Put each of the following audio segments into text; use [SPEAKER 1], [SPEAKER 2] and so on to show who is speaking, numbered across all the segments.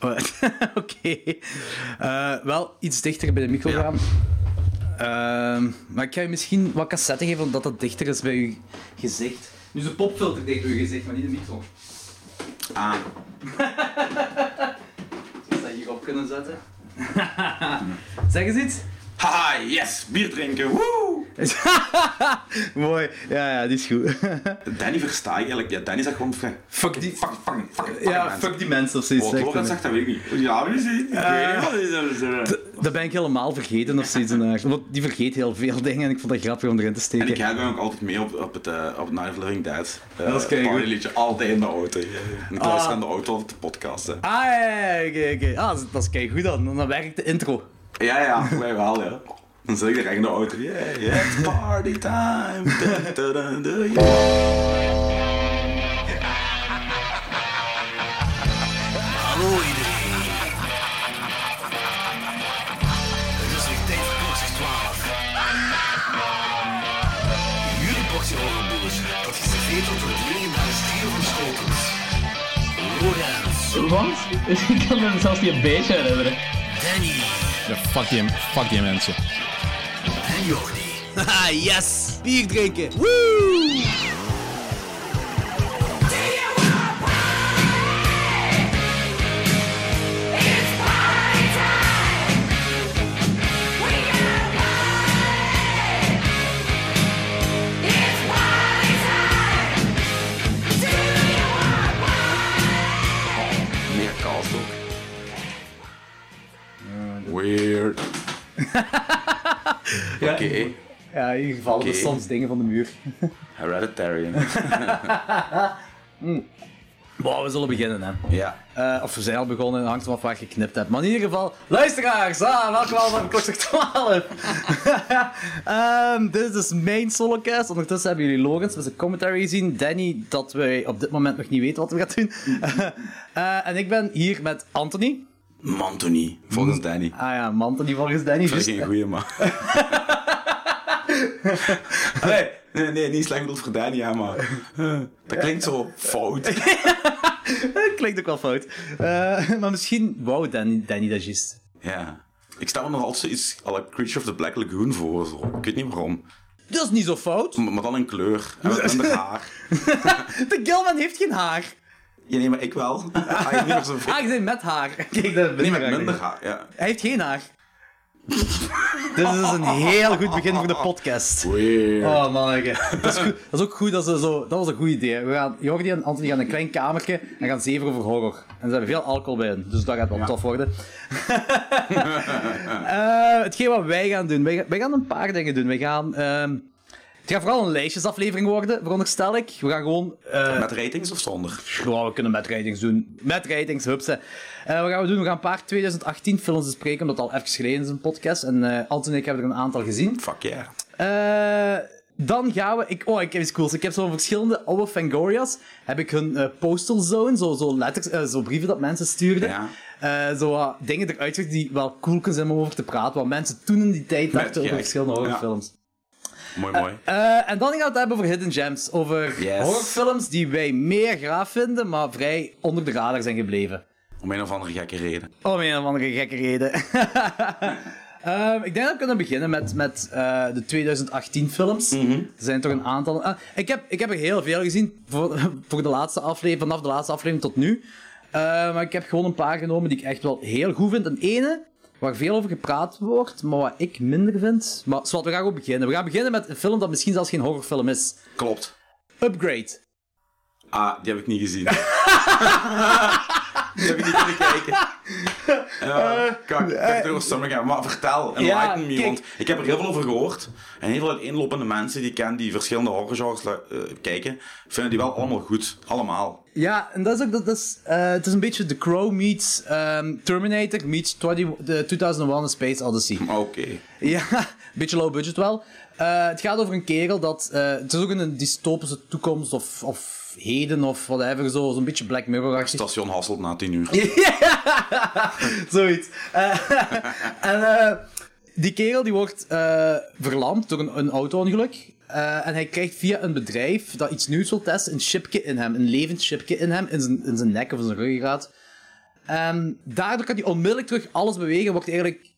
[SPEAKER 1] Oh, Oké. Eh, wel iets dichter bij de micro
[SPEAKER 2] Ja.
[SPEAKER 1] gaan. Ehm, maar ik ga je misschien wat cassette geven, omdat dat dichter is bij je gezicht. Dus de popfilter dicht bij je gezicht, maar niet de micro. Ah. Zou je Dus dat hierop kunnen zetten? zeg eens iets.
[SPEAKER 2] Haha, yes, bier drinken, woe!
[SPEAKER 1] Mooi. Ja, ja, die is goed.
[SPEAKER 2] Danny versta ik eigenlijk. Ja, Danny zegt gewoon fuck,
[SPEAKER 1] fuck die...
[SPEAKER 2] fuck, fuck, fuck.
[SPEAKER 1] Ja, fuck die mensen of zoiets.
[SPEAKER 2] Wat
[SPEAKER 1] Oh, zegt
[SPEAKER 2] Logan
[SPEAKER 1] hij.
[SPEAKER 2] zegt, dat weet ik niet. Ja, we zien. Ik weet niet.
[SPEAKER 1] Dat ben ik helemaal vergeten of zoiets. in de aard. Want die vergeet heel veel dingen en ik vond dat grappig om erin te steken.
[SPEAKER 2] En ik heb hem ook altijd mee op, op het eh, op Night of Living Dead. Eh,
[SPEAKER 1] Dat is Ah. keigoed.
[SPEAKER 2] partyliedje, altijd in de auto. En ik luister aan de auto of de podcast. hè.
[SPEAKER 1] Ah, ja, ja, ja, oké, oké. Ah, dat is- dat is kijk goed dan. Dan werkt de intro.
[SPEAKER 2] Ja, ja, voor mij wel, ja. Dan zit ik er echt in de auto. Yeah, yeah, it's party time. Da, da, da, da, yeah.
[SPEAKER 3] Hallo iedereen. Het is weer tijd voor klokslag 12. Jullie boxje ogenboers, dat geserveerd wordt door dringend naar de stier van schotels. Lorenz,
[SPEAKER 4] Wat? Ik kan me zelfs niet een beetje herinneren.
[SPEAKER 3] Danny
[SPEAKER 5] Ja, fuck die, fuck die mensen.
[SPEAKER 3] en Jordi.
[SPEAKER 1] Haha, yes! Bier drinken!
[SPEAKER 2] Meer cast ook. Weird. Oké,
[SPEAKER 1] Ja, hier gevallen er
[SPEAKER 2] Oké.
[SPEAKER 1] soms dingen van de muur.
[SPEAKER 2] hereditary.
[SPEAKER 1] Wow, we zullen beginnen, hè.
[SPEAKER 2] ja.
[SPEAKER 1] Eh, of we zijn al begonnen, hangt er af waar je geknipt hebt. Maar in ieder geval, luisteraars, ah, welkom allemaal bij Klokslag 12. Ehm, dit is dus mijn solocast. Ondertussen hebben jullie Logans met zijn commentary gezien. Danny, dat wij op dit moment nog niet weten wat we gaan doen. Eh, en ik ben hier met Anthony.
[SPEAKER 2] Mantony, volgens Danny.
[SPEAKER 1] Ah ja, Mantony volgens Danny. dus
[SPEAKER 2] Dat is
[SPEAKER 1] juist.
[SPEAKER 2] geen goeie, man. nee, nee, nee, niet slecht bedoeld voor Danny, ja, maar... eh, Dat klinkt zo fout.
[SPEAKER 1] Dat klinkt ook wel fout. Eh, maar misschien wou Danny, Danny dat juist.
[SPEAKER 2] Ja. Ik stel me nog altijd zoiets à la Creature of the Black Lagoon voor, zo. Ik weet niet waarom.
[SPEAKER 1] Dat is niet zo fout.
[SPEAKER 2] Maar maar dan in kleur. En met minder haar.
[SPEAKER 1] De Gilman heeft geen haar.
[SPEAKER 2] Ja, nee, maar ik wel. Hij heeft Ah, niet meer zoveel.
[SPEAKER 1] Ah, ik zei met haar. Kijk, dat
[SPEAKER 2] Nee, met minder haar, ja.
[SPEAKER 1] Hij heeft geen haar. Dit is een heel goed begin voor de podcast.
[SPEAKER 2] Weird.
[SPEAKER 1] Oh manneke. Dat is, goed. dat is ook goed dat ze zo... Dat was een goed idee. We gaan, Jordi en Anthony gaan in een klein kamertje en gaan zeven over horror. En ze hebben veel alcohol bij hen, dus dat gaat wel tof worden. Eh, hetgeen wat wij gaan doen, wij, ga- wij gaan een paar dingen doen. Wij gaan... ehm, het gaat vooral een lijstjesaflevering worden, veronderstel ik. We gaan gewoon... eh,
[SPEAKER 2] Met ratings of zonder?
[SPEAKER 1] Wow, we kunnen met ratings doen. Met ratings, hupsen. Eh, wat gaan we doen? We gaan een paar 2018 films bespreken, omdat het al even geleden is een podcast. En eh Anton en ik hebben er een aantal gezien.
[SPEAKER 2] Fuck yeah.
[SPEAKER 1] Eh, dan gaan we... Ik, oh, ik heb iets cools. Ik heb zo verschillende oude Fangorias. Heb ik hun eh, postal zone, zo, zo, letters, eh, zo brieven dat mensen stuurden.
[SPEAKER 2] Ja.
[SPEAKER 1] Eh, zo wat dingen eruit gezet die wel cool kunnen zijn om over te praten. Wat mensen toen in die tijd dachten over
[SPEAKER 2] gek.
[SPEAKER 1] verschillende
[SPEAKER 2] Ja.
[SPEAKER 1] horrorfilms.
[SPEAKER 2] Mooi, mooi.
[SPEAKER 1] Eh, en dan gaan we het hebben over Hidden Gems. Over
[SPEAKER 2] Yes.
[SPEAKER 1] horrorfilms die wij meer graaf vinden, maar vrij onder de radar zijn gebleven.
[SPEAKER 2] Om een of andere gekke reden.
[SPEAKER 1] Om een of andere gekke reden. Ehm, ik denk dat we kunnen beginnen met, met eh, de 2018 films. Er zijn toch een aantal. ah, ik, heb, ik heb er heel veel gezien voor, voor de laatste aflevering, vanaf de laatste aflevering tot nu. Eh, maar ik heb gewoon een paar genomen die ik echt wel heel goed vind. Een ene waar veel over gepraat wordt, maar wat ik minder vind. Maar zwart, we gaan gewoon beginnen. We gaan beginnen met een film dat misschien zelfs geen horrorfilm is.
[SPEAKER 2] Klopt.
[SPEAKER 1] Upgrade.
[SPEAKER 2] Ah, die heb ik niet gezien. die heb ik niet kunnen kijken. Eh kak, ik heb door stommer gaan. Maar vertel, enlighten me,
[SPEAKER 1] kijk.
[SPEAKER 2] want ik heb er heel veel over gehoord. En heel veel uiteenlopende mensen die ik ken, die verschillende horrorgenres eh, kijken, vinden die wel allemaal goed. Allemaal.
[SPEAKER 1] Ja, en dat is ook... Dat, dat is, eh, het is een beetje The Crow meets ehm, Terminator meets 20, de 2001 A Space Odyssey.
[SPEAKER 2] Maar Ah, Oké.
[SPEAKER 1] Ja, een beetje low budget wel. Eh, het gaat over een kerel dat... eh, het is ook in een dystopische toekomst of, of heden of whatever, zo, zo'n beetje Black Mirror-achtig.
[SPEAKER 2] Station Hasselt na 10 uur.
[SPEAKER 1] Ja, zoiets. Eh, en eh, die kerel die wordt eh, verlamd door een, een auto-ongeluk. Eh, en hij krijgt via een bedrijf dat iets nieuws wil testen een chipje in hem, een levend chipje in hem, in zijn, in zijn nek of in zijn ruggengraat. En daardoor kan hij onmiddellijk terug alles bewegen. Wordt hij eigenlijk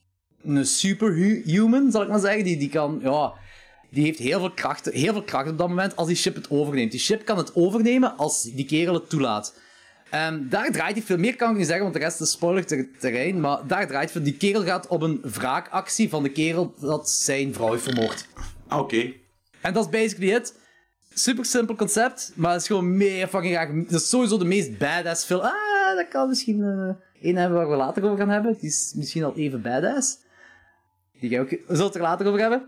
[SPEAKER 1] een superhuman, zal ik maar zeggen. Die, die kan, ja... Die heeft heel veel, krachten, heel veel kracht op dat moment als die ship het overneemt. Die ship kan het overnemen als die kerel het toelaat. En Ehm, daar draait hij veel meer, kan ik niet zeggen, want de rest is spoiler ter- terrein. Maar daar draait hij. Die kerel gaat op een wraakactie van de kerel dat zijn vrouw heeft vermoord.
[SPEAKER 2] Ah, oké.
[SPEAKER 1] En dat is basically het. Super simpel concept, maar het is gewoon meer fucking raar. Dat is sowieso de meest badass film. Ah, dat kan misschien eh één hebben waar we later over gaan hebben. Die is misschien al even badass. Die ga ik ook, we zullen het er later over hebben.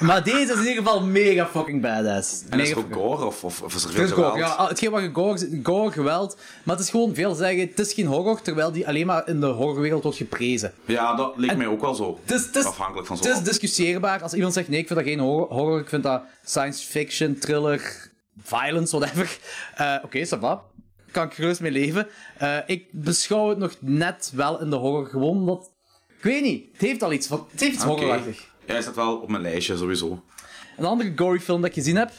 [SPEAKER 1] Maar deze is in ieder geval mega fucking badass.
[SPEAKER 2] En is
[SPEAKER 1] mega
[SPEAKER 2] er ook
[SPEAKER 1] fucking-
[SPEAKER 2] gore of, of, of is er
[SPEAKER 1] er
[SPEAKER 2] veel
[SPEAKER 1] is gore,
[SPEAKER 2] geweld?
[SPEAKER 1] ja. Ah, Hetgeen wat je gore, zit- gore, geweld. Maar het is gewoon veel zeggen. Het is geen horror, terwijl die alleen maar in de horrorwereld wordt geprezen.
[SPEAKER 2] Ja, dat leek mij ook wel zo.
[SPEAKER 1] Het is, het is-
[SPEAKER 2] Afhankelijk van zo'n
[SPEAKER 1] Het is discussieerbaar. Als iemand zegt, nee, ik vind dat geen horror, horror, ik vind dat science fiction, thriller, violence, whatever. Eh, Oké, ça va. Kan ik gerust mee leven. Eh, ik beschouw het nog net wel in de horror, gewoon omdat... Ik weet niet, het heeft al iets van... Het heeft iets
[SPEAKER 2] Oké.
[SPEAKER 1] horrorachtig.
[SPEAKER 2] Ja, is dat wel op mijn lijstje sowieso.
[SPEAKER 1] Een andere gory film dat ik gezien heb...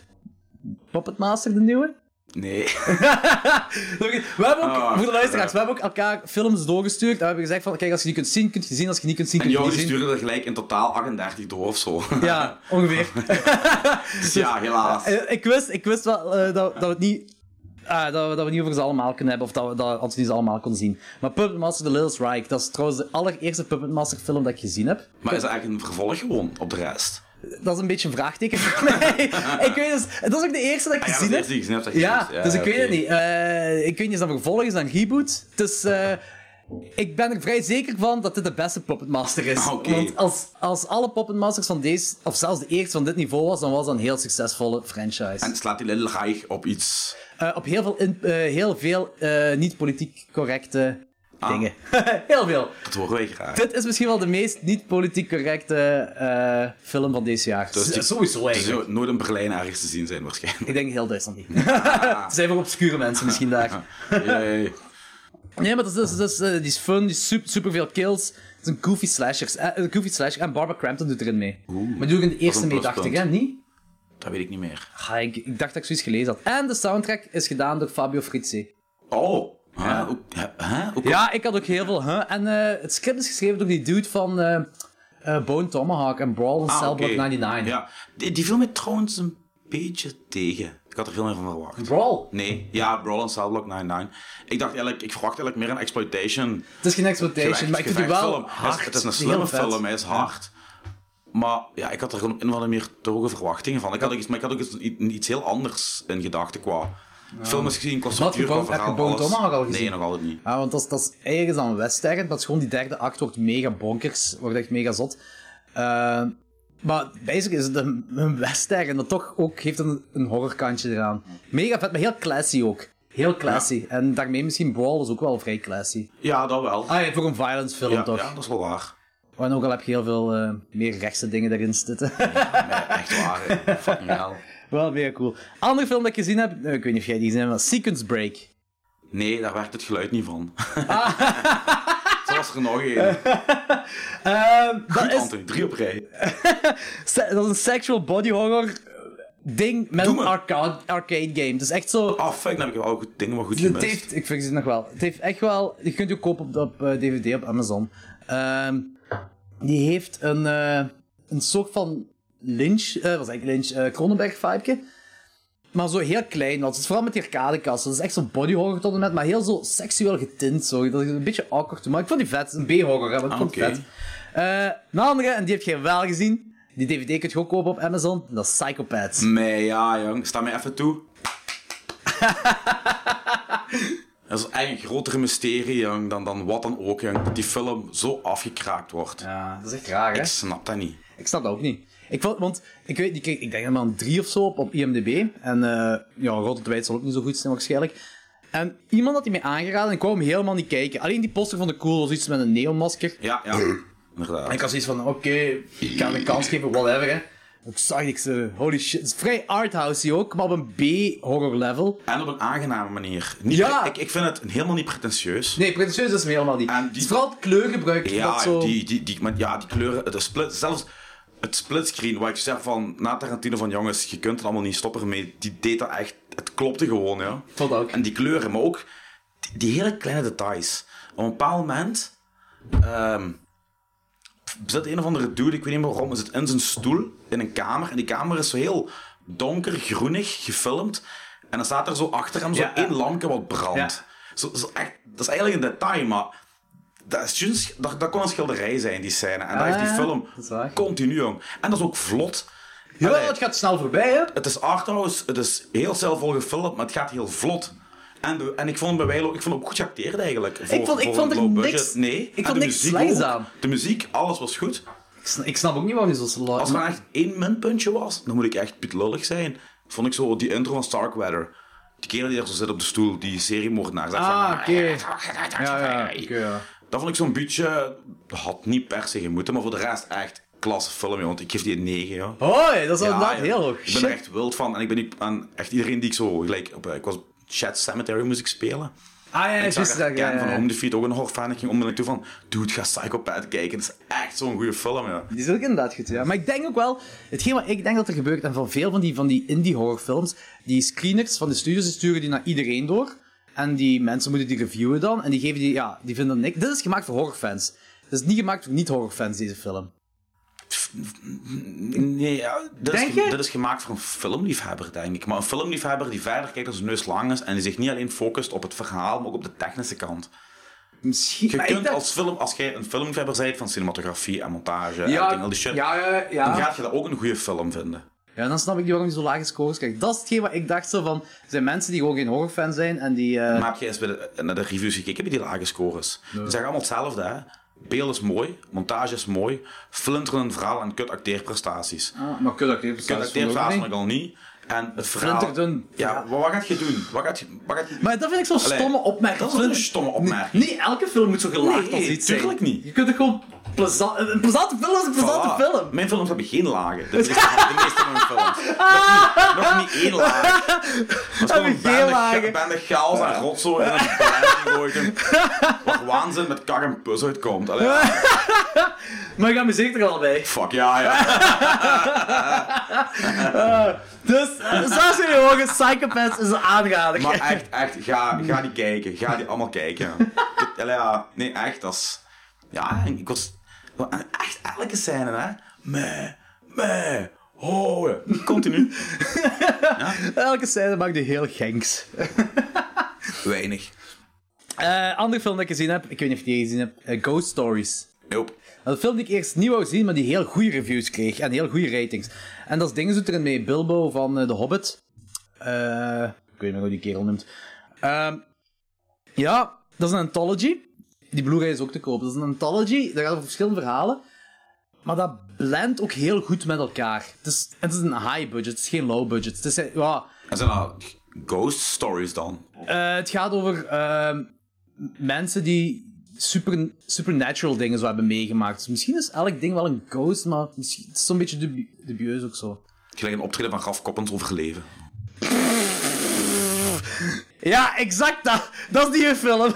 [SPEAKER 1] Puppet Master, de nieuwe.
[SPEAKER 2] Nee.
[SPEAKER 1] We hebben ook,
[SPEAKER 2] Ah,
[SPEAKER 1] voor de luisteraars,
[SPEAKER 2] ja.
[SPEAKER 1] we hebben ook elkaar films doorgestuurd. En we hebben gezegd van, kijk, als je die kunt zien, kunt je zien. Als je niet kunt zien,
[SPEAKER 2] En
[SPEAKER 1] kun je
[SPEAKER 2] jou
[SPEAKER 1] niet
[SPEAKER 2] die
[SPEAKER 1] zien.
[SPEAKER 2] sturen er gelijk in totaal 38 door of zo.
[SPEAKER 1] Ja, ongeveer.
[SPEAKER 2] Dus ja, helaas.
[SPEAKER 1] Eh, ik, wist, ik wist wel eh, dat, dat we het niet. ah, dat, we, dat we niet over ze allemaal kunnen hebben, of dat we dat Anthony ze allemaal kon zien. Maar Puppet Master The Littlest Reich, dat is trouwens de allereerste Puppet Master film dat ik gezien heb.
[SPEAKER 2] Maar is dat eigenlijk een vervolg gewoon op de rest?
[SPEAKER 1] Dat is een beetje een vraagteken voor mij. ik weet dus, dat is ook de eerste dat ik
[SPEAKER 2] Ah ja,
[SPEAKER 1] gezien
[SPEAKER 2] dat is de
[SPEAKER 1] heb.
[SPEAKER 2] eerste die ik gezien heb, dat je
[SPEAKER 1] Ja,
[SPEAKER 2] gezien hebt.
[SPEAKER 1] dus ik
[SPEAKER 2] Ja,
[SPEAKER 1] weet het
[SPEAKER 2] oké.
[SPEAKER 1] niet. Eh, ik weet niet of dat een vervolg is, dan een reboot. Dus eh, ik ben er vrij zeker van dat dit de beste Puppet Master is.
[SPEAKER 2] Ah, oké.
[SPEAKER 1] Want als, als alle Puppet Masters van deze, of zelfs de eerste van dit niveau was, dan was dat een heel succesvolle franchise.
[SPEAKER 2] En slaat die Little Reich op iets.
[SPEAKER 1] Eh, op heel veel, in- eh, heel veel eh, niet politiek correcte
[SPEAKER 2] Ah.
[SPEAKER 1] dingen. heel veel.
[SPEAKER 2] Dat horen wij graag.
[SPEAKER 1] Dit is misschien wel de meest niet politiek correcte eh, film van deze jaar.
[SPEAKER 2] Dus die-
[SPEAKER 1] Z- Sowieso
[SPEAKER 2] Die
[SPEAKER 1] eigenlijk.
[SPEAKER 2] zou nooit in Berlijn ergens te zien zijn waarschijnlijk.
[SPEAKER 1] Ik denk heel Duitsland niet. Het zijn wel obscure mensen misschien daar.
[SPEAKER 2] Jee.
[SPEAKER 1] Nee, maar dat is, dat is, eh, die is fun, die is super, veel kills. Het is een goofy slasher. Eh, een goofy slasher. En Barbara Crampton doet erin mee. maar die doet ook in de eerste
[SPEAKER 2] een
[SPEAKER 1] mee, dacht ik, hè?
[SPEAKER 2] pluspunt.
[SPEAKER 1] Niet?
[SPEAKER 2] Dat weet ik niet meer.
[SPEAKER 1] Ah, ik, ik dacht dat ik zoiets gelezen had. En de soundtrack is gedaan door Fabio Frizzi.
[SPEAKER 2] Oh. Hè? Ook- hè? Hè? Ook-
[SPEAKER 1] Ja, ik had ook heel veel. Huh? En eh, het script is geschreven door die dude van eh eh, Bone Tomahawk en Brawl in
[SPEAKER 2] Ah,
[SPEAKER 1] Cell
[SPEAKER 2] oké.
[SPEAKER 1] Block 99.
[SPEAKER 2] Ja. Die, die viel mij trouwens een beetje tegen. Ik had er veel meer van verwacht.
[SPEAKER 1] Brawl?
[SPEAKER 2] Nee, ja, Brawl en Cell Block 99. Ik dacht eigenlijk, ik verwacht eigenlijk meer een exploitation.
[SPEAKER 1] Het is geen exploitation,
[SPEAKER 2] gevecht-
[SPEAKER 1] maar ik vind die wel
[SPEAKER 2] gevechtfilm. Het is-
[SPEAKER 1] hard.
[SPEAKER 2] Het is een
[SPEAKER 1] heel
[SPEAKER 2] slimme
[SPEAKER 1] vet.
[SPEAKER 2] film, hij is hard. Maar ja, ik had er gewoon op een of andere manier te hoge verwachtingen van. Ik had ook iets, maar ik had ook iets, iets heel anders in gedachten qua... Film is gezien, qua structuur, qua
[SPEAKER 1] Bone- heb je
[SPEAKER 2] verhaal,
[SPEAKER 1] Bone
[SPEAKER 2] alles.
[SPEAKER 1] Tomahawk al gezien?
[SPEAKER 2] Nee, nog altijd niet.
[SPEAKER 1] Ja, Ah, want dat is, dat is ergens aan Western, maar het is gewoon die derde act wordt mega bonkers, wordt echt mega zot. Eh, maar basically is het een, een Western en dat toch ook heeft een, een horrorkantje eraan. Mega vet, maar heel classy ook. Heel classy. En daarmee misschien Brawl is ook wel vrij classy.
[SPEAKER 2] Ja, dat wel.
[SPEAKER 1] Ah ja, voor een violence film
[SPEAKER 2] ja,
[SPEAKER 1] toch?
[SPEAKER 2] ja, dat is wel waar.
[SPEAKER 1] En ook al heb je heel veel eh, meer rechtse dingen daarin zitten.
[SPEAKER 2] Echt waar, hè. fucking hell.
[SPEAKER 1] Wel mega cool. Andere film dat ik gezien heb, eh, ik weet niet of jij die gezien hebt, maar Sequence Break.
[SPEAKER 2] Nee, daar werkt het geluid niet van.
[SPEAKER 1] Ah.
[SPEAKER 2] Zo was er nog één.
[SPEAKER 1] Ehm, dat,
[SPEAKER 2] Goed,
[SPEAKER 1] is,
[SPEAKER 2] Anthony, drie op rij.
[SPEAKER 1] se- dat is een sexual body horror eh, ding met
[SPEAKER 2] Doe
[SPEAKER 1] een
[SPEAKER 2] me.
[SPEAKER 1] arcade, arcade game. Dus echt zo...
[SPEAKER 2] Ah, fuck, dan heb ik wel goed dingen maar goed
[SPEAKER 1] het
[SPEAKER 2] gemist.
[SPEAKER 1] heeft, ik vind het nog wel. Het heeft echt wel... Je kunt je ook kopen op, op eh, DVD op Amazon. Ehm, die heeft een, eh, een soort van Lynch... eh was eigenlijk Lynch? eh, Cronenberg-vibe. Maar zo heel klein. Want het is vooral met die arcadekasten. Dat is echt zo'n body horror tot en met. Maar heel zo seksueel getint. Zo. Dat is een beetje awkward. Maar ik vond die vet. Het is Een B-horror. hè, Maar ik
[SPEAKER 2] Ah,
[SPEAKER 1] vond het
[SPEAKER 2] oké.
[SPEAKER 1] vet. Eh, een andere, en die heb jij wel gezien. Die DVD kun je gewoon kopen op Amazon. Dat is Psychopaths.
[SPEAKER 2] Nee, ja, jong. Sta mij even toe. Dat is eigenlijk een grotere mysterie, jong, dan, dan wat dan ook, jong. Dat die film zo afgekraakt wordt.
[SPEAKER 1] Ja, dat is echt raar, hè?
[SPEAKER 2] Ik snap dat niet.
[SPEAKER 1] Ik snap dat ook niet. Ik vond, want ik weet, die kreeg, ik denk helemaal een 3 of zo op, op IMDb. En eh ja, Rotten Wijd zal ook niet zo goed zijn waarschijnlijk. En iemand had die mij aangeraden en ik kwam hem helemaal niet kijken. Alleen die poster vond ik cool, was iets met een neonmasker.
[SPEAKER 2] Ja, ja. Inderdaad.
[SPEAKER 1] En ik had zoiets van, oké, ik ga hem een kans geven, whatever, hè. Ik zag niks, eh, holy shit. Het is vrij arthousey ook, maar op een B-horror level.
[SPEAKER 2] En op een aangename manier. Niet,
[SPEAKER 1] Ja.
[SPEAKER 2] ik, ik vind het helemaal niet pretentieus.
[SPEAKER 1] Nee, pretentieus is me helemaal niet.
[SPEAKER 2] En die-
[SPEAKER 1] Het is vooral het kleurgebruik dat
[SPEAKER 2] Ja,
[SPEAKER 1] zo...
[SPEAKER 2] die, die, die, maar ja, die kleuren, de split, zelfs het splitscreen, waar ik zeg van, na Tarantino van jongens, je kunt het allemaal niet stoppen ermee, die deed dat echt, het klopte gewoon, ja.
[SPEAKER 1] vond dat ook.
[SPEAKER 2] En die kleuren, maar ook die, die hele kleine details. Op een bepaald moment ehm, zit een of andere dude, ik weet niet meer waarom, zit in zijn stoel in een kamer. En die kamer is zo heel donker, groenig gefilmd. En dan staat er zo achter hem zo
[SPEAKER 1] Ja, ja.
[SPEAKER 2] één lampje wat brandt. Zo, zo echt, dat is eigenlijk een detail, maar dat, is juist- dat, dat kon een schilderij zijn, die scène. En dat
[SPEAKER 1] Ah,
[SPEAKER 2] heeft die
[SPEAKER 1] ja,
[SPEAKER 2] film
[SPEAKER 1] dat is waar.
[SPEAKER 2] continu, jong. En dat is ook vlot.
[SPEAKER 1] Ja,
[SPEAKER 2] Allee,
[SPEAKER 1] het gaat snel voorbij, hè?
[SPEAKER 2] het is arthouse, het is heel stijlvol gefilmd, maar het gaat heel vlot. En, de- en ik vond bij Weilo, ik vond hem ook goed geacteerd eigenlijk. Voor,
[SPEAKER 1] vond- ik
[SPEAKER 2] voor
[SPEAKER 1] vond
[SPEAKER 2] een
[SPEAKER 1] er
[SPEAKER 2] low
[SPEAKER 1] niks-
[SPEAKER 2] budget. Nee,
[SPEAKER 1] ik
[SPEAKER 2] en
[SPEAKER 1] vond
[SPEAKER 2] de
[SPEAKER 1] niks
[SPEAKER 2] muziek
[SPEAKER 1] slechts
[SPEAKER 2] ook.
[SPEAKER 1] aan.
[SPEAKER 2] De muziek, alles was goed.
[SPEAKER 1] Ik, sna- ik snap ook niet waarom je zo slap
[SPEAKER 2] Als er echt één minpuntje was, dan moet ik echt piet lullig zijn. Vond ik zo die intro van Starkweather. Die kerel die daar zo zit op de stoel, die seriemoordenaar. zegt
[SPEAKER 1] Ah,
[SPEAKER 2] van,
[SPEAKER 1] oké. Ja, ja, oké, ja.
[SPEAKER 2] Dat vond ik zo'n beetje, had niet per se gemoeten, maar voor de rest echt klasse film, joh, want ik geef die een 9, joh.
[SPEAKER 1] Hoi, dat is
[SPEAKER 2] Ja,
[SPEAKER 1] inderdaad
[SPEAKER 2] ja.
[SPEAKER 1] heel hoog.
[SPEAKER 2] Ik ben er
[SPEAKER 1] Shit.
[SPEAKER 2] echt wild van. En ik ben niet aan echt iedereen die ik zo gelijk op. eh, Ik was Chat Cemetery moest ik spelen.
[SPEAKER 1] Ah ja,
[SPEAKER 2] ik zag
[SPEAKER 1] juist. ja,
[SPEAKER 2] er
[SPEAKER 1] ja,
[SPEAKER 2] Ken van
[SPEAKER 1] ja.
[SPEAKER 2] Home Defeat ook een horrorfan. Ik ging onmiddellijk toe van, dude, ga Psychopath kijken. Dat is echt zo'n goede film, ja.
[SPEAKER 1] Die is ook inderdaad goed, ja. Maar ik denk ook wel, hetgeen wat ik denk dat er gebeurt, en van veel van die, van die indie horrorfilms, die screeners van de studios die sturen die naar iedereen door. En die mensen moeten die reviewen dan, en die geven die, ja, die vinden niks. Dit is gemaakt voor horrorfans. Dit is niet gemaakt voor niet-horrorfans, deze film.
[SPEAKER 2] Nee, ja, dit,
[SPEAKER 1] Denk
[SPEAKER 2] is, ge-
[SPEAKER 1] je?
[SPEAKER 2] dit is gemaakt voor een filmliefhebber, denk ik. Maar een filmliefhebber die verder kijkt als zijn neus lang is en die zich niet alleen focust op het verhaal, maar ook op de technische kant.
[SPEAKER 1] Misschien.
[SPEAKER 2] Je
[SPEAKER 1] maar ik
[SPEAKER 2] kunt
[SPEAKER 1] dacht-
[SPEAKER 2] als, film, als jij een filmliefhebber bent van cinematografie en montage en
[SPEAKER 1] ja,
[SPEAKER 2] acting, al die shit,
[SPEAKER 1] Ja, ja,
[SPEAKER 2] dan
[SPEAKER 1] ja.
[SPEAKER 2] gaat je dat ook een goede film vinden.
[SPEAKER 1] Ja, dan snap ik niet waarom die zo lage scores krijgt. Dat is hetgeen wat ik dacht zo van, er zijn mensen die gewoon geen horrorfan zijn en die... eh,
[SPEAKER 2] Maar heb je eens bij de- naar de reviews gekeken bij die lage scores? Ze zeggen allemaal hetzelfde, hè? Beeld is mooi, montage is mooi, flinterend verhaal en kut acteerprestaties.
[SPEAKER 1] ah, maar kun je dat
[SPEAKER 2] Kut acteerprestaties vond ik al niet. En het verhaal...
[SPEAKER 1] Flinterend
[SPEAKER 2] Ja, wa- wat gaat je doen? Wat gaat je... Wat gaat je...
[SPEAKER 1] Maar dat vind ik zo'n
[SPEAKER 2] Allee,
[SPEAKER 1] stomme opmerking.
[SPEAKER 2] dat is een stomme opmerking.
[SPEAKER 1] Nee, niet elke film moet zo gelaagd
[SPEAKER 2] Nee,
[SPEAKER 1] als iets
[SPEAKER 2] tuurlijk
[SPEAKER 1] zijn.
[SPEAKER 2] niet.
[SPEAKER 1] Je kunt er gewoon plezant... Een plezante film is een plezante
[SPEAKER 2] Voilà.
[SPEAKER 1] film.
[SPEAKER 2] Mijn films hebben geen lagen. De meeste, de meeste van mijn films. Nog niet, nog niet één laag. Dat is gewoon
[SPEAKER 1] Hebben
[SPEAKER 2] een
[SPEAKER 1] geen
[SPEAKER 2] bende,
[SPEAKER 1] lagen.
[SPEAKER 2] ga- bende chaos en rotzooi en een band die nooit- Waar waanzin met kak en pus uitkomt. Allee, ja,
[SPEAKER 1] Maar ik ga me zeker er al bij.
[SPEAKER 2] fuck, ja, ja.
[SPEAKER 1] Dus, eh, zoals jullie horen, Psychopaths is een aanrader.
[SPEAKER 2] Maar echt, echt, ga, ga die kijken. Ga die allemaal kijken. Dit- allee, ja, nee, echt, dat is... Ja, ik was... en Echt elke scène, hè. Meh, meh, oh, ja. continu.
[SPEAKER 1] Elke scène maakt die heel genks.
[SPEAKER 2] Weinig.
[SPEAKER 1] Eh andere film dat ik gezien heb, ik weet niet of je die gezien hebt, eh, Ghost Stories.
[SPEAKER 2] Nope.
[SPEAKER 1] Een film die ik eerst niet wou zien, maar die heel goede reviews kreeg en heel goede ratings. En dat is dingen doet erin mee. Bilbo van eh, The Hobbit. Eh, ik weet niet meer hoe die kerel noemt. Ehm, ja, dat is een anthology. Die Blu-ray is ook te koop. Dat is een anthology. Daar gaat over verschillende verhalen. Maar dat blendt ook heel goed met elkaar. Het is, het is een high budget, het is geen low budget. Het, is, eh, ja,
[SPEAKER 2] En zijn dat ghost stories dan?
[SPEAKER 1] eh, het gaat over ehm, mensen die super, supernatural dingen zo hebben meegemaakt. Dus misschien is elk ding wel een ghost, maar misschien het is zo'n beetje dubi- dubieus ook zo.
[SPEAKER 2] Gelijk een optreden van Raf Koppens overleven.
[SPEAKER 1] Ja, exact dat. Dat is die film.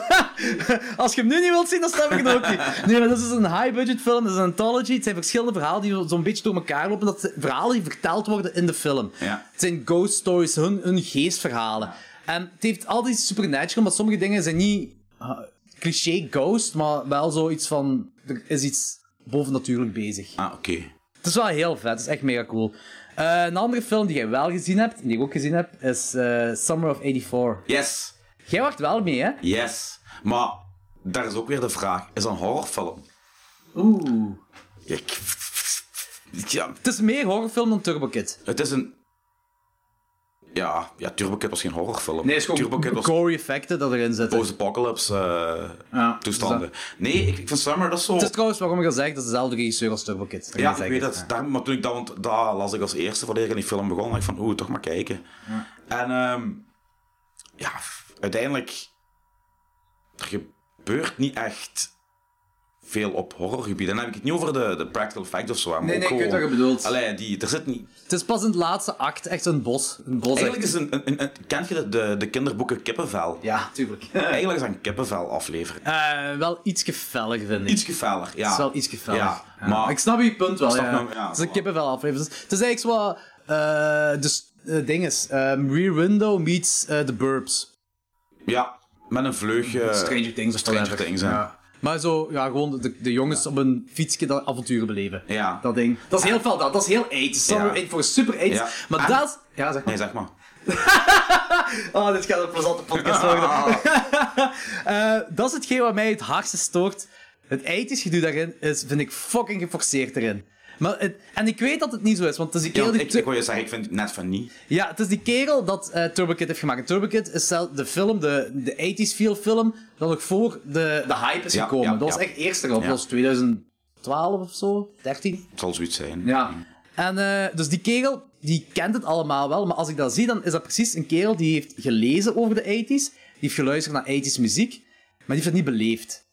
[SPEAKER 1] Als je hem nu niet wilt zien, dan snap ik het ook niet. Nee, maar dat is dus een high-budget film, dat is een anthology. Het zijn verschillende verhalen die zo'n beetje door elkaar lopen. Dat zijn verhalen die verteld worden in de film.
[SPEAKER 2] Ja.
[SPEAKER 1] Het zijn ghost stories, hun, hun geestverhalen. En het heeft altijd iets supernatural, maar sommige dingen zijn niet eh, cliché ghost, maar wel zoiets van... Er is iets bovennatuurlijk bezig.
[SPEAKER 2] Ah, oké.
[SPEAKER 1] Het is wel heel vet, het is echt mega cool. Eh, een andere film die jij wel gezien hebt, en die ik ook gezien heb, is eh, Summer of 84.
[SPEAKER 2] Yes,
[SPEAKER 1] Jij wacht wel mee, hè?
[SPEAKER 2] yes. Maar daar is ook weer de vraag: is dat een horrorfilm?
[SPEAKER 1] Oeh.
[SPEAKER 2] Ja, ik- Ja,
[SPEAKER 1] Het is meer horrorfilm dan Turbo Kid.
[SPEAKER 2] het is een. Ja, ja Turbo Kid was geen horrorfilm. Turbo Kid was
[SPEAKER 1] gory effecten dat erin zitten.
[SPEAKER 2] post-apocalypse eh,
[SPEAKER 1] Ja, Dus
[SPEAKER 2] toestanden. Nee, ik, ik vind Summer dat is zo.
[SPEAKER 1] Het is trouwens waarom ik al zeg, dat is dezelfde regisseur als Turbo Kid. Dat
[SPEAKER 2] Ja,
[SPEAKER 1] kan
[SPEAKER 2] ik
[SPEAKER 1] zeggen.
[SPEAKER 2] weet het. Daar, maar toen ik dat, want daar las ik als eerste voordat ik aan die film begon, dacht ik van, oeh, toch maar kijken. En ehm, ja, f- uiteindelijk, er gebeurt niet echt veel op horrorgebied. En dan heb ik het niet over de, de practical effects of zo, maar
[SPEAKER 1] Nee,
[SPEAKER 2] ook
[SPEAKER 1] nee, ik weet
[SPEAKER 2] gewoon-
[SPEAKER 1] wat je bedoelt.
[SPEAKER 2] Allee, die, er zit niet...
[SPEAKER 1] Het is pas in het laatste act echt een bos. Een bos
[SPEAKER 2] Eigenlijk
[SPEAKER 1] echt.
[SPEAKER 2] is een, een, een- een- kent je de, de, de kinderboeken Kippenvel?
[SPEAKER 1] Ja, tuurlijk.
[SPEAKER 2] Eigenlijk is dat een Kippenvel aflevering.
[SPEAKER 1] Eh, wel iets gefellig, vind ik.
[SPEAKER 2] Iets gefeller, ja.
[SPEAKER 1] Het is wel iets gefellig.
[SPEAKER 2] Ja,
[SPEAKER 1] Ja.
[SPEAKER 2] maar...
[SPEAKER 1] Ik snap je punt wel,
[SPEAKER 2] snap
[SPEAKER 1] ja.
[SPEAKER 2] hem, ja,
[SPEAKER 1] Het is een
[SPEAKER 2] voilà.
[SPEAKER 1] kippenvel aflevering. Dus Het is eigenlijk zo wat... eh, dus, eh, ding is, ehm, Rear Window meets eh, The Burbs.
[SPEAKER 2] Ja, Met een vleugje...
[SPEAKER 1] Stranger Things.
[SPEAKER 2] Eh, Stranger
[SPEAKER 1] whatever.
[SPEAKER 2] Things, hè.
[SPEAKER 1] Ja. Maar zo, ja, gewoon de, de jongens op een fietsje dat avonturen beleven.
[SPEAKER 2] Ja.
[SPEAKER 1] Dat ding. Dat is heel fel, dat. Dat is heel aids. Dat is
[SPEAKER 2] Ja.
[SPEAKER 1] wel voor super aids.
[SPEAKER 2] Ja.
[SPEAKER 1] Maar
[SPEAKER 2] En-
[SPEAKER 1] dat... Ja, zeg maar.
[SPEAKER 2] Nee, zeg maar.
[SPEAKER 1] Oh, dit gaat een plezante podcast worden. Eh, dat is hetgeen wat mij het hardste stoort. Het ethisch gedoe daarin is, vind ik fucking geforceerd erin. Maar het- en ik weet dat het niet zo is, want het is die
[SPEAKER 2] Ja,
[SPEAKER 1] kerel
[SPEAKER 2] want
[SPEAKER 1] die...
[SPEAKER 2] ik, ik wil je zeggen, ik vind het net van niet.
[SPEAKER 1] Ja, het is die kerel dat eh Turbo Kid heeft gemaakt. En Turbo Kid is zelf de film, de, de 80s feel film, dat nog voor de, de hype is
[SPEAKER 2] Ja,
[SPEAKER 1] gekomen.
[SPEAKER 2] ja,
[SPEAKER 1] dat was
[SPEAKER 2] ja.
[SPEAKER 1] echt eerst erop.
[SPEAKER 2] Ja.
[SPEAKER 1] Dat was 2012 of zo, 13.
[SPEAKER 2] Het zal zoiets zijn.
[SPEAKER 1] Ja. En eh, dus die kerel, die kent het allemaal wel, maar als ik dat zie, dan is dat precies een kerel die heeft gelezen over de 80s, die heeft geluisterd naar 80s muziek, maar die heeft het niet beleefd.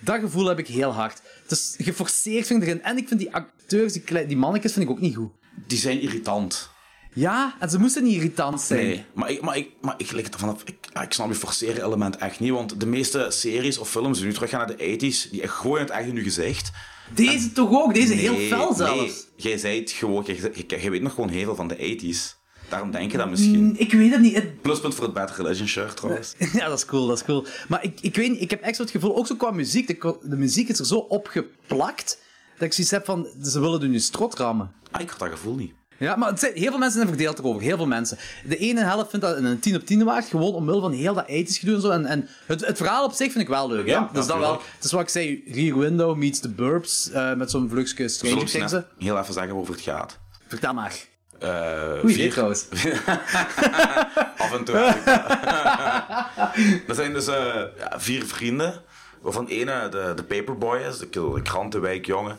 [SPEAKER 1] Dat gevoel heb ik heel hard. Het is geforceerd vind ik erin. En ik vind die acteurs, die, klei- die mannetjes, vind ik ook niet goed.
[SPEAKER 2] Die zijn irritant.
[SPEAKER 1] Ja, en ze moesten niet irritant zijn.
[SPEAKER 2] Nee, maar ik, maar ik, maar ik, lig ervan af. Ik, ik snap je forceren element echt niet, want de meeste series of films die nu teruggaan naar de 80s, die gooien het echt in je gezicht.
[SPEAKER 1] Deze toch ook, deze heel
[SPEAKER 2] Nee,
[SPEAKER 1] fel zelfs.
[SPEAKER 2] Nee, jij zei het gewoon, jij, jij- jij weet nog gewoon heel veel van de 80s. Daarom denk je dat misschien.
[SPEAKER 1] Ik weet het niet. Het-
[SPEAKER 2] Pluspunt voor het Bad Religion shirt trouwens.
[SPEAKER 1] Ja, dat is cool, dat is cool. Maar ik, ik weet niet, ik heb echt zo het gevoel, ook zo qua muziek, de, de muziek is er zo opgeplakt, dat ik zoiets heb van, ze willen er nu strot rammen.
[SPEAKER 2] Ah, ik had dat gevoel niet.
[SPEAKER 1] Ja, maar het zijn, heel veel mensen zijn verdeeld erover, heel veel mensen. De ene helft vindt dat een 10 op 10 waard, gewoon omwille van heel dat ethisch gedoe en zo. En, en het, het verhaal op zich vind ik wel leuk,
[SPEAKER 2] Ja,
[SPEAKER 1] hè? Dus dat wel,
[SPEAKER 2] natuurlijk.
[SPEAKER 1] het is wat ik zei, Rear Window meets The Burbs, eh, met zo'n vlugske
[SPEAKER 2] We zullen
[SPEAKER 1] Stranger
[SPEAKER 2] misschien
[SPEAKER 1] Things.
[SPEAKER 2] even- heel even zeggen waarover het gaat.
[SPEAKER 1] hè. Vertel maar.
[SPEAKER 2] Eh,
[SPEAKER 1] Goeie idee
[SPEAKER 2] vier-
[SPEAKER 1] trouwens.
[SPEAKER 2] Af en toe. heb ik dat. Er zijn dus eh, ja, vier vrienden. Waarvan ene de, de paperboy is, de, de krantenwijkjongen.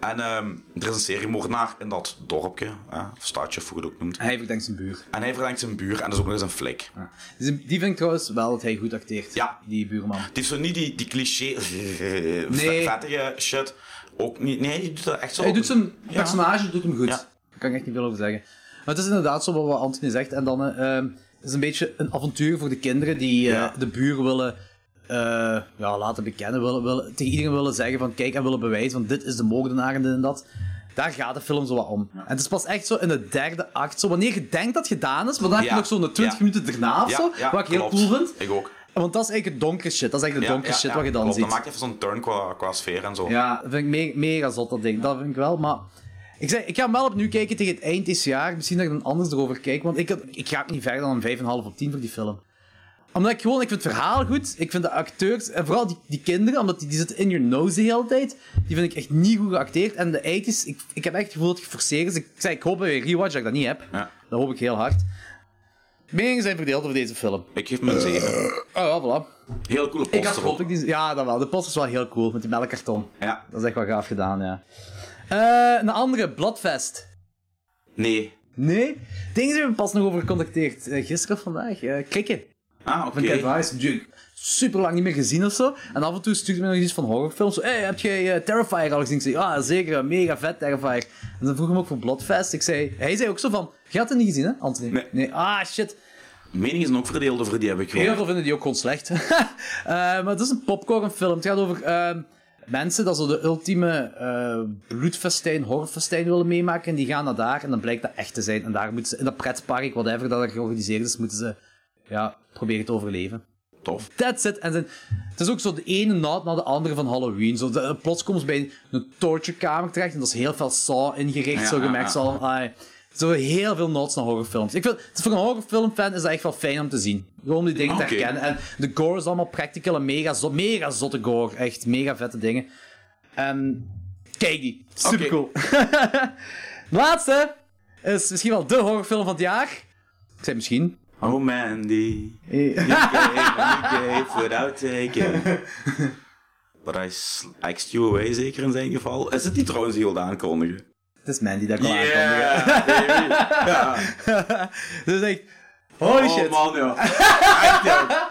[SPEAKER 2] En ehm, er is een seriemoordenaar in dat dorpje. hè, of stadje, of hoe je het ook noemt.
[SPEAKER 1] Hij verdenkt zijn buur.
[SPEAKER 2] En hij verdenkt zijn buur en dat is ook nog eens een flik.
[SPEAKER 1] Dus die vind ik trouwens wel dat hij goed acteert,
[SPEAKER 2] Ja.
[SPEAKER 1] die buurman.
[SPEAKER 2] Het heeft zo niet die, die cliché...
[SPEAKER 1] Nee.
[SPEAKER 2] vettige shit. Ook niet... Nee, die doet dat echt zo.
[SPEAKER 1] Hij doet zijn
[SPEAKER 2] Ja.
[SPEAKER 1] personage doet hem goed.
[SPEAKER 2] Ja.
[SPEAKER 1] Daar kan ik echt niet veel over zeggen. Maar het is inderdaad zo wat- wat Anthony zegt. En dan eh, ehm, is het een beetje een avontuur voor de kinderen die eh,
[SPEAKER 2] Ja.
[SPEAKER 1] de buren willen eh, ja, laten bekennen. Willen, willen, tegen iedereen willen zeggen van kijk en willen bewijzen van dit is de moordenaar en dit en dat. Daar gaat de film zo wat om. En het is pas echt zo in de derde act. Zo, wanneer je denkt dat het gedaan is, maar dan heb je
[SPEAKER 2] Ja.
[SPEAKER 1] nog zo'n 20
[SPEAKER 2] Ja.
[SPEAKER 1] minuten daarna of
[SPEAKER 2] Ja,
[SPEAKER 1] zo.
[SPEAKER 2] ja,
[SPEAKER 1] wat ik heel
[SPEAKER 2] klopt.
[SPEAKER 1] cool vind.
[SPEAKER 2] Ik ook.
[SPEAKER 1] Want dat is eigenlijk het donkere shit. Dat is echt de
[SPEAKER 2] Ja,
[SPEAKER 1] donkere
[SPEAKER 2] ja,
[SPEAKER 1] shit
[SPEAKER 2] ja,
[SPEAKER 1] wat je dan
[SPEAKER 2] klopt.
[SPEAKER 1] ziet.
[SPEAKER 2] Dat maakt even zo'n turn qua, qua sfeer en zo.
[SPEAKER 1] Ja, dat vind ik me- mega zot, dat ding. Dat vind ik wel, maar... Ik, zeg, ik ga hem wel opnieuw kijken tegen het eind dit jaar. Misschien dat ik dan anders erover kijk, want ik, had- ik ga ook niet verder dan een 5,5 op 10 voor die film. Omdat ik gewoon... Ik vind het verhaal goed, ik vind de acteurs... En vooral die, die kinderen, omdat die, die zitten in your nose de hele tijd. Die vind ik echt niet goed geacteerd. En de eind is... Ik, ik heb echt het gevoel dat het geforceerd is. Ik, ik zeg, ik hoop bij een rewatch dat ik dat niet heb.
[SPEAKER 2] Ja.
[SPEAKER 1] Dat hoop ik heel hard. Meningen zijn verdeeld over deze film.
[SPEAKER 2] Ik geef hem een 7.
[SPEAKER 1] Oh, ja, voilà.
[SPEAKER 2] Heel coole
[SPEAKER 1] Ik had
[SPEAKER 2] poster
[SPEAKER 1] gehoopt dat ik
[SPEAKER 2] ook.
[SPEAKER 1] die... Ja, dat wel. De post is wel heel cool, met die melkkarton.
[SPEAKER 2] Ja.
[SPEAKER 1] Dat is echt wel gaaf gedaan, ja. Eh, een andere, Bloodfest.
[SPEAKER 2] Nee.
[SPEAKER 1] Nee? Dingen zijn we pas nog over gecontacteerd. Eh, gisteren of vandaag. eh Krikken.
[SPEAKER 2] Ah, oké.
[SPEAKER 1] Van Cat Rice. Die- Super lang niet meer gezien of zo. En af en toe stuurt hij me nog iets van horrorfilms. Zo, hey, heb jij eh, Terrifier al gezien? Ik zei, ah, zeker. Mega vet, Terrifier. En dan vroeg ik hem ook voor Bloodfest. Ik zei, hij zei ook zo van, je had het niet gezien, hè, Anthony?
[SPEAKER 2] Nee.
[SPEAKER 1] Ah, shit.
[SPEAKER 2] Meningen zijn ook verdeeld over die heb ik
[SPEAKER 1] Heel
[SPEAKER 2] gehoord.
[SPEAKER 1] veel vinden die ook gewoon slecht. Eh, maar het is een popcornfilm. Het gaat over eh, mensen dat ze de ultieme eh bloedfestijn, horrorfestijn willen meemaken. En die gaan naar daar en dan blijkt dat echt te zijn. En daar moeten ze, in dat pretpark, whatever dat er georganiseerd is, moeten ze ja, proberen te overleven.
[SPEAKER 2] Tof.
[SPEAKER 1] That's it. En zijn- het is ook zo de ene naad na de andere van Halloween. Zo, de- plots komen ze bij een torturekamer terecht en dat is heel veel saw ingericht.
[SPEAKER 2] Ja,
[SPEAKER 1] zo
[SPEAKER 2] ja,
[SPEAKER 1] gemerkt.
[SPEAKER 2] ja.
[SPEAKER 1] Zo, ai. zo heel veel nods naar horrorfilms. Ik vind, het is voor een horrorfilmfan is dat echt wel fijn om te zien. Gewoon om die dingen
[SPEAKER 2] Oké.
[SPEAKER 1] te herkennen. En de gore is allemaal practical en mega, zot, mega zotte gore. Echt mega vette dingen. En kijk die. Super cool. Laatste is misschien wel de horrorfilm van het jaar. Ik zei misschien.
[SPEAKER 2] Oh Mandy, Eh. gave without taking. But I axed you away, zeker in zijn geval. Is het niet trouwens die wilde aankondigen?
[SPEAKER 1] Het is Mandy dat ik wil aankondigen.
[SPEAKER 2] Yeah, baby.
[SPEAKER 1] Oh,
[SPEAKER 2] Ja.
[SPEAKER 1] Dus echt, holy shit.
[SPEAKER 2] Oh man, ja. Echt, ja.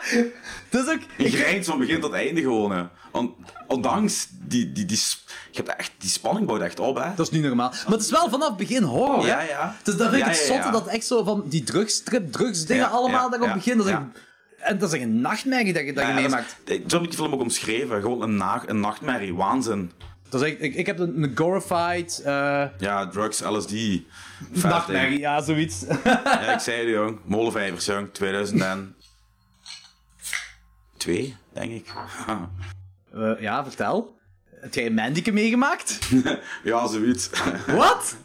[SPEAKER 1] Dus ook,
[SPEAKER 2] Je grijnt van begin tot einde gewoon, hè. On- ondanks die, die, die, sp- je hebt echt, die spanning bouwt echt op, hè.
[SPEAKER 1] dat is niet normaal. Maar het is wel vanaf het begin horror.
[SPEAKER 2] Ja,
[SPEAKER 1] hè?
[SPEAKER 2] ja.
[SPEAKER 1] Dus dat vind ik
[SPEAKER 2] Ja,
[SPEAKER 1] het
[SPEAKER 2] ja,
[SPEAKER 1] zotte
[SPEAKER 2] ja.
[SPEAKER 1] dat echt zo van die drugstrip, drugsdingen
[SPEAKER 2] Ja,
[SPEAKER 1] allemaal
[SPEAKER 2] ja,
[SPEAKER 1] daarop
[SPEAKER 2] ja,
[SPEAKER 1] begin. Dat is
[SPEAKER 2] ja.
[SPEAKER 1] echt- en dat is echt een nachtmerrie dat je, dat je
[SPEAKER 2] Ja, dat is-
[SPEAKER 1] meemaakt.
[SPEAKER 2] ik- Zo heb ik die film ook omschreven. Gewoon een, na- een nachtmerrie, waanzin.
[SPEAKER 1] Dat is echt, ik, ik heb een, een glorified eh,
[SPEAKER 2] Ja, drugs, LSD. vijf
[SPEAKER 1] nachtmerrie, ja, zoiets.
[SPEAKER 2] dingen. Ja, ik zei het, jong. Molenvijvers, jong. 2000 en... twee, denk ik.
[SPEAKER 1] Eh, ja, vertel. Heb jij Mandike meegemaakt?
[SPEAKER 2] ja, zoiets.
[SPEAKER 1] Wat?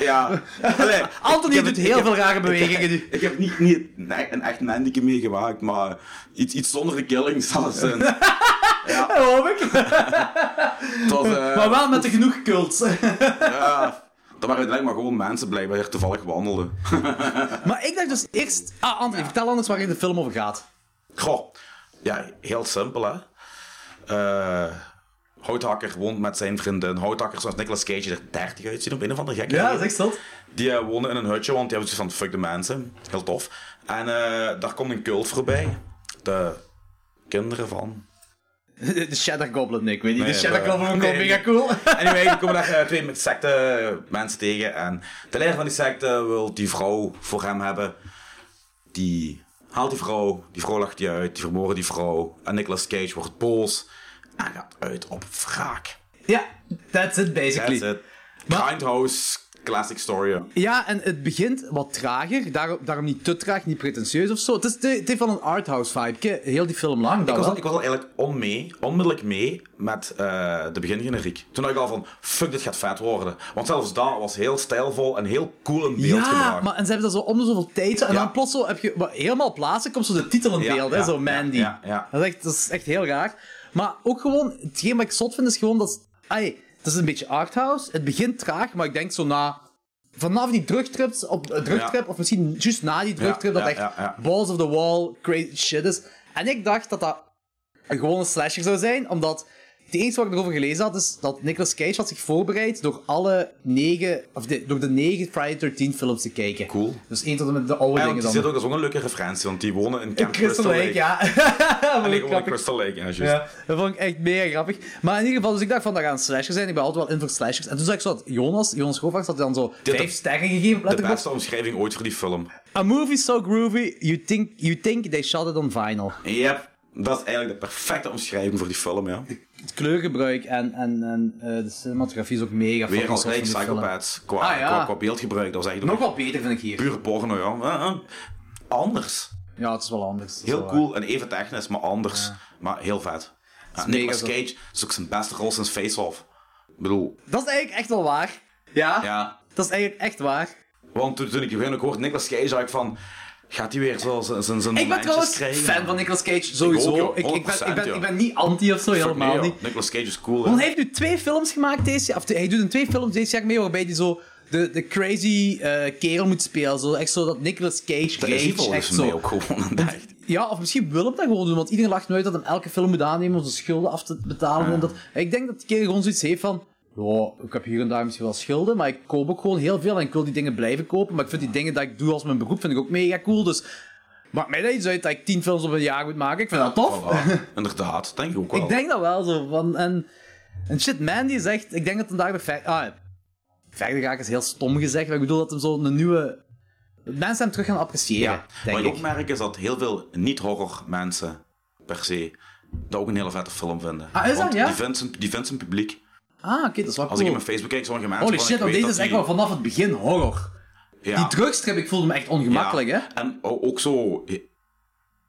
[SPEAKER 2] ja. Allee,
[SPEAKER 1] Anthony
[SPEAKER 2] ik heb
[SPEAKER 1] doet
[SPEAKER 2] het-
[SPEAKER 1] heel
[SPEAKER 2] ik heb-
[SPEAKER 1] veel rare bewegingen nu.
[SPEAKER 2] Ik heb niet, niet nee, een echt manneke meegemaakt, maar iets, iets zonder de killing zal het zijn.
[SPEAKER 1] Hoop ik.
[SPEAKER 2] Het was, eh,
[SPEAKER 1] Maar wel met de genoeg cults.
[SPEAKER 2] ja, dat waren denk ik maar gewoon mensen blijkbaar die er toevallig wandelden.
[SPEAKER 1] Maar ik dacht dus eerst... Ah, Anthony, vertel anders waar de film over gaat.
[SPEAKER 2] Goh, ja, heel simpel hè. Eh, Houthakker woont met zijn vriendin. Houthakker, zoals Nicolas Cage er 30 uitzien op een of andere gekke
[SPEAKER 1] Ja,
[SPEAKER 2] manier.
[SPEAKER 1] dat is echt zot.
[SPEAKER 2] Die eh, wonen in een hutje, want die hebben zoiets van fuck de mensen. Heel tof. En eh, daar komt een cult voorbij. De kinderen van.
[SPEAKER 1] De Shadow Goblin, nee, ik weet niet.
[SPEAKER 2] Nee,
[SPEAKER 1] de Shadow
[SPEAKER 2] maar-
[SPEAKER 1] Goblin vond ik
[SPEAKER 2] nee,
[SPEAKER 1] wel
[SPEAKER 2] nee.
[SPEAKER 1] mega cool.
[SPEAKER 2] Anyway, die komen daar eh, twee met secte eh, mensen tegen. En de leider van die secte wil die vrouw voor hem hebben. Die haalt die vrouw. Die vrouw lacht die uit. Die vermoorden die vrouw. En Nicolas Cage wordt boos. En gaat uit op wraak.
[SPEAKER 1] Ja, that's it basically.
[SPEAKER 2] That's it.
[SPEAKER 1] Maar-
[SPEAKER 2] Grindhouse classic story. hè.
[SPEAKER 1] Ja, en het begint wat trager. Daarom, daarom niet te traag, niet pretentieus of zo. Het, is, te- het heeft wel een arthouse vibe. eh, Heel die film lang.
[SPEAKER 2] Ik
[SPEAKER 1] dat
[SPEAKER 2] was, al,
[SPEAKER 1] wel.
[SPEAKER 2] ik was al eigenlijk on mee, onmiddellijk mee met eh, de begingeneriek. Toen dacht ik al van, fuck, dit gaat vet worden. Want zelfs dat was heel stijlvol en heel cool in beeld
[SPEAKER 1] ja,
[SPEAKER 2] gebracht.
[SPEAKER 1] maar, en ze hebben dat zo om de zoveel tijd. zo- En
[SPEAKER 2] Ja.
[SPEAKER 1] dan plots zo heb je maar helemaal plaatsen, komt zo de titel in
[SPEAKER 2] Ja,
[SPEAKER 1] beeld.
[SPEAKER 2] ja,
[SPEAKER 1] hè, zo
[SPEAKER 2] ja,
[SPEAKER 1] Mandy.
[SPEAKER 2] ja, ja.
[SPEAKER 1] Dat, is echt, dat is echt heel raar. Maar ook gewoon, hetgeen wat ik zot vind, is gewoon dat... Ai, het is een beetje arthouse. Het begint traag, maar ik denk zo na... Vanaf die drugtrips, op, eh, drugtrip,
[SPEAKER 2] Ja.
[SPEAKER 1] of misschien juist na die drugtrip,
[SPEAKER 2] Ja,
[SPEAKER 1] dat
[SPEAKER 2] ja,
[SPEAKER 1] echt
[SPEAKER 2] ja, ja.
[SPEAKER 1] balls of the wall, crazy shit is. En ik dacht dat dat een gewone slasher zou zijn, omdat het enige wat ik erover gelezen had, is dat Nicolas Cage had zich voorbereid door alle negen, of de, door de negen Friday 13 films te kijken.
[SPEAKER 2] Cool.
[SPEAKER 1] Dus één tot en met de oude
[SPEAKER 2] Ja, want
[SPEAKER 1] dingen
[SPEAKER 2] die
[SPEAKER 1] dan.
[SPEAKER 2] zit ook, dat is ook een leuke referentie, want die wonen in Camp
[SPEAKER 1] Crystal Lake, ja.
[SPEAKER 2] En
[SPEAKER 1] dat, ik
[SPEAKER 2] ik woon in
[SPEAKER 1] grappig.
[SPEAKER 2] Crystal Lake, ja, juist.
[SPEAKER 1] Ja, dat vond ik echt mega grappig. Maar in ieder geval, dus ik dacht van, dat gaan slashers zijn. Ik ben altijd wel in voor slashers. En toen zag ik zo dat Jonas, Jonas Govaerts, had dan zo
[SPEAKER 2] Dit-
[SPEAKER 1] vijf sterren gegeven op
[SPEAKER 2] De
[SPEAKER 1] Letterboxd.
[SPEAKER 2] beste omschrijving ooit voor die film.
[SPEAKER 1] A movie so groovy, you think, you think they shot it on vinyl.
[SPEAKER 2] Yep, dat is eigenlijk de perfecte omschrijving voor die film, ja.
[SPEAKER 1] Het kleurgebruik en, en, en eh, de cinematografie is ook mega
[SPEAKER 2] Weer
[SPEAKER 1] fucking
[SPEAKER 2] als
[SPEAKER 1] tof
[SPEAKER 2] rijk
[SPEAKER 1] in die film.
[SPEAKER 2] psychopaths, qua,
[SPEAKER 1] Ah, ja.
[SPEAKER 2] qua, qua beeldgebruik. Dat was
[SPEAKER 1] Nog
[SPEAKER 2] eigenlijk nog
[SPEAKER 1] wel beter vind ik hier.
[SPEAKER 2] puur porno, ja. Eh, eh. Anders.
[SPEAKER 1] Ja, het is wel anders. Dat is
[SPEAKER 2] Heel
[SPEAKER 1] wel
[SPEAKER 2] cool en even technisch, maar anders. Maar heel vet. Ja, Nicolas
[SPEAKER 1] mega zo.
[SPEAKER 2] Cage is ook zijn beste rol sinds Face Off. Ik bedoel,
[SPEAKER 1] waar. Dat is eigenlijk echt wel waar. Ja?
[SPEAKER 2] ja.
[SPEAKER 1] Dat is eigenlijk echt waar.
[SPEAKER 2] Want toen, toen ik begin ook hoorde Nicolas Cage, dacht ik van... Gaat hij weer zo zijn- zijn zijn
[SPEAKER 1] Ik ben
[SPEAKER 2] momentjes
[SPEAKER 1] trouwens
[SPEAKER 2] krijgen?
[SPEAKER 1] fan van Nicolas Cage, sowieso.
[SPEAKER 2] Ik ook, joh.
[SPEAKER 1] ik, ik, ben, ik,
[SPEAKER 2] 100%,
[SPEAKER 1] ben,
[SPEAKER 2] joh.
[SPEAKER 1] ik ben niet anti of zo,
[SPEAKER 2] Fuck
[SPEAKER 1] helemaal
[SPEAKER 2] nee, joh.
[SPEAKER 1] niet.
[SPEAKER 2] Nicolas Cage is cool. hè.
[SPEAKER 1] Want hij heeft nu twee films gemaakt deze jaar. Of hij doet in twee films deze jaar mee waarbij hij zo de, de crazy eh, kerel moet spelen. Zo, echt zo dat Nicolas Cage
[SPEAKER 2] Dat is hij
[SPEAKER 1] rage,
[SPEAKER 2] volgens
[SPEAKER 1] echt
[SPEAKER 2] mij
[SPEAKER 1] zo.
[SPEAKER 2] ook gewoon aan dacht.
[SPEAKER 1] Ja, of misschien wil hem dat gewoon doen, want iedereen lacht nu uit dat hem elke film moet aannemen om zijn schulden af te betalen. En dat, ik denk dat die kerel gewoon zoiets heeft van... Ja, ik heb hier en daar misschien wel schulden, maar ik koop ook gewoon heel veel en ik wil die dingen blijven kopen. Maar ik vind die dingen dat ik doe als mijn beroep vind ik ook mega cool, dus... Maakt mij dat iets uit dat ik tien films op een jaar moet maken? Ik vind dat tof.
[SPEAKER 2] Voilà, Inderdaad, denk ik ook wel.
[SPEAKER 1] Ik denk dat wel zo. Van, en, en shit, man die zegt. Ik denk dat hem daar de ver- Ah, verder ga ik is heel stom gezegd. Maar ik bedoel dat hem zo een nieuwe. dat Mensen hem terug gaan appreciëren.
[SPEAKER 2] ja.
[SPEAKER 1] denk
[SPEAKER 2] Wat
[SPEAKER 1] ik.
[SPEAKER 2] ik ook merk is dat heel veel niet-horror mensen, per se, dat ook een hele vette film vinden.
[SPEAKER 1] Ah, is dat,
[SPEAKER 2] Want
[SPEAKER 1] ja?
[SPEAKER 2] Die vindt, zijn, die vindt zijn publiek.
[SPEAKER 1] Ah, oké, dat is wel
[SPEAKER 2] Als
[SPEAKER 1] cool.
[SPEAKER 2] ik in mijn Facebook kijk, sommige mensen...
[SPEAKER 1] Holy
[SPEAKER 2] van,
[SPEAKER 1] shit,
[SPEAKER 2] ik
[SPEAKER 1] want
[SPEAKER 2] weet
[SPEAKER 1] deze is echt wel
[SPEAKER 2] dat
[SPEAKER 1] vanaf het begin horror.
[SPEAKER 2] die-
[SPEAKER 1] Die
[SPEAKER 2] Ja.
[SPEAKER 1] drugstrip, ik voelde me echt ongemakkelijk, hè?
[SPEAKER 2] Ja. En o- ook zo... eh,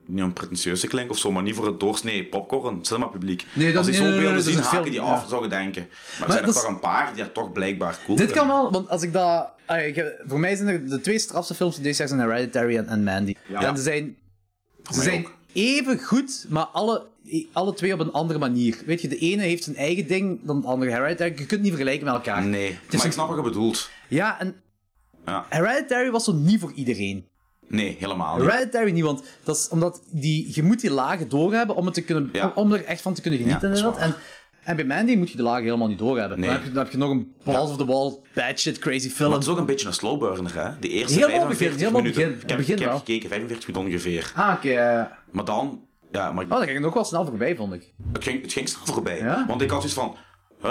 [SPEAKER 2] Niet een pretentieuze klink of zo, maar niet voor het doorsnee popcorn, cinema publiek.
[SPEAKER 1] Nee, dat-
[SPEAKER 2] Als die
[SPEAKER 1] nee, nee,
[SPEAKER 2] zo'n
[SPEAKER 1] nee, dat is
[SPEAKER 2] beelden zien,
[SPEAKER 1] een
[SPEAKER 2] haken
[SPEAKER 1] film,
[SPEAKER 2] die
[SPEAKER 1] ja.
[SPEAKER 2] af, zou je denken. Maar, er zijn
[SPEAKER 1] dat
[SPEAKER 2] er
[SPEAKER 1] is-
[SPEAKER 2] toch een paar die er toch blijkbaar cool
[SPEAKER 1] Dit
[SPEAKER 2] vinden.
[SPEAKER 1] kan wel, want als ik dat. ah, ik heb- voor mij zijn er de twee strafste films die deze jaar zijn Hereditary en, en Mandy. En ze zijn, ze
[SPEAKER 2] mij
[SPEAKER 1] zijn
[SPEAKER 2] ook.
[SPEAKER 1] even goed, maar alle, alle twee op een andere manier. Weet je, de ene heeft zijn eigen ding dan de andere. Hereditary, je kunt het niet vergelijken met elkaar.
[SPEAKER 2] Ah, Nee,
[SPEAKER 1] Het is
[SPEAKER 2] maar ik
[SPEAKER 1] een-
[SPEAKER 2] snap wat je bedoelt.
[SPEAKER 1] Ja, en
[SPEAKER 2] Ja.
[SPEAKER 1] Hereditary was zo niet voor iedereen.
[SPEAKER 2] Nee, helemaal niet.
[SPEAKER 1] Hereditary niet, want dat is omdat die, je moet die lagen doorhebben om, het te kunnen,
[SPEAKER 2] Ja.
[SPEAKER 1] om er echt van te kunnen genieten.
[SPEAKER 2] Ja, dat is
[SPEAKER 1] inderdaad. En, en bij Mandy moet je de lagen helemaal niet doorhebben.
[SPEAKER 2] Nee.
[SPEAKER 1] Dan, heb je, dan heb je nog een balls of the wall, bad shit, crazy film.
[SPEAKER 2] Maar het is ook een beetje een slowburner, hè? De eerste
[SPEAKER 1] Helemaal
[SPEAKER 2] 45
[SPEAKER 1] begin, helemaal
[SPEAKER 2] minuten.
[SPEAKER 1] begin.
[SPEAKER 2] Ik heb,
[SPEAKER 1] Begin
[SPEAKER 2] ik heb
[SPEAKER 1] wel.
[SPEAKER 2] gekeken, 45 minuten ongeveer.
[SPEAKER 1] Ah, oké. eh,
[SPEAKER 2] Maar dan, ja, maar
[SPEAKER 1] Oh, dat ging het ook wel snel voorbij, vond ik.
[SPEAKER 2] het, ging, het ging snel voorbij.
[SPEAKER 1] Ja?
[SPEAKER 2] Want ik had zoiets van,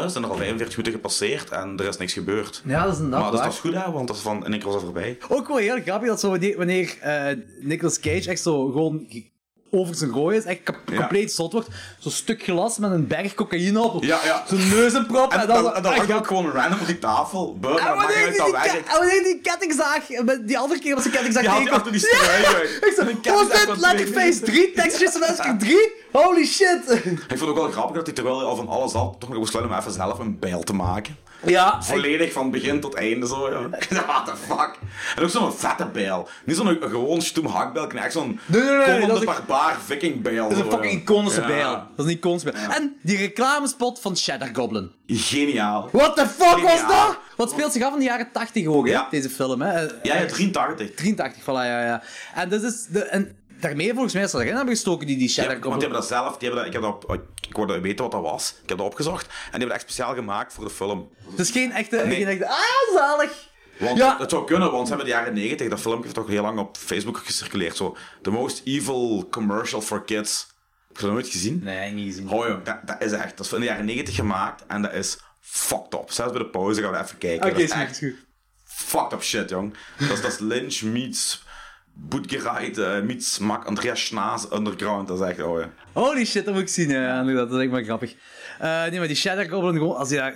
[SPEAKER 2] hè, zijn er al 45 minuten gepasseerd en er is niks gebeurd.
[SPEAKER 1] Ja, dat is Oh, een
[SPEAKER 2] maar dus dat was goed, hè? Want dat is van, en ik was al voorbij.
[SPEAKER 1] Ook wel heel grappig dat zo wanneer, wanneer eh, Nicolas Cage echt zo gewoon over zijn gooi is, echt kap-
[SPEAKER 2] Ja.
[SPEAKER 1] compleet zot wordt. Zo'n stuk glas met een berg cocaïne op.
[SPEAKER 2] Ja, ja.
[SPEAKER 1] Zijn neus in prop.
[SPEAKER 2] En,
[SPEAKER 1] En,
[SPEAKER 2] dan,
[SPEAKER 1] dan, Ah,
[SPEAKER 2] en dan hangt ook gewoon random op die tafel. Bum,
[SPEAKER 1] en
[SPEAKER 2] dan maakt
[SPEAKER 1] wanneer
[SPEAKER 2] het
[SPEAKER 1] die,
[SPEAKER 2] uit
[SPEAKER 1] die,
[SPEAKER 2] dat
[SPEAKER 1] ke-
[SPEAKER 2] wij...
[SPEAKER 1] en wanneer die kettingzaag, met die andere keer was de kettingzaag
[SPEAKER 2] Die had die
[SPEAKER 1] tegenkwam.
[SPEAKER 2] achter die strui,
[SPEAKER 1] Ja.
[SPEAKER 2] joh.
[SPEAKER 1] Ik zei,
[SPEAKER 2] Een kettingzaag
[SPEAKER 1] oh
[SPEAKER 2] van
[SPEAKER 1] shit, Letterface 3,
[SPEAKER 2] twee.
[SPEAKER 1] Texas Massacre 3, holy shit.
[SPEAKER 2] Ik vond het ook wel grappig dat hij terwijl hij al van alles had, toch nog besloot om even zelf een bijl te maken.
[SPEAKER 1] Ja,
[SPEAKER 2] Volledig van begin tot einde zo, ja. What the fuck? En ook zo'n vette bijl. Niet zo'n eh, gewoon stoem hakbijl, maar echt zo'n
[SPEAKER 1] Nee, nee, nee, dat
[SPEAKER 2] komende
[SPEAKER 1] is een-
[SPEAKER 2] barbaar viking bijl.
[SPEAKER 1] Dat is een fucking iconische
[SPEAKER 2] ja.
[SPEAKER 1] bijl. Dat is een iconische bijl. En die reclamespot van Shadow Goblin.
[SPEAKER 2] Geniaal.
[SPEAKER 1] What the fuck was
[SPEAKER 2] Geniaal.
[SPEAKER 1] dat? Wat speelt zich af in de jaren 80 ook, hè?
[SPEAKER 2] Ja.
[SPEAKER 1] Deze film, hè?
[SPEAKER 2] Ja, ja, 83.
[SPEAKER 1] 83, voilà, ja, ja. En, dat is de, en daarmee volgens mij is dat erin hebben gestoken, die, die
[SPEAKER 2] Ja,
[SPEAKER 1] Shadow
[SPEAKER 2] want die
[SPEAKER 1] Goblin.
[SPEAKER 2] hebben dat zelf, die hebben dat, ik, heb dat, op- ik wilde weten wat dat was. Ik heb dat opgezocht. En die hebben dat echt speciaal gemaakt voor de film.
[SPEAKER 1] Het is geen echte,
[SPEAKER 2] Nee.
[SPEAKER 1] geen echte... Ah, zalig!
[SPEAKER 2] Want
[SPEAKER 1] Ja.
[SPEAKER 2] het zou kunnen, want ze hebben de jaren 90, dat filmpje heeft toch heel lang op Facebook gecirculeerd. Zo, The Most Evil Commercial for Kids. Heb je dat nooit gezien?
[SPEAKER 1] Nee, niet gezien.
[SPEAKER 2] Oh jong, dat, dat is echt, dat is in de jaren 90 gemaakt en dat is fucked up. Zelfs bij de pauze gaan we even kijken.
[SPEAKER 1] Oké,
[SPEAKER 2] dat
[SPEAKER 1] is
[SPEAKER 2] is
[SPEAKER 1] goed,
[SPEAKER 2] echt
[SPEAKER 1] is goed.
[SPEAKER 2] fucked up shit, jong. Dat is, dat is Lynch meets Boetgereit eh, meets Mac Andreas Schnaas Underground. Dat is echt, oh ja.
[SPEAKER 1] Holy shit, dat moet ik zien, ja, ja, inderdaad. Dat is echt maar grappig. Eh, nee, maar die Shadow Goblin, gewoon als hij daar...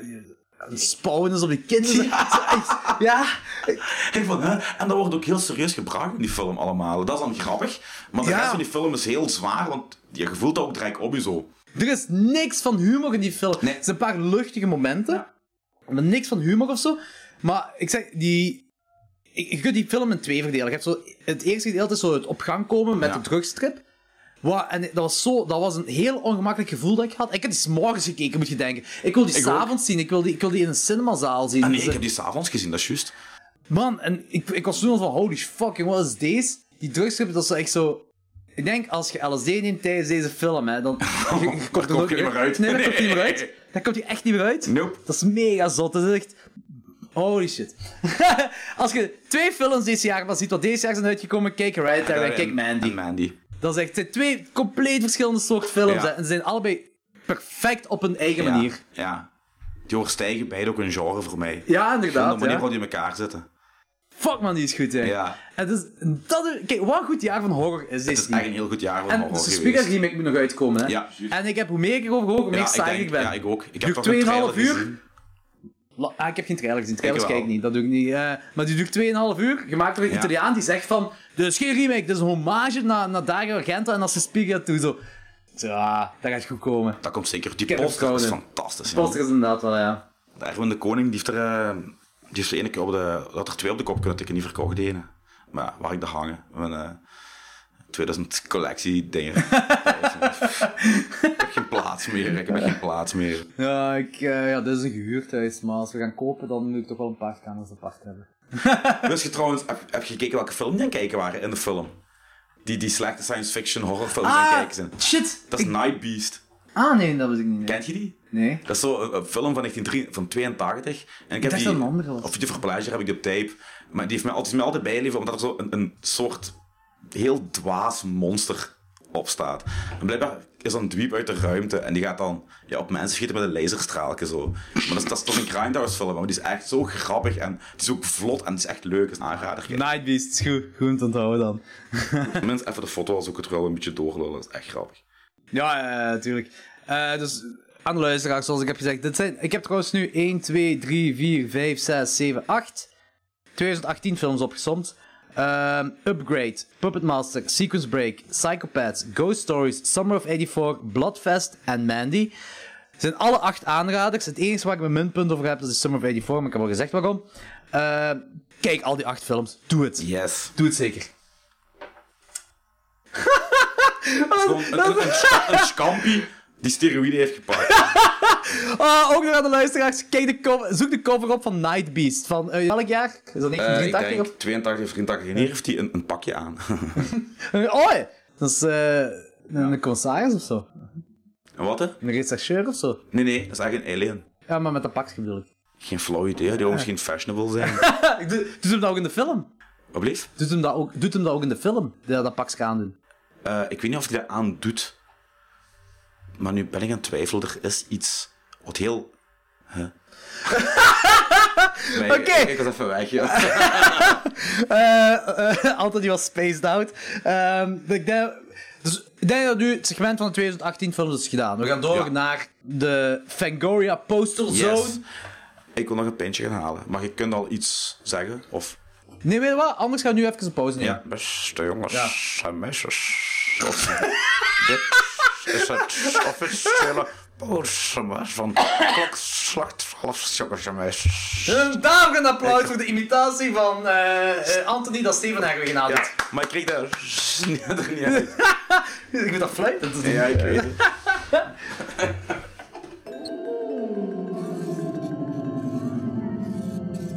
[SPEAKER 1] aan het Spouwen is op die kinderen. Ja. ja.
[SPEAKER 2] Hey, van, hè? En dat wordt ook heel serieus gebruikt in die film allemaal. Dat is dan grappig. Maar de
[SPEAKER 1] Ja.
[SPEAKER 2] rest van die film is heel zwaar, want je voelt dat ook direct op je zo.
[SPEAKER 1] Er is niks van humor in die film.
[SPEAKER 2] Nee.
[SPEAKER 1] Het zijn een paar luchtige momenten. Maar niks van humor of zo. Maar ik zeg, die... Ik, je kunt die film in twee verdelen. Je hebt zo, het eerste gedeelte is zo het op gang komen met
[SPEAKER 2] Ja.
[SPEAKER 1] de drugstrip. Wat, en dat was, zo, dat was een heel ongemakkelijk gevoel dat ik had. Ik heb die 's morgens gekeken, moet je denken. Ik wil die
[SPEAKER 2] Ik ook.
[SPEAKER 1] s'avonds zien. Ik wil die, ik wil die in een cinemazaal zien.
[SPEAKER 2] Ah, nee,
[SPEAKER 1] Dus,
[SPEAKER 2] ik
[SPEAKER 1] eh,
[SPEAKER 2] heb die s'avonds gezien, dat is juist.
[SPEAKER 1] Man, en ik, ik was toen al van, holy fucking, wat is deze? Die drugstrip, dat is echt zo... Ik denk, als je LSD neemt tijdens deze film, hè, dan... je- je
[SPEAKER 2] Daar
[SPEAKER 1] komt er
[SPEAKER 2] kom
[SPEAKER 1] ook
[SPEAKER 2] je niet meer uit.
[SPEAKER 1] Nee, daar komt hij niet meer
[SPEAKER 2] Nee.
[SPEAKER 1] uit. Daar komt hij echt niet meer uit.
[SPEAKER 2] Nope.
[SPEAKER 1] Dat is mega zot. Dat is echt... Holy shit. als je twee films deze jaar maar ziet wat deze jaar zijn uitgekomen, kijk Hereditary en kijk Mandy.
[SPEAKER 2] eh, En Mandy.
[SPEAKER 1] Dat is echt het zijn twee compleet verschillende soort films. hè,
[SPEAKER 2] Ja.
[SPEAKER 1] en ze zijn allebei perfect op hun eigen
[SPEAKER 2] Ja,
[SPEAKER 1] manier.
[SPEAKER 2] Ja. Die overstijgen beide ook een genre voor mij.
[SPEAKER 1] Ja,
[SPEAKER 2] Van
[SPEAKER 1] inderdaad.
[SPEAKER 2] de manier
[SPEAKER 1] ja.
[SPEAKER 2] waarop die in elkaar zitten.
[SPEAKER 1] Fuck man, die is goed, hè.
[SPEAKER 2] Ja.
[SPEAKER 1] En dus, dat is, kijk, wat een goed jaar van horror is dit
[SPEAKER 2] Het is echt een heel goed jaar voor
[SPEAKER 1] En
[SPEAKER 2] horror
[SPEAKER 1] de
[SPEAKER 2] geweest.
[SPEAKER 1] Spiegel remake moet nog uitkomen, hè.
[SPEAKER 2] Ja.
[SPEAKER 1] En ik heb hoe meer ik erover hoor, hoe meer
[SPEAKER 2] Ja, ik
[SPEAKER 1] saai ik,
[SPEAKER 2] denk,
[SPEAKER 1] ben.
[SPEAKER 2] ja, ik ook. Ik
[SPEAKER 1] Duurt
[SPEAKER 2] heb toch een
[SPEAKER 1] 2,5
[SPEAKER 2] trailer
[SPEAKER 1] uur.
[SPEAKER 2] gezien.
[SPEAKER 1] La- ah, ik heb geen trailer gezien. Trailers
[SPEAKER 2] Ik
[SPEAKER 1] kijk
[SPEAKER 2] wel.
[SPEAKER 1] ik niet, dat doe ik niet. eh. maar die duurt 2,5 uur, gemaakt door een
[SPEAKER 2] Ja.
[SPEAKER 1] Italiaan die zegt van... Dit is geen remake, dit is een hommage naar, naar Dario Argento en als Spiegel toe. Zo, ja, dat gaat goed komen.
[SPEAKER 2] Dat komt zeker. Die
[SPEAKER 1] heb
[SPEAKER 2] poster is
[SPEAKER 1] vertrouwen in.
[SPEAKER 2] fantastisch. ja.
[SPEAKER 1] Poster is inderdaad wel, ja.
[SPEAKER 2] De Erwin de Koning die heeft er, eh, die heeft er, ene keer op de, dat er twee op de kop kunnen tikken, niet verkocht de ene. Maar ja, waar ik dat hangen. Mijn eh 2000 collectie dingen. ik heb geen plaats meer. Ik heb echt geen plaats meer.
[SPEAKER 1] Ja, ik, eh, ja, dit is een gehuurthuis, maar als we gaan kopen, dan moet ik toch wel een paar kamers apart hebben.
[SPEAKER 2] Dus je trouwens, heb, heb je gekeken welke film die aan het kijken waren in de film? Die, die slechte science fiction horrorfilms aan het kijken zijn.
[SPEAKER 1] Ah, shit!
[SPEAKER 2] Dat is Night Beast.
[SPEAKER 1] Ah, nee, dat was ik niet. nee.
[SPEAKER 2] Kent je die?
[SPEAKER 1] Nee.
[SPEAKER 2] Dat is zo een, een film van 1983 van 82. En ik heb
[SPEAKER 1] dacht
[SPEAKER 2] die,
[SPEAKER 1] dat een andere was.
[SPEAKER 2] Of Juffer Pleasure heb ik die op tape. Maar die heeft mij altijd, is mij altijd bijleven, omdat er zo een, een soort heel dwaas monster op staat. En blijkbaar is dan een dweep uit de ruimte en die gaat dan ja, op mensen schieten met een laserstraaltje zo. Maar dat is, dat is toch een grindhouse film, maar die is echt zo grappig en het is ook vlot en het is echt leuk. Het is een aanrader.
[SPEAKER 1] Nightbeast, is goed. Goed te onthouden dan.
[SPEAKER 2] Mensen even de foto als ik het wel een beetje doorlullen. Dat is echt grappig.
[SPEAKER 1] Ja, ja, ja, tuurlijk. Eh, dus aan de luisteraars, zoals ik heb gezegd. Dit zijn, ik heb trouwens nu 1, 2, 3, 4, 5, 6, 7, 8. 2018 films opgesomd. Ehm, Upgrade, Puppet Master, Sequence Break, Psychopaths, Ghost Stories, Summer of 84, Bloodfest en Mandy. Het zijn alle acht aanraders. Het enige waar ik mijn minpunt over heb, dat is Summer of 84, maar ik heb al gezegd waarom. Ehm, kijk al die acht films. Doe het.
[SPEAKER 2] Yes.
[SPEAKER 1] Doe het zeker.
[SPEAKER 2] Gewoon een, een, een, scha- een scampie die steroïden heeft gepakt.
[SPEAKER 1] Ah, ook nog aan de luisteraars. Kijk de cover, zoek de cover op van Night Beast. Van eh, welk jaar? Is dat
[SPEAKER 2] Eh, ik
[SPEAKER 1] 1983?
[SPEAKER 2] denk 82 of 83. En hier heeft hij een, een pakje aan.
[SPEAKER 1] of... Oh, ja. dat is eh, een commissaris of zo.
[SPEAKER 2] En wat hè?
[SPEAKER 1] Een rechercheur of zo.
[SPEAKER 2] Nee, nee, dat is eigenlijk een alien.
[SPEAKER 1] Ja, maar met dat pakje bedoel ik.
[SPEAKER 2] Geen flauw idee, die wil misschien fashionable zijn.
[SPEAKER 1] Ah, ik doe- Doet hem dat ook in de film?
[SPEAKER 2] Wat bleef?
[SPEAKER 1] Doet hem dat ook, doet hem dat ook in de film? Dat, dat pakje aandoen.
[SPEAKER 2] Eh, ik weet niet of hij dat aan doet. Maar nu ben ik aan het twijfelen. Er is iets wat heel... Huh? Nee,
[SPEAKER 1] Oké.
[SPEAKER 2] ik- Ik was even weg, joh.
[SPEAKER 1] Eh eh, Anton die was spaced out. Ehm, ik denk- dus, Ik denk dat nu het segment van de 2018 films is gedaan. We gaan door
[SPEAKER 2] Ja.
[SPEAKER 1] naar de Fangoria Postal
[SPEAKER 2] Yes.
[SPEAKER 1] Zone.
[SPEAKER 2] Ik wil nog een pintje gaan halen. Maar je kunt al iets zeggen. Of
[SPEAKER 1] Nee, weet je wat? Anders gaan we nu even een pauze nemen.
[SPEAKER 2] Ja, beste jongens
[SPEAKER 1] Ja.
[SPEAKER 2] en meisjes. Of, dit is het officiële postnummer van klokslag 12, jongens en meisjes.
[SPEAKER 1] Een daverend applaus voor de imitatie van eh, eh, Anthony dat Steven hebben gedaan.
[SPEAKER 2] Ja, maar ik kreeg dat er niet uit.
[SPEAKER 1] Ik vind dat fluit. Dat is niet-
[SPEAKER 2] Ja, ik weet het.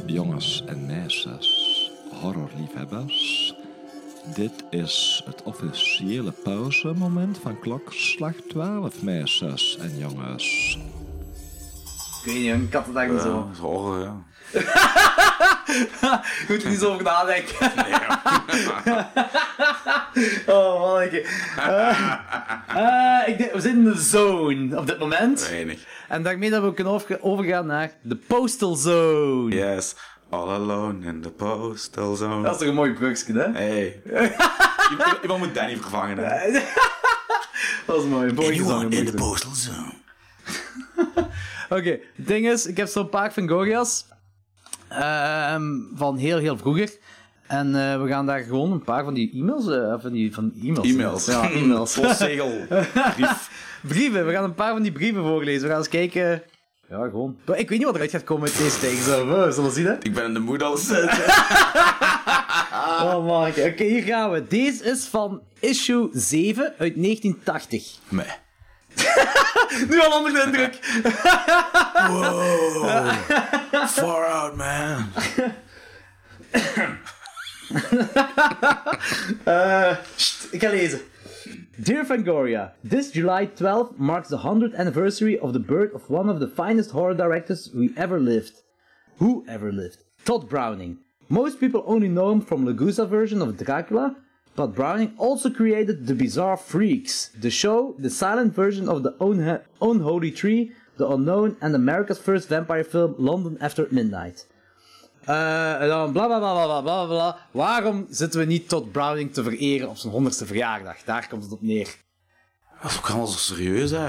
[SPEAKER 6] Jongens en meisjes, horrorliefhebbers. Dit is het officiële pauzemoment van klokslag 12, meisjes en jongens.
[SPEAKER 1] Ik weet niet, een kat het eigenlijk niet zo.
[SPEAKER 2] Ja, Horror, ja.
[SPEAKER 1] Je moet er niet zo over nadenken. oh, mannetje. Eh, eh, ik denk, we zitten in de zone op dit moment.
[SPEAKER 2] Weinig.
[SPEAKER 1] En daarmee dat we kunnen over- overgaan naar de Postal Zone.
[SPEAKER 2] Yes, all alone in the postal zone.
[SPEAKER 1] Dat is toch een mooi brugje, hè?
[SPEAKER 2] Hey. Iemand- Iemand moet Danny vervangen, hè.
[SPEAKER 1] Dat is mooi. Een mooie gezang, een mooie gezang.
[SPEAKER 2] postal zone.
[SPEAKER 1] Oké, het ding is, ik heb zo'n paar Fangorias. ehm, van heel, heel vroeger. En eh, we gaan daar gewoon een paar van die e-mails... eh, van die van e-mails.
[SPEAKER 2] E-mails. Hmm.
[SPEAKER 1] Ja, e-mails.
[SPEAKER 2] Postzegel. Brief.
[SPEAKER 1] Brieven, we gaan een paar van die brieven voorlezen. We gaan eens kijken. Ja, gewoon. Maar Ik weet niet wat eruit gaat komen met deze tekst. We zullen zien, hè?
[SPEAKER 2] Ik ben in de moed al zitten.
[SPEAKER 1] Oh, man. Oké, hier gaan we. Deze is van issue 7 uit 1980.
[SPEAKER 2] Nee.
[SPEAKER 1] Nu al onder de indruk.
[SPEAKER 2] Far out, man.
[SPEAKER 1] Ik ga lezen. Dear Fangoria, this July 12 marks the 100th anniversary of the birth of one of the finest horror directors we ever lived. Who ever lived? Todd Browning. Most people only know him from Lagusa version of Dracula, but Browning also created The Bizarre Freaks, the show, the silent version of The Unha- Unholy Tree, The Unknown, and America's first vampire film, London After Midnight. Eh, en dan bla bla bla bla bla bla bla. Waarom zitten we niet tot Browning te vereren op zijn 100ste verjaardag? Daar komt het op neer.
[SPEAKER 2] Dat is ook allemaal zo serieus, hè.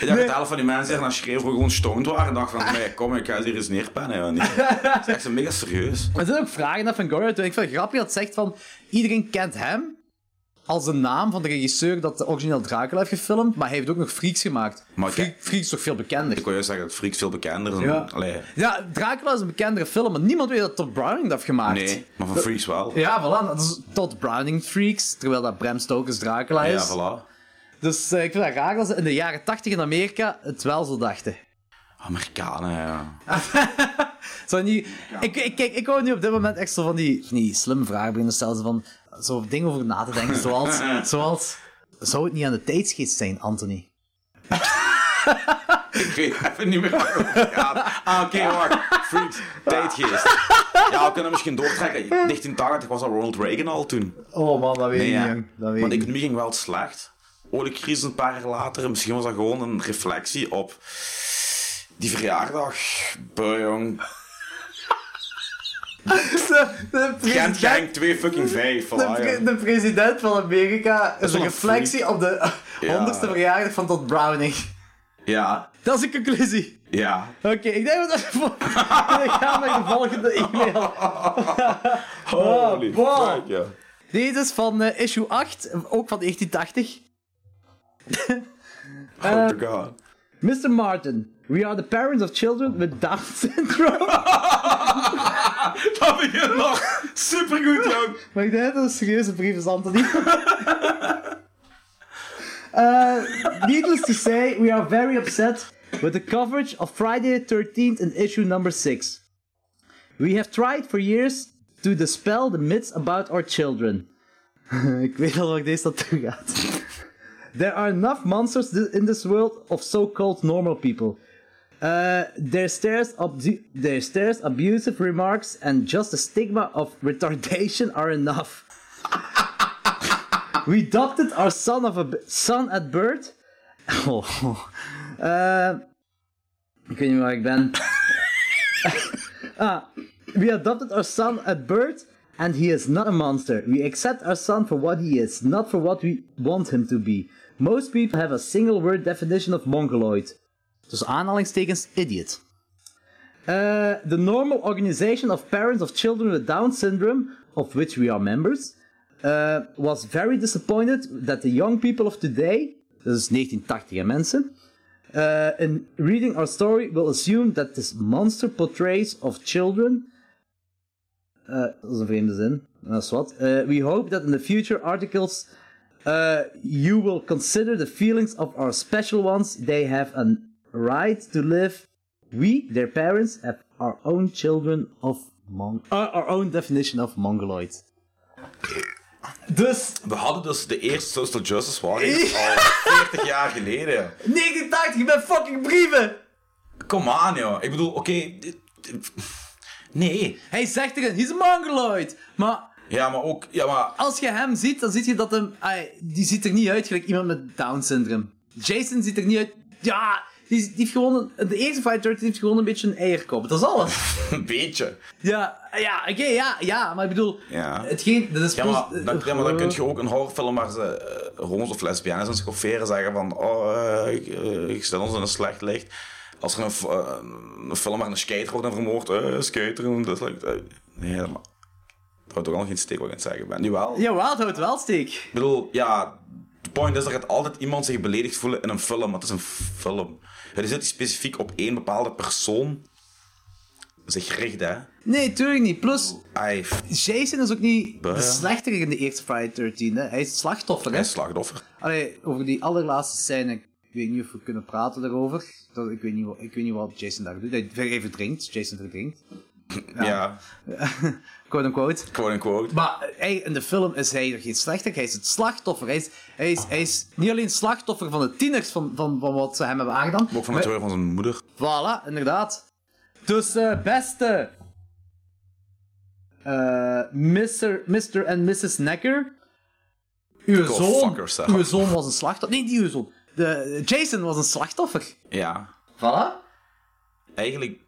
[SPEAKER 2] Ik dacht, het helft van die mensen hier naar schreef hoe gewoon stoned waren. En dacht van, nee, kom, ik ga hier eens neerpennen. Ja, niet. Het is echt zo mega serieus.
[SPEAKER 1] Er zijn ook vragen naar Fangoria. Toen ik vind het grappig dat het zegt van iedereen kent hem als de naam van de regisseur dat de origineel Dracula heeft gefilmd, maar hij heeft ook nog Freaks gemaakt.
[SPEAKER 2] Maar
[SPEAKER 1] Freak-
[SPEAKER 2] kijk-
[SPEAKER 1] Freaks is toch veel bekender.
[SPEAKER 2] Ik wil juist zeggen dat Freaks veel bekender is.
[SPEAKER 1] Ja.
[SPEAKER 2] dan- Allee,
[SPEAKER 1] Ja, Dracula is een bekendere film, maar niemand weet dat Todd Browning dat heeft gemaakt.
[SPEAKER 2] nee, maar van Freaks wel.
[SPEAKER 1] Ja, voilà, dat is Todd Browning Freaks, terwijl dat Bram Stoker's Dracula is.
[SPEAKER 2] Ja, voilà.
[SPEAKER 1] Dus eh, ik vind dat raar dat ze in de jaren 80 in Amerika het wel zo dachten.
[SPEAKER 2] Amerikanen, ja.
[SPEAKER 1] Zo niet, ik, ik, kijk, ik hou nu op dit moment echt zo van die, van die slimme vragen beginnen te stellen. zo Van, zo dingen over na te denken. Zoals, zoals, zou het niet aan de tijdsgeest zijn, Anthony?
[SPEAKER 2] Ik weet even niet meer waarover het gaat. Ah, oké, wacht. Freaks, tijdgeest. Ja, we kunnen misschien doortrekken. 1980 was al Ronald Reagan al toen.
[SPEAKER 1] Oh man, dat weet
[SPEAKER 2] Nee, ja.
[SPEAKER 1] Dat
[SPEAKER 2] Want de economie ging wel slecht. Oliecrisis een paar jaar later. Misschien was dat gewoon een reflectie op die verjaardag. Buh, jong.
[SPEAKER 1] De, de
[SPEAKER 2] Gent
[SPEAKER 1] president,
[SPEAKER 2] Genk 2 fucking 5.
[SPEAKER 1] de, pre- de president van Amerika is
[SPEAKER 2] wel
[SPEAKER 1] een
[SPEAKER 2] een
[SPEAKER 1] reflectie op de
[SPEAKER 2] Ja.
[SPEAKER 1] 100ste verjaardag van Todd Browning.
[SPEAKER 2] Ja,
[SPEAKER 1] Dat is een conclusie.
[SPEAKER 2] ja.
[SPEAKER 1] Oké, ik denk dat we gaan naar de volgende e-mail.
[SPEAKER 2] Holy
[SPEAKER 1] Oh, wow.
[SPEAKER 2] fuck, ja.
[SPEAKER 1] Deze is van eh, issue 8, ook van 1980. Eh.
[SPEAKER 2] Oh my god.
[SPEAKER 1] Mr. Martin, we are the parents of children with Down syndrome.
[SPEAKER 2] Dat begint nog supergoed, jong.
[SPEAKER 1] maar ik denk dat het een serieuze brief is, Anthony. uh, needless to say, we are very upset with the coverage of Friday the 13th in issue number 6. We have tried for years to dispel the myths about our children. ik weet al waar deze naartoe gaat. There are enough monsters thi- in this world of so-called normal people. Uh, their stairs, abdu- their stairs, abusive remarks, and just the stigma of retardation are enough. we adopted our son of a b- son at birth. Oh, uh, ik weet niet waar ik ben. ah, we adopted our son at birth And he is not a monster. We accept our son for what he is, not for what we want him to be. Most people have a single word definition of mongoloid. Dus aanhalingstekens idiot. Uh, the normal organization of parents of children with Down syndrome, of which we are members, uh, was very disappointed that the young people of today, dus 1980 hè, mensen, uh, in reading our story will assume that this monster portrays of children eh, dat is een vreemde zin. Dat is wat. Eh, we hope that in the future articles eh, you will consider the feelings of our special ones. They have a right to live. We, their parents, have our own children of Mong... uh, our own definition of mongoloid. Dus,
[SPEAKER 2] We hadden dus de eerste Social Justice Warriors al 40 jaar geleden.
[SPEAKER 1] 1980 met fucking brieven!
[SPEAKER 2] Kom aan, joh. Ik bedoel, oké. dit- dit- Nee.
[SPEAKER 1] Hij zegt erin, he's a mongoloid! Maar
[SPEAKER 2] Ja, maar ook. Ja, maar
[SPEAKER 1] als je hem ziet, dan zie je dat hem... ai, die ziet er niet uit gelijk iemand met Down-syndroom. Jason ziet er niet uit... Ja, die, die heeft gewoon... Een, de eerste Fight 13 heeft gewoon een beetje een eierkop. Dat is alles.
[SPEAKER 2] een beetje.
[SPEAKER 1] ja, ja, oké, ja, ja. Maar ik bedoel...
[SPEAKER 2] Ja.
[SPEAKER 1] Hetgeen... Dat is Oh.
[SPEAKER 2] Ja, maar dan, ja, maar dan kun
[SPEAKER 1] kunt
[SPEAKER 2] je ook een horrorfilm waar ze eh, homo's of lesbiennes en schofferen zeggen van oh, eh, ik, eh, ik stel ons in een slecht licht. Als er een, f- eh, een film waar een skater wordt en vermoord, eh skater, en dat is like, eh, nee, maar dat houdt ook al geen steek wat ik aan het zeggen ben. Nu wel.
[SPEAKER 1] Jawel, het houdt wel steek.
[SPEAKER 2] Ik bedoel, ja, de point is dat gaat altijd iemand zich beledigd voelen in een film, want het is een film. Het is niet specifiek op één bepaalde persoon zich richt, hè.
[SPEAKER 1] Nee, tuurlijk niet. Plus,
[SPEAKER 2] Hij f-
[SPEAKER 1] Jason is ook niet
[SPEAKER 2] Bah.
[SPEAKER 1] de slechterik in de eerste Friday 13. Hè. Hij is slachtoffer, hè.
[SPEAKER 2] hij is slachtoffer.
[SPEAKER 1] Allee, over die allerlaatste scène, ik weet niet of we kunnen praten daarover. Dat, ik, weet niet wat, ik weet niet wat Jason daar doet. Hij ver- hij verdrinkt, Jason verdrinkt.
[SPEAKER 2] Ja,
[SPEAKER 1] Quote unquote.
[SPEAKER 2] quote unquote.
[SPEAKER 1] Maar eh, hij, in de film is hij er geen slechter, hij is het slachtoffer. Hij is, hij is, hij is niet alleen slachtoffer van de tieners, van, van, van wat ze hem hebben aangedaan.
[SPEAKER 2] Maar ook van het terreur van zijn moeder.
[SPEAKER 1] Voilà, inderdaad. Dus, eh, beste. eh Mr. Mr. en Mrs. Necker. Uw
[SPEAKER 2] Go
[SPEAKER 1] zoon,
[SPEAKER 2] fuck yourself.
[SPEAKER 1] uw zoon was een slachtoffer. Nee, niet uw zoon. De, Jason was een slachtoffer.
[SPEAKER 2] Ja.
[SPEAKER 1] Voilà.
[SPEAKER 2] Eigenlijk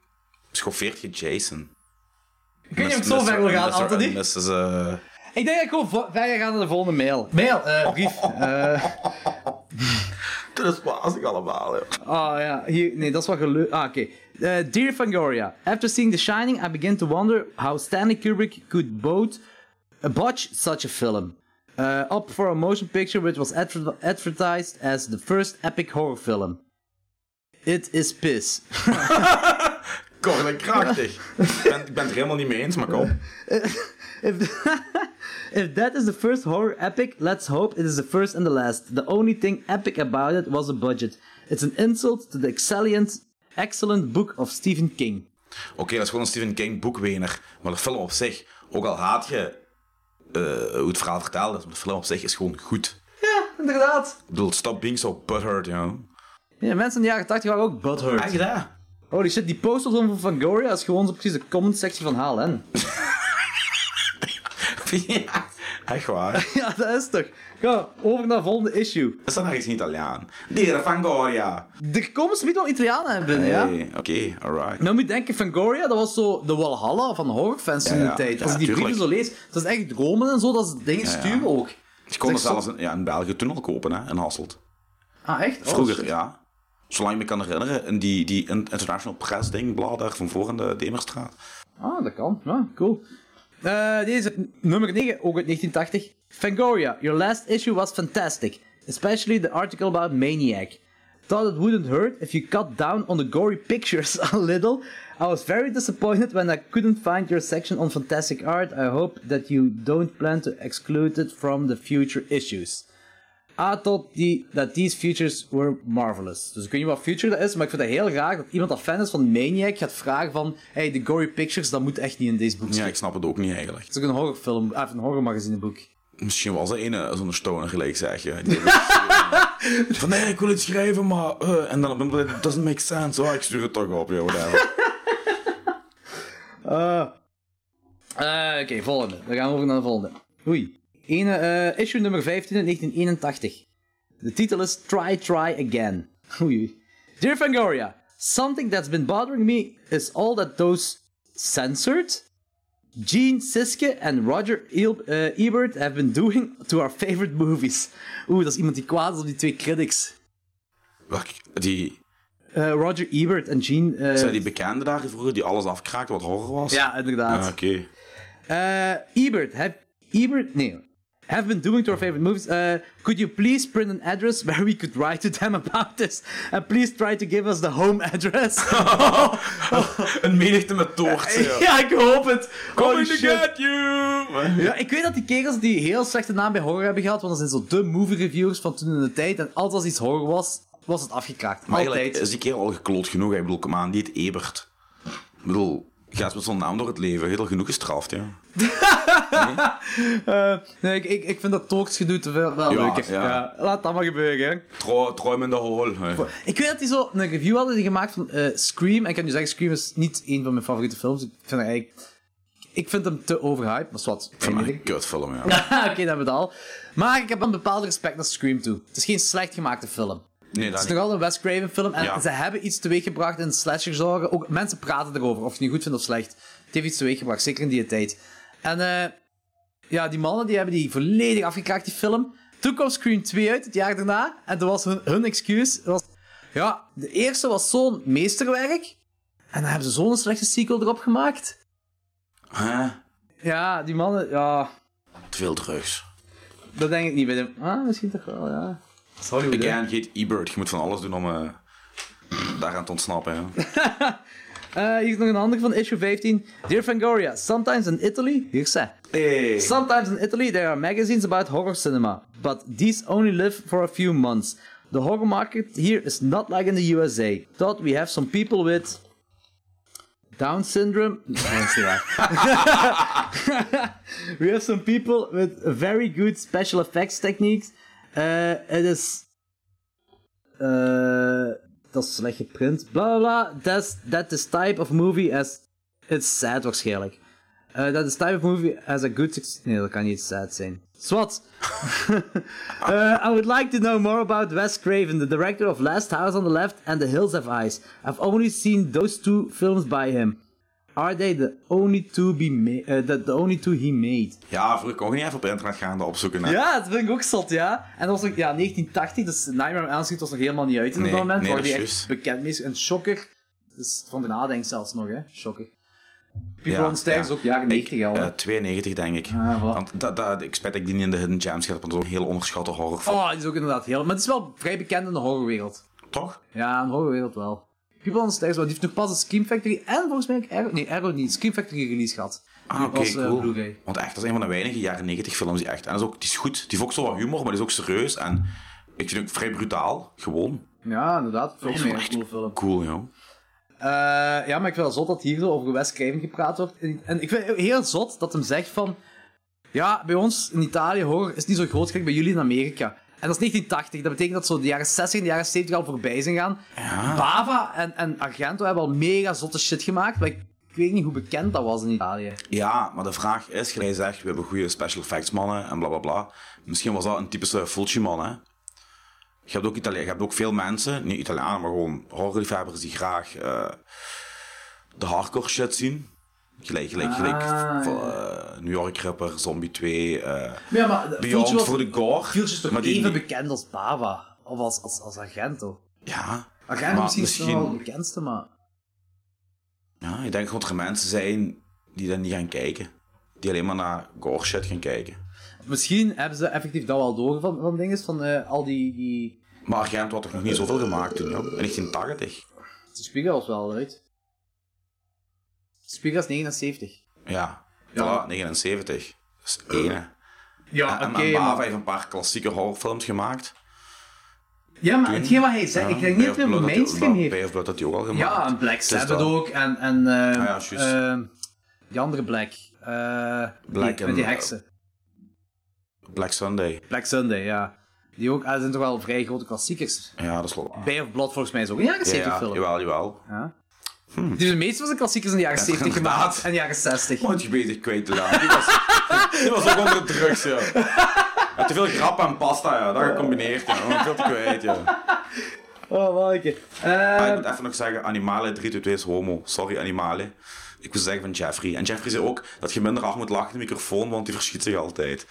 [SPEAKER 2] schoffeert je Jason.
[SPEAKER 1] Ik weet niet of ik
[SPEAKER 2] Mis-
[SPEAKER 1] zo
[SPEAKER 2] mis-
[SPEAKER 1] ver wil gaan,
[SPEAKER 2] mis- mis-
[SPEAKER 1] Anthony.
[SPEAKER 2] mis- is, eh,
[SPEAKER 1] Ik denk dat ik gewoon vo- verder ga naar de volgende mail. Mail, eh, brief. eh,
[SPEAKER 2] Dat is wazig allemaal, joh.
[SPEAKER 1] Oh ja, hier, nee, dat is wat geluk. Ah, oké. Eh, Dear Fangoria, after seeing The Shining, I begin to wonder how Stanley Kubrick could both botch such a film. Uh, up for a motion picture which was adver- advertised as the first epic horror film. It is piss.
[SPEAKER 2] Kort en krachtig. ik, ben, ik ben het er helemaal niet mee eens, maar kom.
[SPEAKER 1] If, if that is the first horror epic, let's hope it is the first and the last. The only thing epic about it was the budget. It's an insult to the excellent, excellent book of Stephen King.
[SPEAKER 2] Oké, dat is gewoon een Stephen King boekwener. Maar de film op zich, ook al haat je eh, hoe het verhaal verteld is, maar de film op zich is gewoon goed.
[SPEAKER 1] Inderdaad.
[SPEAKER 2] Ik bedoel, stop being so butthurt, joh.
[SPEAKER 1] Ja, mensen in de jaren 80 waren ook butthurt.
[SPEAKER 2] Echt daar?
[SPEAKER 1] Holy shit, die poster van Fangoria is gewoon zo precies de comment-sectie van HLN.
[SPEAKER 2] ja, echt waar.
[SPEAKER 1] ja, dat is toch. Ga, over naar volgende issue.
[SPEAKER 2] Is dat nog iets in Italiaan? Dere Fangoria.
[SPEAKER 1] Er komen zometeen wel Italianen in binnen, ja?
[SPEAKER 2] Hey, oké, alright.
[SPEAKER 1] Nou moet je denken, Fangoria, dat was zo de Walhalla van horrorfans in
[SPEAKER 2] Ja,
[SPEAKER 1] de
[SPEAKER 2] ja,
[SPEAKER 1] tijd.
[SPEAKER 2] ja,
[SPEAKER 1] Als je die
[SPEAKER 2] tuurlijk.
[SPEAKER 1] brieven zo leest, dat is echt dromen en zo, dat is dingen sturen ook.
[SPEAKER 2] Je kon het
[SPEAKER 1] Zeg,
[SPEAKER 2] zelfs in, ja, in België toen al kopen, hè, in Hasselt.
[SPEAKER 1] Ah, echt? Oh,
[SPEAKER 2] Vroeger,
[SPEAKER 1] shit.
[SPEAKER 2] ja. Zolang ik me kan herinneren, in die, die international press ding, bla, daar van voor in de Demerstraat.
[SPEAKER 1] Ah, dat kan. Ja, cool. Eh, deze, nummer 9, ook uit 1980. Fangoria, your last issue was fantastic. Especially the article about Maniac. Thought it wouldn't hurt if you cut down on the gory pictures a little. I was very disappointed when I couldn't find your section on fantastic art. I hope that you don't plan to exclude it from the future issues. I thought the, that these features were marvelous. Dus ik weet niet wat future dat is, maar ik vind het heel raar dat iemand dat fan is van Maniac gaat vragen van, hey, de gory pictures, dat moet echt niet in deze boek
[SPEAKER 2] Ja,
[SPEAKER 1] zitten.
[SPEAKER 2] ik snap het ook niet eigenlijk.
[SPEAKER 1] Het is ook een horrorfilm, of een horrormagazineboek.
[SPEAKER 2] Misschien was er een eh, zo'n stoner gelijk, zeg je. Die van nee, ik wil het schrijven, maar. eh, en dan op een moment, it doesn't make sense. Oh, ik stuur het toch op, joh. whatever.
[SPEAKER 1] Eh, Oké, volgende. Dan gaan we over naar de volgende. Oei. Ene, eh, issue nummer 15 uit 1981. De titel is Try Try Again. Oei. Dear Fangoria, something that's been bothering me is all that those censored Gene Siske en Roger Eel- eh, Ebert have been doing to our favorite movies. Oeh, dat is iemand die kwaad is op die twee critics.
[SPEAKER 2] Welk, die,
[SPEAKER 1] Eh, Roger Ebert en Gene... eh,
[SPEAKER 2] zijn die bekenden daar die vroeger die alles afkraakte wat horror was?
[SPEAKER 1] Ja, inderdaad.
[SPEAKER 2] Ah, Oké.
[SPEAKER 1] Uh, Ebert, have Ebert, no, have been doing to our favorite movies. Uh, could you please print an address where we could write to them about this? And please try to give us the home address.
[SPEAKER 2] Een menigte met toort.
[SPEAKER 1] ja, ik hoop het. Holy
[SPEAKER 2] Coming to
[SPEAKER 1] shit.
[SPEAKER 2] get you!
[SPEAKER 1] Ja, ik weet dat die kerels die heel slechte naam bij horror hebben gehad, want dat zijn zo de movie reviewers van toen in de tijd. En altijd als iets horror was, was het afgekraakt.
[SPEAKER 2] Maar
[SPEAKER 1] Altijd.
[SPEAKER 2] eigenlijk is die kerel al gekloot genoeg. hè. Ik bedoel, kom aan, die heet Ebert. Ik bedoel, ga eens met zo'n naam door het leven. Je hebt al genoeg gestraft, ja.
[SPEAKER 1] Eh, nee, ik, ik, ik vind dat talksgedoe te veel wel
[SPEAKER 2] Ja,
[SPEAKER 1] leuker.
[SPEAKER 2] ja.
[SPEAKER 1] Ja, laat dat maar gebeuren. hè.
[SPEAKER 2] Tro- Trouw me in de hol. hè.
[SPEAKER 1] Ik weet dat die zo een review hadden die gemaakt van eh, Scream. En ik kan nu zeggen, Scream is niet een van mijn favoriete films. Ik vind, hem eigenlijk, ik vind hem te overhyped, maar zwart.
[SPEAKER 2] Voor mij een
[SPEAKER 1] Oké,
[SPEAKER 2] kutfilm, ja.
[SPEAKER 1] dan hebben we het al. Maar ik heb een bepaald respect naar Scream toe. Het is geen slecht gemaakte film.
[SPEAKER 2] Nee,
[SPEAKER 1] Het
[SPEAKER 2] dat
[SPEAKER 1] is nogal een Wes Craven film. En
[SPEAKER 2] Ja.
[SPEAKER 1] ze hebben iets teweeggebracht in de slasher-genre. Ook mensen praten erover, of je het nu goed vindt of slecht. Het heeft iets teweeggebracht, zeker in die tijd. En eh, ja, die mannen die hebben die volledig afgekraakt, die film. Toen kwam Scream 2 uit, het jaar daarna. En toen was hun, hun excuus... Was, ja, de eerste was zo'n meesterwerk. En dan hebben ze zo'n slechte sequel erop gemaakt.
[SPEAKER 2] Hè?
[SPEAKER 1] Ja, die mannen... Ja,
[SPEAKER 2] Te veel drugs.
[SPEAKER 1] dat denk ik niet bij hem. Ah, misschien toch wel, ja. Dat is Hollywood, hè.
[SPEAKER 2] Again, geet Ebert. Je moet van alles doen om eh, daaraan te ontsnappen, hè.
[SPEAKER 1] Eh, hier is nog een ander van issue 15. Dear Fangoria, sometimes in Italy... Hier is zij.
[SPEAKER 2] Hey.
[SPEAKER 1] Sometimes in Italy there are magazines about horror cinema, but these only live for a few months. The horror market here is not like in the USA. Thought we have some people with Down syndrome. Nee, dat is niet waar. we have some people with very good special effects techniques. Uh, it is. Uh, dat is slecht geprint. Bla bla bla. That's, that this type of movie as. It's sad waarschijnlijk. Eh, Dat is type of movie as a good success. Nee, dat kan niet sad zijn. Swat. Eh, I would like to know more about Wes Craven, the director of Last House on the Left and The Hills Have Eyes. I've only seen those two films by him. Are they the only two be ma- eh, the, the only two he made?
[SPEAKER 2] Ja, vroeger kon je niet even op internet gaan dat opzoeken. Hè.
[SPEAKER 1] Ja, dat vind ik ook zot, ja. En dat was nog, ja, 1980, dus Nightmare on Elm Street was nog helemaal niet uit in
[SPEAKER 2] Nee,
[SPEAKER 1] dat moment.
[SPEAKER 2] nee,
[SPEAKER 1] waar
[SPEAKER 2] dat
[SPEAKER 1] die
[SPEAKER 2] is
[SPEAKER 1] echt
[SPEAKER 2] juist.
[SPEAKER 1] bekend mee is. En Shocker, dus van de nadenk zelfs nog, hè. Shocker. People
[SPEAKER 2] Ja,
[SPEAKER 1] on Stairs
[SPEAKER 2] ja.
[SPEAKER 1] ook jaren 90 al, hè.
[SPEAKER 2] Eh, 92, denk ik.
[SPEAKER 1] Ah, voilà.
[SPEAKER 2] Want dat, dat, ik spijt dat ik die niet in de Hidden Gems heb, want dat is een heel onderschatte horrorfilm.
[SPEAKER 1] Oh, die is ook inderdaad heel... Maar het is wel vrij bekend in de horrorwereld.
[SPEAKER 2] Toch?
[SPEAKER 1] Ja, in de horrorwereld wel. People on Stairs, wel. die heeft nog pas een Scream Factory en volgens mij ook Arrow... Nee, Arrow niet. Scream Factory release gehad.
[SPEAKER 2] Ah,
[SPEAKER 1] Die
[SPEAKER 2] oké,
[SPEAKER 1] was, eh,
[SPEAKER 2] cool.
[SPEAKER 1] Blu-ray.
[SPEAKER 2] Want echt, dat is een van de weinige jaren 90 films die echt... En dat is ook, die is goed. Die heeft ook zo wat humor, maar die is ook serieus. En ik vind het ook vrij brutaal. Gewoon.
[SPEAKER 1] Ja, inderdaad. Veel meer een
[SPEAKER 2] echt
[SPEAKER 1] cool film.
[SPEAKER 2] Cool, joh.
[SPEAKER 1] Eh, ja, maar ik vind het zot dat hier zo over Wes Craven gepraat wordt. En, en ik vind het heel zot dat hem zegt van... Ja, bij ons in Italië, hoor, is niet zo groot gelijk bij jullie in Amerika. En dat is 1980. Dat betekent dat zo de jaren 60 en de jaren 70 al voorbij zijn gaan. Bava en, en Argento hebben al mega zotte shit gemaakt. Maar ik, ik weet niet hoe bekend dat was in Italië.
[SPEAKER 2] Ja, maar de vraag is, gelijk zegt, we hebben goede special effects mannen en bla bla bla. Misschien was dat een typische Fulci man, hè? Je hebt ook, Italië, je hebt ook veel mensen, niet Italianen, maar gewoon horrorliefhebbers die graag eh, de hardcore shit zien. Gelijk, gelijk, gelijk.
[SPEAKER 1] Ah,
[SPEAKER 2] van, eh, New York Ripper, Zombie 2, eh
[SPEAKER 1] Ja, maar
[SPEAKER 2] Beyond voor de gore.
[SPEAKER 1] Fulci is toch
[SPEAKER 2] maar die-
[SPEAKER 1] even
[SPEAKER 2] die-
[SPEAKER 1] bekend als Bava? Of als, als, als Argento?
[SPEAKER 2] Ja,
[SPEAKER 1] Argento
[SPEAKER 2] maar
[SPEAKER 1] misschien, is wel het bekendste, maar...
[SPEAKER 2] Ja, ik denk gewoon dat er mensen zijn die dat niet gaan kijken. Die alleen maar naar gore shit gaan kijken.
[SPEAKER 1] Misschien hebben ze effectief dat wel door van, van dingen, van eh, al die, die...
[SPEAKER 2] Maar Gent had toch nog niet zoveel gemaakt toen, joh? In 1980.
[SPEAKER 1] De Spiegel was wel uit. Spiegel is 79.
[SPEAKER 2] Ja, ja. 79. Dat is
[SPEAKER 1] Eh.
[SPEAKER 2] één. hè.
[SPEAKER 1] Ja,
[SPEAKER 2] en en Bava Ah, heeft een paar klassieke horrorfilms gemaakt.
[SPEAKER 1] Ja, maar hetgeen wat hij zegt, ik denk niet dat
[SPEAKER 2] Bay
[SPEAKER 1] hij
[SPEAKER 2] of
[SPEAKER 1] een
[SPEAKER 2] Blood had die-
[SPEAKER 1] mainstream
[SPEAKER 2] Bay-
[SPEAKER 1] heeft.
[SPEAKER 2] Bay of Blood had die ook al gemaakt.
[SPEAKER 1] Ja, en Black
[SPEAKER 2] Dus dat-
[SPEAKER 1] Sabbath ook, en, en eh,
[SPEAKER 2] Ah ja, juist.
[SPEAKER 1] eh, die andere Black. eh, die,
[SPEAKER 2] Black en-
[SPEAKER 1] met die heksen.
[SPEAKER 2] Black Sunday.
[SPEAKER 1] Black Sunday, ja. Die ook, ah, dat zijn toch wel vrij grote klassiekers.
[SPEAKER 2] Ja, dat is wel waar.
[SPEAKER 1] Bay of Blood volgens mij is ook een jaren
[SPEAKER 2] Ja,
[SPEAKER 1] 70
[SPEAKER 2] ja,
[SPEAKER 1] film.
[SPEAKER 2] jawel, jawel.
[SPEAKER 1] Dus de meeste van zijn klassiekers in de jaren 70 gemaakt
[SPEAKER 2] inderdaad. Oh,
[SPEAKER 1] en de jaren 60.
[SPEAKER 2] Moet je bezig kwijt te laten. Die was, die was ook onder drugs, ja. Ja, te veel grap en pasta, ja. Dat gecombineerd, ja. Ik ben Veel te kwijt, ja.
[SPEAKER 1] Oh, welke. Eh, Ehm,
[SPEAKER 2] Ah, ik moet even nog zeggen, Animale 322 is homo. Sorry, Animale. Ik wil zeggen van Jeffrey. En Jeffrey zei ook dat je minder hard moet lachen in de microfoon, want die verschiet zich altijd.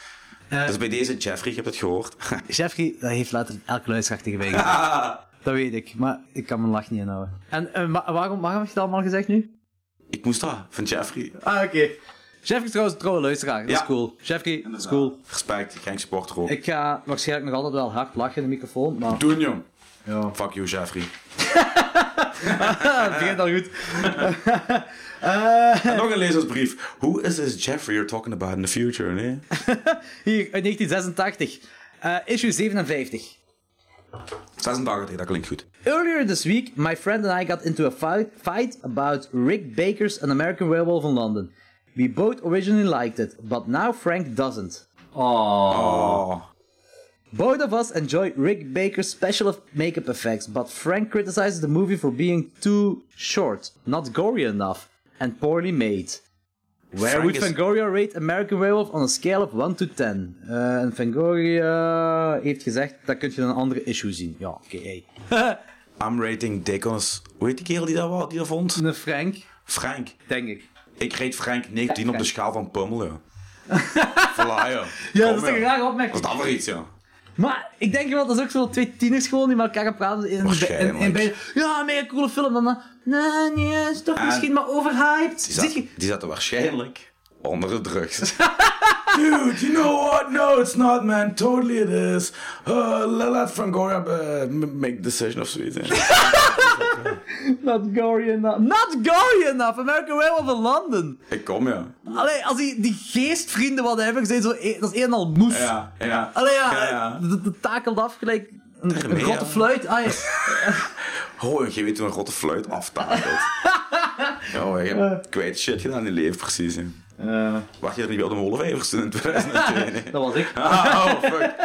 [SPEAKER 2] dus bij deze Jeffrey, je hebt het gehoord.
[SPEAKER 1] Jeffrey, dat heeft later elke luisteraar tegen mij gezegd. Dat weet ik, maar ik kan mijn lach niet inhouden. En eh, wa- waarom, waarom heb je dat allemaal gezegd nu?
[SPEAKER 2] ik moest dat, van Jeffrey.
[SPEAKER 1] Ah, oké. Jeffrey is trouwens een trouwe luisteraar. Dat
[SPEAKER 2] Ja.
[SPEAKER 1] is cool. Jeffrey, dat is cool.
[SPEAKER 2] Respect, geen supporter ook.
[SPEAKER 1] Ik ga waarschijnlijk nog altijd wel hard lachen in de microfoon, maar
[SPEAKER 2] Doen, jong.
[SPEAKER 1] Ja.
[SPEAKER 2] Fuck you, Jeffrey.
[SPEAKER 1] het begint al goed.
[SPEAKER 2] En nog een lezersbrief. Who is this Jeffrey you're talking about in the future, nee?
[SPEAKER 1] Hier, uit 1986. Eh, issue 57.
[SPEAKER 2] 86, dat klinkt goed.
[SPEAKER 1] Earlier this week, my friend and I got into a fight, fight about Rick Baker's An American Werewolf in London. We both originally liked it, but now Frank doesn't.
[SPEAKER 2] Oh.
[SPEAKER 1] Both of us enjoy Rick Baker's special eff- makeup effects, but Frank criticizes the movie for being too short, not gory enough, and poorly made. Where
[SPEAKER 2] Frank
[SPEAKER 1] would
[SPEAKER 2] is-
[SPEAKER 1] Fangoria rate American Werewolf on a scale of 1 to 10? Eh, en Fangoria heeft gezegd, dat kun je in een andere issue zien. Ja, oké. hey.
[SPEAKER 2] I'm rating Dickens. Hoe heet die kerel die dat, wa- die dat vond?
[SPEAKER 1] Een Frank,
[SPEAKER 2] Frank.
[SPEAKER 1] denk ik.
[SPEAKER 2] Ik reed Frank 19 op de schaal van Pummel, ja. Voilà, ja.
[SPEAKER 1] Ja, dat
[SPEAKER 2] Kom,
[SPEAKER 1] is toch een rare opmerking.
[SPEAKER 2] Wat is dat voor iets, ja?
[SPEAKER 1] Maar ik denk wel, dat is ook zo twee tieners gewoon die met elkaar gaan praten. In, in, in,
[SPEAKER 2] Waarschijnlijk.
[SPEAKER 1] bij- ja, een mega coole film. Dan, dan, nee, nee, is toch misschien maar overhyped.
[SPEAKER 2] Die,
[SPEAKER 1] Zit
[SPEAKER 2] zat,
[SPEAKER 1] je...
[SPEAKER 2] die zaten waarschijnlijk onder de drugs. Dude, you know what? No, it's not, man. Totally it is. Uh, let, let Fangoria uh, m- make decision of zoiets. hè.
[SPEAKER 1] Not gory enough. Not gory enough! American Werewolf in London.
[SPEAKER 2] Ik kom, ja.
[SPEAKER 1] Allee, als die, die geestvrienden wat hebben gezegd, zo, e- dat is een en al moes.
[SPEAKER 2] Ja, ja.
[SPEAKER 1] Allee, ja,
[SPEAKER 2] Ja, ja.
[SPEAKER 1] Dat, dat takelt af gelijk een, een
[SPEAKER 2] Daarmee,
[SPEAKER 1] grote
[SPEAKER 2] ja.
[SPEAKER 1] fluit. Ah, ja.
[SPEAKER 2] Oh, je weet hoe een rotte fluit aftakelt. oh, je hebt kwijt shit gedaan in je leven, precies. hè. Wacht je er niet bij de Molenvijvers toen in 2002?
[SPEAKER 1] Eh, Dat was ik.
[SPEAKER 2] Ah, oh, fuck.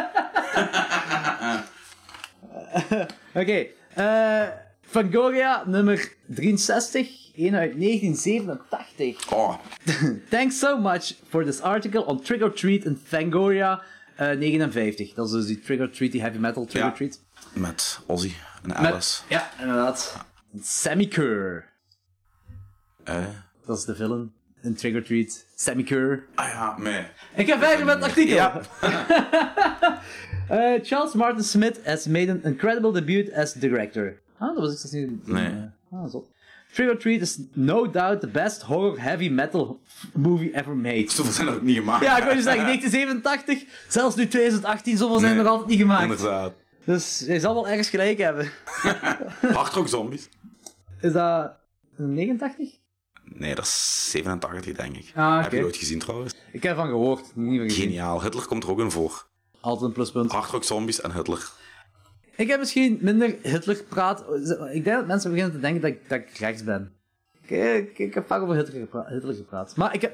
[SPEAKER 1] Oké, eh Fangoria nummer 63, 1 uit 1987.
[SPEAKER 2] Oh,
[SPEAKER 1] Thanks so much for this article on Trick or Treat in Fangoria eh, 59. Dat is dus die Trick or Treat, die heavy metal Trick
[SPEAKER 2] Ja.
[SPEAKER 1] or Treat.
[SPEAKER 2] met Ozzy en
[SPEAKER 1] Met-
[SPEAKER 2] Alice.
[SPEAKER 1] Ja, inderdaad. Sammy Kerr.
[SPEAKER 2] Eh?
[SPEAKER 1] Dat is de villain in Trick or Treat. Sammy Kerr.
[SPEAKER 2] Ah ja, meh.
[SPEAKER 1] Ik ga verder met het artikel.
[SPEAKER 2] Ja.
[SPEAKER 1] Eh, Charles Martin Smith has made an incredible debut as director. Ah, dat was ik dus niet.
[SPEAKER 2] Nee.
[SPEAKER 1] Ah, zo. Trick or Treat is no doubt the best horror heavy metal movie ever made.
[SPEAKER 2] Zoveel zijn er ook niet gemaakt.
[SPEAKER 1] Ja, ik wil je zeggen, 1987, zelfs nu 2018, zoveel zijn er
[SPEAKER 2] Nee,
[SPEAKER 1] nog altijd niet gemaakt.
[SPEAKER 2] Inderdaad.
[SPEAKER 1] Dus hij zal wel ergens gelijk hebben.
[SPEAKER 2] Hardrock Zombies.
[SPEAKER 1] Is dat 89?
[SPEAKER 2] Nee, dat is 87, denk ik.
[SPEAKER 1] Ah, oké.
[SPEAKER 2] Heb je dat ooit gezien trouwens?
[SPEAKER 1] Ik heb van gehoord, niet meer gezien.
[SPEAKER 2] Geniaal. Hitler komt er ook in voor.
[SPEAKER 1] Altijd een pluspunt.
[SPEAKER 2] Hardrock Zombies en Hitler.
[SPEAKER 1] Ik heb misschien minder Hitler praat. Ik denk dat mensen beginnen te denken dat ik, dat ik rechts ben. Ik, ik, ik heb vaak over Hitler, gepra- Hitler gepraat. Maar ik,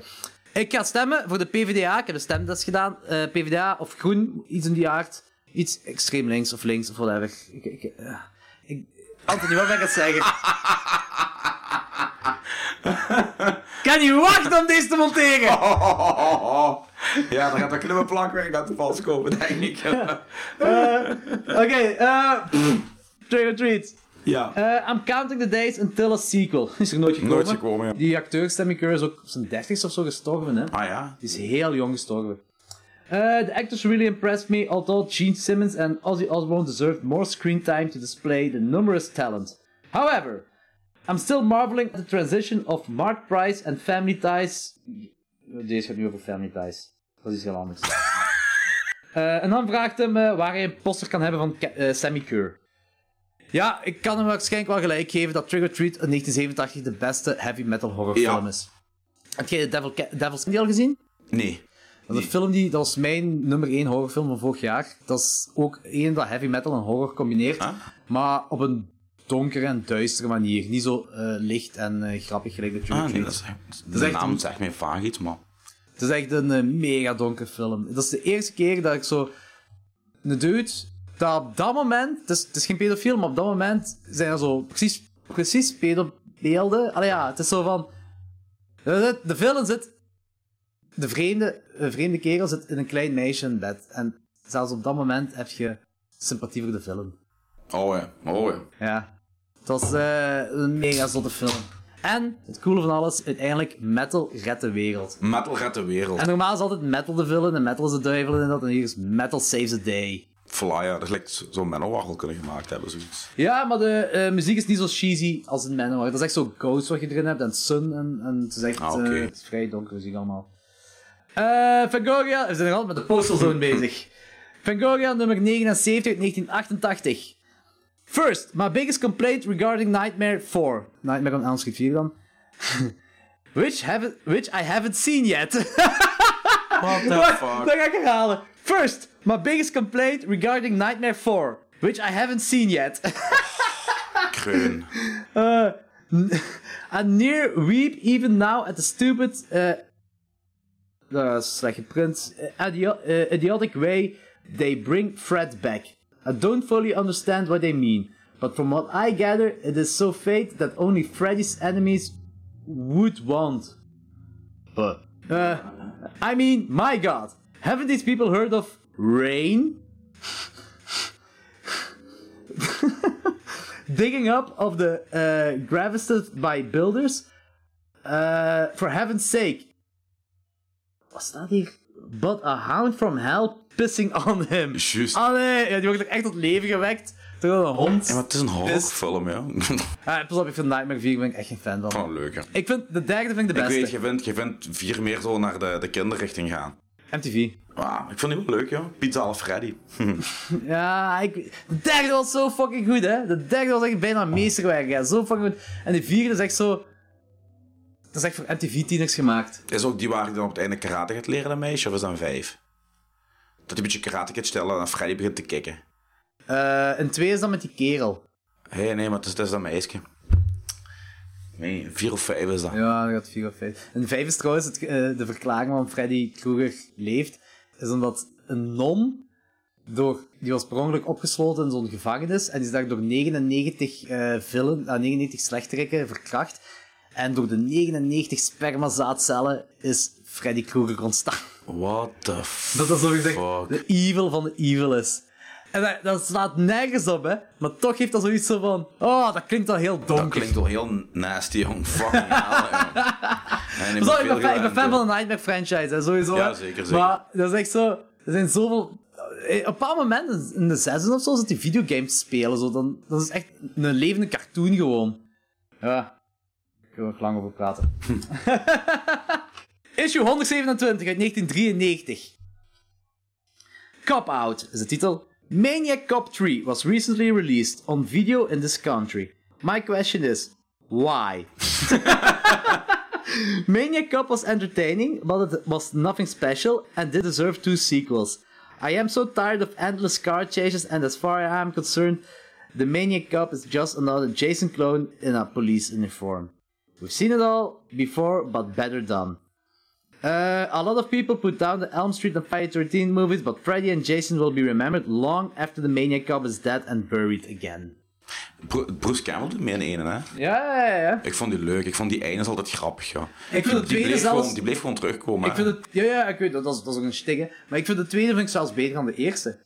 [SPEAKER 1] ik ga stemmen voor de PvdA. Ik heb een stemtest gedaan. Eh, PvdA of groen, iets in die aard. Iets extreem links of links of whatever. Ik, ik, eh, ik, Anthony, wat ben ik aan het zeggen? kan niet wachten om deze te monteren!
[SPEAKER 2] Ja, dan gaat dat klimmen plakwerk aan te pas komen, denk ik.
[SPEAKER 1] Oké, eh trick or treat.
[SPEAKER 2] ja.
[SPEAKER 1] Eh, I'm counting the days until a sequel. Is er nooit gekomen.
[SPEAKER 2] Nooit gekomen, ja.
[SPEAKER 1] Die acteur Sammy Kerr is ook op zijn dertigste of zo gestorven, hè.
[SPEAKER 2] Ah ja?
[SPEAKER 1] Die is heel jong gestorven. Eh, the actors really impressed me, although Gene Simmons and Ozzy Osbourne deserved more screen time to display the numerous talent. However, I'm still marveling at the transition of Mark Price and Family Ties. Deze gaat nu over Family Ties. Dat is heel anders. Eh, en dan vraagt hem eh, waar hij een poster kan hebben van Ca- eh, Sammy Kerr. Ja, ik kan hem waarschijnlijk wel gelijk geven dat Trigger Treat in 1987 de beste heavy metal horrorfilm
[SPEAKER 2] Ja.
[SPEAKER 1] is. Heb jij de Devil Ca- Devil's Candy al gezien?
[SPEAKER 2] Nee.
[SPEAKER 1] Dat is een film die, dat is mijn nummer 1 horrorfilm van vorig jaar. Dat is ook één dat heavy metal en horror combineert.
[SPEAKER 2] Ah.
[SPEAKER 1] Maar op een donkere en duistere manier. Niet zo eh, licht en eh, grappig gelijk de Trick or
[SPEAKER 2] Ah, nee,
[SPEAKER 1] Treat.
[SPEAKER 2] dat is, de
[SPEAKER 1] is echt
[SPEAKER 2] naam
[SPEAKER 1] een-
[SPEAKER 2] zegt mij vaag iets, maar...
[SPEAKER 1] Het is echt een eh, mega donker film. Dat is de eerste keer dat ik zo... Een dude, dat op dat moment... Het is, het is geen pedofiel, maar op dat moment zijn er zo precies, precies pedobeelden. Allee ja, het is zo van... eh, De, de villain zit... De vreemde, de vreemde kerel zit in een klein meisje in bed. En zelfs op dat moment heb je sympathie voor de villain.
[SPEAKER 2] Oh ja, oh ja.
[SPEAKER 1] Ja. Het was eh, een mega zotte film. En En, het coole van alles, uiteindelijk metal redt de wereld.
[SPEAKER 2] Metal gaat de wereld.
[SPEAKER 1] En normaal is altijd metal de villain en metal is de duivel en dat. En hier is metal saves the day.
[SPEAKER 2] Flyer, dat lijkt zo'n menowar kunnen gemaakt hebben, zoiets.
[SPEAKER 1] Ja, maar de eh, muziek is niet zo cheesy als in Manowar. Dat is echt zo Ghost wat je erin hebt en Sun en, en het is echt
[SPEAKER 2] Ah, oké.
[SPEAKER 1] eh, het is vrij donker muziek allemaal. Eh Fangoria, we zijn nog altijd met de Postal Zone bezig. Fangoria nummer 79 uit 1988. First, my biggest complaint regarding Nightmare 4. Nightmare on Elm Street 4 dan. which, haven't, which I haven't seen yet.
[SPEAKER 2] What the
[SPEAKER 1] Wacht, Dat ga ik herhalen. First, my biggest complaint regarding Nightmare 4. Which I haven't seen yet.
[SPEAKER 2] Kreun.
[SPEAKER 1] I near weep even now at the stupid, uh, dat is slecht geprint, Eh, idio- eh, idiotic way they bring Fred back. I don't fully understand what they mean, but from what I gather, it is so fate that only Freddy's enemies would want. But, uh, I mean, my god, haven't these people heard of rain? digging up of the uh, Gravistus by builders. Uh, for heaven's sake. Wat staat hier? But a hound from hell pissing on him.
[SPEAKER 2] Juist.
[SPEAKER 1] Allee, ja, die wordt ook echt tot leven gewekt. Door een hond.
[SPEAKER 2] Ja, maar het is een horrorfilm, ja.
[SPEAKER 1] Ah, pas op, ik vind Nightmare 4 ben ik echt geen fan van.
[SPEAKER 2] Gewoon leuker.
[SPEAKER 1] Ik vind de derde vind ik de
[SPEAKER 2] Oh. Ik
[SPEAKER 1] beste.
[SPEAKER 2] weet, je vindt, je vindt vier meer zo naar de, de kinderrichting gaan.
[SPEAKER 1] MTV.
[SPEAKER 2] Ah, ik vond die wel leuk, joh. Pizza al Freddy.
[SPEAKER 1] Ja, ik... de derde was zo fucking goed, hè. De derde was echt bijna meesterwerk, ja. Zo fucking goed. En de vierde is echt zo... Dat is echt voor MTV-tieners gemaakt.
[SPEAKER 2] Is ook die waar je dan op het einde karate gaat leren, dat meisje, of is dat een vijf? Dat hij een beetje karate gaat stellen en Freddy begint te kicken.
[SPEAKER 1] Eh en twee is dan met die kerel.
[SPEAKER 2] Hé, nee, maar het is, het is dat meisje. Nee, vier of vijf is dat.
[SPEAKER 1] Ja, dat gaat vier of vijf. En vijf is trouwens het, eh, de verklaring waarom Freddy Krueger leeft. Is omdat een non, door, die was per ongeluk opgesloten in zo'n gevangenis. En die is daar door 99, eh villain, ah, 99 slechterikken verkracht. En door de 99 spermazaadcellen is Freddy Krueger ontstaan.
[SPEAKER 2] What the f...
[SPEAKER 1] Dat dat zo gezegd
[SPEAKER 2] Fuck.
[SPEAKER 1] de evil van de evil is. En dat, dat slaat nergens op, hè. Maar toch heeft dat zoiets zo van... Oh, dat klinkt al heel donker.
[SPEAKER 2] Dat klinkt wel heel nasty, jong. Fucking hell, jong. En ik
[SPEAKER 1] Zo,
[SPEAKER 2] moet
[SPEAKER 1] ik, ben
[SPEAKER 2] veel
[SPEAKER 1] fan, ik ben fan
[SPEAKER 2] ruimte.
[SPEAKER 1] van de Nightmare franchise, hè, sowieso. hè.
[SPEAKER 2] Ja, zeker, zeker.
[SPEAKER 1] Maar dat is echt zo. Er zijn zoveel. eh, Op een bepaald moment, in de zesde of zo, zit die videogames spelen. Zo. Dan, dat is echt een levende cartoon gewoon. Ja. Daar kunnen we nog lang over praten. Issue 127 uit 1993. Cop Out is de titel. Maniac Cop 3 was recently released on video in this country. My question is, why? Maniac Cop was entertaining, but it was nothing special and did deserve two sequels. I am so tired of endless car chases, and as far as I am concerned, the Maniac Cop is just another Jason clone in a police uniform. We've seen it all before, but better done. Uh, a lot of people put down the Elm Street and Friday 13 movies, but Freddy and Jason will be remembered long after the Maniac Cop is dead and buried again.
[SPEAKER 2] Bru- Bruce Campbell doet meer in ene, hè?
[SPEAKER 1] Ja, ja, ja.
[SPEAKER 2] Ik vond die leuk. Ik vond die einde is altijd grappig, ja.
[SPEAKER 1] Ik vind het
[SPEAKER 2] Die
[SPEAKER 1] tweede
[SPEAKER 2] bleef,
[SPEAKER 1] zelfs...
[SPEAKER 2] gewoon, die bleef gewoon terugkomen.
[SPEAKER 1] Ik vind het, ja, ja, ik weet dat, dat is, dat is ook een stig, hè. Maar ik vind de tweede vind ik zelfs beter dan de eerste.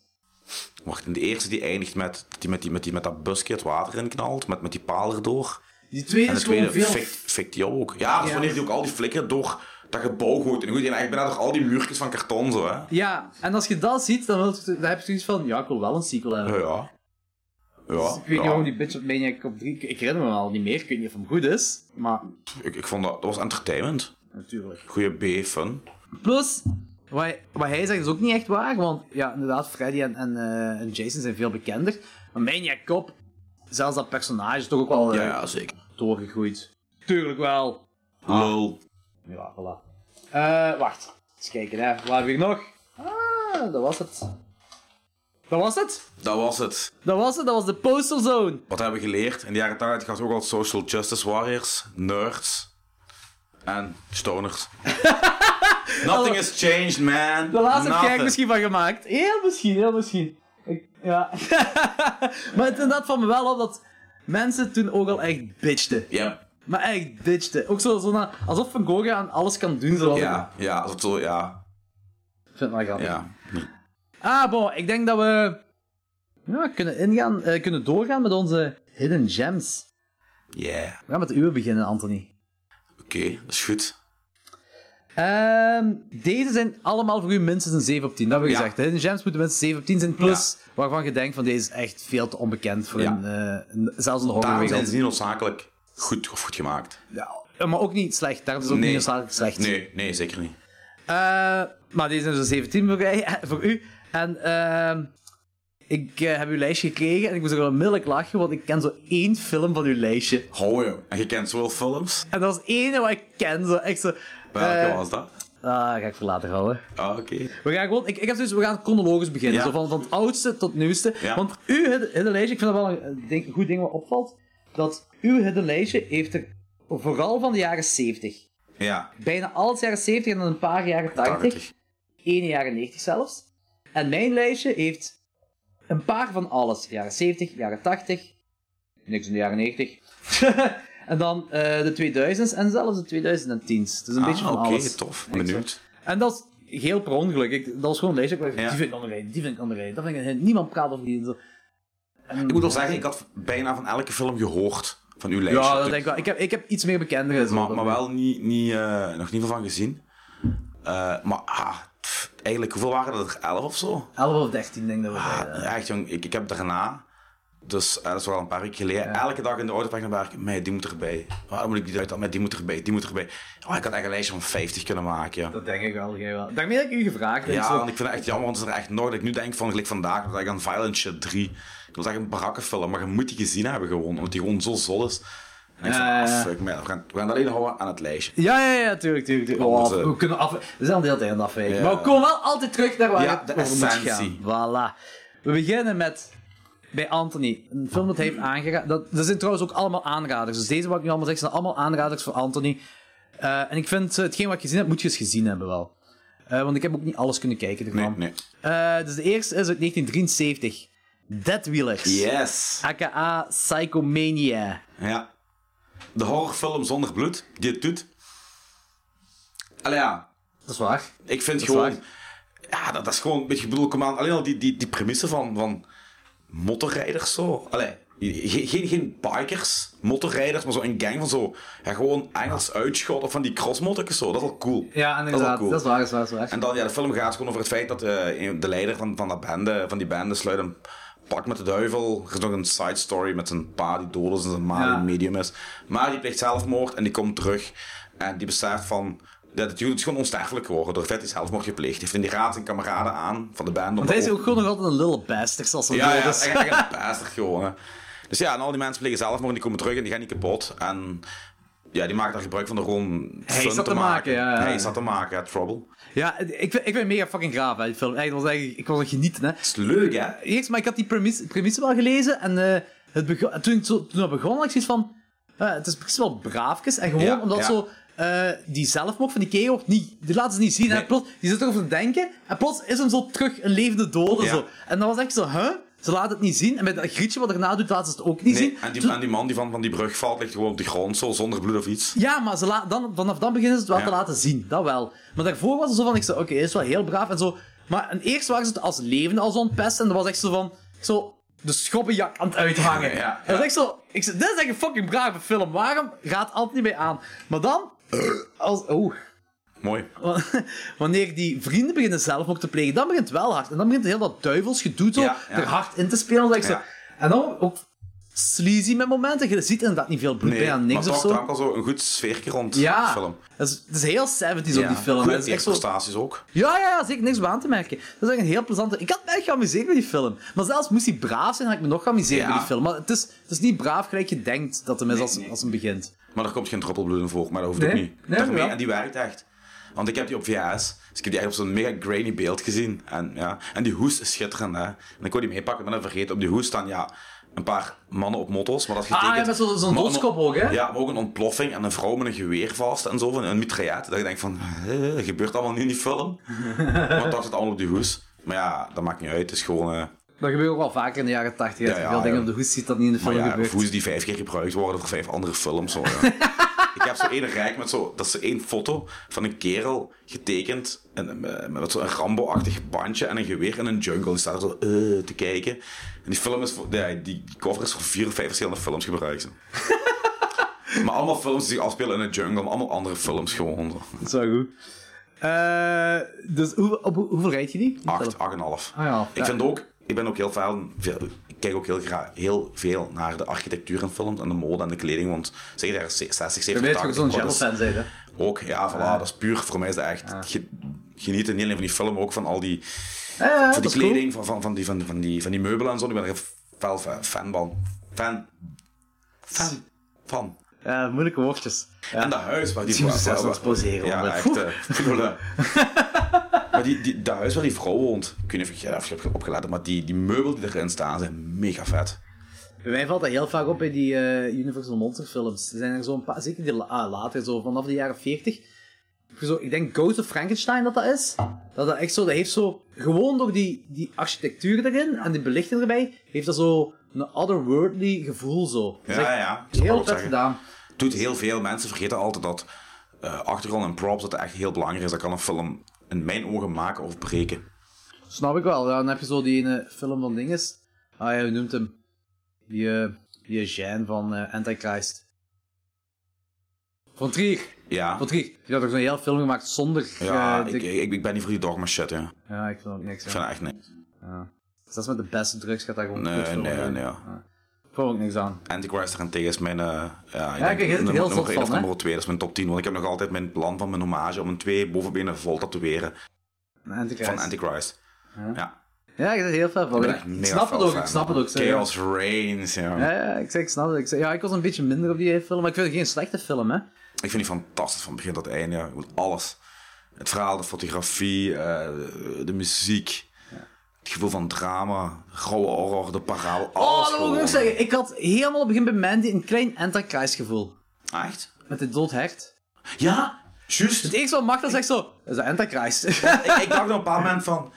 [SPEAKER 2] Wacht, en de eerste die eindigt met, die met, die, met, die, met dat busje het water in knalt, met, met die paal erdoor.
[SPEAKER 1] Die tweede
[SPEAKER 2] En de
[SPEAKER 1] is gewoon
[SPEAKER 2] tweede
[SPEAKER 1] veel...
[SPEAKER 2] fikt, fikt die ook. Ja, dat is
[SPEAKER 1] Ja.
[SPEAKER 2] wanneer die ook al die flikken door dat gebouw gooit. En goed, en eigenlijk bijna door al die muurtjes van karton zo, hè.
[SPEAKER 1] Ja, en als je dat ziet, dan, wil je- dan heb je zoiets van... Ja, ik wil wel een sequel hebben.
[SPEAKER 2] Ja, ja. Eh, Ja,
[SPEAKER 1] Ik weet niet
[SPEAKER 2] ja.
[SPEAKER 1] waarom die bitch op Maniac op 3... Ik ik herinner me wel niet meer, ik weet niet of hem goed is. Maar,
[SPEAKER 2] Ik, ik vond dat, dat was entertainment.
[SPEAKER 1] natuurlijk.
[SPEAKER 2] Goeie B, fun.
[SPEAKER 1] Plus, wat hij, wat hij zegt is ook niet echt waar, want ja, inderdaad, Freddy en, en, eh, en Jason zijn veel bekender. Maar Maniac Cop, zelfs dat personage is toch ook wel eh,
[SPEAKER 2] Ja, ja, zeker.
[SPEAKER 1] doorgegroeid. Tuurlijk wel.
[SPEAKER 2] Lul.
[SPEAKER 1] Ja, voilà. Eh, wacht. Eens kijken, hè. Wat hebben we hier nog? Ah, dat was het. Dat was het?
[SPEAKER 2] Dat was het.
[SPEAKER 1] Dat was het, dat was de Postal Zone.
[SPEAKER 2] Wat hebben we geleerd? In de jaren 80 was ook al social justice warriors, nerds en stoners. Nothing has changed, man.
[SPEAKER 1] De laatste heb jij
[SPEAKER 2] Nothing.
[SPEAKER 1] er misschien van gemaakt. Heel misschien, heel misschien. Ik, ja. maar het, dat valt me wel op dat mensen toen ook al echt bitchten.
[SPEAKER 2] Ja,
[SPEAKER 1] Maar echt bitchten. Ook zo, zo na, alsof Van Gogh aan alles kan doen zoals
[SPEAKER 2] ja, ja, als het zo, ja,
[SPEAKER 1] ik. Ik vind het wel grappig.
[SPEAKER 2] ja.
[SPEAKER 1] Ah, bon, ik denk dat we ja, kunnen, ingaan, eh, kunnen doorgaan met onze hidden gems.
[SPEAKER 2] Yeah.
[SPEAKER 1] We gaan met de uwe beginnen, Anthony.
[SPEAKER 2] dat is goed.
[SPEAKER 1] Ehm, deze zijn allemaal voor u minstens een 7 op 10. Dat hebben we
[SPEAKER 2] Ja.
[SPEAKER 1] gezegd. Hè? De gems moeten minstens 7 op 10 zijn. Plus, waarvan je denkt van deze is echt veel te onbekend voor
[SPEAKER 2] Ja.
[SPEAKER 1] een, eh, een- zelfs een
[SPEAKER 2] Daarom zijn
[SPEAKER 1] horrorwereld.
[SPEAKER 2] ze niet noodzakelijk goed of goed gemaakt.
[SPEAKER 1] Ja, maar ook niet slecht. Daarom is het ook
[SPEAKER 2] Nee.
[SPEAKER 1] niet noodzakelijk slecht.
[SPEAKER 2] Nee, nee, zeker niet.
[SPEAKER 1] Eh, maar deze zijn zo'n 17 voor, mij- voor u. En ehm, ik eh, heb uw lijstje gekregen en ik moest er wel onmiddellijk lachen, want ik ken zo één film van uw lijstje.
[SPEAKER 2] Hou je. En je kent zowel films.
[SPEAKER 1] En dat is het ene wat ik ken. Zo, echt zo.
[SPEAKER 2] Welke
[SPEAKER 1] eh,
[SPEAKER 2] was dat?
[SPEAKER 1] Ah, ga ik voor later houden.
[SPEAKER 2] Ah, oké.
[SPEAKER 1] We gaan gewoon, ik, ik heb zoiets, we gaan chronologisch beginnen.
[SPEAKER 2] Ja.
[SPEAKER 1] Zo van, van het oudste tot het nieuwste.
[SPEAKER 2] Ja.
[SPEAKER 1] Want uw hidden, hidden lijstje, ik vind dat wel een, eh, ding- goed ding wat opvalt, dat uw hidden lijstje heeft er vooral van de jaren 70.
[SPEAKER 2] Ja,
[SPEAKER 1] Bijna alles jaren 70 en dan een paar jaren 80.
[SPEAKER 2] 80.
[SPEAKER 1] Ene jaren 90 zelfs. En mijn lijstje heeft een paar van alles. Jaren 70, jaren 80. Niks in de jaren 90. en dan eh, de 2000s en zelfs de 2010s. Dus een beetje
[SPEAKER 2] Ah,
[SPEAKER 1] van
[SPEAKER 2] oké,
[SPEAKER 1] alles.
[SPEAKER 2] tof. Benieuwd.
[SPEAKER 1] En dat is heel per ongeluk. Ik, dat was gewoon een lijstje. Ik dacht,
[SPEAKER 2] Ja.
[SPEAKER 1] Die vind ik onderreden, die vind ik onderreden. Dat vind ik, niemand praat over die. Zo.
[SPEAKER 2] Ik moet al zeggen, ik had bijna van elke film gehoord van uw lijstje.
[SPEAKER 1] Ja, dat denk ik wel. Ik heb, ik heb iets meer bekendere. zo.
[SPEAKER 2] maar, maar wel niet, niet, eh, nog niet veel van gezien. Eh, maar ah, pff, eigenlijk, hoeveel waren dat er? Elf of zo?
[SPEAKER 1] 11 of 13 denk ik dat we
[SPEAKER 2] Ah,
[SPEAKER 1] deden.
[SPEAKER 2] echt jong, ik, ik heb daarna, dus eh, dat is wel een paar weken geleden, elke dag in de auto pak naar werk, "Mei, die moet erbij. Ah, dan moet ik die eruit halen, "Mei, die moet erbij, die moet erbij. Oh, ik had echt een lijstje van 50 kunnen maken. Ja,
[SPEAKER 1] Dat denk ik wel, jij wel. Daarmee heb ik u gevraagd. hè.
[SPEAKER 2] ja
[SPEAKER 1] Zo-
[SPEAKER 2] want ik vind het echt jammer, want het is er echt nooit. dat Ik nu denk van, gelijk vandaag, dat ik aan Violent Shit 3, dat is echt een barakkenfilm, maar je moet die gezien hebben gewoon, omdat die gewoon zo zol is. En ik van,
[SPEAKER 1] Ja, ja,
[SPEAKER 2] ah,
[SPEAKER 1] ja.
[SPEAKER 2] fuck man, we gaan, we gaan dat alleen houden aan het lijstje.
[SPEAKER 1] Ja, ja, ja, tuurlijk, tuurlijk. tuurlijk. Oh,
[SPEAKER 2] Anders, eh,
[SPEAKER 1] we kunnen af... We zijn al de hele tijd aan het afwijken.
[SPEAKER 2] Ja.
[SPEAKER 1] Maar we komen wel altijd terug naar waar
[SPEAKER 2] Ja,
[SPEAKER 1] het
[SPEAKER 2] de
[SPEAKER 1] over moet
[SPEAKER 2] essentie.
[SPEAKER 1] gaan. Voilà. We beginnen met... Bij Anthony. Een film dat hij heeft aangeraden. Dat, dat zijn trouwens ook allemaal aanraders. Dus deze wat ik nu allemaal zeg, zijn allemaal aanraders voor Anthony. Eh, en ik vind, eh, hetgeen wat ik gezien heb, moet je eens gezien hebben wel. Eh, want ik heb ook niet alles kunnen kijken ervan.
[SPEAKER 2] Nee, nee.
[SPEAKER 1] Eh, dus de eerste is uit 1973. Deadwheelers.
[SPEAKER 2] Yes!
[SPEAKER 1] A.k.a. Psychomania.
[SPEAKER 2] Ja. De horrorfilm zonder bloed, die het doet. Allee ja,
[SPEAKER 1] Dat is waar.
[SPEAKER 2] Ik vind
[SPEAKER 1] Dat is
[SPEAKER 2] gewoon... Ja, dat, dat is gewoon... Weet je, ik bedoel, kom aan. Alleen al die, die, die premisse van, van motorrijders zo. Allee, ge- geen, geen bikers, motorrijders, maar zo een gang van zo... Ja, gewoon Engels uitschotten van die crossmotorkjes zo. Dat is wel cool.
[SPEAKER 1] Ja,
[SPEAKER 2] Dat is wel
[SPEAKER 1] inderdaad.
[SPEAKER 2] cool.
[SPEAKER 1] Dat is waar, dat is waar, dat is waar.
[SPEAKER 2] En dan, ja, de film gaat gewoon over het feit dat eh, een- de leider van, van, dat bende, van die bende sluit een pak met de duivel. Er is nog een side story met zijn pa die dood is en zijn ma die
[SPEAKER 1] Ja.
[SPEAKER 2] een medium is. Maar die pleegt zelfmoord en die komt terug. En die beseft van... Dat het is gewoon onsterfelijk geworden door het feit dat hij zelfmoord gepleegd heeft. En die raadt zijn kameraden aan van de bende. om
[SPEAKER 1] Want hij is
[SPEAKER 2] ook-
[SPEAKER 1] ook gewoon nog altijd een little bastard, zoals we
[SPEAKER 2] ja, ja,
[SPEAKER 1] zeggen. Dus-
[SPEAKER 2] dat is echt, echt een bastard gewoon. hè. Dus ja, en al die mensen plegen zelfmoord en die komen terug en die gaan niet kapot. En ja, die maken daar gebruik van de gewoon
[SPEAKER 1] Hij
[SPEAKER 2] fun
[SPEAKER 1] is dat te maken, ja, ja,
[SPEAKER 2] Hij
[SPEAKER 1] ja.
[SPEAKER 2] is dat te maken, ja, trouble.
[SPEAKER 1] Ja, ik, vind- ik vind het mega fucking gaaf, hè, die film. Echt, dat was echt, ik was er genieten, hè.
[SPEAKER 2] Het is leuk, hè?
[SPEAKER 1] Eerst, maar ik had die premise, premise wel gelezen en eh, het begon, toen, ik zo, toen dat begon, had ik zoiets van... eh, het is precies wel braafjes. En gewoon
[SPEAKER 2] Ja,
[SPEAKER 1] omdat
[SPEAKER 2] ja.
[SPEAKER 1] zo... eh, die zelfmoord van die kerel, wordt niet, die laten ze niet zien.
[SPEAKER 2] Nee.
[SPEAKER 1] En plots, die zit erover te denken. En plots is hem zo terug een levende dode.
[SPEAKER 2] Ja.
[SPEAKER 1] Zo. En dat was echt zo, huh? Ze laten het niet zien. En met dat grietje wat erna doet, laten ze het ook niet
[SPEAKER 2] Nee,
[SPEAKER 1] zien.
[SPEAKER 2] en,
[SPEAKER 1] Toen-
[SPEAKER 2] die, en die man die van, van die brug valt ligt gewoon op de grond, zo, zonder bloed of iets.
[SPEAKER 1] Ja, maar ze la- dan, vanaf dan beginnen ze het wel
[SPEAKER 2] Ja.
[SPEAKER 1] te laten zien. Dat wel. Maar daarvoor was het zo van, ik zei, oké, is wel heel braaf en zo. Maar en eerst waren ze het als levende al zo'n pest. En dat was echt zo van, zo de schoppenjak aan het uithangen.
[SPEAKER 2] Ja, ja.
[SPEAKER 1] Dat was echt zo, ik zei, dit is echt een fucking brave film. Waarom gaat Ant niet mee aan? Maar dan, als, oh,
[SPEAKER 2] Mooi.
[SPEAKER 1] wa- wanneer die vrienden beginnen zelf ook te plegen, dan begint het wel hard. En dan begint heel dat duivelsgedoe zo
[SPEAKER 2] Ja, ja.
[SPEAKER 1] er hard in te spelen. Dat ik zo,
[SPEAKER 2] Ja.
[SPEAKER 1] en dan ook sleazy met momenten. Je ziet inderdaad niet veel bloed,
[SPEAKER 2] Nee,
[SPEAKER 1] bijna niks
[SPEAKER 2] maar toch
[SPEAKER 1] of zo.
[SPEAKER 2] daar al zo een goed sfeertje rond
[SPEAKER 1] Ja,
[SPEAKER 2] de film.
[SPEAKER 1] Dat is, dat is heel 70s op die film.
[SPEAKER 2] Goede
[SPEAKER 1] Dat is echt zo...
[SPEAKER 2] prestaties ook.
[SPEAKER 1] Ja, ja, ja, zeker niks op aan te merken. Dat is echt een heel plezante. Ik had me echt geamuseerd met die film. Maar zelfs moest hij braaf zijn, had ik me nog geamuseerd
[SPEAKER 2] Ja.
[SPEAKER 1] met die film. Maar het is, het is niet braaf gelijk je denkt dat hem is als, als hem begint.
[SPEAKER 2] Maar er komt geen droppelbloed in voor, maar dat hoeft
[SPEAKER 1] Nee,
[SPEAKER 2] ook niet.
[SPEAKER 1] nee,
[SPEAKER 2] Daarmee,
[SPEAKER 1] wel.
[SPEAKER 2] en die werkt echt. Want ik heb die op VHS, dus ik heb die echt op zo'n mega grainy beeld gezien. En, ja. en die hoes is schitterend, hè. En ik wil die meepakken, maar dan vergeet op die hoes staan, ja, een paar mannen op motto's, maar dat is
[SPEAKER 1] Ah,
[SPEAKER 2] getekend.
[SPEAKER 1] ja, met zo'n- zo'n
[SPEAKER 2] Maar een-
[SPEAKER 1] doodskop ook, hè?
[SPEAKER 2] Ja, maar ook een ontploffing en een vrouw met een geweer vast en zo, van een mitraillet. Dat je denkt van, eh, dat gebeurt allemaal niet in die film. maar toch zit allemaal op die hoes. Maar ja, dat maakt niet uit, het is gewoon... eh,
[SPEAKER 1] Dat gebeurt ook wel vaker in de jaren 80.
[SPEAKER 2] Ja,
[SPEAKER 1] Ja,
[SPEAKER 2] ja,
[SPEAKER 1] veel dingen
[SPEAKER 2] ja.
[SPEAKER 1] op de hoes ziet dat niet in de
[SPEAKER 2] Maar
[SPEAKER 1] film
[SPEAKER 2] ja,
[SPEAKER 1] gebeurt.
[SPEAKER 2] hoe is die vijf keer gebruikt worden voor vijf andere films? Hoor, ja. ik heb zo één rijk met zo... Dat is één foto van een kerel getekend. En, eh, met zo'n Rambo-achtig bandje en een geweer in een jungle. Die staat er zo eh, te kijken. En die film is... Voor, ja, die, die cover is voor vier of vijf verschillende films gebruikt. Maar allemaal films die zich afspelen in een jungle, maar allemaal andere films gewoon.
[SPEAKER 1] Zo goed. Eh, dus hoe, op, hoe- hoeveel rijd je die?
[SPEAKER 2] 8, 8,5. half.
[SPEAKER 1] Ah ja.
[SPEAKER 2] Ik vind ook, ik ben ook heel fan, veel, ik kijk ook heel, graag, heel veel naar de architectuur in films en de mode en de kleding, want zeker daar 60, 70,
[SPEAKER 1] Je weet dat
[SPEAKER 2] 80
[SPEAKER 1] zo'n
[SPEAKER 2] dat is-
[SPEAKER 1] Jell-fan bent, hè?
[SPEAKER 2] Ook, ja, voilà, dat is puur, voor mij is dat echt, ge- genieten niet alleen van die film, maar ook van al die,
[SPEAKER 1] Ja, ja,
[SPEAKER 2] van
[SPEAKER 1] Eh, dat
[SPEAKER 2] die
[SPEAKER 1] is cool.
[SPEAKER 2] kleding, van, van, van, die, van, die- van, die, van die meubelen en zo, ik ben er een fel fa- fan van. Fan. Fan. Van.
[SPEAKER 1] Ja, moeilijke woordjes.
[SPEAKER 2] En dat huis waar die
[SPEAKER 1] Zien we
[SPEAKER 2] waar-
[SPEAKER 1] zelfs
[SPEAKER 2] waar-
[SPEAKER 1] ons poseren,
[SPEAKER 2] Ja,
[SPEAKER 1] honderd.
[SPEAKER 2] echt. eh, voilà. maar die, die, dat huis waar die vrouw woont, ik weet niet of je daarop hebt opgeladen, maar die, die meubels die erin staan zijn mega vet.
[SPEAKER 1] Bij mij valt dat heel vaak op bij die eh, Universal Monster films. Er zijn er zo'n paar, zeker die la- ah, later, zo vanaf de jaren 40. Zo, ik denk Ghost of Frankenstein dat dat is. Dat dat echt zo, dat heeft zo, gewoon door die, die architectuur erin en die belichting erbij, heeft dat zo een otherworldly gevoel zo. Dat is
[SPEAKER 2] Ja,
[SPEAKER 1] echt
[SPEAKER 2] ja, dat zou ik
[SPEAKER 1] Heel
[SPEAKER 2] ook
[SPEAKER 1] vet
[SPEAKER 2] zeggen.
[SPEAKER 1] gedaan.
[SPEAKER 2] doet heel veel mensen vergeten altijd dat eh, achtergrond en props dat dat echt heel belangrijk is. Dat kan een film in mijn ogen maken of breken.
[SPEAKER 1] Snap ik wel. Ja, dan heb je zo die ene film van dinges. Ah ja, hoe noemt hem? Die, eh, die Jean van eh, Antichrist. Van Trier.
[SPEAKER 2] Ja,
[SPEAKER 1] Van Trier. Die had ook zo'n heel film gemaakt zonder...
[SPEAKER 2] ja
[SPEAKER 1] eh,
[SPEAKER 2] ik,
[SPEAKER 1] de-
[SPEAKER 2] ik, ik ben niet voor die dogma shit, ja. Ik
[SPEAKER 1] Ja, ik vind ook niks.
[SPEAKER 2] vind
[SPEAKER 1] Ja.
[SPEAKER 2] dat echt niks.
[SPEAKER 1] Zelfs met de beste drugs gaat daar gewoon
[SPEAKER 2] Nee,
[SPEAKER 1] kutfilmen
[SPEAKER 2] nee,
[SPEAKER 1] in.
[SPEAKER 2] nee.
[SPEAKER 1] Ik vond ook niks aan.
[SPEAKER 2] Antichrist daarentegen is mijn... eh, ja, ik
[SPEAKER 1] Ja, kijk,
[SPEAKER 2] denk
[SPEAKER 1] heel-
[SPEAKER 2] nummer-
[SPEAKER 1] heel zot
[SPEAKER 2] nummer 1 of
[SPEAKER 1] van, hè?
[SPEAKER 2] nummer 2, dat is mijn top 10. Want ik heb nog altijd mijn plan van mijn hommage om een twee bovenbenen vol tatoeëren
[SPEAKER 1] Een Antichrist.
[SPEAKER 2] van Antichrist. Ja,
[SPEAKER 1] Ja, ik zit heel veel van.
[SPEAKER 2] ben
[SPEAKER 1] Ik,
[SPEAKER 2] echt
[SPEAKER 1] ik
[SPEAKER 2] mega
[SPEAKER 1] snap het
[SPEAKER 2] fel
[SPEAKER 1] ook, ik
[SPEAKER 2] fan,
[SPEAKER 1] snap het
[SPEAKER 2] man.
[SPEAKER 1] ook. Zo, ja.
[SPEAKER 2] Chaos Reigns, ja.
[SPEAKER 1] Ja, ja, ik, zeg, ik snap het. Ik zeg, ja, ik was een beetje minder op die film, maar ik vind het geen slechte film, hè.
[SPEAKER 2] Ik vind die fantastisch van begin tot einde. ja. Ik bedoel, Alles. Het verhaal, de fotografie, eh, de muziek. Het gevoel van drama, rauwe horror, de parabel.
[SPEAKER 1] Oh,
[SPEAKER 2] Alles
[SPEAKER 1] dat moet ik ook
[SPEAKER 2] gewoon.
[SPEAKER 1] zeggen. Ik had helemaal op het begin bij Mandy een klein Antichrist gevoel.
[SPEAKER 2] Ah, Echt?
[SPEAKER 1] Met dit dood hert.
[SPEAKER 2] Ja, juist.
[SPEAKER 1] Het eerste wat Marta zegt zo, dat is de Antichrist.
[SPEAKER 2] ik, ik dacht op een paar moment van...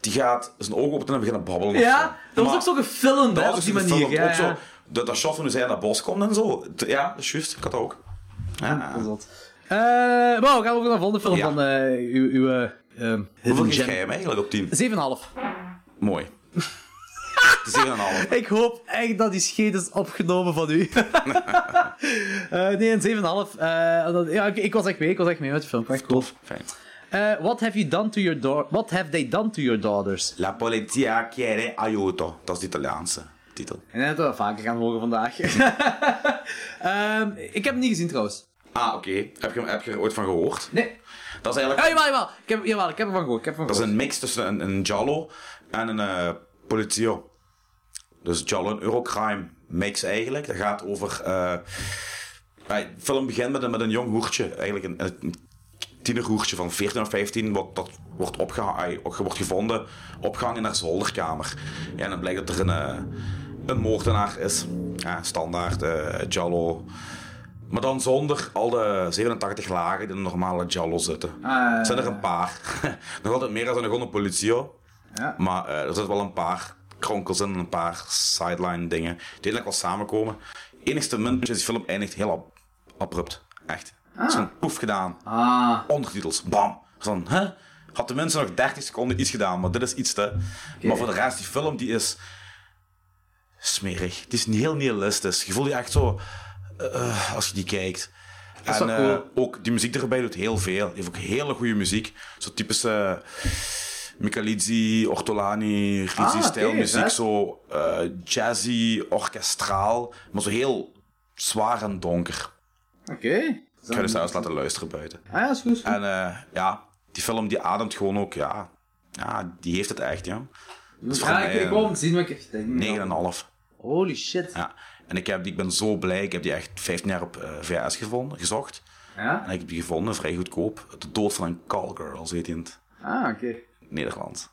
[SPEAKER 2] Die gaat zijn ogen openen en beginnen babbelen. of
[SPEAKER 1] ja, dat was
[SPEAKER 2] Maar
[SPEAKER 1] ook zo gefilmd,
[SPEAKER 2] dat
[SPEAKER 1] hè,
[SPEAKER 2] was
[SPEAKER 1] op
[SPEAKER 2] ook
[SPEAKER 1] die
[SPEAKER 2] zo
[SPEAKER 1] manier.
[SPEAKER 2] gefilmd,
[SPEAKER 1] Ja,
[SPEAKER 2] dus ook zo,
[SPEAKER 1] ja.
[SPEAKER 2] dat dat chauffeur nu zei naar het bos komt en zo. Ja, dat is juist. Ik had dat ook. Ja.
[SPEAKER 1] Eh, maar we gaan over naar de volgende film
[SPEAKER 2] Ja.
[SPEAKER 1] van eh, uw... uw eh, ehm, Hidden
[SPEAKER 2] Hoeveel geef
[SPEAKER 1] Gem.
[SPEAKER 2] jij hem eigenlijk op 10?
[SPEAKER 1] 7,5.
[SPEAKER 2] Mooi. De 7,5.
[SPEAKER 1] Ik hoop echt dat die scheet is opgenomen van u. Eh, nee, een 7,5. Eh, omdat- ja, ik, ik was echt mee, ik was echt mee met de film. Ik vond het Echt cool.
[SPEAKER 2] Fijn.
[SPEAKER 1] Eh, what have you done to your daughters? What have they done to your daughters?
[SPEAKER 2] La polizia chiede aiuto. Dat is de Italiaanse titel.
[SPEAKER 1] En dat we dat vaker gaan horen vandaag. Ehm, ik heb hem niet gezien trouwens.
[SPEAKER 2] Ah, oké. Heb, je, heb je er ooit van gehoord?
[SPEAKER 1] Nee.
[SPEAKER 2] Dat is
[SPEAKER 1] Ja,
[SPEAKER 2] eigenlijk
[SPEAKER 1] Ah, jawel, jawel. Ik heb, jawel, ik heb ervan gehoord. Ik heb ervan
[SPEAKER 2] dat is
[SPEAKER 1] gehoord.
[SPEAKER 2] een mix tussen een, een giallo en een eh polizio. Dus giallo en eurocrime mix eigenlijk. Dat gaat over... eh, eh, de film begint met een, met een jong hoertje. Eigenlijk een, een tienerhoertje van 14 of 15. Wat, dat wordt, opgeha- eh, wordt gevonden, opgehangen in haar zolderkamer. Ja, en dan blijkt dat er een, eh, een moordenaar is. Ja, standaard, eh giallo... Maar dan zonder al de 87 lagen die in de normale Jallo zitten. Het zijn er een paar. nog altijd meer dan een gewone politio. Maar eh, er zitten wel een paar kronkels in en een paar sideline dingen. Die eigenlijk wel samenkomen. Enigste munt is die film eindigt heel ab- abrupt. Echt. Het is gewoon poef gedaan.
[SPEAKER 1] Ah,
[SPEAKER 2] Ondertitels. Bam. Van, hè? Had de mensen nog 30 seconden iets gedaan, maar dit is iets te... Maar voor de rest, die film die is... Smerig. Het is heel nihilistisch. Je voelt je echt zo... eh, als je die kijkt. en
[SPEAKER 1] wel
[SPEAKER 2] eh,
[SPEAKER 1] cool.
[SPEAKER 2] ook die muziek erbij doet heel veel. Die heeft ook hele goede muziek. Zo typische... Michelizzi, Ortolani,
[SPEAKER 1] Ah,
[SPEAKER 2] Rizzi-stijl
[SPEAKER 1] oké,
[SPEAKER 2] muziek.
[SPEAKER 1] vet.
[SPEAKER 2] Zo eh, jazzy, orkestraal. Maar zo heel zwaar en donker.
[SPEAKER 1] Oké.
[SPEAKER 2] Ik ga dus- je zelfs laten luisteren buiten.
[SPEAKER 1] Ah ja, is goed. is goed.
[SPEAKER 2] En eh, ja, die film die ademt gewoon ook, ja. Ja, die heeft het echt, ja. Dat is voor
[SPEAKER 1] Ja,
[SPEAKER 2] mij
[SPEAKER 1] ik, ik
[SPEAKER 2] een
[SPEAKER 1] wil hem zien, maar ik heb geen idee.
[SPEAKER 2] 9,5.
[SPEAKER 1] Holy shit.
[SPEAKER 2] Ja. En ik, heb, die- ik ben zo blij, ik heb die echt 15 jaar op eh, VHS gevonden, gezocht.
[SPEAKER 1] Ja?
[SPEAKER 2] En ik heb die gevonden, vrij goedkoop. De dood van een call girl, zo heet die in het
[SPEAKER 1] Ah, oké.
[SPEAKER 2] Nederlands.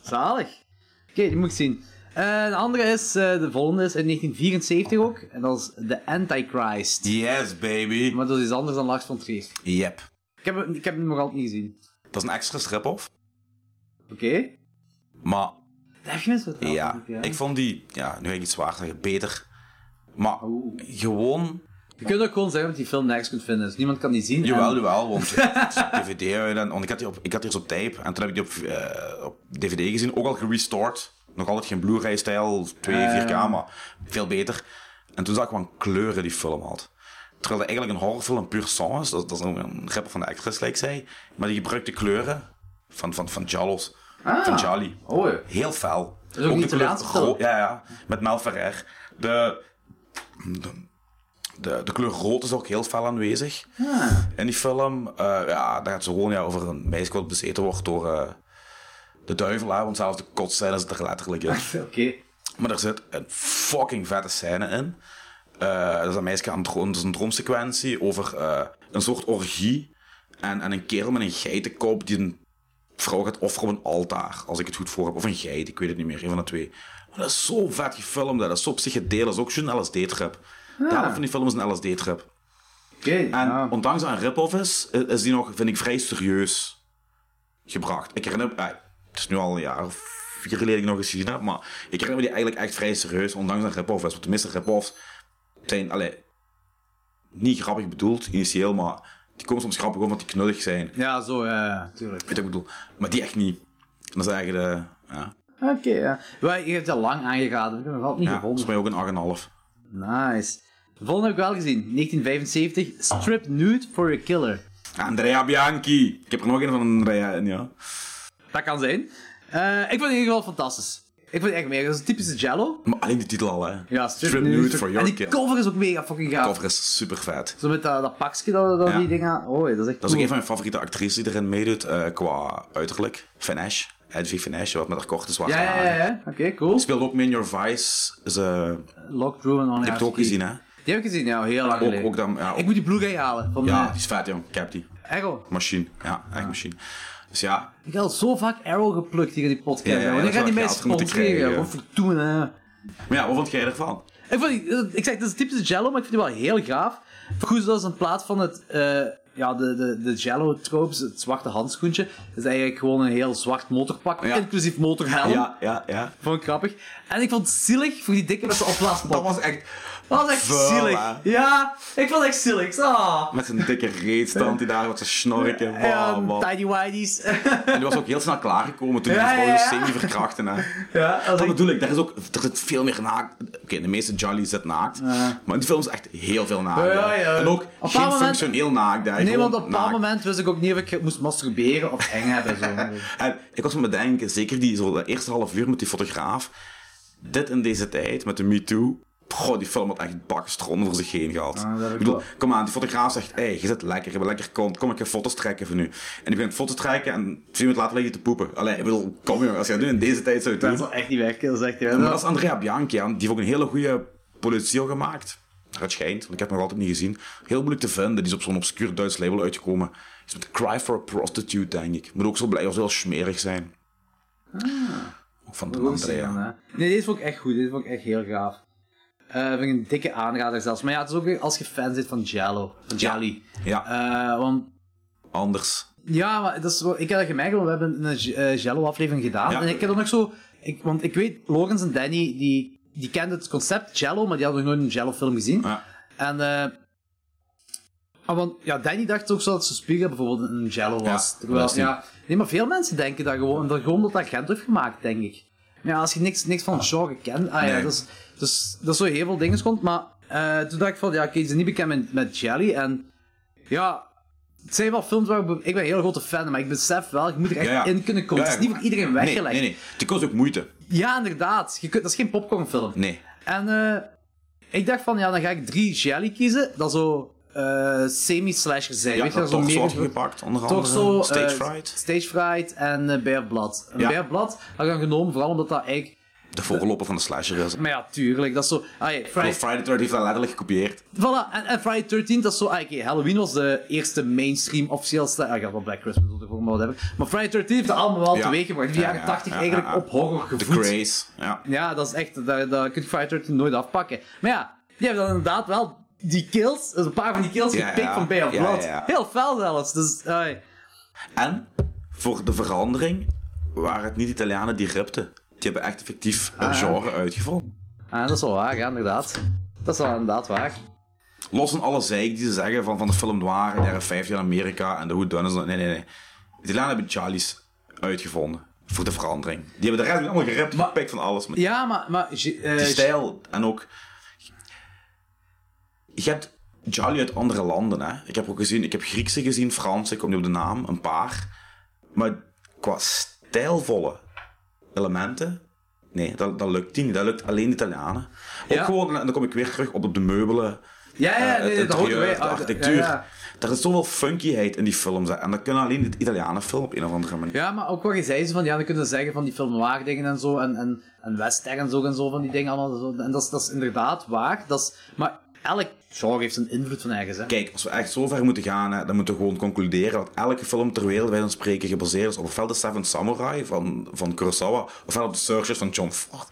[SPEAKER 1] Zalig. Oké, die moet ik zien. Eh, de andere is, eh, de volgende is in 1974 ook. En dat is The Antichrist.
[SPEAKER 2] Yes, baby.
[SPEAKER 1] Maar dat is iets anders dan Lars van Trier.
[SPEAKER 2] Yep.
[SPEAKER 1] Ik heb, hem- ik heb hem nog altijd niet gezien.
[SPEAKER 2] Dat is een extra strip-off.
[SPEAKER 1] Oké.
[SPEAKER 2] Maar
[SPEAKER 1] Daar heb je mensen wat aan.
[SPEAKER 2] ja, ik vond die, ja, nu ga ik iets zwaar zeggen, beter. Maar
[SPEAKER 1] Oeh.
[SPEAKER 2] gewoon
[SPEAKER 1] Je kunt ook gewoon zeggen dat je die film nergens kunt vinden. Dus niemand kan die zien.
[SPEAKER 2] Jawel,
[SPEAKER 1] En-
[SPEAKER 2] jawel, want het is op DVD uit en want ik had die op, ik had die eens op tape en toen heb ik die op, eh, op DVD gezien, ook al gerestored. Nog altijd geen Blu-ray-stijl, 2, 4K, maar veel beter. En toen zag ik wat kleuren die film had. Terwijl het eigenlijk een horrorfilm puur sang is. Dat, dat is een- een rapper van de actress, lijkt zij. Maar die gebruikt de kleuren van, van, van Jalos. Van Jolly.
[SPEAKER 1] Oh, ja.
[SPEAKER 2] Heel fel.
[SPEAKER 1] is ook een
[SPEAKER 2] de kleur
[SPEAKER 1] Italiaanse film.
[SPEAKER 2] ro- Ja, ja. Met Mel Ferrer. De, de, de, de kleur rood is ook heel fel aanwezig
[SPEAKER 1] Ah.
[SPEAKER 2] in die film. eh, ja, daar gaat ze gewoon ja, over een meisje wat bezeten wordt door eh, de duivel. hè, want zelfs de kotscène zit er letterlijk in.
[SPEAKER 1] Oké.
[SPEAKER 2] Maar er zit een fucking vette scène in. Eh dat is een meisje aan het dro- dat is een droomsequentie over eh, een soort orgie. En, en een kerel met een geitenkop die een vrouw gaat offeren op een altaar. Als ik het goed voor heb. Of een geit, ik weet het niet meer. Een van de twee. Maar dat is zo vet gefilmd. hè. Dat is zo psychedelisch. Dat is ook zo'n LSD-trip. De helft van die film is een LSD-trip.
[SPEAKER 1] Oké.
[SPEAKER 2] En
[SPEAKER 1] ja.
[SPEAKER 2] ondanks dat het een rip-off is, i- is die nog, vind ik, vrij serieus gebracht. Ik herinner me, ah, het is nu al een jaar of vier geleden dat ik nog eens gezien heb, maar ik herinner me die eigenlijk echt vrij serieus, ondanks dat het een rip-off is. Want de meeste rip-offs zijn, allee, niet grappig bedoeld initieel, maar die komen soms grappig omdat die knullig zijn.
[SPEAKER 1] Ja, zo, ja, ja, tuurlijk.
[SPEAKER 2] Weet je wat ik bedoel? Maar die echt niet. En dat is eigenlijk de, ja,
[SPEAKER 1] Oké, ja. Wij- Je hebt dat lang aangeraden, ik heb hem nog altijd niet
[SPEAKER 2] ja dat is
[SPEAKER 1] gevonden.
[SPEAKER 2] bij mij ook een 8,5.
[SPEAKER 1] Nice. De volgende heb ik wel gezien, 1975, Strip Nude for a Killer.
[SPEAKER 2] Andrea Bianchi! Ik heb er nog een van Andrea in, ja.
[SPEAKER 1] Dat kan zijn. Eh, ik vond het in ieder geval fantastisch. Ik vond het echt mega. Dat is een typische Jello.
[SPEAKER 2] Maar alleen de titel al, hè.
[SPEAKER 1] Ja,
[SPEAKER 2] Strip, Nude for Your
[SPEAKER 1] En die
[SPEAKER 2] Kill.
[SPEAKER 1] cover is ook mega fucking gaaf.
[SPEAKER 2] cover is super vet.
[SPEAKER 1] Zo met dat, dat pakje dat, dat
[SPEAKER 2] Ja.
[SPEAKER 1] die dingen... Oh, dat is echt
[SPEAKER 2] Dat is ook
[SPEAKER 1] cool.
[SPEAKER 2] een van mijn favoriete actrices die erin meedoet eh, qua uiterlijk. Finish. Hedwig Finish, wat met haar korte zwarte
[SPEAKER 1] Ja, ja,
[SPEAKER 2] haren.
[SPEAKER 1] ja. ja. Oké, cool.
[SPEAKER 2] Speelde ook mee in Your Vice. Is, eh,
[SPEAKER 1] Locked Room en On
[SPEAKER 2] je hebt het ook gezien, hè?
[SPEAKER 1] Die heb ik gezien, ja. Heel lang
[SPEAKER 2] Ook,
[SPEAKER 1] geleden.
[SPEAKER 2] ook dan, ja, ook-
[SPEAKER 1] Ik moet die Blu-ray halen. Van
[SPEAKER 2] ja,
[SPEAKER 1] ja.
[SPEAKER 2] die is vet, jong. Ik heb die.
[SPEAKER 1] Arrow.
[SPEAKER 2] Machine. Ja, echt machine. Dus ja,
[SPEAKER 1] Ik had zo vaak Arrow geplukt hier in die podcast.
[SPEAKER 2] Ja, ja, ja,
[SPEAKER 1] Wanneer
[SPEAKER 2] dat is
[SPEAKER 1] gaan die
[SPEAKER 2] wel
[SPEAKER 1] mensen
[SPEAKER 2] geld moeten
[SPEAKER 1] sponsoreren?
[SPEAKER 2] krijgen,
[SPEAKER 1] Wat voor doen, hè?
[SPEAKER 2] maar ja, wat vond jij ervan?
[SPEAKER 1] Ik, vond, die- ik zeg, het is een typische Jello, maar ik vind die wel heel gaaf. Goed, dat is in plaats van het, eh, ja, de, de, de Jello-tropes, het zwarte handschoentje, is eigenlijk gewoon een heel zwart motorpak,
[SPEAKER 2] Ja.
[SPEAKER 1] inclusief motorhelm.
[SPEAKER 2] Ja, ja, ja.
[SPEAKER 1] Oh. Vond ik grappig. En ik vond het zielig voor die dikke met zijn opblaaspop.
[SPEAKER 2] Dat was echt
[SPEAKER 1] Dat was echt
[SPEAKER 2] vuil,
[SPEAKER 1] zielig.
[SPEAKER 2] hè?
[SPEAKER 1] Ja, ik vond het echt zielig. Ah.
[SPEAKER 2] met zijn dikke reetstand die daar wat zijn snorken. Wow,
[SPEAKER 1] En
[SPEAKER 2] Oh, man. En
[SPEAKER 1] Tiny Whities.
[SPEAKER 2] die was ook heel snel klaargekomen toen die
[SPEAKER 1] Ja,
[SPEAKER 2] vrouw
[SPEAKER 1] ja, ja.
[SPEAKER 2] semi verkrachten. Hè.
[SPEAKER 1] ja, dat was
[SPEAKER 2] Dat
[SPEAKER 1] echt-
[SPEAKER 2] bedoel ik, daar is ook er zit veel meer naakt. Oké, de meeste Jolly zit naakt. Maar in de film is echt heel veel naakt.
[SPEAKER 1] Ja, ja.
[SPEAKER 2] En ook
[SPEAKER 1] Op een
[SPEAKER 2] geen
[SPEAKER 1] moment-
[SPEAKER 2] functioneel naakt. hè.
[SPEAKER 1] Nee,
[SPEAKER 2] Gewoon
[SPEAKER 1] want op een bepaald
[SPEAKER 2] naakt.
[SPEAKER 1] moment wist ik ook niet of ik moest masturberen of eng hebben. Zo.
[SPEAKER 2] En ik was me bedenken, zeker die zo de eerste half uur met die fotograaf. Dit in deze tijd, met de MeToo. Goh, die film had echt bakstron voor zich heen gehad.
[SPEAKER 1] dat heb ik
[SPEAKER 2] ik bedoel,
[SPEAKER 1] wel.
[SPEAKER 2] kom aan, die fotograaf zegt, hé, je zit lekker, je bent lekker kont, kom ik even foto's trekken van nu. En die begint foto's te trekken en twee minuten later lig je te poepen. Allee, ik bedoel, kom jongen, als je dat nu in deze tijd zou doen.
[SPEAKER 1] Dat zal echt niet werken, dat is echt...
[SPEAKER 2] Maar dat is Andrea Bianchi, hè. die heeft ook een hele goede politie gemaakt. Het schijnt, want ik heb hem nog altijd niet gezien. Heel moeilijk te vinden, die is op zo'n obscuur Duits label uitgekomen. Is met Cry for a Prostitute, denk ik. Moet ook zo blij als wel smerig zijn.
[SPEAKER 1] Ah.
[SPEAKER 2] Ook van de Andrea.
[SPEAKER 1] Nee, deze vond ik echt goed. Deze vond ik echt heel gaaf. Eh vind ik een dikke aanrader zelfs. Maar ja, het is ook weer als je fan bent van Jello. Van Jelly.
[SPEAKER 2] Ja,
[SPEAKER 1] Eh, want
[SPEAKER 2] anders.
[SPEAKER 1] ja, maar dat is, wel- ik heb dat gemerkt, want we hebben een J- eh, Jello-aflevering gedaan.
[SPEAKER 2] Ja.
[SPEAKER 1] En ik heb dan nog zo... Ik, want ik weet, Logans en Danny, die, die kenden het concept Jello, maar die hadden nog nooit een Jello-film gezien.
[SPEAKER 2] Ja.
[SPEAKER 1] En... eh, ah, want ja, Danny dacht ook zo dat Suspiria bijvoorbeeld een Jello was.
[SPEAKER 2] Ja,
[SPEAKER 1] Terwijl,
[SPEAKER 2] dat is niet-
[SPEAKER 1] ja, nee, maar veel mensen denken dat gewoon, dat gewoon dat dat Gent heeft gemaakt, denk ik. Maar ja, als je niks, niks van het genre kent, ah ja,
[SPEAKER 2] Nee.
[SPEAKER 1] dat is, dat is, dat is zo heel veel dingen komt. Maar eh, toen dacht ik van, ja, oké, ze zijn niet bekend met, met Jelly. En ja, het zijn wel films waar ik, ik ben een heel grote fan, maar ik besef wel, ik moet er echt
[SPEAKER 2] Ja, ja.
[SPEAKER 1] in kunnen komen.
[SPEAKER 2] Ja, ja.
[SPEAKER 1] Het is niet voor iedereen
[SPEAKER 2] Nee,
[SPEAKER 1] weggelegd.
[SPEAKER 2] Nee, nee, die kost ook moeite.
[SPEAKER 1] Ja, inderdaad. Je kunt, dat is geen popcornfilm.
[SPEAKER 2] Nee.
[SPEAKER 1] En eh, ik dacht van, ja, dan ga ik drie Jelly kiezen, dat zo eh, semi-slasher zijn.
[SPEAKER 2] Ja,
[SPEAKER 1] Weet je,
[SPEAKER 2] dat
[SPEAKER 1] zo
[SPEAKER 2] toch
[SPEAKER 1] meer...
[SPEAKER 2] zwart gepakt, onder andere.
[SPEAKER 1] Torso,
[SPEAKER 2] Stage
[SPEAKER 1] eh,
[SPEAKER 2] Fright.
[SPEAKER 1] Stage Fright en eh Bear Blood. En
[SPEAKER 2] Ja.
[SPEAKER 1] Bear Blood had ik dan genomen, vooral omdat dat eigenlijk...
[SPEAKER 2] De voorloper van de slasher is.
[SPEAKER 1] Maar ja, tuurlijk, dat is zo... Ah, ja,
[SPEAKER 2] Well,
[SPEAKER 1] Friday,
[SPEAKER 2] Friday 13 heeft dat letterlijk gekopieerd.
[SPEAKER 1] voilà, en, en Friday 13, dat is zo... Ah, oké, Halloween was de eerste mainstream officieel... sla- Ah, ik had wel Black Christmas bedoeld, maar wat heb ik. Maar Friday 13 heeft dat allemaal wel
[SPEAKER 2] Ja.
[SPEAKER 1] teweeg gebracht. In de
[SPEAKER 2] Ja,
[SPEAKER 1] jaren
[SPEAKER 2] ja,
[SPEAKER 1] 80
[SPEAKER 2] ja,
[SPEAKER 1] eigenlijk
[SPEAKER 2] ja, ja.
[SPEAKER 1] op horror
[SPEAKER 2] The
[SPEAKER 1] gevoed.
[SPEAKER 2] Grace. Ja.
[SPEAKER 1] Ja, dat is echt, daar, daar kun je Friday 13 nooit afpakken. Maar ja, die hebben dan inderdaad wel die kills, dus een paar van die kills
[SPEAKER 2] Ja,
[SPEAKER 1] gepikt
[SPEAKER 2] ja.
[SPEAKER 1] van Bear
[SPEAKER 2] Ja,
[SPEAKER 1] Blood.
[SPEAKER 2] ja, ja.
[SPEAKER 1] Heel fel zelfs, dus... ah, ja.
[SPEAKER 2] En voor de verandering waren het niet Italianen die ripten. Die hebben echt effectief een genre uitgevonden.
[SPEAKER 1] Ah, dat is wel waar, ja, inderdaad. Dat is wel inderdaad waar.
[SPEAKER 2] Los van alle zeik die ze zeggen van, van de film noir in de jaren 50 in Amerika en de hoedoenis. Nee, nee, nee. Italianen hebben Charlie's uitgevonden voor de verandering. Die hebben de rest allemaal geript, gepikt van alles. Maar
[SPEAKER 1] Ja, maar... maar eh,
[SPEAKER 2] die stijl en ook... Je hebt Jolly uit andere landen. Hè. Ik heb ook gezien, ik heb Griekse gezien, Franse, ik kom niet op de naam, een paar. Maar qua stijlvolle elementen, nee, dat, dat lukt die niet. Dat lukt alleen de Italianen. Ook
[SPEAKER 1] Ja.
[SPEAKER 2] gewoon, en dan kom ik weer terug op, op de meubelen.
[SPEAKER 1] Ja, ja,
[SPEAKER 2] eh,
[SPEAKER 1] nee,
[SPEAKER 2] het
[SPEAKER 1] dat hoort
[SPEAKER 2] interieur,
[SPEAKER 1] erbij.
[SPEAKER 2] de
[SPEAKER 1] Ah, dat-
[SPEAKER 2] architectuur.
[SPEAKER 1] ja, ja.
[SPEAKER 2] Er is zoveel funkyheid in die films. hè. En dat kunnen alleen de Italianen filmen op een of andere manier.
[SPEAKER 1] Ja, maar ook wat je zei, zo van, ja, dan kunnen ze zeggen van die filmwaar dingen en zo, en, en, en western en zo en zo, van die dingen allemaal. Zo. En dat is, dat is inderdaad waar. Dat is, maar elk genre heeft een invloed van ergens, hè.
[SPEAKER 2] Kijk, als we echt zo ver moeten gaan, hè, dan moeten we gewoon concluderen dat elke film ter wereld bij ons spreken gebaseerd is op ofwel de Seven Samurai van, van Kurosawa, ofwel op de Searchers van John Ford.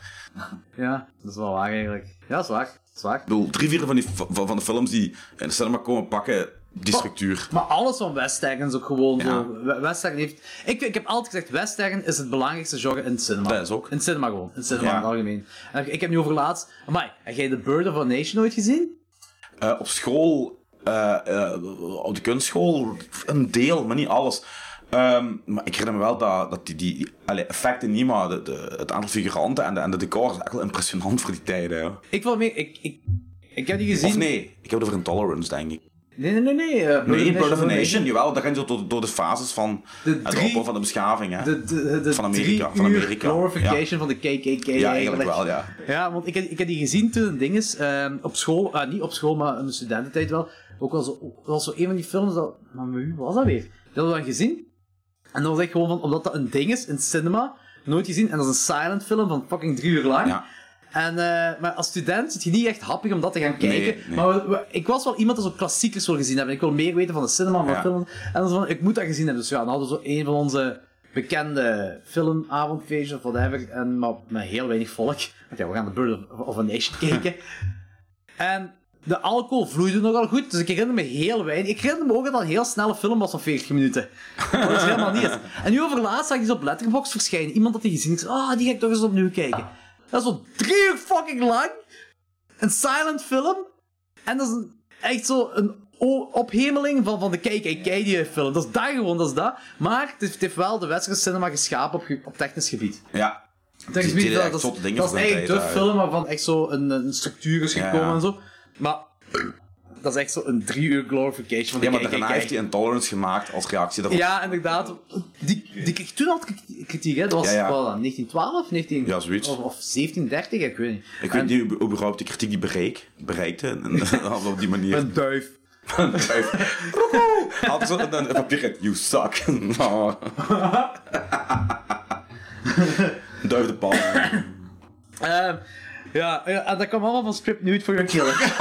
[SPEAKER 1] Ja, dat is wel waar eigenlijk. Ja, dat is waar. Dat is waar.
[SPEAKER 2] Ik bedoel, drie vierde van, die, van, van de films die in de cinema komen pakken, die structuur.
[SPEAKER 1] Maar alles van western is ook gewoon
[SPEAKER 2] Ja.
[SPEAKER 1] zo. We- Western heeft... Ik, ik heb altijd gezegd, western is het belangrijkste genre in het cinema.
[SPEAKER 2] Dat is ook.
[SPEAKER 1] In het cinema gewoon. In het cinema
[SPEAKER 2] Ja.
[SPEAKER 1] in het algemeen. En ik heb nu over laatst... Amai, heb jij The Bird of a Nation ooit gezien?
[SPEAKER 2] Eh, op school, eh, eh, op de kunstschool, een deel, maar niet alles. Ehm, maar ik herinner me wel dat, dat die, die, die allee, effecten niet, maar de, de- het aantal figuranten en de, en de decor is echt wel impressionant voor die tijden. hè.
[SPEAKER 1] Ik wil mee... Ik, ik, ik heb die gezien...
[SPEAKER 2] Of nee, ik heb het over Intolerance, denk ik.
[SPEAKER 1] Nee, nee, nee. Nee, eh,
[SPEAKER 2] Nee, Bird of a
[SPEAKER 1] Nation.
[SPEAKER 2] Nation, jawel, dan ga je zo door, door de fases van
[SPEAKER 1] De
[SPEAKER 2] het
[SPEAKER 1] drie-
[SPEAKER 2] opbouw van de beschaving. Hè.
[SPEAKER 1] De, de, de
[SPEAKER 2] Van Amerika,
[SPEAKER 1] drie
[SPEAKER 2] van
[SPEAKER 1] uur
[SPEAKER 2] Amerika,
[SPEAKER 1] glorification van de KKK.
[SPEAKER 2] ja, eigenlijk wel, ja.
[SPEAKER 1] Ja, want ik, heb- ik heb die gezien toen een ding is, ehm, op school, ah, niet op school, maar in de studententijd wel. Ook wel zo, ook wel zo een van die films, dat, maar met wie was dat weer? Die hadden we dan gezien. En dan was ik gewoon van, omdat dat een ding is in het cinema, nooit gezien. En dat is een silent film van fucking drie uur lang.
[SPEAKER 2] Ja.
[SPEAKER 1] En, eh, maar als student zit je niet echt happig om dat te gaan kijken.
[SPEAKER 2] nee.
[SPEAKER 1] Maar we- we- ik was wel iemand dat zo klassiekers wil gezien hebben. Ik wil meer weten van de cinema, van
[SPEAKER 2] Ja.
[SPEAKER 1] film. En dan zo van, ik moet dat gezien hebben. Dus ja, dan hadden we zo een van onze bekende filmavondfeestjes of whatever. En, maar met heel weinig volk. Want ja, we gaan de Bird of, of a Nation kijken. en de alcohol vloeide nogal goed, dus ik herinner me heel weinig. Ik herinner me ook dat het een heel snelle film was van 40 minuten. Wat het helemaal niet is. En nu overlaatst zag ik die op Letterboxd verschijnen. Iemand had die gezien. Ik zei, ah, die ga ik toch eens opnieuw kijken. Dat is al drie uur fucking lang. Een silent film. En dat is een- echt zo een o- ophemeling van, van de KKK die film. Dat is dat gewoon, dat is dat. Maar het heeft, het heeft wel de westerse cinema geschapen op, ge- op technisch gebied.
[SPEAKER 2] ja.
[SPEAKER 1] Technisch
[SPEAKER 2] Dus Die- die
[SPEAKER 1] gebied,
[SPEAKER 2] echt
[SPEAKER 1] dat,
[SPEAKER 2] zotte
[SPEAKER 1] dat,
[SPEAKER 2] dingen
[SPEAKER 1] is- dat
[SPEAKER 2] voor
[SPEAKER 1] is
[SPEAKER 2] hun
[SPEAKER 1] eigenlijk de
[SPEAKER 2] tijd uit.
[SPEAKER 1] film waarvan echt zo een, een structuur is
[SPEAKER 2] Ja.
[SPEAKER 1] gekomen en zo. Maar dat is echt zo een drie uur glorification van de
[SPEAKER 2] ja, maar
[SPEAKER 1] KKK.
[SPEAKER 2] daarna heeft hij Intolerance gemaakt als reactie daarop.
[SPEAKER 1] Ja, inderdaad. Die, die kreeg toen al kriti- kritiek, hè. Dat was
[SPEAKER 2] Ja, ja.
[SPEAKER 1] wel dan 1912, 19...
[SPEAKER 2] Ja, zoiets.
[SPEAKER 1] Of, of 1730, ik weet niet.
[SPEAKER 2] Ik
[SPEAKER 1] En-
[SPEAKER 2] weet niet hoe überhaupt die kritiek die bereik, bereikte en- en op die manier.
[SPEAKER 1] Een duif.
[SPEAKER 2] Had zo een, een papiertje, you suck. Nou. Duif de pan.
[SPEAKER 1] Ehm, ja, ja, en dat kwam allemaal van Script Nude for Your Killer.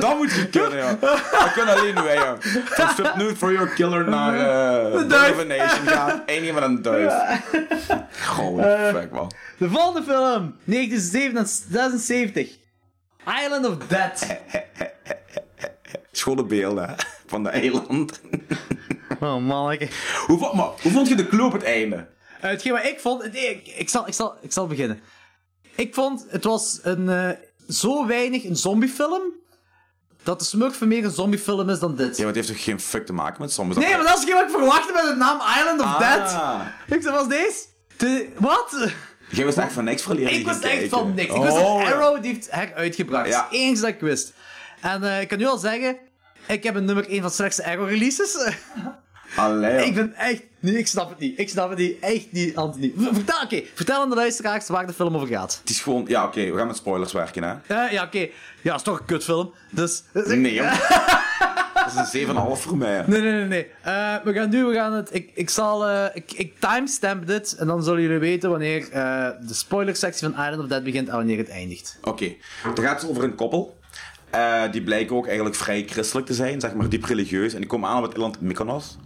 [SPEAKER 2] Dat moet je kunnen, ja. Dat kunnen alleen wij, ja. Van Strip Nude for Your Killer naar eh Bird
[SPEAKER 1] duif.
[SPEAKER 2] of a Nation gaan. Eén iemand een duif. Holy
[SPEAKER 1] Eh.
[SPEAKER 2] fuck, man.
[SPEAKER 1] De volgende film, 1976. Island of Death.
[SPEAKER 2] Schone beelden hè, van de eiland.
[SPEAKER 1] Oh, manneke.
[SPEAKER 2] Hoe, vo- maar, hoe vond je de clue op het einde?
[SPEAKER 1] Eh, hetgeen wat ik vond... nee, ik, ik, zal, ik, zal, ik zal beginnen. Ik vond, het was een, eh, zo weinig een zombiefilm... dat de Smurf meer een zombiefilm is dan dit.
[SPEAKER 2] Ja, maar het heeft toch geen fuck te maken met sommige
[SPEAKER 1] Nee, maar dat is geen wat ik verwachtte met de naam Island of Dead.
[SPEAKER 2] Ah.
[SPEAKER 1] Ik zei, was deze? De- wat?
[SPEAKER 2] Jij wist echt van niks verliezen.
[SPEAKER 1] Ik wist echt
[SPEAKER 2] kijken.
[SPEAKER 1] van niks. Ik wist dat
[SPEAKER 2] Oh, ja.
[SPEAKER 1] Arrow die heeft heruitgebracht.
[SPEAKER 2] Ja.
[SPEAKER 1] Dat is het enige dat ik wist. En eh, ik kan nu al zeggen, ik heb een nummer 1 van de slechtste Arrow releases.
[SPEAKER 2] Allee, joh.
[SPEAKER 1] ik ben echt... Nee, ik snap het niet. Ik snap het niet. Echt niet, Anthony. V- Vertel, oké, vertel aan de luisteraars waar de film over gaat.
[SPEAKER 2] Het is gewoon... Ja, oké, we gaan met spoilers werken, hè.
[SPEAKER 1] Eh, ja, oké. Ja, is toch een kutfilm. Dus...
[SPEAKER 2] Nee, joh. Dat is een 7,5 voor mij.
[SPEAKER 1] Nee, nee, nee. nee. Eh, we gaan nu, we gaan het... Ik, ik zal... eh, ik, ik timestamp dit en dan zullen jullie weten wanneer eh, de spoilersectie van Island of Dead begint en wanneer het eindigt.
[SPEAKER 2] Oké, dan gaat het over een koppel. Eh, die blijken ook eigenlijk vrij christelijk te zijn, zeg maar diep religieus. En die komen aan op het eiland Mykonos.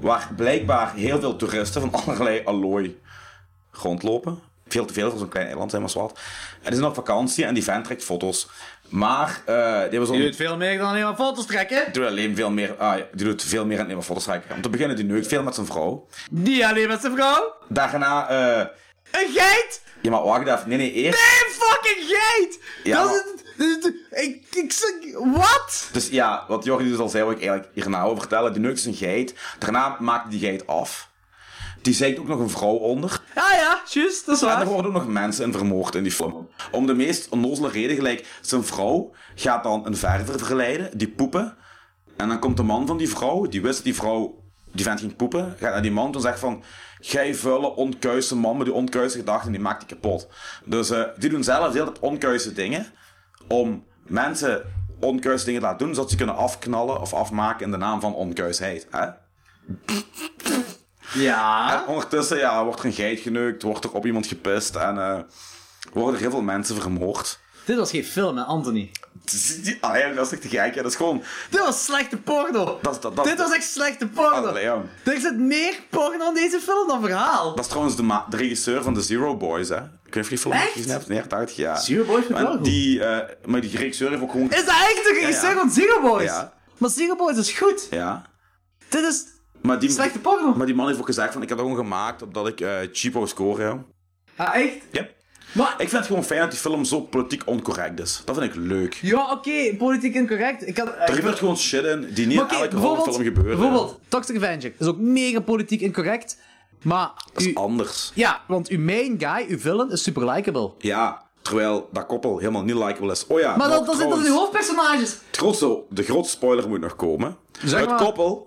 [SPEAKER 2] Waar blijkbaar heel veel toeristen van allerlei allooi rondlopen. Veel te veel voor zo'n klein eiland, zeg maar zwart. En die zijn op vakantie en die vent trekt foto's. Maar eh, die hebben
[SPEAKER 1] Je
[SPEAKER 2] zo'n...
[SPEAKER 1] doet veel meer dan alleen maar foto's trekken.
[SPEAKER 2] Die doet alleen veel meer, ah, ja, die doet veel meer aan het nemen foto's trekken. Om te beginnen, die neukt veel met zijn vrouw.
[SPEAKER 1] Die alleen met zijn vrouw.
[SPEAKER 2] Daarna, eh...
[SPEAKER 1] Een geit.
[SPEAKER 2] Ja, maar wacht even. Nee, nee, eerst...
[SPEAKER 1] Een fucking geit.
[SPEAKER 2] Ja,
[SPEAKER 1] dat is... het- het- Ik, ik zeg... Wat?
[SPEAKER 2] Dus ja, wat Jordi dus al zei, wat ik eigenlijk hierna wil vertellen. Die neukt is een geit. Daarna maakt die geit af. Die zeikt ook nog een vrouw onder.
[SPEAKER 1] Ja, Ah ja, juist, dat is
[SPEAKER 2] En
[SPEAKER 1] waar.
[SPEAKER 2] er worden ook nog mensen in vermoord in die film. Om de meest onnozele reden gelijk. Zijn vrouw gaat dan een verver verleiden, die poepen. En dan komt de man van die vrouw, die wist dat die vrouw, die vent ging poepen, gaat naar die man en zegt van, jij vuile, onkuise man met die onkuise gedachten, die maakt die kapot. Dus eh, die doen zelf heel dat onkuise dingen, om mensen onkuise dingen te laten doen, zodat ze kunnen afknallen of afmaken in de naam van onkuisheid. Hè?
[SPEAKER 1] Ja.
[SPEAKER 2] En ondertussen ja, wordt er een geit geneukt, wordt er op iemand gepist en eh, worden er heel veel mensen vermoord.
[SPEAKER 1] Dit was geen film, hè, Anthony.
[SPEAKER 2] Allee, dat is echt te gek. hè. Dat is gewoon...
[SPEAKER 1] Dit was slechte porno.
[SPEAKER 2] Dat is- dat- dat-
[SPEAKER 1] Dit was echt slechte porno.
[SPEAKER 2] Allee, ja.
[SPEAKER 1] Er zit meer porno in deze film dan verhaal.
[SPEAKER 2] Dat is trouwens de, ma- de regisseur van de Zero Boys, hè? Ik weet niet of je die film nog
[SPEAKER 1] Echt?
[SPEAKER 2] gezien hebt. Nee, echt uit, ja.
[SPEAKER 1] Zero Boys vind ik
[SPEAKER 2] Maar
[SPEAKER 1] wel goed.
[SPEAKER 2] die, eh, maar die regisseur heeft ook gewoon...
[SPEAKER 1] Is dat echt de regisseur
[SPEAKER 2] Ja, ja.
[SPEAKER 1] van Zero Boys?
[SPEAKER 2] Ja.
[SPEAKER 1] Maar Zero Boys is goed.
[SPEAKER 2] Ja.
[SPEAKER 1] Dit is
[SPEAKER 2] Maar die,
[SPEAKER 1] slechte porno.
[SPEAKER 2] maar die man heeft ook gezegd van, ik heb dat gewoon gemaakt omdat ik eh, cheapo score, ja.
[SPEAKER 1] Ja, echt?
[SPEAKER 2] Yep.
[SPEAKER 1] Maar-
[SPEAKER 2] Ik vind het gewoon fijn dat die film zo politiek oncorrect is. Dat vind ik leuk.
[SPEAKER 1] Ja, oké, politiek incorrect. Ik had,
[SPEAKER 2] Er gebeurt gewoon shit in die niet
[SPEAKER 1] Maar
[SPEAKER 2] in
[SPEAKER 1] oké,
[SPEAKER 2] elke
[SPEAKER 1] bijvoorbeeld,
[SPEAKER 2] horrorfilm gebeurt. hè.
[SPEAKER 1] bijvoorbeeld Toxic Avenger is ook mega politiek incorrect. Maar
[SPEAKER 2] Dat
[SPEAKER 1] u-
[SPEAKER 2] is anders.
[SPEAKER 1] ja, want uw main guy, uw villain, is super likable.
[SPEAKER 2] Ja, terwijl dat koppel helemaal niet likable is. Oh ja,
[SPEAKER 1] Maar
[SPEAKER 2] nog
[SPEAKER 1] dat, dat zijn dat
[SPEAKER 2] trouwens,
[SPEAKER 1] zijn de hoofdpersonages.
[SPEAKER 2] het grootste- de grootste spoiler moet nog komen.
[SPEAKER 1] Zeg
[SPEAKER 2] het
[SPEAKER 1] maar.
[SPEAKER 2] koppel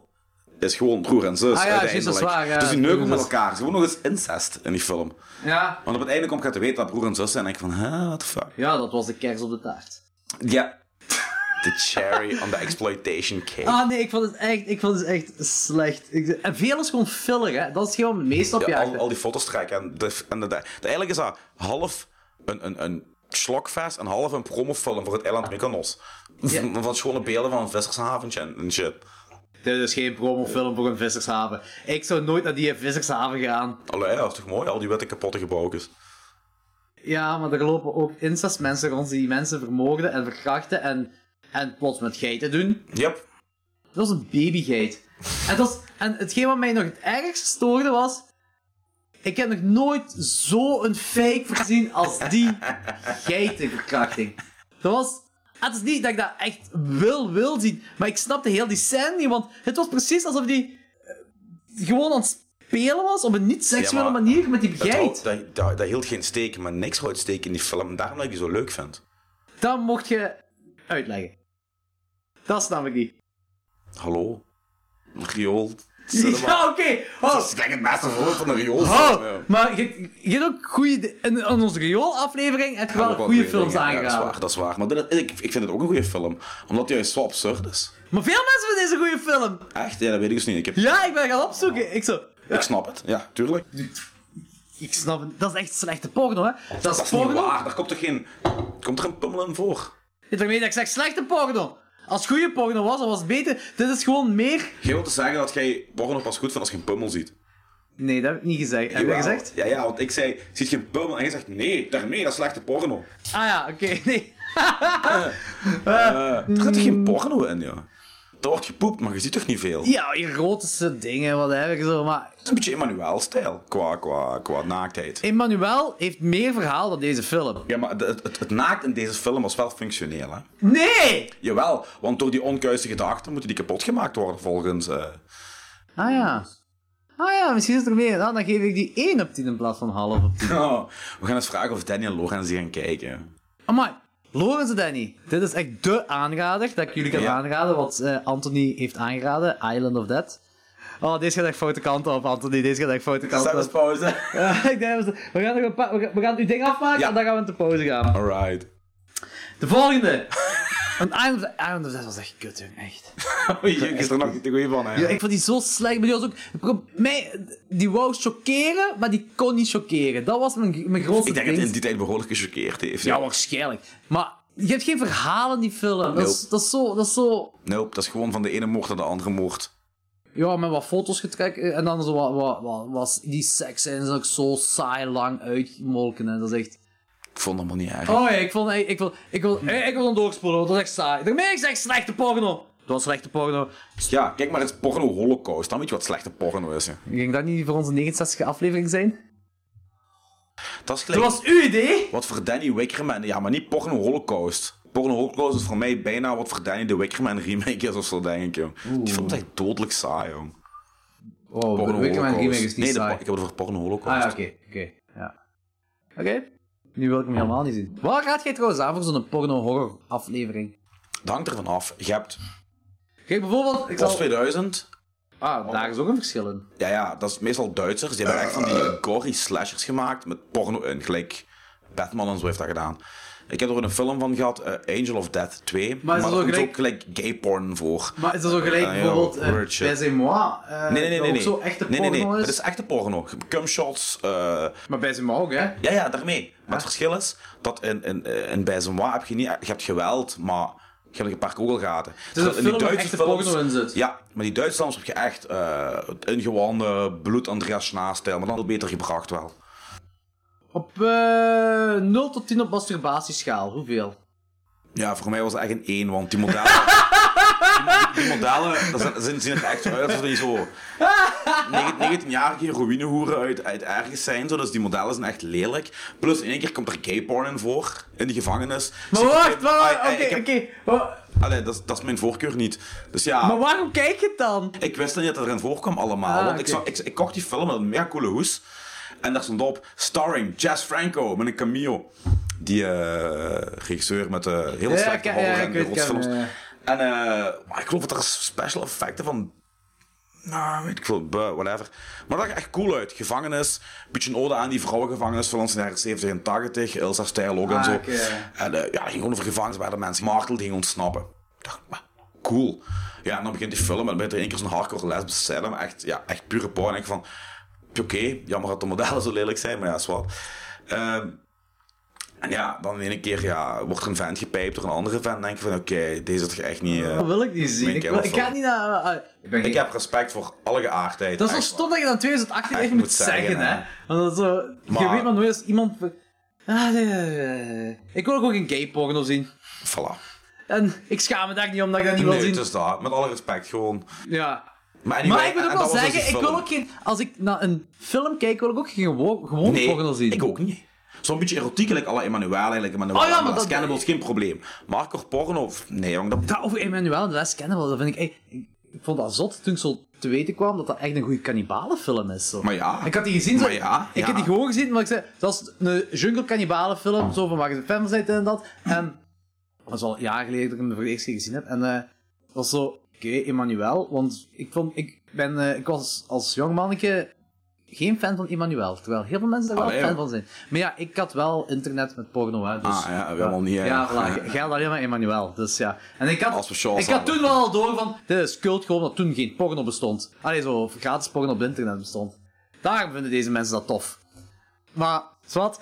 [SPEAKER 2] is gewoon broer en
[SPEAKER 1] Ah
[SPEAKER 2] zus
[SPEAKER 1] ja,
[SPEAKER 2] uiteindelijk.
[SPEAKER 1] juist, dat is waar, ja.
[SPEAKER 2] dus die neuken
[SPEAKER 1] Broer
[SPEAKER 2] ook
[SPEAKER 1] en zus.
[SPEAKER 2] met elkaar. Het is gewoon nog eens incest in die film.
[SPEAKER 1] Ja.
[SPEAKER 2] Want op het einde komt gaat te weten dat broer en zus zijn. En ik van, huh, what the fuck.
[SPEAKER 1] Ja, dat was de kers op de taart.
[SPEAKER 2] Ja. The cherry on the exploitation cake.
[SPEAKER 1] Ah nee, ik vond het echt, ik vond het echt slecht. Ik, en veel is gewoon filler, hè. Dat is gewoon het meest op
[SPEAKER 2] Ja,
[SPEAKER 1] ja,
[SPEAKER 2] al, al die foto's trekken. En de, en de, de- eigenlijk is dat half een, een, een slokfest en half een promofilm voor het eiland Mykonos. Van, van schone beelden van een vissershaventje en en shit.
[SPEAKER 1] Dit is dus geen promofilm voor een vissershaven. Ik zou nooit naar die vissershaven gaan.
[SPEAKER 2] Allee, dat is toch mooi, al die witte kapotte gebouwjes.
[SPEAKER 1] Ja, maar er lopen ook incestmensen rond die mensen vermoorden en verkrachten en, en plots met geiten doen.
[SPEAKER 2] Yep.
[SPEAKER 1] Dat was een babygeit. En, dat was, en hetgeen wat mij nog het ergst stoorde was... Ik heb nog nooit zo'n fake gezien als die geitenverkrachting. Dat was... Het is niet dat ik dat echt wil, wil zien, maar ik snapte heel die scène niet, want het was precies alsof die eh, gewoon aan het spelen was op een niet-seksuele
[SPEAKER 2] Ja, maar-
[SPEAKER 1] manier met die
[SPEAKER 2] Dat,
[SPEAKER 1] geit.
[SPEAKER 2] houdt- dat, dat, dat hield geen steek, maar niks houdt steek in die film. Daarom dat ik die zo leuk vind.
[SPEAKER 1] Dat mocht je uitleggen. Dat snap ik niet.
[SPEAKER 2] Hallo? Een riool?
[SPEAKER 1] Ja, oké. Oh,
[SPEAKER 2] Dat is denk ik het beste voorbeeld van een riool.
[SPEAKER 1] oh, Maar je, je hebt ook goede... In, in onze rioolaflevering heb je wel goede films
[SPEAKER 2] Ja, dat is
[SPEAKER 1] aangeraden.
[SPEAKER 2] waar, dat is waar. Maar dit- ik, ik vind het ook een goede film. Omdat die juist zo absurd is.
[SPEAKER 1] maar veel mensen vinden deze een goede film.
[SPEAKER 2] Echt? Ja, dat weet ik dus niet. Ik, heb,
[SPEAKER 1] Ja, ik ben gaan opzoeken. Ik zo...
[SPEAKER 2] ik snap het. Ja, tuurlijk.
[SPEAKER 1] Ik snap het. Dat is echt slechte porno, hè. Dat is,
[SPEAKER 2] Dat is niet
[SPEAKER 1] porno.
[SPEAKER 2] waar. Daar komt toch geen... Komt er een pummel in voor?
[SPEAKER 1] Ik denk dat ik zeg slechte porno. Als het goede porno was, dan was het beter. Dit is gewoon meer...
[SPEAKER 2] Jij wilt dus zeggen dat jij porno pas goed vindt als je een pummel ziet.
[SPEAKER 1] Nee, dat heb ik niet gezegd. Heb je dat
[SPEAKER 2] Jawel.
[SPEAKER 1] gezegd?
[SPEAKER 2] Ja, ja, want ik zei, ziet je een pummel? En jij zegt, nee, daarmee, dat is slechte porno.
[SPEAKER 1] Ah ja, oké. nee. Eh,
[SPEAKER 2] Er zit toch geen porno in, ja? Er wordt gepoept, maar je ziet toch niet veel? Het
[SPEAKER 1] Ja, erotische dingen, wat heb ik zo. Maar
[SPEAKER 2] is een beetje Emmanuel-stijl, qua, qua, qua naaktheid.
[SPEAKER 1] Emmanuel heeft meer verhaal dan deze film.
[SPEAKER 2] Ja, maar de- het, het, het naakt in deze film was wel functioneel, hè?
[SPEAKER 1] Nee!
[SPEAKER 2] Jawel, want door die onkuise gedachten moeten die kapot gemaakt worden volgens... eh,
[SPEAKER 1] Ah ja. Ah ja, misschien is er meer. Nou, dan geef ik die 1 op 10 in plaats van half op 10.
[SPEAKER 2] oh, we gaan eens vragen of Danny en Lorenz die gaan kijken.
[SPEAKER 1] Amai. Lorenz en Danny, dit is echt dé aanrader dat ik jullie kan
[SPEAKER 2] Ja.
[SPEAKER 1] aanraden, wat eh, Anthony heeft aangeraden, Island of Dead. Oh, deze gaat echt foute kant op, Anthony, deze gaat echt foute kant op.
[SPEAKER 2] pauze.
[SPEAKER 1] Ja, ik denk, dat we we gaan nog een paar, we gaan- we gaan uw ding afmaken
[SPEAKER 2] Ja.
[SPEAKER 1] en dan gaan we in de pauze gaan.
[SPEAKER 2] Alright.
[SPEAKER 1] Oh, De volgende! Een Island of, Island of Dead was echt kut, jong, echt.
[SPEAKER 2] Oei, Juk is er nog niet te goed van, hè?
[SPEAKER 1] Ja, ik vond die zo slecht. Maar die was ook. pro- Mij, die wou chockeren, maar die kon niet chockeren. Dat was mijn, mijn grootste
[SPEAKER 2] Ik denk dat hij in
[SPEAKER 1] ding.
[SPEAKER 2] die tijd behoorlijk gechoqueerd heeft.
[SPEAKER 1] Ja, waarschijnlijk. Maar je hebt geen verhaal in die film. Dat is,
[SPEAKER 2] Nope.
[SPEAKER 1] dat is zo. Dat is zo...
[SPEAKER 2] Nope, dat is gewoon van de ene moord naar de andere moord.
[SPEAKER 1] Ja, met wat foto's getrekken en dan zo wat, wat, wat, was die seks en ook zo saai lang uitgemolken. En dat is echt.
[SPEAKER 2] Ik vond het helemaal niet erg.
[SPEAKER 1] Oh ja, ik vond. Ik, ik wil, ik wil, ik, ik wil dan doorspoelen, want dat is echt saai. Daarmee is echt slechte porno. Dat was slechte porno.
[SPEAKER 2] Ja, kijk maar, het is porno holocaust. Dan weet je wat slechte porno is. hè.
[SPEAKER 1] Ging dat niet voor onze 69 aflevering zijn?
[SPEAKER 2] Dat is
[SPEAKER 1] Dat
[SPEAKER 2] gelijk.
[SPEAKER 1] was uw idee!
[SPEAKER 2] Wat voor Danny Wickerman. Ja, maar niet porno holocaust. Porno holocaust is voor mij bijna wat voor Danny de Wickerman remake is of zo, denk ik. Jong. Die film is echt dodelijk saai, jong.
[SPEAKER 1] Oh,
[SPEAKER 2] Porno
[SPEAKER 1] Wicked Man
[SPEAKER 2] Holocaust.
[SPEAKER 1] remake is niet
[SPEAKER 2] nee, de
[SPEAKER 1] saai.
[SPEAKER 2] po- ik heb het over Porno Holocaust.
[SPEAKER 1] Ah ja, oké. oké. Ja. Oké. Nu wil ik hem helemaal niet zien. Waar gaat jij trouwens aan voor zo'n porno-horror aflevering?
[SPEAKER 2] Het hangt ervan af. Je hebt
[SPEAKER 1] Kijk, bijvoorbeeld... Ik
[SPEAKER 2] POS
[SPEAKER 1] zal...
[SPEAKER 2] 2000.
[SPEAKER 1] Ah, daar is ook een verschil in.
[SPEAKER 2] Ja, ja, dat is meestal Duitsers. Die hebben echt van die gory slashers gemaakt met porno in. Gelijk Batman en zo heeft dat gedaan. Ik heb er ook een film van gehad, eh, Angel of Death 2.
[SPEAKER 1] Maar is dat zo
[SPEAKER 2] daar komt
[SPEAKER 1] gelijk- Eh,
[SPEAKER 2] ook gelijk gay porn voor.
[SPEAKER 1] Maar is dat zo gelijk
[SPEAKER 2] Ah, ja,
[SPEAKER 1] bijvoorbeeld eh,
[SPEAKER 2] weird shit.
[SPEAKER 1] Baise Moi? eh,
[SPEAKER 2] Nee, nee, nee.
[SPEAKER 1] dat
[SPEAKER 2] nee,
[SPEAKER 1] ook
[SPEAKER 2] nee.
[SPEAKER 1] zo echte
[SPEAKER 2] nee,
[SPEAKER 1] porno
[SPEAKER 2] nee, nee.
[SPEAKER 1] is?
[SPEAKER 2] Dat is echte porno. Cumshots, eh
[SPEAKER 1] Maar Baise Moi ook, hè?
[SPEAKER 2] Ja, ja, daarmee. Maar het verschil is dat in, in, in bij Zomwa heb je niet... Je hebt geweld, maar je hebt een paar kogelgaten.
[SPEAKER 1] is een
[SPEAKER 2] Terwijl in
[SPEAKER 1] film waar echte porno in zit.
[SPEAKER 2] Ja, maar die Duitse films heb je echt eh het ingewande bloed Andreas Schna-stijl, maar dan wel beter gebracht wel.
[SPEAKER 1] Op eh 0 tot 10 op masturbatieschaal, hoeveel?
[SPEAKER 2] Ja, voor mij was het echt een 1, want die modellen... die, die modellen, dat zijn, zijn, zien er echt zo uit alsof die zo... 19-jarige heroïnehoeren uit, uit ergens zijn, zo, dus die modellen zijn echt lelijk. Plus in één keer komt er gay porn in voor, in de gevangenis.
[SPEAKER 1] Maar wacht, wacht,
[SPEAKER 2] Ai, ai,
[SPEAKER 1] oké,
[SPEAKER 2] Ah, ik heb-
[SPEAKER 1] oké. Wa-
[SPEAKER 2] Allee, dat, is- dat is mijn voorkeur niet. Dus ja,
[SPEAKER 1] Maar waarom kijk je het dan?
[SPEAKER 2] ik wist niet dat het erin voorkwam allemaal.
[SPEAKER 1] Ah,
[SPEAKER 2] want
[SPEAKER 1] oké.
[SPEAKER 2] ik, zag- ik, ik kocht die film met een mega coole hoes. En daar stond op starring Jess Franco met een cameo. Die eh, regisseur met eh heel
[SPEAKER 1] Ja,
[SPEAKER 2] slechte
[SPEAKER 1] ik- ja,
[SPEAKER 2] horror
[SPEAKER 1] ik
[SPEAKER 2] en
[SPEAKER 1] weet- ik ken
[SPEAKER 2] rotsfilms.
[SPEAKER 1] hem, ja.
[SPEAKER 2] En eh, maar ik geloof dat er special effecten van... Nou, weet ik veel, buh, whatever. Maar dat zag er echt cool uit. Gevangenis, een beetje een ode aan die vrouwengevangenis van ons in de jaren 70 en 80. Elsa Stijl ook en
[SPEAKER 1] Ah,
[SPEAKER 2] zo.
[SPEAKER 1] oké.
[SPEAKER 2] En eh, ja, het ging gewoon over gevangenis waar de mensen martel gingen ontsnappen. Ik dacht, "Wah, cool. Ja, en dan begint die film en dan bent er één keer zo'n hardcore lesbische scène, maar echt, ja, echt pure porn. En ik van, oké, jammer dat de modellen zo lelijk zijn, maar ja, is wat. Ehm, en ja, dan in één keer ja, wordt er een vent gepijpt door een andere vent. En denk je van, oké, deze is toch echt niet... eh,
[SPEAKER 1] Dat wil ik niet zien.
[SPEAKER 2] Mijn
[SPEAKER 1] Ik, wil-
[SPEAKER 2] kerel
[SPEAKER 1] ik ga
[SPEAKER 2] van.
[SPEAKER 1] niet naar... ah, ik ben
[SPEAKER 2] ik
[SPEAKER 1] geen-
[SPEAKER 2] heb Ah, respect voor alle geaardheid.
[SPEAKER 1] Dat is wel
[SPEAKER 2] echt
[SPEAKER 1] stom dat je dan 2018
[SPEAKER 2] Echt
[SPEAKER 1] even moet
[SPEAKER 2] moet
[SPEAKER 1] zeggen,
[SPEAKER 2] zeggen,
[SPEAKER 1] hè.
[SPEAKER 2] hè.
[SPEAKER 1] Want dat is zo... Je
[SPEAKER 2] Maar-
[SPEAKER 1] weet maar nooit als iemand... Ah, nee, nee, nee, nee. Ik wil ook gewoon geen gay porno zien.
[SPEAKER 2] waar. Voilà.
[SPEAKER 1] En ik schaam me daar niet om dat ik dat niet
[SPEAKER 2] Nee,
[SPEAKER 1] wil zien.
[SPEAKER 2] het is dat. Met alle respect, gewoon.
[SPEAKER 1] Ja.
[SPEAKER 2] Maar, anyway,
[SPEAKER 1] Maar ik moet
[SPEAKER 2] en-
[SPEAKER 1] ook
[SPEAKER 2] en
[SPEAKER 1] wel
[SPEAKER 2] dat was dus die
[SPEAKER 1] zeggen, ik wil
[SPEAKER 2] film.
[SPEAKER 1] ook geen... Als ik naar een film kijk, wil ik ook geen gewoon, gewoon
[SPEAKER 2] Nee,
[SPEAKER 1] porno zien.
[SPEAKER 2] ik ook niet. Zo'n beetje erotiek, like alle Emmanuel, eigenlijk Emmanuel.
[SPEAKER 1] Oh ja, maar
[SPEAKER 2] maar dat
[SPEAKER 1] dat-
[SPEAKER 2] is cannibals, geen probleem. Maar hardcore porno, pff, nee jong, dat...
[SPEAKER 1] Dat over Emmanuel en de Last Cannibal, dat vind ik... echt- Ik, ik vond dat zot toen ik zo te weten kwam dat dat echt een goede kannibalenfilm is. Zo.
[SPEAKER 2] Maar ja.
[SPEAKER 1] Ik had die gezien, zo,
[SPEAKER 2] Maar ja,
[SPEAKER 1] ik
[SPEAKER 2] ja.
[SPEAKER 1] heb die gewoon gezien, maar ik zei, dat is een jungle kannibalenfilm, zo van waar je de fan van bent en dat. En dat is al jaren geleden dat ik hem voor de eerste keer gezien heb. En eh, dat was zo, oké, Emmanuel, want ik, vond, ik, ben, eh, ik was als jong manneke geen fan van Emmanuel, terwijl heel veel mensen daar wel
[SPEAKER 2] Allee,
[SPEAKER 1] fan
[SPEAKER 2] joh.
[SPEAKER 1] van zijn. Maar ja, ik had wel internet met porno, hè, dus...
[SPEAKER 2] Ah ja, wel niet, hè.
[SPEAKER 1] Ja, voilà, Jij had alleen maar Emmanuel, dus ja. En ik had,
[SPEAKER 2] Als we Charles
[SPEAKER 1] ik had
[SPEAKER 2] hadden.
[SPEAKER 1] toen wel al door van, dit is cult gewoon dat toen geen porno bestond. Allee, zo gratis porno op het internet bestond. Daarom vinden deze mensen dat tof. Maar, zwart.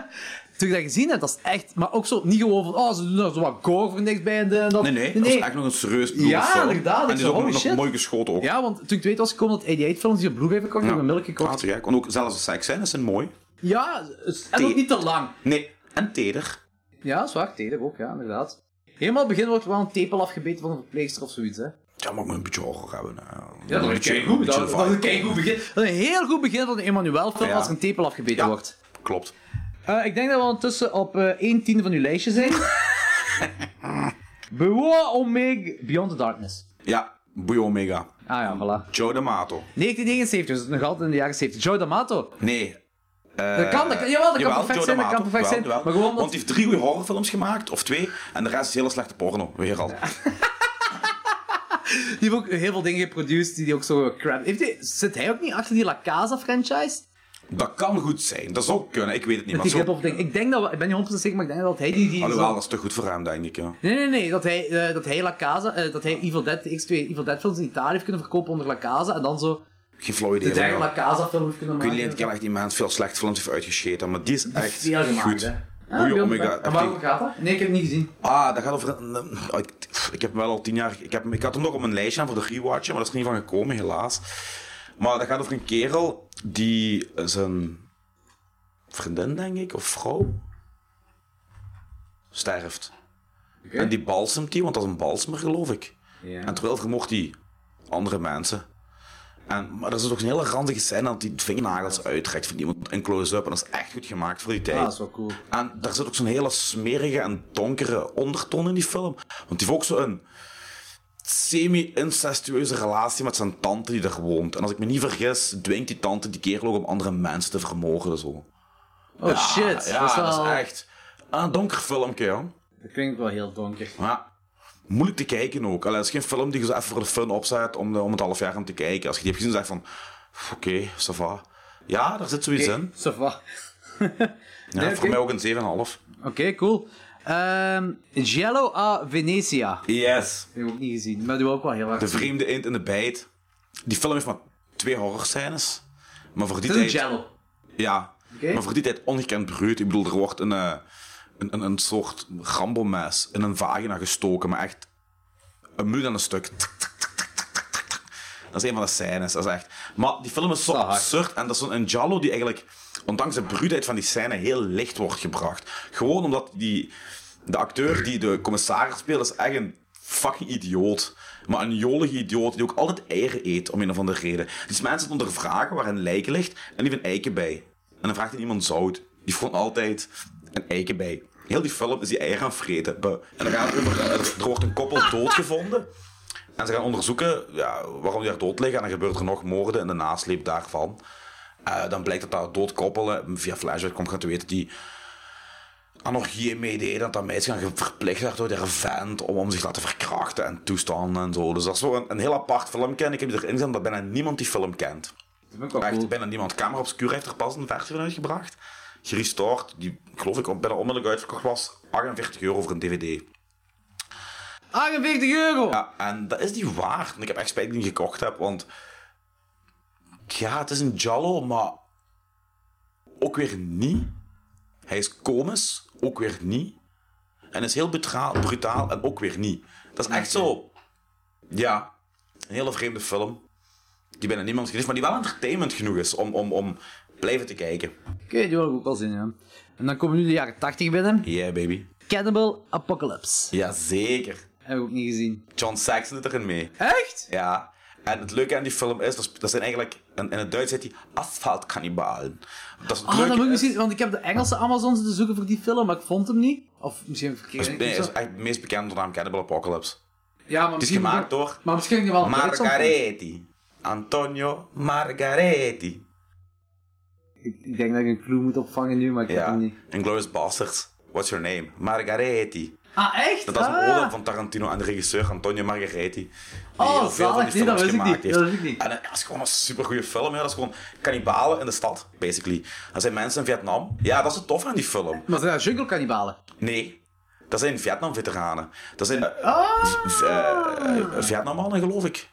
[SPEAKER 1] toen ik dat gezien heb, dat is echt, maar ook zo, niet gewoon van, oh, ze doen er zo wat gore voor niks bij en dit en dat.
[SPEAKER 2] Nee, nee, dat is echt nog een serieus bloed
[SPEAKER 1] Ja, inderdaad, ik
[SPEAKER 2] En die
[SPEAKER 1] zei,
[SPEAKER 2] is ook
[SPEAKER 1] holy
[SPEAKER 2] nog
[SPEAKER 1] shit.
[SPEAKER 2] mooi geschoten ook.
[SPEAKER 1] Ja, want toen ik te weten was gekomen dat 88 films die op Blu-ray verkocht, heb ik een melk
[SPEAKER 2] Ah,
[SPEAKER 1] gekocht.
[SPEAKER 2] te gek. En ook zelfs de seksscènes zijn mooi.
[SPEAKER 1] Ja, en ook
[SPEAKER 2] Die-
[SPEAKER 1] niet te lang.
[SPEAKER 2] Nee, en teder.
[SPEAKER 1] Ja, zwaar, teder ook, ja, inderdaad. Helemaal het begin wordt wel een tepel afgebeten van een verpleegster of zoiets, hè.
[SPEAKER 2] Ja, maar ik moet een beetje horror hebben. hè.
[SPEAKER 1] Ja, dat
[SPEAKER 2] Een
[SPEAKER 1] is
[SPEAKER 2] beetje-
[SPEAKER 1] een goed.
[SPEAKER 2] beetje
[SPEAKER 1] Dat,
[SPEAKER 2] vibe.
[SPEAKER 1] dat is een keigoed begin. Dat is een heel goed begin van de Emmanuel-film
[SPEAKER 2] Ja.
[SPEAKER 1] als er een tepel afgebeten
[SPEAKER 2] Ja.
[SPEAKER 1] wordt.
[SPEAKER 2] Klopt.
[SPEAKER 1] Eh, ik denk dat we ondertussen op eh 1 tiende van uw lijstje zijn. Bewoa Omega Beyond the Darkness.
[SPEAKER 2] Ja, Boeio Omega.
[SPEAKER 1] Ah ja, voilà.
[SPEAKER 2] Joe D'Amato.
[SPEAKER 1] 1979, dus nog altijd in de jaren 70. Joe D'Amato.
[SPEAKER 2] Nee.
[SPEAKER 1] dat kan, dat kan, jawel, dat kan perfect
[SPEAKER 2] Eh, Joe
[SPEAKER 1] zijn, dat
[SPEAKER 2] D'Amato,
[SPEAKER 1] kan perfect
[SPEAKER 2] wel,
[SPEAKER 1] zijn.
[SPEAKER 2] wel.
[SPEAKER 1] Maar gewoon omdat-
[SPEAKER 2] Want die heeft drie goede horrorfilms gemaakt, of twee, en de rest is hele slechte porno. Weer al.
[SPEAKER 1] Die heeft ook heel veel dingen geproduceerd die die ook zo crap... Heeft hij, zit hij ook niet achter die La Casa-franchise?
[SPEAKER 2] Dat kan goed zijn, dat zou kunnen, ik weet het niet. Maar
[SPEAKER 1] Die
[SPEAKER 2] zo...
[SPEAKER 1] rip-off ding. Ik denk dat... we- Ik ben niet 100% zeker, maar ik denk dat hij die... die
[SPEAKER 2] Alhoewel, dat is te goed voor hem, denk ik. Ja.
[SPEAKER 1] Nee, nee, nee. Dat hij, eh, dat hij La Casa, eh, dat hij Evil Dead, de X2 Evil Dead films in Italië heeft kunnen verkopen onder La Casa. En dan zo
[SPEAKER 2] Geen flauw idee.
[SPEAKER 1] de derde
[SPEAKER 2] van,
[SPEAKER 1] La
[SPEAKER 2] ja.
[SPEAKER 1] Casa film heeft kunnen
[SPEAKER 2] Ik weet
[SPEAKER 1] maken.
[SPEAKER 2] niet, ik heb echt iemand veel slechte films heeft uitgescheten, maar die is echt
[SPEAKER 1] Veel gemaakt,
[SPEAKER 2] goed.
[SPEAKER 1] hè. Ah,
[SPEAKER 2] Boeio
[SPEAKER 1] Beyond the
[SPEAKER 2] Omega.
[SPEAKER 1] Dark- En
[SPEAKER 2] heb
[SPEAKER 1] waarom
[SPEAKER 2] die-
[SPEAKER 1] gaat dat? Nee, ik heb het niet gezien.
[SPEAKER 2] Ah, dat gaat over. een- een- oh, ik, pff, ik heb hem wel al tien jaar. Ik, heb, hem- ik had hem nog op mijn lijstje aan voor de rewatchen, maar dat is er niet van gekomen, helaas. Maar dat gaat over een kerel die eh, zijn vriendin, denk ik, of vrouw, sterft. En die balsemt die, want dat is een balsemer, geloof ik. En terwijl vermocht hij andere mensen. En, maar er is ook een hele ranzige scène dat hij de vingernagels uittrekt van iemand in close-up. En dat is echt goed gemaakt voor die tijd.
[SPEAKER 1] Ah, dat is wel cool.
[SPEAKER 2] En daar zit ook zo'n hele smerige en donkere ondertoon in die film. Want die heeft ook zo'n semi-incestueuze relatie met zijn tante die daar woont. En als ik me niet vergis, dwingt die tante die kerel ook om andere mensen te vermoorden. Zo.
[SPEAKER 1] Oh shit,
[SPEAKER 2] ja,
[SPEAKER 1] dat is wel...
[SPEAKER 2] echt een donker filmpje, joh.
[SPEAKER 1] Dat klinkt wel heel donker.
[SPEAKER 2] Ja. Moeilijk te kijken ook. Allee, het is geen film die je zo even voor de fun opzet om, de- om het half jaar aan te kijken. Als je die hebt gezien, zeg van... Oké, ça va. Ja, daar zit zoiets in.
[SPEAKER 1] Ça va.
[SPEAKER 2] Ja,
[SPEAKER 1] Nee,
[SPEAKER 2] voor
[SPEAKER 1] oké.
[SPEAKER 2] mij ook een 7,5.
[SPEAKER 1] Oké, cool. Ehm Jello a Venetia. Die
[SPEAKER 2] Yes.
[SPEAKER 1] heb ik ook niet gezien, maar die wil ook wel heel hard.
[SPEAKER 2] De vreemde eend in de bijt. Die film heeft maar twee horrorscènes. Maar voor die
[SPEAKER 1] Het is een
[SPEAKER 2] tijd...
[SPEAKER 1] Jello.
[SPEAKER 2] Ja. Maar voor die tijd ongekend bruut. Ik bedoel, er wordt een, eh, een, een, een soort rambomes in een vagina gestoken. Maar echt een minuut aan een stuk. Tik, tik, tik, tik, tik, tik, tik, tik. Dat is een van de scènes. Dat is echt... Maar die film is zo
[SPEAKER 1] Zaak.
[SPEAKER 2] absurd. En dat is een giallo die eigenlijk, ondanks de bruutheid van die scène, heel licht wordt gebracht. Gewoon omdat die, de acteur die de commissaris speelt, is echt een fucking idioot. Maar een jolige idioot die ook altijd eieren eet, om een of andere reden. Dus mensen onder vragen waar een lijk ligt en die vindt eiken bij. En dan vraagt hij iemand zout. Die vond altijd een eiken bij. Heel die film is die eieren aan het vreten. Buh. En dan gaat het over, er wordt een koppel doodgevonden. En ze gaan onderzoeken ja, waarom die daar dood liggen. En dan gebeurt er nog moorden in de nasleep daarvan. Eh, dan blijkt dat dat doodkoppelen, via flashback komt gaan te weten, die anorchieën meededen. Dat dat meisje gaan verplicht werd door haar vent om, om zich te laten verkrachten en toestanden en zo. Dus dat is zo een, een heel apart filmpje. En ik heb die erin gezien dat bijna niemand die film kent.
[SPEAKER 1] Dat vind ik wel
[SPEAKER 2] Echt,
[SPEAKER 1] Oh, cool.
[SPEAKER 2] bijna niemand. Camera Obscure heeft er pas een versie van uitgebracht. Gerestored, die geloof ik bijna onmiddellijk uitverkocht was. 48 euro voor een dvd.
[SPEAKER 1] 48 euro!
[SPEAKER 2] Ja, en dat is die waard. En ik heb echt spijt dat ik die niet gekocht heb, want... Ja, het is een Jallo, maar... Ook weer niet. Hij is komisch, ook weer niet. En is heel betra- brutaal en ook weer niet. Dat is echt zo... Ja, een hele vreemde film. Die bijna niemand gezien heeft, maar die wel entertainment genoeg is om, om, om blijven te kijken.
[SPEAKER 1] Oké, die wil ik ook wel zien, ja. En dan komen nu de jaren 80 binnen.
[SPEAKER 2] Yeah, baby.
[SPEAKER 1] Cannibal Apocalypse.
[SPEAKER 2] Jazeker.
[SPEAKER 1] Heb ik ook niet gezien.
[SPEAKER 2] John Saxon doet erin mee.
[SPEAKER 1] Echt?
[SPEAKER 2] Ja. En het leuke aan die film is, dat, is- dat zijn eigenlijk, in, in het Duits heet die asfaltkannibalen. Dat is het
[SPEAKER 1] Ah,
[SPEAKER 2] leuke
[SPEAKER 1] dat moet ik
[SPEAKER 2] is-
[SPEAKER 1] zien, want ik heb de Engelse Amazon zitten zoeken voor die film, maar ik vond hem niet. Of misschien verkeerd.
[SPEAKER 2] is- nee, is echt het meest bekende onder de naam Cannibal Apocalypse.
[SPEAKER 1] ja, maar het
[SPEAKER 2] is gemaakt door
[SPEAKER 1] Maar misschien niet wel.
[SPEAKER 2] Margaretti. Antonio Margaretti.
[SPEAKER 1] Ik, ik denk dat ik een clue moet opvangen nu, maar ik heb
[SPEAKER 2] Ja.
[SPEAKER 1] hem niet.
[SPEAKER 2] En Glorious Bastards. What's your name? Margaretti.
[SPEAKER 1] Ah, echt?
[SPEAKER 2] Dat is een
[SPEAKER 1] ah.
[SPEAKER 2] ode van Tarantino aan de regisseur Antonio Margaretti. Die
[SPEAKER 1] Oh,
[SPEAKER 2] heel veel van
[SPEAKER 1] zalig.
[SPEAKER 2] die
[SPEAKER 1] Nee, dat wist
[SPEAKER 2] films
[SPEAKER 1] ik niet.
[SPEAKER 2] gemaakt heeft.
[SPEAKER 1] Dat wist ik niet.
[SPEAKER 2] En dat is gewoon een supergoeie film. Ja. Dat is gewoon kannibalen in de stad, basically. Dat zijn mensen in Vietnam. Ja, dat is het tof aan die film.
[SPEAKER 1] Maar zijn dat jungle-kannibalen?
[SPEAKER 2] Nee, dat zijn Vietnam-veteranen. Dat zijn eh, v- eh, eh, Vietnammannen, geloof ik.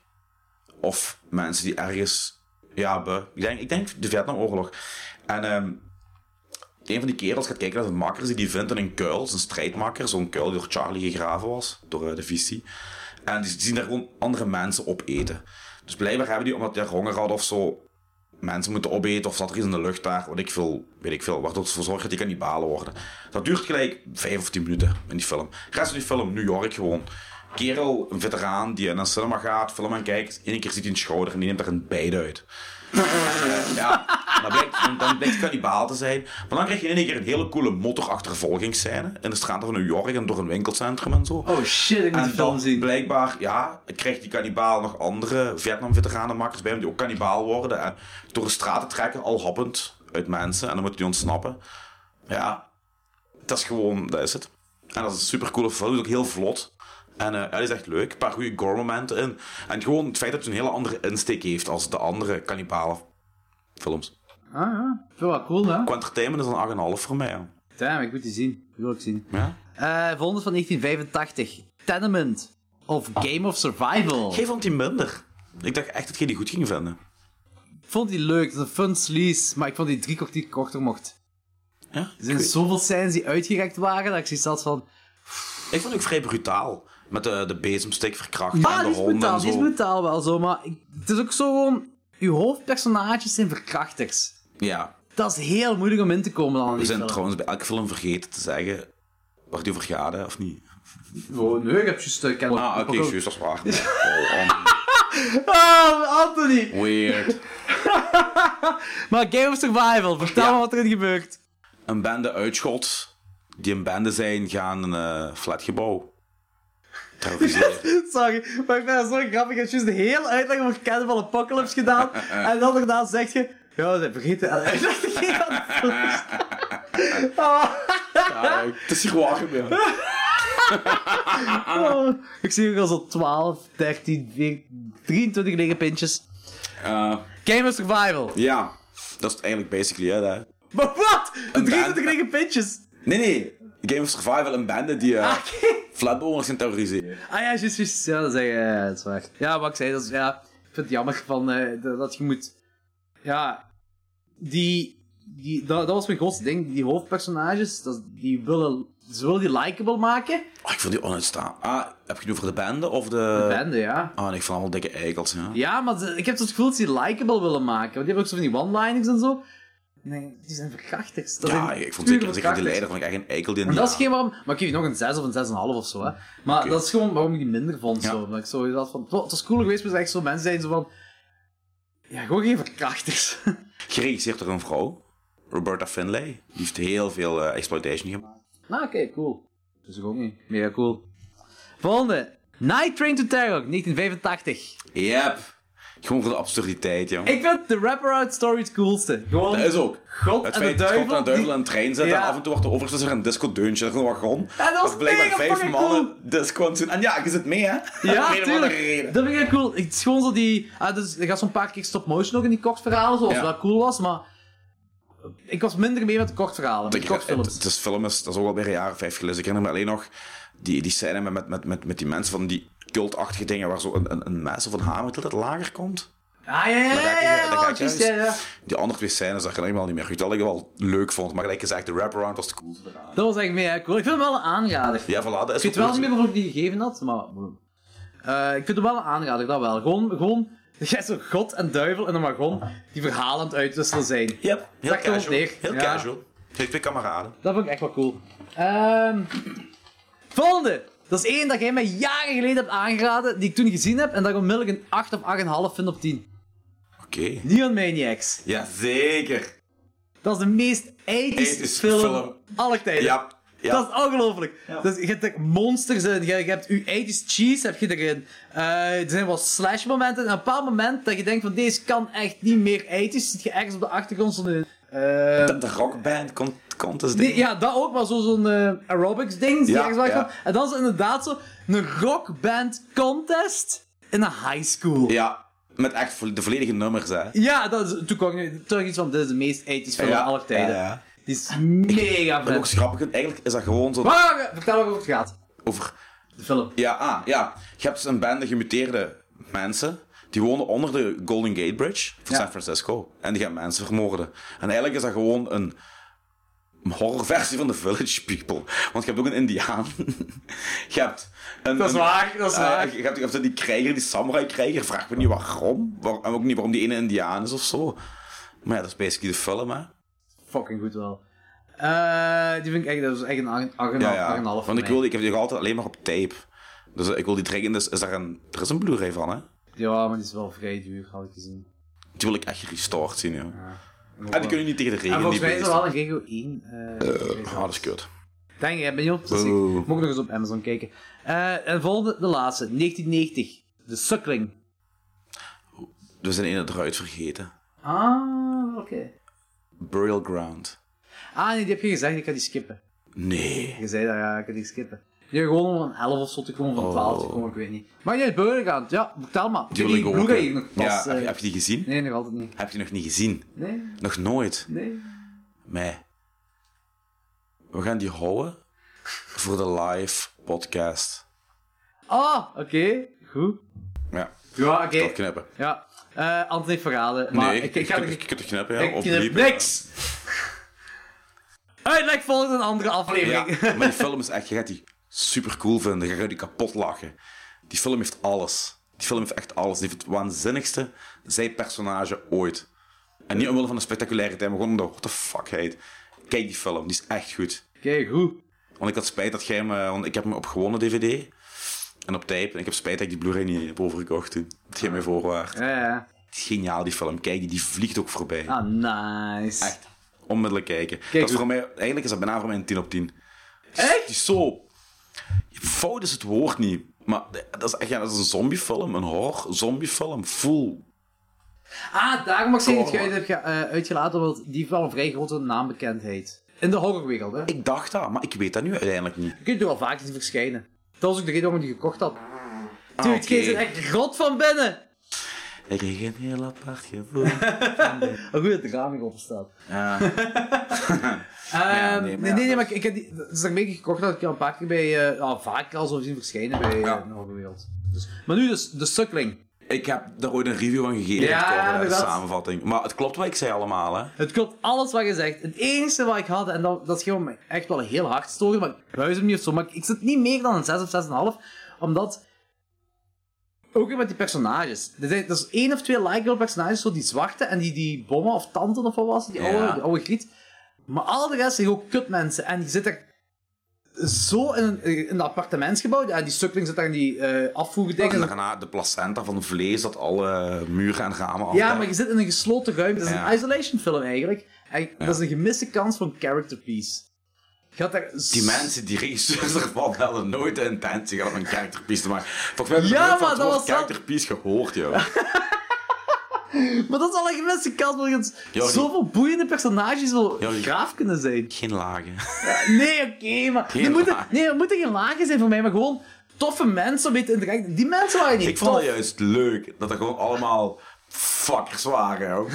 [SPEAKER 2] Of mensen die ergens... Ja, buh. ik denk, ik denk de Vietnamoorlog. En ehm, een van die kerels gaat kijken naar zijn makkers die die vindt in een kuil. Zijn strijdmakker, zo'n kuil die door Charlie gegraven was, door eh, de visie. En die zien daar gewoon andere mensen opeten. Dus blijkbaar hebben die, omdat die honger hadden of zo, mensen moeten opeten of zat er iets in de lucht daar, wat ik veel, weet ik veel, waardoor ze ervoor zorgen dat die kannibalen worden. Dat duurt gelijk vijf of tien minuten in die film. De rest van die film, New York gewoon. Kerel, een veteraan die naar een cinema gaat, film aan kijkt, één keer ziet hij een schouder en die neemt er een bijt uit. Eh, ja, dan blijkt, dan, dan blijkt kannibaal te zijn. Maar dan krijg je in één keer een hele coole motorachtervolgingsscène in de straten van New York en door een winkelcentrum en zo.
[SPEAKER 1] Oh shit, ik moet die
[SPEAKER 2] En
[SPEAKER 1] film
[SPEAKER 2] dan
[SPEAKER 1] zien.
[SPEAKER 2] blijkbaar, ja, kreeg die kannibaal nog andere Vietnam-veteranenmakers bij hem die ook kannibaal worden. En door de straten trekken, al happend uit mensen. En dan moet hij ontsnappen. Ja, dat is gewoon, dat is het. En dat is een supercoole film, die is ook heel vlot. En eh, ja, die is echt leuk. Een paar goede gore-momenten in. En gewoon het feit dat hij een hele andere insteek heeft als de andere kannibalen films.
[SPEAKER 1] Ah, ja. Vind ik wel cool, hè?
[SPEAKER 2] Qua entertainment is een 8,5 voor mij. ja.
[SPEAKER 1] Damn, ik moet die zien. Die wil ik zien.
[SPEAKER 2] Ja.
[SPEAKER 1] Eh volgende van 1985. Tenement. Of Game of Survival.
[SPEAKER 2] Jij vond die minder. Ik dacht echt dat jij die goed ging vinden.
[SPEAKER 1] Ik vond die leuk. Het is een fun sleaze. Maar ik vond die drie kwartier korter mocht.
[SPEAKER 2] Ja?
[SPEAKER 1] Er zijn zoveel scènes die uitgerekt waren. Dat ik zoiets had van...
[SPEAKER 2] Ik vond het ook vrij brutaal. Met de, de bezemstik verkracht
[SPEAKER 1] Ah,
[SPEAKER 2] en
[SPEAKER 1] die
[SPEAKER 2] de
[SPEAKER 1] is
[SPEAKER 2] honden
[SPEAKER 1] brutaal.
[SPEAKER 2] en
[SPEAKER 1] Die is
[SPEAKER 2] zo.
[SPEAKER 1] brutaal wel zo. Maar ik- het is ook zo gewoon... Uw hoofdpersonages zijn verkrachters.
[SPEAKER 2] ja,
[SPEAKER 1] Dat is heel moeilijk om in te komen dan in
[SPEAKER 2] we
[SPEAKER 1] die
[SPEAKER 2] zijn
[SPEAKER 1] film.
[SPEAKER 2] trouwens bij elke film vergeten te zeggen waar die over gaat, hè, of niet?
[SPEAKER 1] Oh, nee, ik heb juist... eh, Ken-
[SPEAKER 2] Ah, oké,
[SPEAKER 1] ook-
[SPEAKER 2] juist, dat is waar. Oh, um,
[SPEAKER 1] Ah, Anthony!
[SPEAKER 2] weird.
[SPEAKER 1] Maar Game of Survival, vertel
[SPEAKER 2] Ja.
[SPEAKER 1] me wat erin gebeurt.
[SPEAKER 2] Een bende uitschot, die een bende zijn, gaan een eh, flatgebouw Traumatiseerd.
[SPEAKER 1] Sorry, maar ik vind dat zo grappig. Je hebt juist de hele uitleg over Cannibal Apocalypse gedaan. En dan daarna zeg je... Ja, dat vergeet het. En dat is geen anders. Oh,
[SPEAKER 2] Ja, het is hier waar gebeurd.
[SPEAKER 1] oh. Ik zie ook al zo 12, 13, 14, 23 lege pintjes.
[SPEAKER 2] Ja.
[SPEAKER 1] Game of Survival.
[SPEAKER 2] Ja, dat is het eigenlijk basically uit, hè.
[SPEAKER 1] Maar wat? De
[SPEAKER 2] Een
[SPEAKER 1] 23
[SPEAKER 2] band.
[SPEAKER 1] lege pintjes.
[SPEAKER 2] Nee, nee. Game of Survival, een bende die eh
[SPEAKER 1] Ah, oké.
[SPEAKER 2] flatboners gaan terroriseren.
[SPEAKER 1] Ah ja, juist, juist. Ja, dat is, eh, dat is waar. Ja, wat ik zei, dat is, ja, ik vind het jammer van, eh, dat, dat je moet... Ja, die... die dat, dat was mijn grootste ding. Die hoofdpersonages, dat, die willen, ze willen die likable maken.
[SPEAKER 2] Oh, ik vond die onuitstaan. Ah, heb je het over de bende of de...
[SPEAKER 1] De bende, ja.
[SPEAKER 2] Ah, nee, ik vond allemaal dikke eikels, ja.
[SPEAKER 1] Ja, maar ze- ik heb het gevoel dat ze die likable willen maken. Want die hebben ook zo van die one-liners en zo. Nee, die zijn verkrachters. Dat
[SPEAKER 2] Ja,
[SPEAKER 1] zijn
[SPEAKER 2] ik vond
[SPEAKER 1] pure
[SPEAKER 2] zeker, zeker die
[SPEAKER 1] verkrachters.
[SPEAKER 2] leider vond ik echt een eikel die...
[SPEAKER 1] En dat is geen waarom... Maar ik geef je nog een 6 of een 6,5 of zo, hè. Maar dat is gewoon waarom ik die minder vond,
[SPEAKER 2] Ja.
[SPEAKER 1] zo. Omdat ik zo dacht van... "Wow, Het was cooler geweest, maar echt zo mensen zijn zo van... Ja, gewoon geen verkrachters.
[SPEAKER 2] Geregisseerd door een vrouw, Roberta Finlay. Die heeft heel veel eh, exploitation gemaakt.
[SPEAKER 1] nou, oké, cool. Dat
[SPEAKER 2] Dus
[SPEAKER 1] is gewoon niet. Mega cool. Volgende. Night Train to Terror, 1985.
[SPEAKER 2] Yep. Gewoon voor de absurditeit, joh.
[SPEAKER 1] Ik vind de wraparound story het coolste. Gewoon...
[SPEAKER 2] Dat is ook.
[SPEAKER 1] God
[SPEAKER 2] het
[SPEAKER 1] en de
[SPEAKER 2] feit dat
[SPEAKER 1] duivel,
[SPEAKER 2] God en de duivel
[SPEAKER 1] die-
[SPEAKER 2] in een trein zetten.
[SPEAKER 1] Ja.
[SPEAKER 2] En af en toe wordt er overigens weer een disco-deuntje. Dat is een wagon.
[SPEAKER 1] dat was
[SPEAKER 2] Waar blijkbaar
[SPEAKER 1] mega
[SPEAKER 2] vijf
[SPEAKER 1] fucking
[SPEAKER 2] mannen
[SPEAKER 1] cool.
[SPEAKER 2] disco aan het doen. En ja, je zit mee, hè?
[SPEAKER 1] Ja,
[SPEAKER 2] Om een of andere reden.
[SPEAKER 1] tuurlijk. Dat vind ik echt cool. Het is gewoon zo die... Ah, dus, er gaat zo'n paar keer stop-motion ook in die kortverhalen, zoals
[SPEAKER 2] Ja.
[SPEAKER 1] wel cool was, maar... Ik was minder mee met de kortverhalen, met de
[SPEAKER 2] Ik- Het,
[SPEAKER 1] kortfilms.
[SPEAKER 2] het is film is, dat is ook alweer een jaar of vijf geleden. Dus ik herinner me alleen nog die, die scène met, met, met, met die mensen van die cultachtige dingen waar zo een, een, een mes of een hamer tot het lager komt.
[SPEAKER 1] Ah, ja, ja,
[SPEAKER 2] Dan ga
[SPEAKER 1] ja,
[SPEAKER 2] ik-
[SPEAKER 1] ja,
[SPEAKER 2] dan
[SPEAKER 1] ja,
[SPEAKER 2] ga
[SPEAKER 1] ja,
[SPEAKER 2] ik
[SPEAKER 1] juist, ja,
[SPEAKER 2] juist-
[SPEAKER 1] ja.
[SPEAKER 2] Die andere twee scènes, dat herinner ik me al niet meer goed. Dat ik wel leuk vond, maar gelijk gezegd, de wraparound was de coolste. eraan.
[SPEAKER 1] Dat was echt mega cool. Ik vind hem wel een aanrader.
[SPEAKER 2] Ja, voilà, dat is
[SPEAKER 1] Ik weet wel niet meer of ik die gegeven had, maar... Eh, ik vind hem wel een aanrader, dat wel. Gewoon... gewoon jij is zo god en duivel in een wagon die verhalen aan het uitwisselen zijn.
[SPEAKER 2] Yep, heel
[SPEAKER 1] Zakt er ons
[SPEAKER 2] casual.
[SPEAKER 1] neer.
[SPEAKER 2] Heel
[SPEAKER 1] Ja.
[SPEAKER 2] casual. Heeft twee kameraden.
[SPEAKER 1] Dat vond ik echt wel cool. Ehm, volgende! Dat is één dat jij mij jaren geleden hebt aangeraden, die ik toen gezien heb en dat ik onmiddellijk een 8 of 8,5 vind op 10.
[SPEAKER 2] Oké.
[SPEAKER 1] Neon Maniacs.
[SPEAKER 2] Jazeker.
[SPEAKER 1] Dat is de meest 80s
[SPEAKER 2] 80s
[SPEAKER 1] film,
[SPEAKER 2] film.
[SPEAKER 1] aller tijden.
[SPEAKER 2] Ja. ja.
[SPEAKER 1] Dat is ongelooflijk. Dus je hebt er monsters in. Je, je hebt je 80s cheese heb je erin. Eh, er zijn wel slash momenten. En een bepaald moment dat je denkt van deze kan echt niet meer 80s. Zit je ergens op de achtergrond zo'n... eh,
[SPEAKER 2] De, de rockband kon, kon dus
[SPEAKER 1] Nee, ja, dat ook, maar zo- zo'n eh, aerobics ding. zie je
[SPEAKER 2] Ja,
[SPEAKER 1] ergens wel
[SPEAKER 2] ja.
[SPEAKER 1] van. En dan is het inderdaad zo een rockband contest in een high school. Ja,
[SPEAKER 2] Ja, met echt vo- de volledige nummers, hè.
[SPEAKER 1] dat is, toen kwam ik toch iets van, dit is de meest 80s film van
[SPEAKER 2] Ja,
[SPEAKER 1] alle tijden.
[SPEAKER 2] ja, ja.
[SPEAKER 1] Die is mega
[SPEAKER 2] Dat is ook
[SPEAKER 1] vet.
[SPEAKER 2] grappig, want eigenlijk is dat gewoon zo
[SPEAKER 1] Maar eh, vertel ook over het gaat.
[SPEAKER 2] over...
[SPEAKER 1] De film.
[SPEAKER 2] Ja, ah, ja. Je hebt dus een bende gemuteerde mensen, die wonen onder de Golden Gate Bridge van
[SPEAKER 1] Ja.
[SPEAKER 2] San Francisco. En die gaan mensen vermoorden. En eigenlijk is dat gewoon een horrorversie van The Village People. Want je hebt ook een indiaan. je hebt... Een,
[SPEAKER 1] Dat is
[SPEAKER 2] een-
[SPEAKER 1] waar, dat is
[SPEAKER 2] eh,
[SPEAKER 1] waar.
[SPEAKER 2] je hebt, je hebt die krijger, die samurai-krijger, vraag me niet waarom. Waar, en ook niet waarom die ene indiaan is of zo. Maar ja, dat is basically de film, hè.
[SPEAKER 1] Fucking goed wel. Eh, die vind ik echt, dat was echt Nou, een 8,5
[SPEAKER 2] Ja, ja.
[SPEAKER 1] van
[SPEAKER 2] Want ik,
[SPEAKER 1] mij.
[SPEAKER 2] wil, die- ik heb die nog altijd alleen maar op tape. Dus eh, ik wil die trekken, dus is daar een, er is een Blu-ray van, hè?
[SPEAKER 1] Ja, maar die is wel vrij duur, had ik gezien.
[SPEAKER 2] Die wil ik echt gerestored zien, joh. En die kunnen niet tegen de
[SPEAKER 1] En
[SPEAKER 2] regen,
[SPEAKER 1] volgens
[SPEAKER 2] die
[SPEAKER 1] mij is er
[SPEAKER 2] beesten.
[SPEAKER 1] wel een regio 1. eh,
[SPEAKER 2] Ah, dat is kut.
[SPEAKER 1] Denk ik, ik ben niet op. Dus ik
[SPEAKER 2] Oeh.
[SPEAKER 1] moet ook nog eens op Amazon kijken. Eh, en volgende, de laatste, 1990. De Suckling.
[SPEAKER 2] We zijn een eruit vergeten.
[SPEAKER 1] Ah, oké.
[SPEAKER 2] Burial Ground.
[SPEAKER 1] Ah, nee, die heb je gezegd, ik ga die skippen.
[SPEAKER 2] Nee.
[SPEAKER 1] Je zei dat, ja, ik ga die skippen. Je hebt gewoon om een 11 of zo te komen, van
[SPEAKER 2] Oh.
[SPEAKER 1] 12 te komen, ik weet niet. Maar jij beuren gaan, ja, vertel maar.
[SPEAKER 2] Die wil ik ook.
[SPEAKER 1] Blu-ray
[SPEAKER 2] hè.
[SPEAKER 1] nog
[SPEAKER 2] Ja,
[SPEAKER 1] pas.
[SPEAKER 2] heb,
[SPEAKER 1] eh,
[SPEAKER 2] je- heb je die gezien?
[SPEAKER 1] Nee, nog altijd niet.
[SPEAKER 2] Heb je nog niet gezien?
[SPEAKER 1] Nee,
[SPEAKER 2] Nog nooit.
[SPEAKER 1] nee.
[SPEAKER 2] Mij. We gaan die houden voor de live podcast.
[SPEAKER 1] Ah, oké, goed.
[SPEAKER 2] Ja,
[SPEAKER 1] Ja, oké.
[SPEAKER 2] dat knippen.
[SPEAKER 1] Ja, Eh Anthony verraden. Maar
[SPEAKER 2] Nee,
[SPEAKER 1] ik, ik, ga
[SPEAKER 2] ik,
[SPEAKER 1] er-
[SPEAKER 2] ik, ik, het knippen, ja.
[SPEAKER 1] ik
[SPEAKER 2] of
[SPEAKER 1] knip
[SPEAKER 2] liepen, ja.
[SPEAKER 1] niks. Uitleg volgt een andere
[SPEAKER 2] Ja,
[SPEAKER 1] aflevering.
[SPEAKER 2] maar die film is echt, je gaat die super cool vinden. Je gaat die kapot lachen. Die film heeft alles. Die film heeft echt alles. Die heeft het waanzinnigste zijpersonage ooit. En niet omwille van de spectaculaire tijd, maar gewoon omdat, what the fuck heet. Kijk die film, die is echt goed.
[SPEAKER 1] Oké, goed.
[SPEAKER 2] Want ik had spijt dat jij hem, eh, want ik heb hem op gewone DVD en op tape. En ik heb spijt dat ik die Blu-ray niet heb overgekocht toen. Het ging mij voorwaard.
[SPEAKER 1] Ja, ja.
[SPEAKER 2] Geniaal die film, kijk die, die vliegt ook voorbij.
[SPEAKER 1] Ah, nice.
[SPEAKER 2] Echt, onmiddellijk kijken. dat
[SPEAKER 1] hoe-
[SPEAKER 2] is voor mij, eigenlijk is dat bijna voor mij een 10 op 10.
[SPEAKER 1] Echt?
[SPEAKER 2] Die is zo Fout is het woord niet. Maar dat is echt ja, dat is een zombiefilm, een horror zombiefilm. Full.
[SPEAKER 1] Ah, daarom mag ik zeggen dat jij het hebt ge- eh, uitgelaten, want die heeft wel een vrij grote naambekendheid. In de horrorwereld, hè.
[SPEAKER 2] Ik dacht dat, maar ik weet dat nu uiteindelijk niet.
[SPEAKER 1] Je kunt er wel vaak zien verschijnen. Dat was ook de reden waarom ik die gekocht had. Dude,
[SPEAKER 2] Ah, oké.
[SPEAKER 1] jij zit echt rot van binnen!
[SPEAKER 2] Ik kreeg een heel apart gevoel.
[SPEAKER 1] Maar goed dat de raming open staat.
[SPEAKER 2] Ja.
[SPEAKER 1] Ehm,
[SPEAKER 2] nee,
[SPEAKER 1] nee,
[SPEAKER 2] maar
[SPEAKER 1] nee,
[SPEAKER 2] ja,
[SPEAKER 1] nee, maar ik, ik heb die, het is daarmee gekocht dat ik al een paar keer bij, eh, nou, vaak al zo zien verschijnen bij eh, de horrorwereld. Dus, maar nu dus, de sukkeling.
[SPEAKER 2] Ik heb daar ooit een review aan gegeven.
[SPEAKER 1] Ja,
[SPEAKER 2] het cover, de
[SPEAKER 1] inderdaad.
[SPEAKER 2] samenvatting. Maar het klopt wat ik zei allemaal, hè.
[SPEAKER 1] Het klopt alles wat je zegt. Het enige wat ik had, en dat, dat ging me echt wel heel hard storen, maar ik buis hem niet of zo. Maar ik, ik zit niet meer dan een 6 of 6,5, omdat... Ook weer met die personages. Er zijn dus één of twee likable personages, zo die zwarte en die, die bommen of tanten of wat was het, die oude,
[SPEAKER 2] Ja.
[SPEAKER 1] die oude griet. Maar al de rest zijn ook kutmensen en die zitten zo in een, in een appartementsgebouw. Ja, die sukkeling zit daar in die eh afvoerdingen.
[SPEAKER 2] En daarna de placenta van vlees dat alle eh, muren en ramen afdekt.
[SPEAKER 1] Ja, maar je zit in een gesloten ruimte. Dat is
[SPEAKER 2] Ja.
[SPEAKER 1] een isolation film eigenlijk. En dat is een gemiste kans voor een character piece. Je had daar
[SPEAKER 2] Die
[SPEAKER 1] s-
[SPEAKER 2] mensen, die regisseurs ervan, hadden nooit de intentie gehad om een characterpiece te maken. Volgens mij hebben
[SPEAKER 1] Ja,
[SPEAKER 2] nooit van
[SPEAKER 1] maar
[SPEAKER 2] het
[SPEAKER 1] dat
[SPEAKER 2] woord
[SPEAKER 1] was wel-
[SPEAKER 2] characterpiece gehoord, joh.
[SPEAKER 1] Maar dat is al een gemiste kans voor iets.
[SPEAKER 2] Ja, die-
[SPEAKER 1] Zoveel boeiende personages zo
[SPEAKER 2] Ja, die-
[SPEAKER 1] graaf kunnen zijn.
[SPEAKER 2] Geen lagen.
[SPEAKER 1] Nee, oké, maar...
[SPEAKER 2] Geen
[SPEAKER 1] Er moeten,
[SPEAKER 2] laag.
[SPEAKER 1] nee, er moeten geen lagen zijn voor mij, maar gewoon toffe mensen om mee te interacten. Die mensen waren niet
[SPEAKER 2] Ik vond
[SPEAKER 1] tof.
[SPEAKER 2] het juist leuk dat er gewoon allemaal fuckers waren, jong.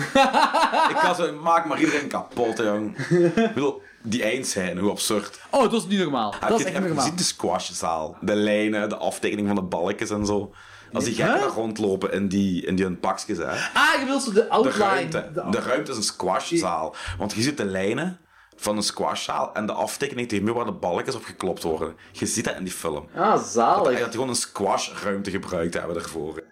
[SPEAKER 2] ik kan zo, maak maar iedereen kapot, jong. Ik bedoel, die eindscène, hoe absurd.
[SPEAKER 1] Oh, dat is niet normaal.
[SPEAKER 2] heb
[SPEAKER 1] dat
[SPEAKER 2] je,
[SPEAKER 1] is
[SPEAKER 2] het-
[SPEAKER 1] echt niet
[SPEAKER 2] heb je
[SPEAKER 1] normaal.
[SPEAKER 2] gezien de squashzaal? De lijnen, de aftekening van de balkjes en zo. Als die gekken
[SPEAKER 1] Huh?
[SPEAKER 2] daar rondlopen in die, in die hun pakjes, hè.
[SPEAKER 1] Ah, je wilt zo de
[SPEAKER 2] De
[SPEAKER 1] outline.
[SPEAKER 2] ruimte.
[SPEAKER 1] de-
[SPEAKER 2] De ruimte is een squashzaal. Want je ziet de lijnen van een squashzaal en de aftekening tegen muur waar de balkjes op geklopt worden. Je ziet dat in die film.
[SPEAKER 1] Ah,
[SPEAKER 2] Dat
[SPEAKER 1] zalig.
[SPEAKER 2] die
[SPEAKER 1] Oké.
[SPEAKER 2] gewoon een squashruimte gebruikt hebben daarvoor.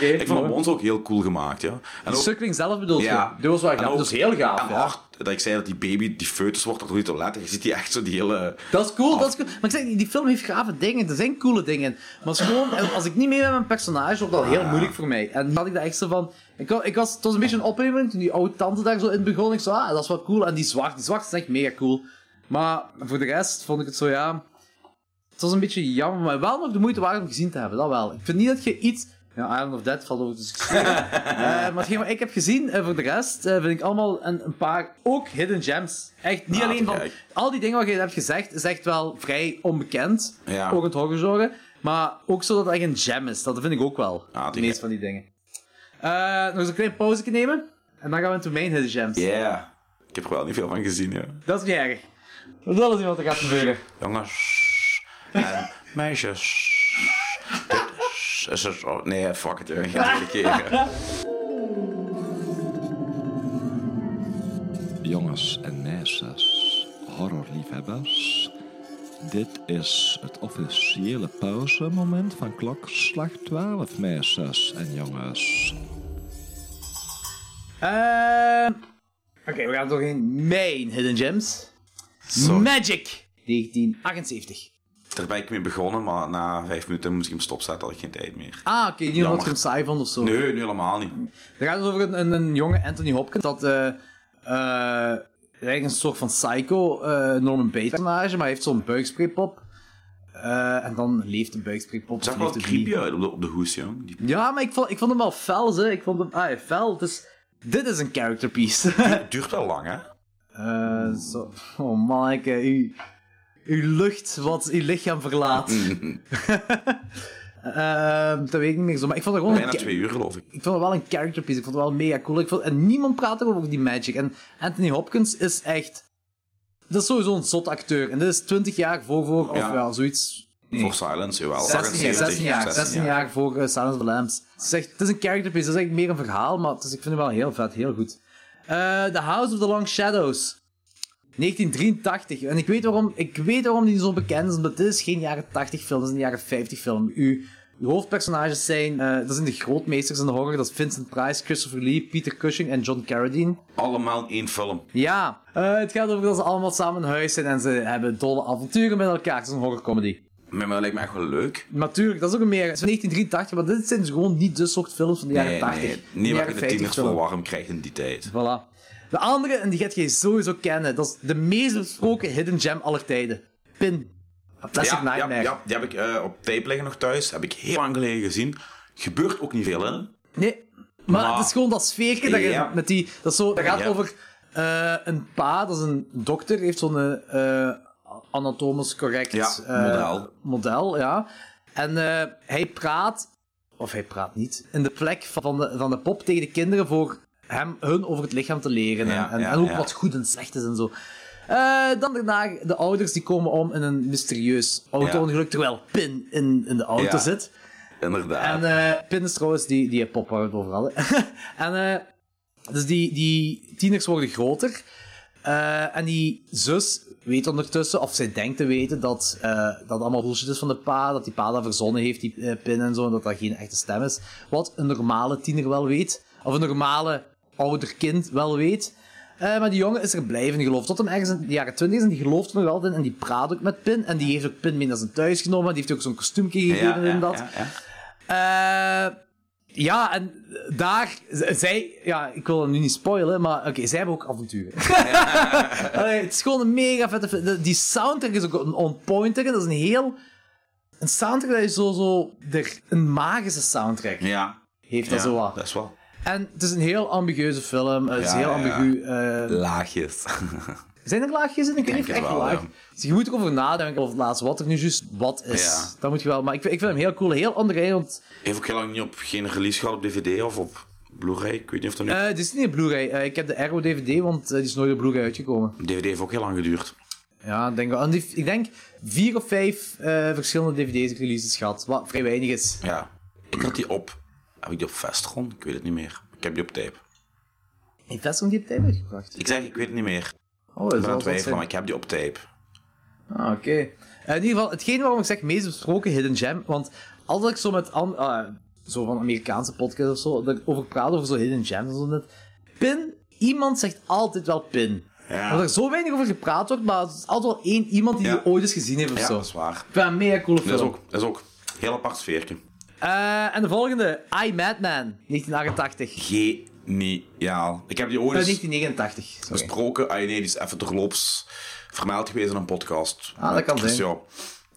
[SPEAKER 2] Ik vond het ons ook heel cool gemaakt, ja. En
[SPEAKER 1] De
[SPEAKER 2] ook,
[SPEAKER 1] sukkeling zelf bedoel
[SPEAKER 2] ja.
[SPEAKER 1] je? Dat was wel
[SPEAKER 2] En
[SPEAKER 1] gaaf.
[SPEAKER 2] ook-
[SPEAKER 1] Dat is heel gaaf.
[SPEAKER 2] En
[SPEAKER 1] ja.
[SPEAKER 2] hard, dat ik zei dat die baby, die foetus wordt, dat doe je te letten. Je ziet die echt zo die hele...
[SPEAKER 1] Dat is cool, dat is cool. Maar ik zeg, die film heeft grave dingen, er zijn coole dingen. Maar het is gewoon, als ik niet mee ben met mijn personage, wordt dat heel moeilijk voor mij. En dan had ik daar echt zo van... Ik, wa- ik was, het was een beetje een opheving toen die oude tante daar zo in begon. Ik zo, ah, dat is wel cool. En die zwart, die zwart is echt mega cool. Maar voor de rest vond ik het zo, ja... Het was een beetje jammer, maar wel nog de moeite waard om gezien te hebben, dat wel. Ik vind niet dat je iets... Ja, Island of Dead valt over de discussie. Eh, maar hetgeen wat ik heb gezien, eh, voor de rest, eh, vind ik allemaal een, een paar, ook hidden gems. Echt, niet
[SPEAKER 2] Ah,
[SPEAKER 1] alleen van...
[SPEAKER 2] kijk.
[SPEAKER 1] Al die dingen wat je hebt gezegd, is echt wel vrij onbekend.
[SPEAKER 2] Ja.
[SPEAKER 1] Ook in het horrorgenre. Maar ook zo dat het echt een gem is. Dat vind ik ook wel.
[SPEAKER 2] Ah,
[SPEAKER 1] de
[SPEAKER 2] die-
[SPEAKER 1] meeste van die dingen. Eh, nog eens een klein pauze nemen. En dan gaan we into mijn hidden gems.
[SPEAKER 2] Yeah. Ik heb er wel niet veel van gezien, ja.
[SPEAKER 1] Dat is niet erg. Dat is niet wat er gaat gebeuren.
[SPEAKER 2] Jongens en meisjes. Dit is- is het. oh, nee, fuck it, ik ga het verkeeren.
[SPEAKER 6] Jongens en meisjes, horrorliefhebbers. Dit is het officiële pauzemoment van klokslag 12, meisjes en jongens.
[SPEAKER 1] Ehm, Oké, we gaan toch in mijn hidden gems.
[SPEAKER 2] Zo,
[SPEAKER 1] Magic 1978.
[SPEAKER 2] daar ben ik mee begonnen, maar na vijf minuten moest ik hem stopzetten, had ik geen tijd meer.
[SPEAKER 1] Ah, oké, niet omdat
[SPEAKER 2] Jammer.
[SPEAKER 1] je hem saai vond of zo.
[SPEAKER 2] Nee, nu helemaal niet.
[SPEAKER 1] Het gaat dus over een, een, een jonge Anthony Hopkins. Dat eh, eh, eigenlijk een soort van psycho eh, Norman Bates personage, maar hij heeft zo'n buikspreepop. Eh, en dan leeft de buikspreepop.
[SPEAKER 2] Het zag
[SPEAKER 1] of
[SPEAKER 2] wel
[SPEAKER 1] leeft het niet.
[SPEAKER 2] creepy uit op de, op de hoes, jong. Die,
[SPEAKER 1] Ja, maar ik vond, ik vond hem wel fel, hè. Ik vond hem, ah, fel. Dus dit is een character piece.
[SPEAKER 2] het duurt wel lang, hè?
[SPEAKER 1] Eh, zo. Oh, manneke, u, uw lucht wat uw lichaam verlaat. Ehm, dat weet ik niet meer zo, maar ik vond er gewoon...
[SPEAKER 2] Bijna
[SPEAKER 1] een-
[SPEAKER 2] twee uur, geloof ik.
[SPEAKER 1] ik vond het wel een character piece. Ik vond het wel mega cool. Ik vond, en niemand praat erover over die magic. En Anthony Hopkins is echt. Dat is sowieso een zot acteur. En dit is 20 jaar voor, voor of
[SPEAKER 2] Ja.
[SPEAKER 1] ja, zoiets.
[SPEAKER 2] Voor Silence, jawel.
[SPEAKER 1] 16 jaar,
[SPEAKER 2] 78,
[SPEAKER 1] 16 jaar, 16 jaar voor eh, Silence of the Lambs. Het is, echt, het is een character piece. Dat is echt meer een verhaal, maar het is, ik vind het wel heel vet, heel goed. Eh, the House of the Long Shadows. 1983. En ik weet waarom, ik weet waarom die zo bekend is, omdat dit is geen jaren 80 film, dit is een jaren 50 film. Uw, uw hoofdpersonages zijn, eh, dat zijn de grootmeesters in de horror, dat is Vincent Price, Christopher Lee, Peter Cushing en John Carradine.
[SPEAKER 2] Allemaal één film.
[SPEAKER 1] Ja, eh, het gaat over dat ze allemaal samen in huis zijn en ze hebben dolle avonturen met elkaar. Het is een horrorcomedy.
[SPEAKER 2] Maar dat lijkt me echt wel leuk.
[SPEAKER 1] Maar tuurlijk, dat is ook een meer. Het is van 1983, maar dit zijn dus gewoon niet de soort films van de jaren
[SPEAKER 2] Nee,
[SPEAKER 1] 80.
[SPEAKER 2] nee.
[SPEAKER 1] Van
[SPEAKER 2] Niet waar
[SPEAKER 1] jaren
[SPEAKER 2] je de
[SPEAKER 1] 50
[SPEAKER 2] tieners
[SPEAKER 1] film.
[SPEAKER 2] voor warm krijgt in die tijd.
[SPEAKER 1] Voilà. De andere, en die gaat jij sowieso kennen, dat is de meest besproken hidden gem aller tijden. Pin. A Plastic
[SPEAKER 2] ja, ja,
[SPEAKER 1] Nightmare.
[SPEAKER 2] ja, die heb ik eh, op tape liggen nog thuis. Heb ik heel lang geleden gezien. Gebeurt ook niet veel, hè?
[SPEAKER 1] Nee, maar
[SPEAKER 2] Maar-
[SPEAKER 1] het is gewoon dat sfeertje dat je
[SPEAKER 2] Ja.
[SPEAKER 1] met die... Dat, is zo, dat gaat
[SPEAKER 2] Ja.
[SPEAKER 1] over eh, een pa, dat is een dokter, heeft zo'n eh, anatomisch correct
[SPEAKER 2] Ja,
[SPEAKER 1] eh,
[SPEAKER 2] model.
[SPEAKER 1] model, ja. En eh, hij praat, of hij praat niet, in de plek van de, van de pop tegen de kinderen voor hem, hun over het lichaam te leren.
[SPEAKER 2] Ja,
[SPEAKER 1] en,
[SPEAKER 2] ja,
[SPEAKER 1] en ook
[SPEAKER 2] ja.
[SPEAKER 1] wat goed en slecht is en zo. Eh, dan daarna, de ouders die komen om in een mysterieus auto-ongeluk, terwijl Pin in, in de auto
[SPEAKER 2] Ja.
[SPEAKER 1] zit.
[SPEAKER 2] Inderdaad.
[SPEAKER 1] En eh Pin is trouwens die, die pop waar we het over hadden. en eh, dus die, die tieners worden groter. Eh, en die zus weet ondertussen, of zij denkt te weten, dat eh, dat allemaal bullshit is van de pa. Dat die pa dat verzonnen heeft, die eh, Pin en zo. En dat dat geen echte stem is. Wat een normale tiener wel weet. Of een normale ouder kind wel weet. Eh, maar die jongen is er blijven geloven. Tot hem ergens in de jaren 20 is en die gelooft er nog altijd in. En die praat ook met Pin. En die heeft ook Pin mee naar zijn thuis genomen. Die heeft ook zo'n kostuumje gegeven en dat.
[SPEAKER 2] ja, ja.
[SPEAKER 1] Eh, ja, en daar, z- zij, ja, ik wil dat nu niet spoilen, maar oké, zij hebben ook avonturen. Allee, het is gewoon een mega vette film. De- Die soundtrack is ook een on-pointer. Dat is een heel, een soundtrack dat is zo, zo er- een magische soundtrack
[SPEAKER 2] Ja,
[SPEAKER 1] heeft dat
[SPEAKER 2] ja,
[SPEAKER 1] zo wat.
[SPEAKER 2] Dat is wel.
[SPEAKER 1] En het is een heel ambigueuze film. Het is
[SPEAKER 2] Ja,
[SPEAKER 1] heel
[SPEAKER 2] ja,
[SPEAKER 1] ambigu. eh,
[SPEAKER 2] Laagjes.
[SPEAKER 1] zijn er laagjes in? Ik weet
[SPEAKER 2] denk
[SPEAKER 1] niet of
[SPEAKER 2] het
[SPEAKER 1] echt
[SPEAKER 2] wel,
[SPEAKER 1] laag.
[SPEAKER 2] ja.
[SPEAKER 1] Dus je moet ook over nadenken of laatst wat er nu juist wat is.
[SPEAKER 2] Ja.
[SPEAKER 1] Dat moet je wel. Maar ik, vind- ik vind hem heel cool, heel onderrijden, want
[SPEAKER 2] Heeft ook heel lang niet op geen release gehad op DVD of op Blu-ray. Ik weet niet of dat nu.
[SPEAKER 1] Eh, dit is niet een Blu-ray. Eh, ik heb de Arrow DVD, want eh, die is nooit op Blu-ray uitgekomen.
[SPEAKER 2] DVD heeft ook heel lang geduurd.
[SPEAKER 1] Ja, ik denk, wel. En die- ik denk vier of vijf eh, verschillende DVD-releases gehad, wat vrij weinig is.
[SPEAKER 2] Ja. Ik had die op. Heb ik die op Vestron? Ik weet het niet meer. Ik heb die op tape.
[SPEAKER 1] Heeft Vestron die op tijd uitgebracht?
[SPEAKER 2] Ik zeg, ik weet het niet meer.
[SPEAKER 1] Oh, dat
[SPEAKER 2] Ik
[SPEAKER 1] is
[SPEAKER 2] ben aan
[SPEAKER 1] wel
[SPEAKER 2] het twijfelen, maar
[SPEAKER 1] zijn.
[SPEAKER 2] ik heb die op tape.
[SPEAKER 1] Ah, oké. Eh, in ieder geval, hetgeen waarom ik zeg meest besproken Hidden Gem, want als ik zo met an- ah, zo van Amerikaanse podcasts of zo dat ik over praat, over zo Hidden Gems en zo net, Pin, iemand zegt altijd wel Pin.
[SPEAKER 2] Ja.
[SPEAKER 1] Omdat er zo weinig over gepraat wordt, maar het is altijd wel één iemand die
[SPEAKER 2] Ja.
[SPEAKER 1] die ooit eens gezien heeft of
[SPEAKER 2] Ja,
[SPEAKER 1] zo.
[SPEAKER 2] dat is waar.
[SPEAKER 1] Ik vind het een mega coole film.
[SPEAKER 2] Dat is ook, dat is ook een heel apart sfeertje.
[SPEAKER 1] Eh, en de volgende, I Madman, 1988.
[SPEAKER 2] Geniaal. Ik heb die ooit
[SPEAKER 1] Eh,
[SPEAKER 2] eens
[SPEAKER 1] 1989, sorry.
[SPEAKER 2] besproken. Ah nee, die is even terloops vermeld geweest in een podcast.
[SPEAKER 1] Ah, dat
[SPEAKER 2] Met
[SPEAKER 1] kan zijn.
[SPEAKER 2] Christian.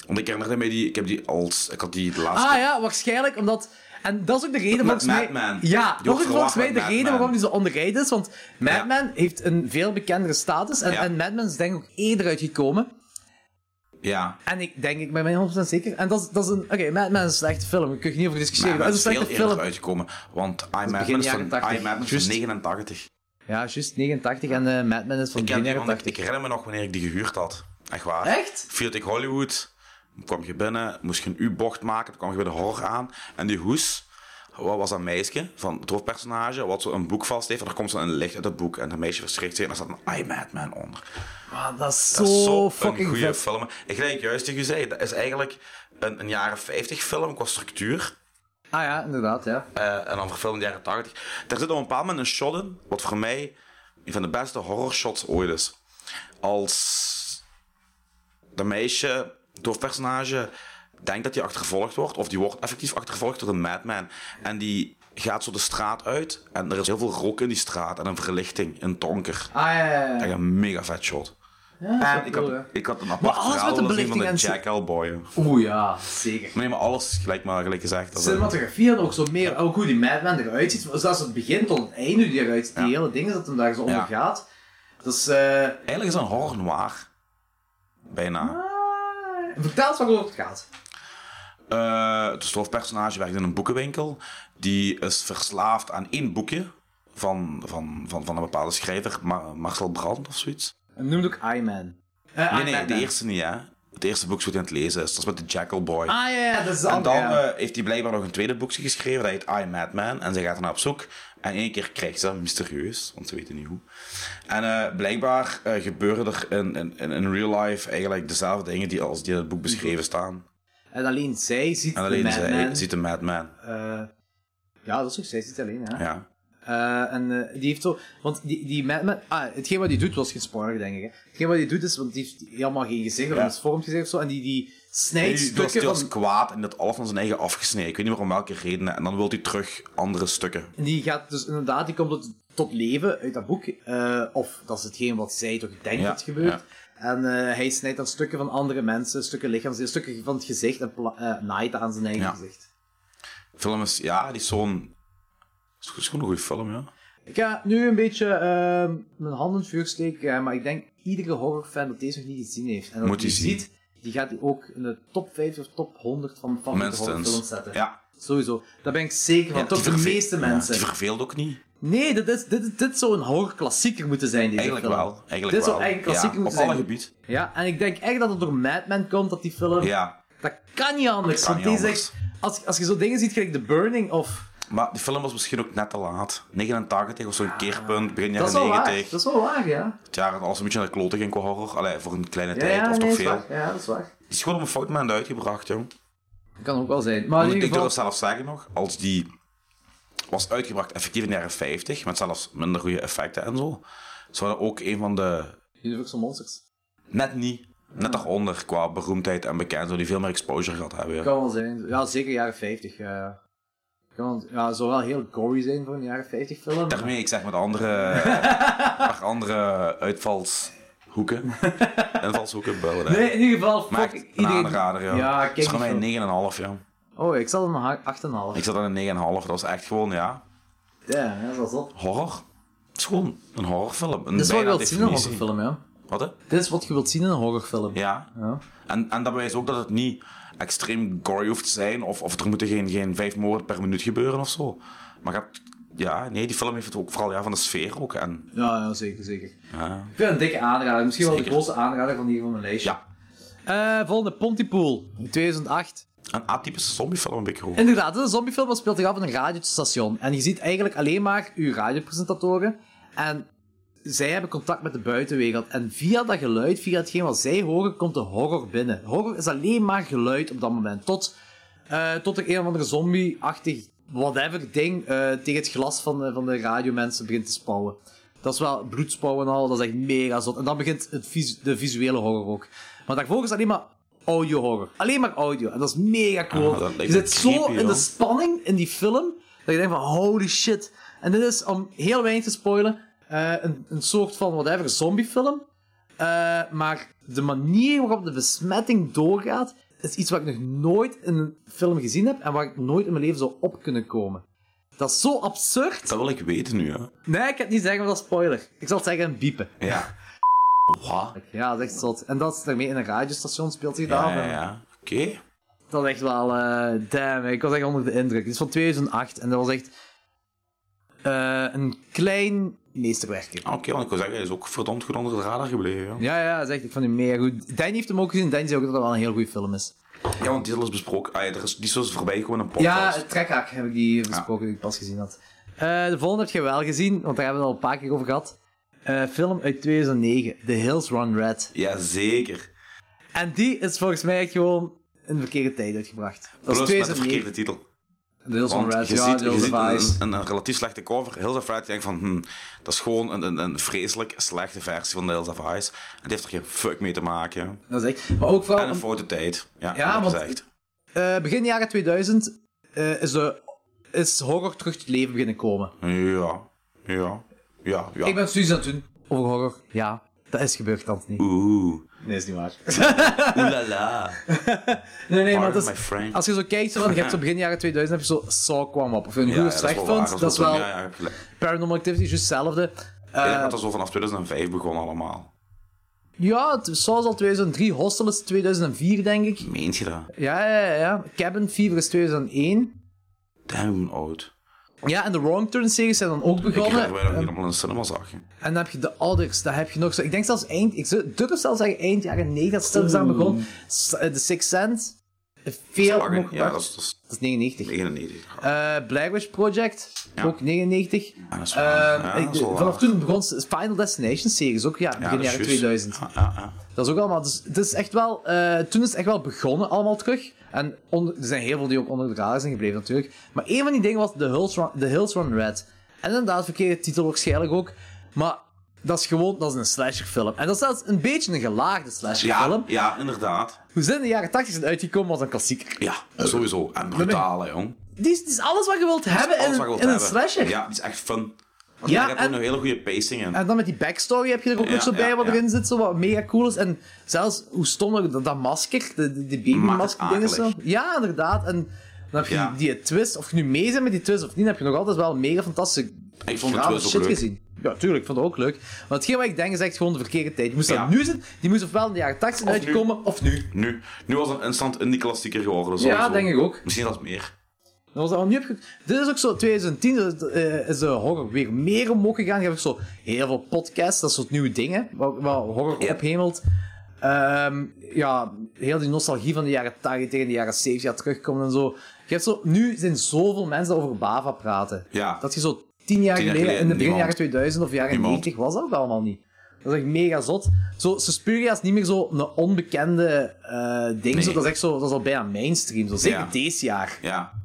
[SPEAKER 2] Want ik herinnerde mij die, ik heb die als, ik had die de laatste
[SPEAKER 1] Ah ja, waarschijnlijk omdat... En dat is ook de reden volgens mij...
[SPEAKER 2] Madman.
[SPEAKER 1] Ja,
[SPEAKER 2] Die
[SPEAKER 1] dat
[SPEAKER 2] wordt
[SPEAKER 1] is volgens
[SPEAKER 2] verwacht
[SPEAKER 1] mij
[SPEAKER 2] met
[SPEAKER 1] de
[SPEAKER 2] Madman.
[SPEAKER 1] reden waarom die zo onderrijd is. Want Madman heeft een veel bekendere status. En,
[SPEAKER 2] Ja.
[SPEAKER 1] en Madman is denk ik ook eerder uitgekomen.
[SPEAKER 2] Ja,
[SPEAKER 1] En ik denk, ik ben mij 100% zeker. En dat is, dat is een... Oké, Madman is een slechte film. Daar kun je niet over
[SPEAKER 2] maar
[SPEAKER 1] discussiëren.
[SPEAKER 2] dat
[SPEAKER 1] Dat is
[SPEAKER 2] is
[SPEAKER 1] een
[SPEAKER 2] veel
[SPEAKER 1] slechte
[SPEAKER 2] eerder
[SPEAKER 1] film.
[SPEAKER 2] uitgekomen. Want I Madman
[SPEAKER 1] begin
[SPEAKER 2] is van,
[SPEAKER 1] jaren 80.
[SPEAKER 2] I, Madman is
[SPEAKER 1] Juist.
[SPEAKER 2] van 89.
[SPEAKER 1] Ja, juist 89. En eh, Madman is van
[SPEAKER 2] Ik, heb
[SPEAKER 1] begin
[SPEAKER 2] die,
[SPEAKER 1] jaren
[SPEAKER 2] want ik,
[SPEAKER 1] 80.
[SPEAKER 2] ik herinner me nog wanneer ik die gehuurd had. Echt waar.
[SPEAKER 1] Echt?
[SPEAKER 2] Vierde ik Hollywood, kwam je binnen, moest je een U-bocht maken, dan kwam je bij de horror aan. En die hoes, wat was dat meisje van het hoofdpersonage, wat zo een boek vast heeft, en er komt zo een licht uit dat boek. En dat meisje verschrikt zich en daar staat een I Madman onder.
[SPEAKER 1] Ah, dat is
[SPEAKER 2] Dat is
[SPEAKER 1] zo
[SPEAKER 2] zo'n
[SPEAKER 1] fucking
[SPEAKER 2] goede
[SPEAKER 1] vet.
[SPEAKER 2] film. Ik denk juist tegen je zei, dat is eigenlijk een, een jaren 50 film qua structuur.
[SPEAKER 1] Ah ja, inderdaad, ja.
[SPEAKER 2] Eh, en dan verfilmd in de jaren 80. Daar zit op een bepaald moment een shot in, wat voor mij een van de beste horror shots ooit is. Als dat meisje, het hoofdpersonage, denkt dat hij achtervolgd wordt, of die wordt effectief achtervolgd door een madman. En die gaat zo de straat uit en er is heel veel rook in die straat en een verlichting, een donker.
[SPEAKER 1] Ah ja, ja, ja.
[SPEAKER 2] Echt een mega vet shot.
[SPEAKER 1] Ja,
[SPEAKER 2] En ik, had, ik had een
[SPEAKER 1] Maar
[SPEAKER 2] apart
[SPEAKER 1] alles met
[SPEAKER 2] verhaal
[SPEAKER 1] de
[SPEAKER 2] willen zien van de
[SPEAKER 1] belichting en
[SPEAKER 2] Jack Hellboy.
[SPEAKER 1] Oeh ja, zeker.
[SPEAKER 2] Maar nee, maar alles gelijk maar gelijk gezegd. dat is-
[SPEAKER 1] Cinematografie en ook zo meer, ook hoe die Madman eruit ziet. Zelfs het begin tot het einde, hoe die eruit ziet. Die hele ding is dat hem daar zo onder
[SPEAKER 2] Ja.
[SPEAKER 1] gaat. Dus, eh
[SPEAKER 2] Eigenlijk is het een horror noir. Bijna.
[SPEAKER 1] vertel eens waarover het gaat.
[SPEAKER 2] Eh, het hoofdpersonage werkt in een boekenwinkel. Die is verslaafd aan één boekje van, van, van, van een bepaalde schrijver, Ma- Marcel Brand of zoiets.
[SPEAKER 1] Noem het ook I-Man. Eh,
[SPEAKER 2] Nee, Ah, nee,
[SPEAKER 1] I-Man.
[SPEAKER 2] de eerste niet, hè. Het eerste boek is wat hij aan het lezen is. Dat is met de Jackal Boy.
[SPEAKER 1] Ah ja, ja, dat is de
[SPEAKER 2] en dan
[SPEAKER 1] andere. ja.
[SPEAKER 2] eh, heeft hij blijkbaar nog een tweede boekje geschreven, dat heet I, Madman. En ze gaat ernaar op zoek. En één keer krijgt ze dat, mysterieus, want ze weten niet hoe. En eh, blijkbaar eh, gebeuren er in, in, in- in real life eigenlijk dezelfde dingen die als die in het boek beschreven staan.
[SPEAKER 1] En alleen zij ziet
[SPEAKER 2] En alleen
[SPEAKER 1] de Madman.
[SPEAKER 2] zij ziet een Madman.
[SPEAKER 1] eh, ja, dat is ook, zij ziet alleen, hè.
[SPEAKER 2] Ja.
[SPEAKER 1] Eh, en eh, die heeft zo... Want die, die Madman... Ah, hetgeen wat hij doet was geen spoiler, denk ik. Hè. Hetgeen wat hij doet is... Want die heeft helemaal geen gezicht of
[SPEAKER 2] Ja.
[SPEAKER 1] een misvormd gezicht of zo. En die, die
[SPEAKER 2] Nee,
[SPEAKER 1] snijdt
[SPEAKER 2] die was,
[SPEAKER 1] stukken
[SPEAKER 2] die was
[SPEAKER 1] van...
[SPEAKER 2] kwaad en dat alles van zijn eigen afgesneden. Ik weet niet meer om welke redenen. En dan wil hij terug andere stukken.
[SPEAKER 1] En die gaat dus inderdaad, die komt tot, tot leven uit dat boek. eh, of dat is hetgeen wat zij toch denkt
[SPEAKER 2] Ja,
[SPEAKER 1] dat gebeurt.
[SPEAKER 2] ja.
[SPEAKER 1] En eh, hij snijdt dan stukken van andere mensen, stukken lichaams, stukken van het gezicht en pla- eh, naait aan zijn eigen
[SPEAKER 2] Ja.
[SPEAKER 1] gezicht.
[SPEAKER 2] film is, ja, die is zo'n... Het is gewoon een goede film,
[SPEAKER 1] Oh,
[SPEAKER 2] ja.
[SPEAKER 1] Ik ga nu een beetje ehm, mijn handen in het vuur steken, eh, maar ik denk iedere horrorfan dat deze nog niet gezien heeft. En dat
[SPEAKER 2] Moet
[SPEAKER 1] die
[SPEAKER 2] die zien.
[SPEAKER 1] ziet, die gaat die ook in de top 5 of top 100 van favoriete horrorfilms
[SPEAKER 2] Minstens.
[SPEAKER 1] zetten.
[SPEAKER 2] dus- Ja.
[SPEAKER 1] Sowieso. Daar ben ik zeker van.
[SPEAKER 2] Ja,
[SPEAKER 1] Toch
[SPEAKER 2] die
[SPEAKER 1] de
[SPEAKER 2] verve-
[SPEAKER 1] meeste
[SPEAKER 2] ja,
[SPEAKER 1] mensen.
[SPEAKER 2] die verveelt ook niet.
[SPEAKER 1] Nee, dit, is, dit, is- dit zou een horrorklassieker moeten zijn, deze
[SPEAKER 2] Eigenlijk
[SPEAKER 1] film.
[SPEAKER 2] wel. Eigenlijk
[SPEAKER 1] Dit
[SPEAKER 2] wel.
[SPEAKER 1] zou eigenlijk
[SPEAKER 2] ja,
[SPEAKER 1] klassieker
[SPEAKER 2] op
[SPEAKER 1] moeten
[SPEAKER 2] alle
[SPEAKER 1] zijn.
[SPEAKER 2] gebied.
[SPEAKER 1] Ja, en ik denk echt dat het door Mad Men komt, dat die film...
[SPEAKER 2] Ja.
[SPEAKER 1] Dat kan niet anders.
[SPEAKER 2] Dat kan
[SPEAKER 1] want
[SPEAKER 2] niet
[SPEAKER 1] die zegt, als, als je zo dingen ziet, gelijk The Burning of...
[SPEAKER 2] Maar die film was misschien ook net te laat. 89 was zo'n keerpunt, begin
[SPEAKER 1] Ah, Dat is
[SPEAKER 2] jaren
[SPEAKER 1] wel waar. Dat
[SPEAKER 2] 90.
[SPEAKER 1] is wel waar, ja.
[SPEAKER 2] Het jaar dat alles een beetje naar de klote ging qua horror. Allee, voor een kleine
[SPEAKER 1] Ja,
[SPEAKER 2] tijd
[SPEAKER 1] ja,
[SPEAKER 2] was
[SPEAKER 1] nee,
[SPEAKER 2] toch
[SPEAKER 1] is
[SPEAKER 2] veel.
[SPEAKER 1] waar. Ja, dat is waar.
[SPEAKER 2] Het is gewoon op een fout moment uitgebracht, jong.
[SPEAKER 1] Dat kan ook wel zijn. Maar in
[SPEAKER 2] Want
[SPEAKER 1] ieder
[SPEAKER 2] ik durf
[SPEAKER 1] geval...
[SPEAKER 2] zelf zeggen nog, als die was uitgebracht effectief in de jaren 50, met zelfs minder goede effecten en zo, zou dat ook een van de...
[SPEAKER 1] Universal Monsters.
[SPEAKER 2] Net niet, net daaronder qua beroemdheid en bekend, zou die veel meer exposure gehad hebben. ja.
[SPEAKER 1] Kan wel zijn. Ja, zeker jaren 50. ja. Kan wel, ja, zou wel heel gory zijn voor een jaren 50 film.
[SPEAKER 2] Daarmee, ik zeg met andere, maar andere uitvalshoeken. Invalshoeken, bellen. hè.
[SPEAKER 1] Nee, in ieder geval,
[SPEAKER 2] Maar
[SPEAKER 1] fuck
[SPEAKER 2] echt een
[SPEAKER 1] iedereen...
[SPEAKER 2] aanrader, ja.
[SPEAKER 1] Ja, kijk
[SPEAKER 2] Het is
[SPEAKER 1] die
[SPEAKER 2] gewoon
[SPEAKER 1] film.
[SPEAKER 2] mij een 9,5, ja.
[SPEAKER 1] Oh, ik zat op een 8,5.
[SPEAKER 2] Ik zat aan een 9,5. Dat was echt gewoon, ja,
[SPEAKER 1] Ja, dat is wel zot.
[SPEAKER 2] horror. Het is gewoon een horrorfilm. Een
[SPEAKER 1] Dit is wat je
[SPEAKER 2] bijna
[SPEAKER 1] wilt zien in een
[SPEAKER 2] definitie.
[SPEAKER 1] horrorfilm, ja.
[SPEAKER 2] Wat, hè?
[SPEAKER 1] Dit is wat je wilt zien in een horrorfilm.
[SPEAKER 2] Ja. En, en dat bewijst ook dat het niet extreem gory hoeft te zijn. Of, of er moeten geen, geen vijf moorden per minuut gebeuren of zo. Maar gaat, ja, nee, die film heeft het ook vooral ja, van de sfeer ook. En,
[SPEAKER 1] Ja, ja, zeker, zeker.
[SPEAKER 2] ja.
[SPEAKER 1] Ik vind het een dikke aanrader. Misschien wel de
[SPEAKER 2] Zeker.
[SPEAKER 1] grootste aanrader van hier van mijn lijstje.
[SPEAKER 2] Ja.
[SPEAKER 1] Eh, volgende, Pontypool, 2008.
[SPEAKER 2] Een atypische zombiefilm heb ik gehoord.
[SPEAKER 1] Inderdaad, het is een zombiefilm dat speelt zich af in een radiostation. En je ziet eigenlijk alleen maar uw radiopresentatoren. En zij hebben contact met de buitenwereld. En via dat geluid, via hetgeen wat zij horen, komt de horror binnen. Horror is alleen maar geluid op dat moment. Tot, eh, tot er een of andere zombie-achtig whatever ding eh, tegen het glas van de, van de radiomensen begint te spouwen. Dat is wel bloedspouwen en al, dat is echt mega zot. En dan begint het vis- de visuele horror ook. Maar daarvoor is alleen maar audio horror. Alleen maar audio. En dat is mega cool.
[SPEAKER 2] Ah, dat lijkt
[SPEAKER 1] je zit
[SPEAKER 2] me
[SPEAKER 1] zo
[SPEAKER 2] creepy,
[SPEAKER 1] in de
[SPEAKER 2] hoor.
[SPEAKER 1] spanning in die film, dat je denkt van holy shit. En dit is, om heel weinig te spoilen, eh, een, een soort van whatever zombiefilm. Eh, maar de manier waarop de besmetting doorgaat, is iets wat ik nog nooit in een film gezien heb en waar ik nooit in mijn leven zou op kunnen komen. Dat is zo absurd.
[SPEAKER 2] Dat wil ik weten nu, hè.
[SPEAKER 1] Nee, ik ga het niet zeggen, want dat is spoiler. Ik zal het zeggen en biepen.
[SPEAKER 2] Ja. Wat?
[SPEAKER 1] Ja, dat is echt zot. En dat is daarmee in een radiostation speelt zich dat af.
[SPEAKER 2] Ja, ja,
[SPEAKER 1] En
[SPEAKER 2] ja. Oké.
[SPEAKER 1] Dat was echt wel, eh, damn, ik was echt onder de indruk. Het is van 2008 en dat was echt eh, een klein meesterwerkje.
[SPEAKER 2] Ah, Oké, want ik wil zeggen, hij is ook verdomd goed onder de radar gebleven. Ja,
[SPEAKER 1] Ja, ja, dat is echt, ik vond hem mega goed. Danny heeft hem ook gezien, Danny zei ook dat dat wel een heel goede film is.
[SPEAKER 2] ja want die is al eens besproken. Ah, ja, er is, die is al eens voorbij gewoon een
[SPEAKER 1] Ja,
[SPEAKER 2] podcast.
[SPEAKER 1] het Trekhaak heb ik die besproken, die ik pas gezien had. Eh, de volgende heb je wel gezien, want daar hebben we het al een paar keer over gehad. Eh, film uit 2009, The Hills Run Red.
[SPEAKER 2] Ja, zeker.
[SPEAKER 1] En die is volgens mij echt gewoon in de verkeerde tijd uitgebracht. Dat is
[SPEAKER 2] Plus met de
[SPEAKER 1] 2009.
[SPEAKER 2] verkeerde titel.
[SPEAKER 1] The Hills Run
[SPEAKER 2] Want
[SPEAKER 1] Red,
[SPEAKER 2] je
[SPEAKER 1] ja,
[SPEAKER 2] ziet,
[SPEAKER 1] The
[SPEAKER 2] je
[SPEAKER 1] Hills
[SPEAKER 2] ziet
[SPEAKER 1] of Ice.
[SPEAKER 2] een, een, een relatief slechte cover. Hills of Ice. Je denkt van, hm, dat is gewoon een, een, een vreselijk slechte versie van de Hills of Ice. En die heeft er geen fuck mee te maken.
[SPEAKER 1] Dat is echt. Maar ook vooral,
[SPEAKER 2] En een
[SPEAKER 1] Oh, om-
[SPEAKER 2] foute tijd. Ja,
[SPEAKER 1] Ja,
[SPEAKER 2] ja
[SPEAKER 1] want-
[SPEAKER 2] gezegd.
[SPEAKER 1] eh, begin jaren 2000 eh, is, de, is horror terug tot leven beginnen komen.
[SPEAKER 2] Ja, ja, ja, ja.
[SPEAKER 1] Ik ben studies aan het doen over horror. Ja, dat is gebeurd, Anthony.
[SPEAKER 2] Oeh,
[SPEAKER 1] Nee, is niet waar.
[SPEAKER 2] oelala.
[SPEAKER 1] Nee, nee, maar
[SPEAKER 2] Pardon
[SPEAKER 1] dat
[SPEAKER 2] my
[SPEAKER 1] is,
[SPEAKER 2] friend.
[SPEAKER 1] als je zo kijkt, zo van, je hebt zo begin jaren 2000 heb je zo Saw kwam op. Of je een goed of slecht
[SPEAKER 2] wel waar,
[SPEAKER 1] vond, dat is wel
[SPEAKER 2] Ja, ja, heb gelijk.
[SPEAKER 1] Paranormal Activity, juist hetzelfde. Eh,
[SPEAKER 2] Ik denk dat dat zo vanaf 2005 begon allemaal.
[SPEAKER 1] ja, het- Saw is al 2003, Hostel is 2004, denk ik.
[SPEAKER 2] Meent je dat?
[SPEAKER 1] Ja, ja, ja, ja. Cabin Fever is 2001.
[SPEAKER 2] Damn oud.
[SPEAKER 1] Ja, en de Wrong Turn-series zijn dan ook
[SPEAKER 2] Ik
[SPEAKER 1] begonnen.
[SPEAKER 2] herinner mij dat ik die allemaal in de cinema zag.
[SPEAKER 1] En dan heb je de ouders, daar heb je nog zo. Ik denk zelfs eind, ik zou- durf zelfs zeggen eind jaren 9 dat stil aan begon. S- eh, De Sixth Sense. eh, Veel
[SPEAKER 2] Ach,
[SPEAKER 1] omhoog
[SPEAKER 2] ja,
[SPEAKER 1] gebracht.
[SPEAKER 2] dat is, dat is
[SPEAKER 1] dat is 99.
[SPEAKER 2] 99.
[SPEAKER 1] Eh Blair Witch Project, ook 99.
[SPEAKER 2] Ja, dat is
[SPEAKER 1] Eh,
[SPEAKER 2] wel- ja,
[SPEAKER 1] ik-
[SPEAKER 2] dat is wel
[SPEAKER 1] vanaf
[SPEAKER 2] waar.
[SPEAKER 1] toen begon de Final Destination series, ook ja,
[SPEAKER 2] Ja,
[SPEAKER 1] begin
[SPEAKER 2] dat is
[SPEAKER 1] jaren
[SPEAKER 2] juist. Ah,
[SPEAKER 1] 2000.
[SPEAKER 2] Ja, ja, ja.
[SPEAKER 1] Dat is ook allemaal. Dus het is echt wel. eh, toen is het echt wel begonnen, allemaal terug. En onder, er zijn heel veel die ook onder de radar zijn gebleven, natuurlijk. Maar een van die dingen was The Hills Run, The Hills Run Red. En inderdaad, verkeerde titel waarschijnlijk ook. Maar dat is gewoon dat is een slasherfilm. En dat is zelfs een beetje een gelaagde slasherfilm.
[SPEAKER 2] Ja, ja, inderdaad.
[SPEAKER 1] Hoe zijn in de jaren 80 zijn uitgekomen als een klassieker?
[SPEAKER 2] Ja, sowieso. En brutaal, hè, jong.
[SPEAKER 1] Die is, die is alles wat je wilt hebben
[SPEAKER 2] Alles
[SPEAKER 1] in,
[SPEAKER 2] wat je wilt
[SPEAKER 1] in een
[SPEAKER 2] hebben.
[SPEAKER 1] slasher.
[SPEAKER 2] Ja, die is echt fun. Ja,
[SPEAKER 1] Ja,
[SPEAKER 2] daar heb je
[SPEAKER 1] en-
[SPEAKER 2] nog hele goede pacing in.
[SPEAKER 1] En dan met die backstory heb je er ook
[SPEAKER 2] Ja,
[SPEAKER 1] nog zo bij
[SPEAKER 2] ja,
[SPEAKER 1] wat
[SPEAKER 2] ja.
[SPEAKER 1] erin zit, zo wat mega cool is. En zelfs hoe stom dat- dat, dat masker, de- de- die babymasker dingen zo.
[SPEAKER 2] akelig.
[SPEAKER 1] Ja, inderdaad. En dan heb je
[SPEAKER 2] Ja.
[SPEAKER 1] die, die twist, of je nu mee bent met die twist of niet, dan heb je nog altijd wel mega fantastische
[SPEAKER 2] Ik vond de
[SPEAKER 1] grafische
[SPEAKER 2] twist ook
[SPEAKER 1] shit
[SPEAKER 2] leuk.
[SPEAKER 1] gezien. Ja, tuurlijk, ik vond het ook leuk. Maar hetgeen wat ik denk is echt gewoon de verkeerde tijd. Die moest
[SPEAKER 2] Ja.
[SPEAKER 1] dat nu zitten, die moest ofwel in de jaren 80
[SPEAKER 2] Of
[SPEAKER 1] uitkomen, of nu.
[SPEAKER 2] Nu, nu was een instant indie klassieker geworden.
[SPEAKER 1] Ja,
[SPEAKER 2] sowieso.
[SPEAKER 1] denk ik ook.
[SPEAKER 2] Misschien dat meer.
[SPEAKER 1] Dat was al nu heb Dit is ook zo, 2010 is de, eh, is de horror weer meer omhoog gegaan. Je hebt ook zo heel veel podcasts, dat soort nieuwe dingen, waar, waar horror
[SPEAKER 2] Ja.
[SPEAKER 1] ophemelt. Ehm, ja, heel die nostalgie van de jaren 80 en de jaren 70 gaat terugkomen en zo. Je hebt zo. Nu zijn zoveel mensen over Bava praten.
[SPEAKER 2] Ja.
[SPEAKER 1] Dat je zo tien jaar
[SPEAKER 2] Tien jaar
[SPEAKER 1] geleden, in de
[SPEAKER 2] geleden,
[SPEAKER 1] begin
[SPEAKER 2] niemand.
[SPEAKER 1] jaren 2000 of jaren
[SPEAKER 2] Niemand.
[SPEAKER 1] 90 was dat ook allemaal niet. Dat is echt mega zot. Zo, Suspiria is niet meer zo'n onbekende eh ding.
[SPEAKER 2] Nee.
[SPEAKER 1] Zo, dat, is echt zo, dat is al bijna mainstream. Zo, zeker
[SPEAKER 2] Ja.
[SPEAKER 1] deze jaar.
[SPEAKER 2] Ja.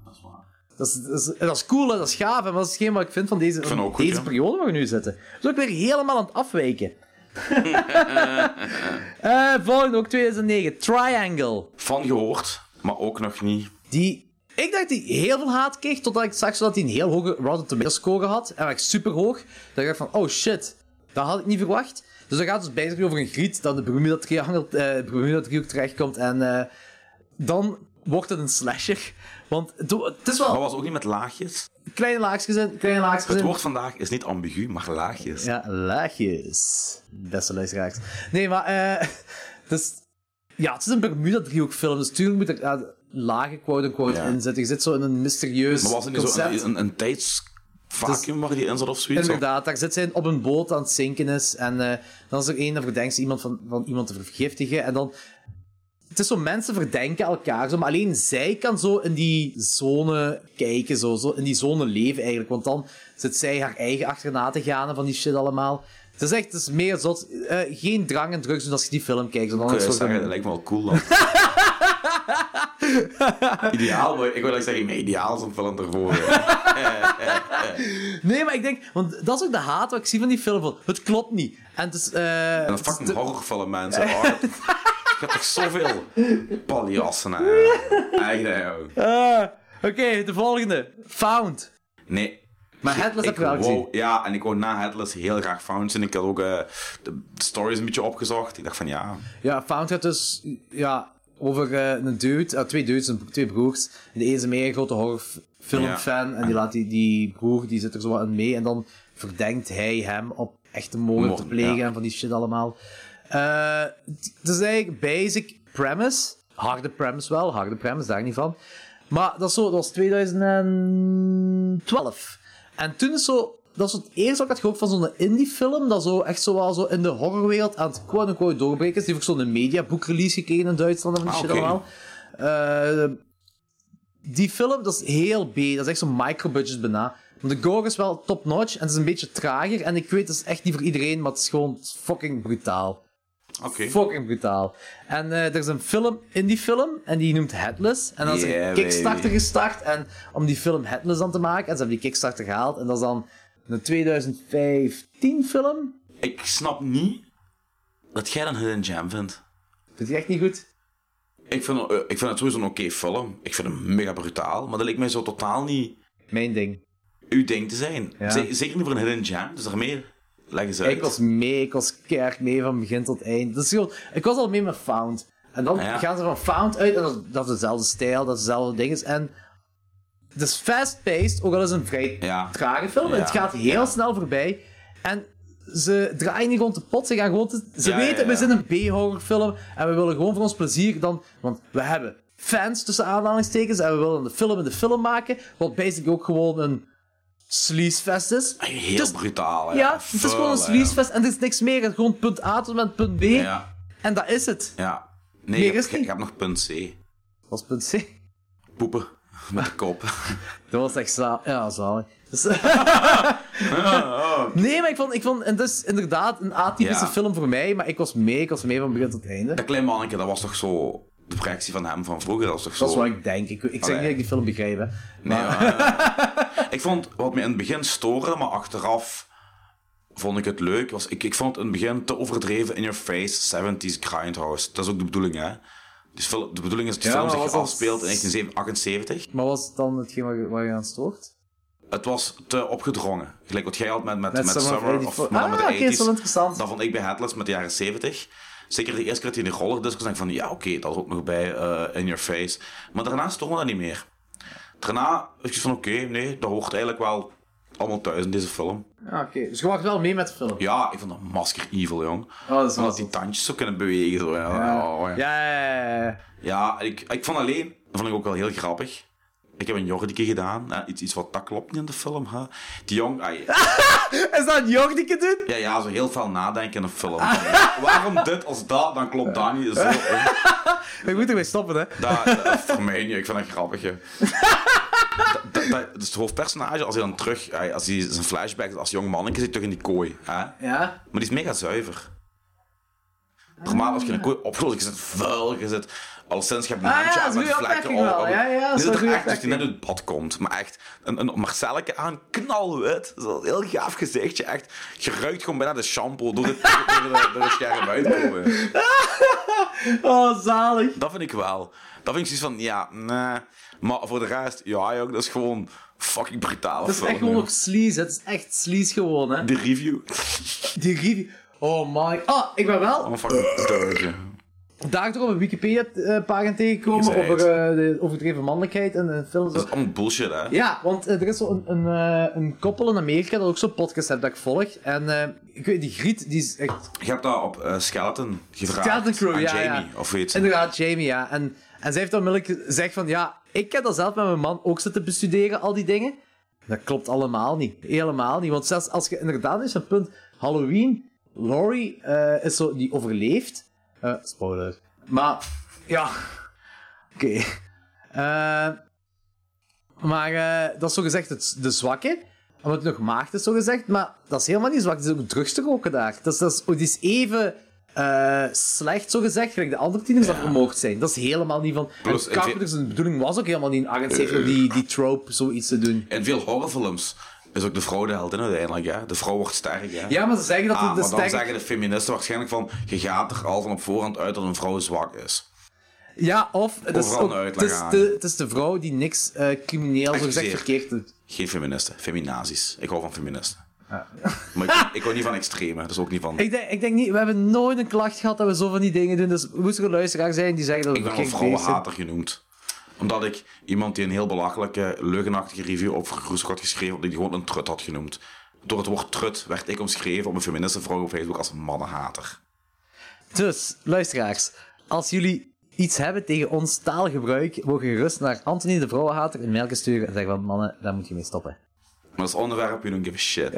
[SPEAKER 1] Dat is, dat, is, dat is cool, hè, dat is gaaf. En dat is hetgeen wat ik vind van deze,
[SPEAKER 2] vind het ook goed,
[SPEAKER 1] deze
[SPEAKER 2] ja.
[SPEAKER 1] periode waar we nu zitten. Dus ook weer helemaal aan het afwijken. Eh volgende, ook 2009. Triangle.
[SPEAKER 2] Van gehoord, maar ook nog niet.
[SPEAKER 1] Die, ik dacht die heel veel haat kreeg, totdat ik zag dat hij een heel hoge Rotten Tomatoes score had. En echt super hoog. Dan dacht ik van, oh shit, dat had ik niet verwacht. Dus dat gaat dus basically over een griet dat de Bermuda Triangle, eh Bermuda Driehoek terechtkomt. En eh, dan wordt het een slasher. Want het, het is
[SPEAKER 2] Maar
[SPEAKER 1] wel
[SPEAKER 2] was ook niet met laagjes.
[SPEAKER 1] kleine laagjes in, kleine laagjes
[SPEAKER 2] Oh. Het
[SPEAKER 1] in.
[SPEAKER 2] woord vandaag is niet ambigu, maar laagjes.
[SPEAKER 1] Ja, laagjes. Beste luisteraars. Nee, maar eh dus, ja, het is een Bermuda-driehoek film, dus tuurlijk moet er ja, lagen quote-unquote
[SPEAKER 2] Ja.
[SPEAKER 1] in zitten. Je zit zo in een mysterieus
[SPEAKER 2] Maar was het niet
[SPEAKER 1] concept.
[SPEAKER 2] zo een, een, een tijdsvacuum waar die in zat of zoiets?
[SPEAKER 1] Inderdaad, daar zit zij op een boot aan het zinken is. En eh, dan is er één dat verdenkt iemand van, van iemand te vergiftigen. En dan... Het is zo, mensen verdenken elkaar zo, maar alleen zij kan zo in die zone kijken, zo, zo in die zone leven eigenlijk. Want dan zit zij haar eigen achterna te gaan van die shit allemaal. Het is echt, het is meer zot. eh, geen drang en drugs doen als je die film kijkt. want
[SPEAKER 2] Ik
[SPEAKER 1] anders
[SPEAKER 2] zou
[SPEAKER 1] wordt het
[SPEAKER 2] Eh, zeggen, dat lijkt me wel cool dan. ideaal, maar ik wil eigenlijk zeggen, mijn ideaal is een film ervoor. hè.
[SPEAKER 1] Nee, maar ik denk, want dat is ook de haat wat ik zie van die film. van, Het klopt niet. En het is, eh,
[SPEAKER 2] En
[SPEAKER 1] het
[SPEAKER 2] een
[SPEAKER 1] is
[SPEAKER 2] fucking
[SPEAKER 1] te-
[SPEAKER 2] horrorfilm, mensen. Oh, dat- ik heb toch zoveel paljassen, hè. Eigen, joh.
[SPEAKER 1] Ah, Oké, de volgende. Found.
[SPEAKER 2] Nee.
[SPEAKER 1] Maar Headless heb
[SPEAKER 2] Ik
[SPEAKER 1] je wel gezien.
[SPEAKER 2] wou, ja, en ik wou na Headless heel graag Found zien. Ik had ook eh, de stories een beetje opgezocht. Ik dacht van, ja...
[SPEAKER 1] Ja, Found gaat dus ja, over eh, een dude, eh, twee dudes, een- twee broers. En de ene is een mega grote horrorfilmfan en die laat die, die broer, die zit er zo wat in mee. En dan verdenkt hij hem op echte moord te
[SPEAKER 2] Moord,
[SPEAKER 1] plegen
[SPEAKER 2] ja.
[SPEAKER 1] en van die shit allemaal. Eh, Het het is eigenlijk basic premise. Harde premise wel, harde premise, daar niet van. Maar dat, is zo, dat was 2012. En toen is zo... Dat is het eerste wat ik had gehoord van zo'n indie-film, dat zo echt zo wel zo in de horrorwereld aan het quote-unquote doorbreken is. Die heeft ook zo'n mediaboek-release gekregen in Duitsland en van die
[SPEAKER 2] Ah,
[SPEAKER 1] shit
[SPEAKER 2] oké.
[SPEAKER 1] allemaal. Eh, die film, dat is heel B. Dat is echt zo'n micro-budget bijna. Want de gore is wel top-notch en het is een beetje trager. En ik weet, het is echt niet voor iedereen, maar het is gewoon fucking brutaal.
[SPEAKER 2] Oké.
[SPEAKER 1] Fucking brutaal. En eh, er is een film in die film, en die noemt Headless. En dan is er
[SPEAKER 2] Yeah,
[SPEAKER 1] een Kickstarter
[SPEAKER 2] baby.
[SPEAKER 1] gestart en, om die film Headless aan te maken. En ze hebben die Kickstarter gehaald. En dat is dan een 2015 film.
[SPEAKER 2] Ik snap niet dat jij een hidden gem vindt.
[SPEAKER 1] Vind je echt niet goed?
[SPEAKER 2] Ik vind, eh, ik vind het sowieso een oké film. Ik vind hem mega brutaal. Maar dat leek mij zo totaal niet
[SPEAKER 1] Mijn ding.
[SPEAKER 2] uw ding te zijn.
[SPEAKER 1] Ja.
[SPEAKER 2] Z- zeker niet voor een hidden gem. Dus daarmee leg eens uit.
[SPEAKER 1] Ik was mee, ik was keihard mee van begin tot eind. Dat is gewoon, ik was al mee met Found. En dan
[SPEAKER 2] Ah, ja.
[SPEAKER 1] gaan ze van Found uit en dat, is- dat is dezelfde stijl, dat is dezelfde ding. En het is fast-paced, ook al is het een vrij
[SPEAKER 2] Ja.
[SPEAKER 1] trage film.
[SPEAKER 2] Ja.
[SPEAKER 1] Het gaat heel snel voorbij. En ze draaien niet rond de pot, ze gaan gewoon... te- ze
[SPEAKER 2] Ja,
[SPEAKER 1] weten,
[SPEAKER 2] ja, ja.
[SPEAKER 1] we zijn een B-horrorfilm en we willen gewoon voor ons plezier dan... Want we hebben fans, tussen aanhalingstekens, en we willen de film in de film maken. Wat basically ook gewoon een sleazefest is.
[SPEAKER 2] Ah, Heel
[SPEAKER 1] Dus-
[SPEAKER 2] brutaal. hè.
[SPEAKER 1] ja, het is
[SPEAKER 2] Vuil,
[SPEAKER 1] gewoon een
[SPEAKER 2] hè.
[SPEAKER 1] sleazefest en het is niks meer. Het is Gewoon punt A tot en met punt B.
[SPEAKER 2] Ja.
[SPEAKER 1] En dat is het.
[SPEAKER 2] ja. Nee,
[SPEAKER 1] Meer
[SPEAKER 2] ik,
[SPEAKER 1] is
[SPEAKER 2] heb,
[SPEAKER 1] het
[SPEAKER 2] ik-
[SPEAKER 1] niet.
[SPEAKER 2] ik heb nog punt C.
[SPEAKER 1] Dat was punt C.
[SPEAKER 2] Poepen. Met de kop.
[SPEAKER 1] Dat was echt zaal. Ja, zalig. Dus-
[SPEAKER 2] Oh,
[SPEAKER 1] nee, maar ik vond, ik vond... En dat is inderdaad een atypische
[SPEAKER 2] Ja.
[SPEAKER 1] film voor mij, maar ik was mee. Ik was mee van begin tot einde.
[SPEAKER 2] dat klein manneke, dat was toch zo... De projectie van hem van vroeger, dat was toch zo...
[SPEAKER 1] Dat is wat ik denk. Ik, ik zeg niet
[SPEAKER 2] Allee.
[SPEAKER 1] dat ik die film begrijp, hè.
[SPEAKER 2] Nee, ja. ik vond wat me in het begin storen, maar achteraf vond ik het leuk. Was, ik, ik vond het in het begin te overdreven in your face 70s grindhouse. Dat is ook de bedoeling, hè? Dus de bedoeling is dat de
[SPEAKER 1] Ja,
[SPEAKER 2] film
[SPEAKER 1] maar
[SPEAKER 2] zich
[SPEAKER 1] was dat-
[SPEAKER 2] afspeelt in 1978.
[SPEAKER 1] Maar was het dan hetgeen waar je, waar je aan stoort?
[SPEAKER 2] Eh, Het was te opgedrongen. Gelijk wat jij had met, met,
[SPEAKER 1] Met
[SPEAKER 2] met
[SPEAKER 1] Summer
[SPEAKER 2] Summer,
[SPEAKER 1] of
[SPEAKER 2] of
[SPEAKER 1] 84.
[SPEAKER 2] Mannen
[SPEAKER 1] Ah,
[SPEAKER 2] met
[SPEAKER 1] oké,
[SPEAKER 2] de 80s.
[SPEAKER 1] dat is wel interessant.
[SPEAKER 2] Dat vond ik bij Headless met de jaren 70. Zeker de eerste keer dat hij in de roller discos dacht ik van ja, oké, dat is ook nog bij eh, In Your Face. Maar daarna stond dat niet meer. Daarna was ik van oké, nee, dat hoort eigenlijk wel allemaal thuis in deze film.
[SPEAKER 1] Ja, oké. Dus je wacht wel mee met de film.
[SPEAKER 2] Ja, ik vond dat masker evil, jong.
[SPEAKER 1] Oh, dat is wel
[SPEAKER 2] Omdat die
[SPEAKER 1] zot.
[SPEAKER 2] tandjes zo kunnen bewegen. Zo, ja. Oh, ja.
[SPEAKER 1] Ja, ja, ja, ja.
[SPEAKER 2] Ja, ik, ik vond alleen, dat vond ik ook wel heel grappig. Ik heb een jordieke gedaan, hè, iets, iets wat dat klopt niet in de film. Hè. Die jong, ai,
[SPEAKER 1] Is dat een jordieke dude?
[SPEAKER 2] ja, ja, zo heel veel nadenken in een film. Waarom dit als dat, dan klopt dat niet. Zo,
[SPEAKER 1] Ik moet ermee stoppen, hè.
[SPEAKER 2] dat, dat- voor mij niet, ik vind dat grappig. hè. Dat, dat, dat- dus het hoofdpersonage, als hij dan terug, ai, als hij zijn flashback, als jong mannetje zit toch in die kooi. Hè.
[SPEAKER 1] Ja.
[SPEAKER 2] Maar die is mega zuiver.
[SPEAKER 1] Ah.
[SPEAKER 2] Normaal als je een kooi opgelost, je zit vuil, je zit... Alleszins, je hebt een
[SPEAKER 1] Ah,
[SPEAKER 2] handje
[SPEAKER 1] ja,
[SPEAKER 2] aan
[SPEAKER 1] dat is
[SPEAKER 2] met
[SPEAKER 1] een goeie
[SPEAKER 2] vlekken
[SPEAKER 1] opmerking wel. Ja, ja, dat
[SPEAKER 2] Nu
[SPEAKER 1] is
[SPEAKER 2] zit
[SPEAKER 1] wel
[SPEAKER 2] er
[SPEAKER 1] een
[SPEAKER 2] echt
[SPEAKER 1] goeie
[SPEAKER 2] dat hij net uit het bad komt. Maar echt, een, een Marcelletje aan, knalwit. Zo'n heel gaaf gezichtje, echt. Je ruikt gewoon bijna de shampoo door de, door de, door de scherm uitkomen.
[SPEAKER 1] Oh, zalig.
[SPEAKER 2] Dat vind ik wel. Dat vind ik zoiets van, ja, nee. Maar voor de rest, ja jong, dat is gewoon fucking brutaal.
[SPEAKER 1] Dat is echt gewoon op sleaze. Het is echt sleaze gewoon, hè.
[SPEAKER 2] De review.
[SPEAKER 1] Die review... Oh my... Ah, ik ben wel
[SPEAKER 2] Allemaal fucking deugje.
[SPEAKER 1] daar op een Wikipedia-pagina tegengekomen
[SPEAKER 2] Jezus.
[SPEAKER 1] over eh, de overdreven mannelijkheid en eh, films.
[SPEAKER 2] Dat is allemaal bullshit, hè.
[SPEAKER 1] Ja, want eh, er is zo'n een, een, eh, een koppel in Amerika dat ook zo'n podcast heeft dat ik volg. En eh, ik weet, die Griet, die is echt...
[SPEAKER 2] Je hebt dat op eh, Skeleton gevraagd.
[SPEAKER 1] Skeleton Crew,
[SPEAKER 2] aan
[SPEAKER 1] ja,
[SPEAKER 2] Jamie,
[SPEAKER 1] ja.
[SPEAKER 2] of weet je.
[SPEAKER 1] Inderdaad, Jamie, ja. En, en zij heeft onmiddellijk gezegd van, ja, ik heb dat zelf met mijn man ook zitten bestuderen, al die dingen. Dat klopt allemaal niet. Helemaal niet. Want zelfs als je inderdaad is een punt, Halloween, Laurie eh, is zo, die overleeft. Eh, spoiler. Maar, ja. Oké. Eh, maar eh, dat is zogezegd het, de zwakke. Omdat hij nog maagd is, zogezegd. Maar dat is helemaal niet zwak. Het is ook drugs te roken daar. Dat is, dat is, het is even eh slecht, zogezegd, gelijk de andere tieners dat vermoord zijn. Dat is helemaal niet van...
[SPEAKER 2] Plus,
[SPEAKER 1] Plus,
[SPEAKER 2] ik
[SPEAKER 1] en
[SPEAKER 2] vind-
[SPEAKER 1] Carpenter zijn bedoeling was ook helemaal niet in 78 om die, die trope zoiets te doen.
[SPEAKER 2] In veel horrorfilms is ook de vrouw de heldin uiteindelijk. Hè? De vrouw wordt sterk. Hè?
[SPEAKER 1] Ja, maar ze zeggen dat
[SPEAKER 2] Ah,
[SPEAKER 1] het
[SPEAKER 2] maar
[SPEAKER 1] de
[SPEAKER 2] dan
[SPEAKER 1] sterke...
[SPEAKER 2] zeggen de feministen waarschijnlijk van... Je gaat er al van op voorhand uit dat een vrouw zwak is.
[SPEAKER 1] Ja, of... Het is,
[SPEAKER 2] Overal
[SPEAKER 1] ook,
[SPEAKER 2] een
[SPEAKER 1] het,
[SPEAKER 2] uitleg
[SPEAKER 1] is
[SPEAKER 2] aan.
[SPEAKER 1] de, het is de vrouw die niks eh crimineel, zogezegd,
[SPEAKER 2] zeer.
[SPEAKER 1] verkeerd doet.
[SPEAKER 2] Geen feministen. Feminazis. Ik hou van feministen. Maar ik, ik hou niet van extreme. Dus ook niet van... Ik,
[SPEAKER 1] Ik denk, ik denk niet... We hebben nooit een klacht gehad dat we zo van die dingen doen. Dus moest er een luisteraar zijn die zeggen dat we
[SPEAKER 2] ben een
[SPEAKER 1] verkeerd bezig zijn.
[SPEAKER 2] vrouwenhater genoemd. Omdat ik iemand die een heel belachelijke, leugenachtige review op Vergroeshoek had geschreven... omdat ik die gewoon een trut had genoemd. Door het woord trut werd ik omschreven op een feministe vrouw op Facebook als een mannenhater.
[SPEAKER 1] Dus, luisteraars, als jullie iets hebben tegen ons taalgebruik, mogen je gerust naar Anthony de Vrouwenhater een mailje sturen en zeggen van mannen, daar moet je mee stoppen.
[SPEAKER 2] Maar dat is onderwerp, you don't give a shit.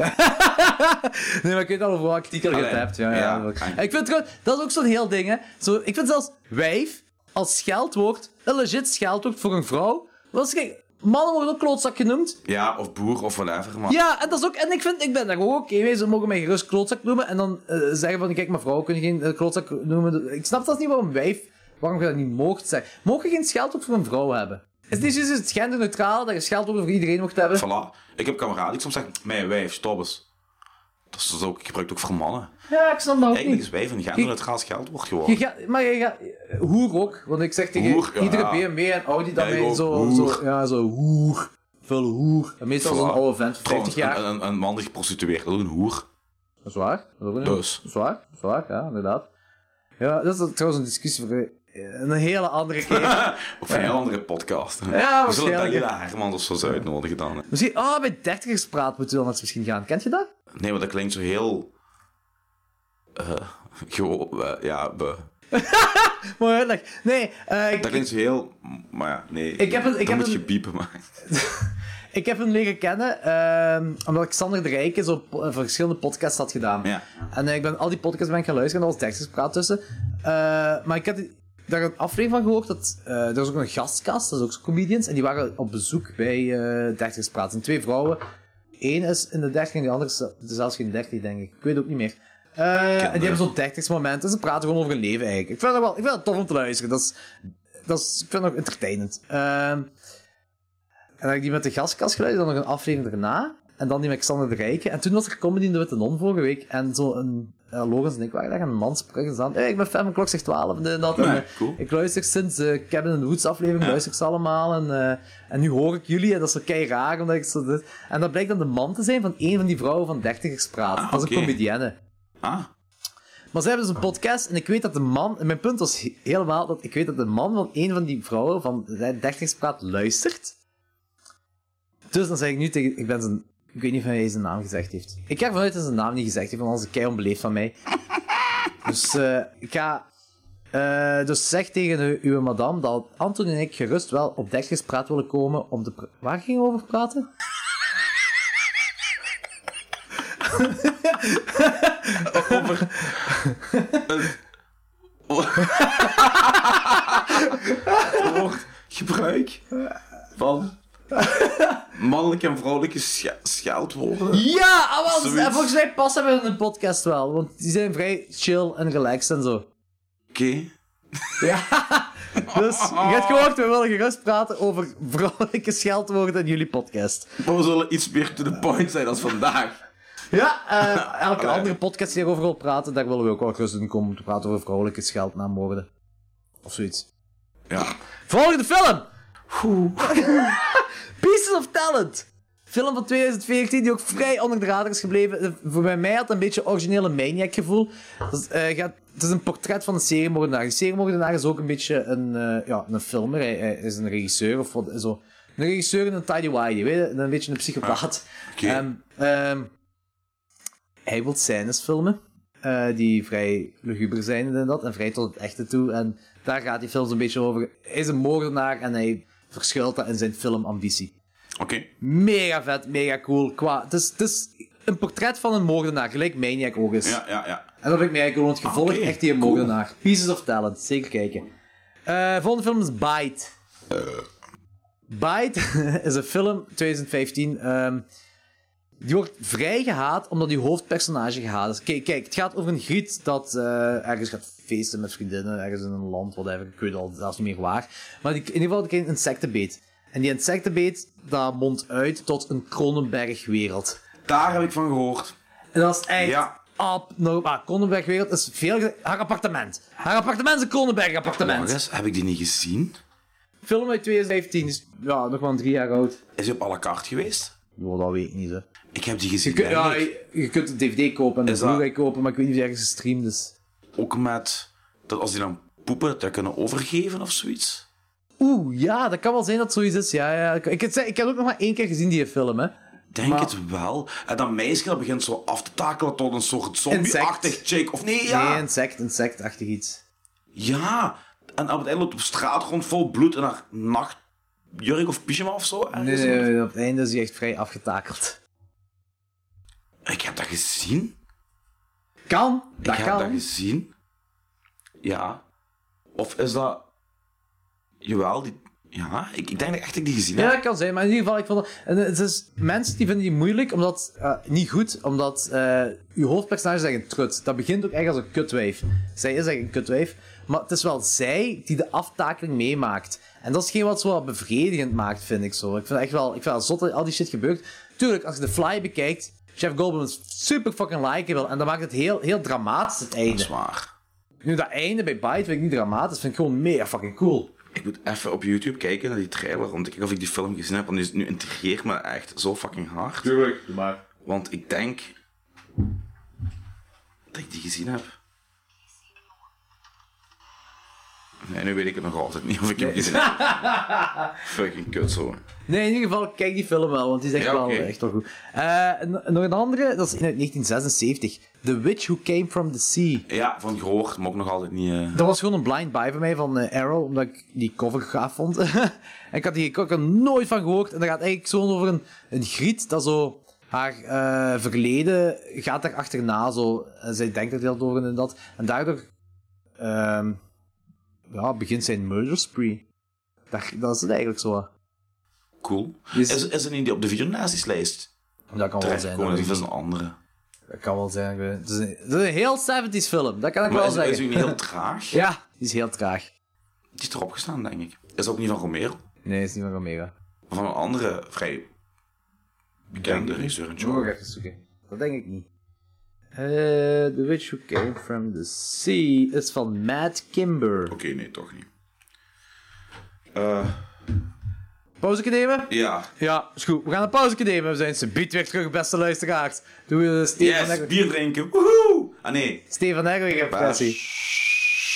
[SPEAKER 1] Nee, maar ik weet al over welk artikel je het
[SPEAKER 2] Allee,
[SPEAKER 1] hebt. Ja, ja,
[SPEAKER 2] ja,
[SPEAKER 1] dat ook.
[SPEAKER 2] kan je.
[SPEAKER 1] ik vind trouwens, dat is ook zo'n heel ding, hè. Zo, ik vind zelfs wijf als scheldwoord, een legit scheldwoord voor een vrouw. Want kijk, mannen worden ook klootzak genoemd.
[SPEAKER 2] Ja, of boer, of whatever. Maar
[SPEAKER 1] Ja, en dat is ook, en ik vind, ik ben daar ook oké mee, ze mogen mij gerust klootzak noemen en dan eh, zeggen van, kijk, maar vrouwen kunnen geen eh, klootzak noemen. Ik snap dat niet waarom wijf, waarom je dat niet mocht zeggen. Mocht je geen scheldwoord voor een vrouw hebben? Is dit juist het genderneutraal dat je scheldwoord voor iedereen mocht hebben?
[SPEAKER 2] Voilà. Ik heb kameraden die soms zeggen, mijn wijf, stop eens. Dat is dus ook, ik gebruik het ook voor mannen.
[SPEAKER 1] Ja, ik snap dat ook
[SPEAKER 2] Eigenlijk
[SPEAKER 1] niet.
[SPEAKER 2] is wijf een genderneutraal scheldwoord
[SPEAKER 1] Je
[SPEAKER 2] geworden.
[SPEAKER 1] gaat, maar je gaat, eh, hoer ook, want ik zeg tegen
[SPEAKER 2] Hoer, ja.
[SPEAKER 1] iedere BMW en Audi dat
[SPEAKER 2] Ja,
[SPEAKER 1] mij
[SPEAKER 2] ik ook,
[SPEAKER 1] zo,
[SPEAKER 2] hoer.
[SPEAKER 1] zo, ja, zo hoer, veel hoer. En meestal
[SPEAKER 2] Voilà.
[SPEAKER 1] zo'n oude vent van 50
[SPEAKER 2] Trouwens,
[SPEAKER 1] jaar.
[SPEAKER 2] een, een, een man die geprostitueerd is, dat is een hoer. eh,
[SPEAKER 1] Zwaar. Dat is ook een-
[SPEAKER 2] Dus.
[SPEAKER 1] Zwaar, zwaar, ja, inderdaad. Ja, dat is trouwens een discussie voor een hele andere keer.
[SPEAKER 2] Of een heel andere podcast.
[SPEAKER 1] Ja,
[SPEAKER 2] We zullen
[SPEAKER 1] waarschijnlijk.
[SPEAKER 2] Daniela Herman of zo eens uitnodigen dan.
[SPEAKER 1] misschien, oh, bij dertigers praat moeten we dan eens misschien gaan. Kent je dat?
[SPEAKER 2] Nee, maar dat klinkt zo heel... eh, gewoon, eh, ja, be-
[SPEAKER 1] Mooi uitleg. Nee, eh,
[SPEAKER 2] dat
[SPEAKER 1] ik,
[SPEAKER 2] klinkt zo heel... Maar ja, nee.
[SPEAKER 1] Ik heb een- ik
[SPEAKER 2] dan
[SPEAKER 1] heb
[SPEAKER 2] moet je
[SPEAKER 1] een-
[SPEAKER 2] piepen, maar...
[SPEAKER 1] ik heb hem leren kennen ehm, omdat ik Sander de Rijken zo po- eh, verschillende podcasts had gedaan.
[SPEAKER 2] Ja.
[SPEAKER 1] En eh, ik ben al die podcasts ben ik gaan luisteren, er was dertigers praat tussen. Eh, maar ik had daar een aflevering van gehoord, dat, eh er was ook een gastkast, dat is ook zo'n comedians, en die waren op bezoek bij eh dertigers praat. En twee vrouwen, Eén is in de 30 en de andere is is zelfs geen 30, denk ik. Ik weet het ook niet meer. Eh, en die hebben zo'n 30 moment en ze praten gewoon over hun leven eigenlijk. Ik vind dat wel ik vind dat tof om te luisteren. Dat is, dat is, ik vind dat ook entertainend. Ehm, en dan heb ik die met de gastkast geluid, dan nog een aflevering daarna. En dan die met Xander de Rijke. En toen was er Comedy in de Witte Non vorige week. En zo een... eh, Logans en ik waren daar en een man sprak eens aan. Hey, ik ben fan van Klok zegt 12 en dit en dat. En,
[SPEAKER 2] Nee,
[SPEAKER 1] eh,
[SPEAKER 2] cool.
[SPEAKER 1] Ik luister sinds eh, de Cabin in the Woods aflevering, luister ik ze allemaal. En, eh, en nu hoor ik jullie en dat is zo kei raar. Omdat ik zo dit. En dat blijkt dan de man te zijn van een van die vrouwen van dertigers praat.
[SPEAKER 2] Ah,
[SPEAKER 1] dat is
[SPEAKER 2] oké.
[SPEAKER 1] een comedienne.
[SPEAKER 2] Ah,
[SPEAKER 1] Maar ze hebben dus een podcast en ik weet dat de man... en Mijn punt was he- helemaal dat ik weet dat de man van een van die vrouwen van de dertigerspraat luistert. Dus dan zeg ik nu tegen... Ik ben zijn... Ik weet niet of hij zijn naam gezegd heeft. Ik ga ervan uit dat hij zijn naam niet gezegd heeft, want anders is hij onbeleefd van mij. Dus eh, ik ga... eh, dus zeg tegen u- uw madame dat Anton en ik gerust wel op dertigerspraat willen komen om te... pra- Waar gingen we over praten?
[SPEAKER 2] woord gebruik van mannelijke en vrouwelijke scha- scheldwoorden.
[SPEAKER 1] Ja, ah, wel,
[SPEAKER 2] Zoiets.
[SPEAKER 1] en volgens mij passen we in een podcast wel, want die zijn vrij chill en relaxed en zo.
[SPEAKER 2] Oké.
[SPEAKER 1] Dus je hebt gehoord, we willen gerust praten over vrouwelijke scheldwoorden in jullie podcast.
[SPEAKER 2] Maar we zullen iets meer to the point zijn als vandaag.
[SPEAKER 1] Ja, eh, elke
[SPEAKER 2] Allee.
[SPEAKER 1] andere podcast die erover wil praten, daar willen we ook wel gerust in komen om te praten over vrouwelijke scheldnaamwoorden. Of zoiets.
[SPEAKER 2] Ja.
[SPEAKER 1] Volgende film! Pieces of Talent! Film van 2014 die ook vrij onder de radar is gebleven. Eh, Voor bij mij had het een beetje originele maniac gevoel. Dat is, eh, gaat, het is een portret van een seriemoordenaar. Die seriemoordenaar is ook een beetje een, eh, ja, een filmer. Hij, hij is een regisseur of wat, zo. Een regisseur en een tidy wide, weet je? Een beetje een psychopaat.
[SPEAKER 2] oké.
[SPEAKER 1] Ehm, ehm, hij wil scènes filmen. eh, die vrij luguber zijn en dat. En vrij tot het echte toe. En daar gaat die film zo'n beetje over. Hij is een moordenaar en hij verschuilt dat in zijn filmambitie.
[SPEAKER 2] Oké.
[SPEAKER 1] Mega vet, mega cool. Qua, het, is, het is een portret van een moordenaar, gelijk Maniac ook is.
[SPEAKER 2] Ja, ja, ja.
[SPEAKER 1] En dat vind ik mega cool, want je volgt
[SPEAKER 2] oké,
[SPEAKER 1] echt die moordenaar. Pieces of Talent, zeker kijken. Eh volgende film is Bite. Bite is een film, 2015. ehm, die wordt vrij gehaat omdat die hoofdpersonage gehaat is. Kijk, kijk het gaat over een griet dat eh, ergens gaat feesten met vriendinnen, ergens in een land, whatever. Ik weet al zelfs niet meer waar. Maar die, in ieder geval krijgt een insectenbeet. En die insectenbeet, dat mondt uit tot een Kronenberg-wereld.
[SPEAKER 2] Daar heb ik van gehoord.
[SPEAKER 1] En dat is echt
[SPEAKER 2] Ja.
[SPEAKER 1] abnormaal. Kronenbergwereld is veel... ge- Haar appartement. Haar appartement is een Kronenberg-appartement.
[SPEAKER 2] Loris, heb ik die niet gezien?
[SPEAKER 1] Film uit 2015 is ja, nog maar drie jaar oud.
[SPEAKER 2] Is die op à la carte geweest?
[SPEAKER 1] Ja, dat weet ik niet, hè.
[SPEAKER 2] Ik heb die
[SPEAKER 1] Je,
[SPEAKER 2] gezien.
[SPEAKER 1] kunt- ja,
[SPEAKER 2] eigenlijk.
[SPEAKER 1] je, je kunt de DVD kopen en de
[SPEAKER 2] Is dat-
[SPEAKER 1] Blu-ray kopen, maar ik weet niet of die ergens gestreamd is.
[SPEAKER 2] Ook met dat als die dan poepen, dat kunnen overgeven of zoiets.
[SPEAKER 1] Oeh, ja, dat kan wel zijn dat zoiets is. Ja, ja. Ik, ik, ik heb ook nog maar één keer gezien, die film, hè.
[SPEAKER 2] Denk het wel. En dat meisje dat begint zo af te takelen tot een soort zombie-achtig
[SPEAKER 1] Insect.
[SPEAKER 2] chick. Of nee, ja.
[SPEAKER 1] Nee, insect, insectachtig iets.
[SPEAKER 2] Ja. En op het einde loopt op straat rond vol bloed en haar nachtjurk of pyjama of zo.
[SPEAKER 1] Nee,
[SPEAKER 2] ergens.
[SPEAKER 1] nee, nee, op het einde is hij echt vrij afgetakeld.
[SPEAKER 2] Ik heb dat gezien.
[SPEAKER 1] Kan, dat
[SPEAKER 2] ik heb dat
[SPEAKER 1] kan.
[SPEAKER 2] gezien. Ja. Of is dat... Jawel, die... Ja, ik, ik denk dat echt dat ik die gezien
[SPEAKER 1] Ja,
[SPEAKER 2] heb.
[SPEAKER 1] dat kan zijn, maar in ieder geval, ik vond dat... En eh, het is, mensen die vinden die moeilijk, omdat... eh, niet goed, omdat eh uw hoofdpersonage is echt een trut. Dat begint ook echt als een kutwijf. Zij is echt een kutwijf. Maar het is wel zij die de aftakeling meemaakt. En dat is geen wat zo wat bevredigend maakt, vind ik zo. Ik vind echt wel... Ik vind het zot dat al die shit gebeurt. Tuurlijk, als je de fly bekijkt... Jeff Goldblum is super fucking likable. En dat maakt het heel, heel dramatisch, het
[SPEAKER 2] Dat
[SPEAKER 1] einde.
[SPEAKER 2] is waar.
[SPEAKER 1] Nu, dat einde bij Bite vind ik niet dramatisch. vind ik gewoon mega fucking cool.
[SPEAKER 2] Ik moet even op YouTube kijken naar die trailer om te kijken of ik die film gezien heb. Want die is- nu intrigeert me echt zo fucking hard.
[SPEAKER 5] Tuurlijk, doe maar.
[SPEAKER 2] Want ik denk dat ik die gezien heb. Nee, nu weet ik het nog altijd niet of ik hem gezien heb. Fucking kut zo.
[SPEAKER 1] Nee, in ieder geval, kijk die film wel, want die is echt,
[SPEAKER 2] Ja,
[SPEAKER 1] wel,
[SPEAKER 2] oké.
[SPEAKER 1] echt wel goed. Eh, en nog een andere, dat is in uit 1976. The Witch Who Came From The Sea.
[SPEAKER 2] Ja, van gehoord, maar ook nog altijd niet. eh,
[SPEAKER 1] Dat was gewoon een blind buy van mij van eh, Arrow, omdat ik die cover gaaf vond. en ik had, die, ik had er nooit van gehoord. En dat gaat eigenlijk zo over een, een griet dat zo haar eh, verleden gaat daar achterna. Zo. En zij denkt er heel door en dat. En daardoor ehm, ja, begint zijn murder spree. Dat, dat is het eigenlijk zo.
[SPEAKER 2] Cool.
[SPEAKER 1] Is-
[SPEAKER 2] Is, is er niet die op de videonatieslijst
[SPEAKER 1] Dat kan wel zijn.
[SPEAKER 2] terechtgekomen?
[SPEAKER 1] dat
[SPEAKER 2] Dat
[SPEAKER 1] weet
[SPEAKER 2] is
[SPEAKER 1] ik
[SPEAKER 2] een andere.
[SPEAKER 1] Dat kan wel zijn. ik weet het. Het is een, het is een heel 70s film, dat kan ik
[SPEAKER 2] Maar
[SPEAKER 1] wel
[SPEAKER 2] is,
[SPEAKER 1] zeggen.
[SPEAKER 2] is die niet heel traag?
[SPEAKER 1] Ja, die is heel traag.
[SPEAKER 2] Die is erop gestaan, denk ik. Is dat ook niet van Romero?
[SPEAKER 1] Nee, is niet van Romero.
[SPEAKER 2] Maar van een andere vrij bekende regisseur en
[SPEAKER 1] Moet
[SPEAKER 2] genre.
[SPEAKER 1] ik even zoeken. Dat denk ik niet. Eh, the Witch Who Came From The Sea is van Matt Kimber.
[SPEAKER 2] Oké, nee, toch niet. Eh,
[SPEAKER 1] Pauze nemen?
[SPEAKER 2] ja.
[SPEAKER 1] Ja, is goed. We gaan een pauze nemen. We zijn ze biedt weer terug, beste luisteraars. Doe je de Stefan
[SPEAKER 2] Yes,
[SPEAKER 1] Egger-
[SPEAKER 2] bier drinken. Woehoe! Ah nee.
[SPEAKER 1] Stefan Egger impressie.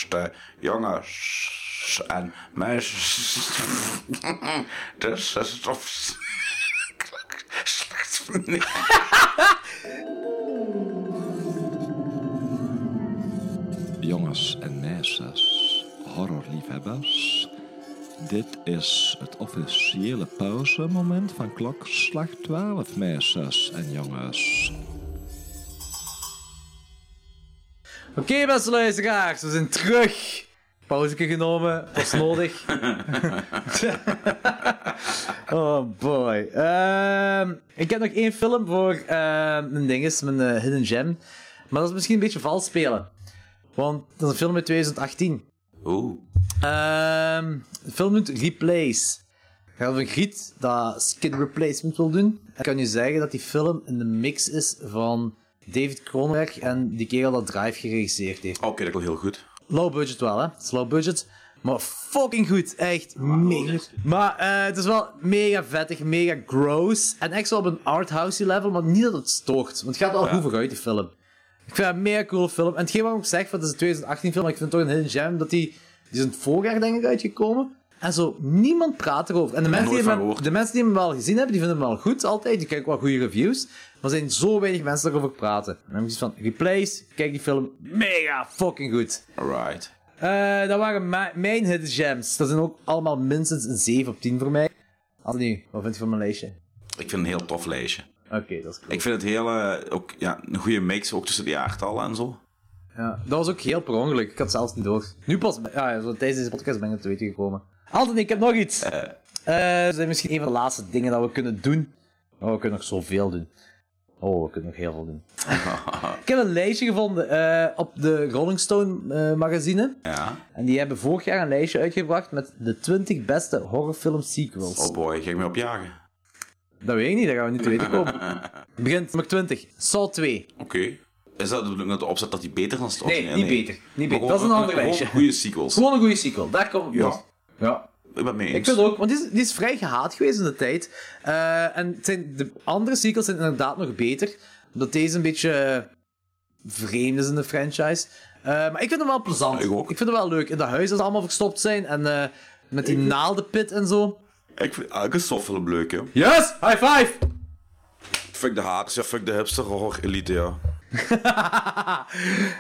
[SPEAKER 2] Beste jongens en meisjes. Dus is het op slechts voor nee.
[SPEAKER 6] Jongens en meisjes, horrorliefhebbers. Dit is het officiële pauzemoment van klokslag 12, meisjes en jongens.
[SPEAKER 1] Oké, beste luisteraars, we zijn terug. Pauze genomen, was nodig. oh boy. Ehm, ik heb nog één film voor ehm, mijn dinges, mijn eh, Hidden Gem. Maar dat is misschien een beetje vals spelen. Want dat is een film uit 2018.
[SPEAKER 2] Oeh.
[SPEAKER 1] Ehm, de film noemt Replace. Het gaat over een griet dat skin replacement wil doen. Ik kan je zeggen dat die film in de mix is van David Cronenberg en die kerel dat Drive geregisseerd heeft.
[SPEAKER 2] Oh, Oké, dat klopt heel goed.
[SPEAKER 1] Low budget wel, hè? Het is low budget. Maar fucking goed. Echt mega. Maar eh, het is wel mega vettig, mega gross. En echt zo op een arthousey level, maar niet dat het stoort. Want het gaat al goed vooruit, die film. Ik vind het een mega coole film. En hetgeen waarom ik zeg, van het is een 2018 film, maar ik vind het toch een hidden gem, dat die... Die is in het voorjaar, denk ik, uitgekomen. En zo, niemand praat erover. En de mensen, die
[SPEAKER 2] nooit van
[SPEAKER 1] hem,
[SPEAKER 2] gehoord.
[SPEAKER 1] de mensen die hem wel gezien hebben, die vinden hem wel goed altijd. Die kijken wel goede reviews. Maar er zijn zo weinig mensen daarover praten. En dan heb ik zoiets van, replace, kijk die film, mega fucking goed.
[SPEAKER 2] Alright.
[SPEAKER 1] Eh, dat waren mi- mijn hidden gems. Dat zijn ook allemaal minstens een 7 op 10 voor mij. Anthony, wat vind je van mijn lijstje?
[SPEAKER 2] Ik vind het een heel tof lijstje.
[SPEAKER 1] Oké, dat is cool.
[SPEAKER 2] Ik vind het heel, eh, ook, ja, een goede mix ook tussen de jaartallen en zo.
[SPEAKER 1] Ja, dat was ook heel per ongeluk. Ik had het zelfs niet door. Nu pas, ja, zo tijdens deze podcast ben ik het te weten gekomen. Anthony, ik heb nog iets. Eh dat zijn misschien een van de laatste dingen dat we kunnen doen. Oh, we kunnen nog zoveel doen. Oh, we kunnen nog heel veel doen. ik heb een lijstje gevonden eh, op de Rolling Stone eh, magazine.
[SPEAKER 2] Ja.
[SPEAKER 1] En die hebben vorig jaar een lijstje uitgebracht met de 20 beste horrorfilm sequels.
[SPEAKER 2] Oh boy, ga ik me opjagen.
[SPEAKER 1] Dat weet ik niet, daar gaan we niet te weten komen. Begint nummer 20, Saw 2.
[SPEAKER 2] Oké. Is dat de bedoeling dat de opzet dat die beter dan het
[SPEAKER 1] Nee,
[SPEAKER 2] origineel?
[SPEAKER 1] niet beter. Niet beter.
[SPEAKER 2] Maar gewoon-
[SPEAKER 1] Dat is een ander
[SPEAKER 2] gewoon
[SPEAKER 1] lijstje.
[SPEAKER 2] goede sequels.
[SPEAKER 1] Gewoon een goede sequel, daar komt het
[SPEAKER 2] Ja.
[SPEAKER 1] los. Ja.
[SPEAKER 2] Ik ben mee eens.
[SPEAKER 1] Ik vind het ook, want die is, die is vrij gehaat geweest in de tijd. Eh, en het zijn, de andere sequels zijn inderdaad nog beter. Omdat deze een beetje eh, vreemd is in de franchise. Eh, maar ik vind hem wel plezant.
[SPEAKER 2] Ik ook.
[SPEAKER 1] vind hem wel leuk. In dat huis dat ze allemaal verstopt zijn. En eh, met die naaldenpit en zo.
[SPEAKER 2] Ik vind elke softfilm leuk, hè.
[SPEAKER 1] Yes! High five!
[SPEAKER 2] Fuck de haters, ja, fuck de hipster horror elite, ja.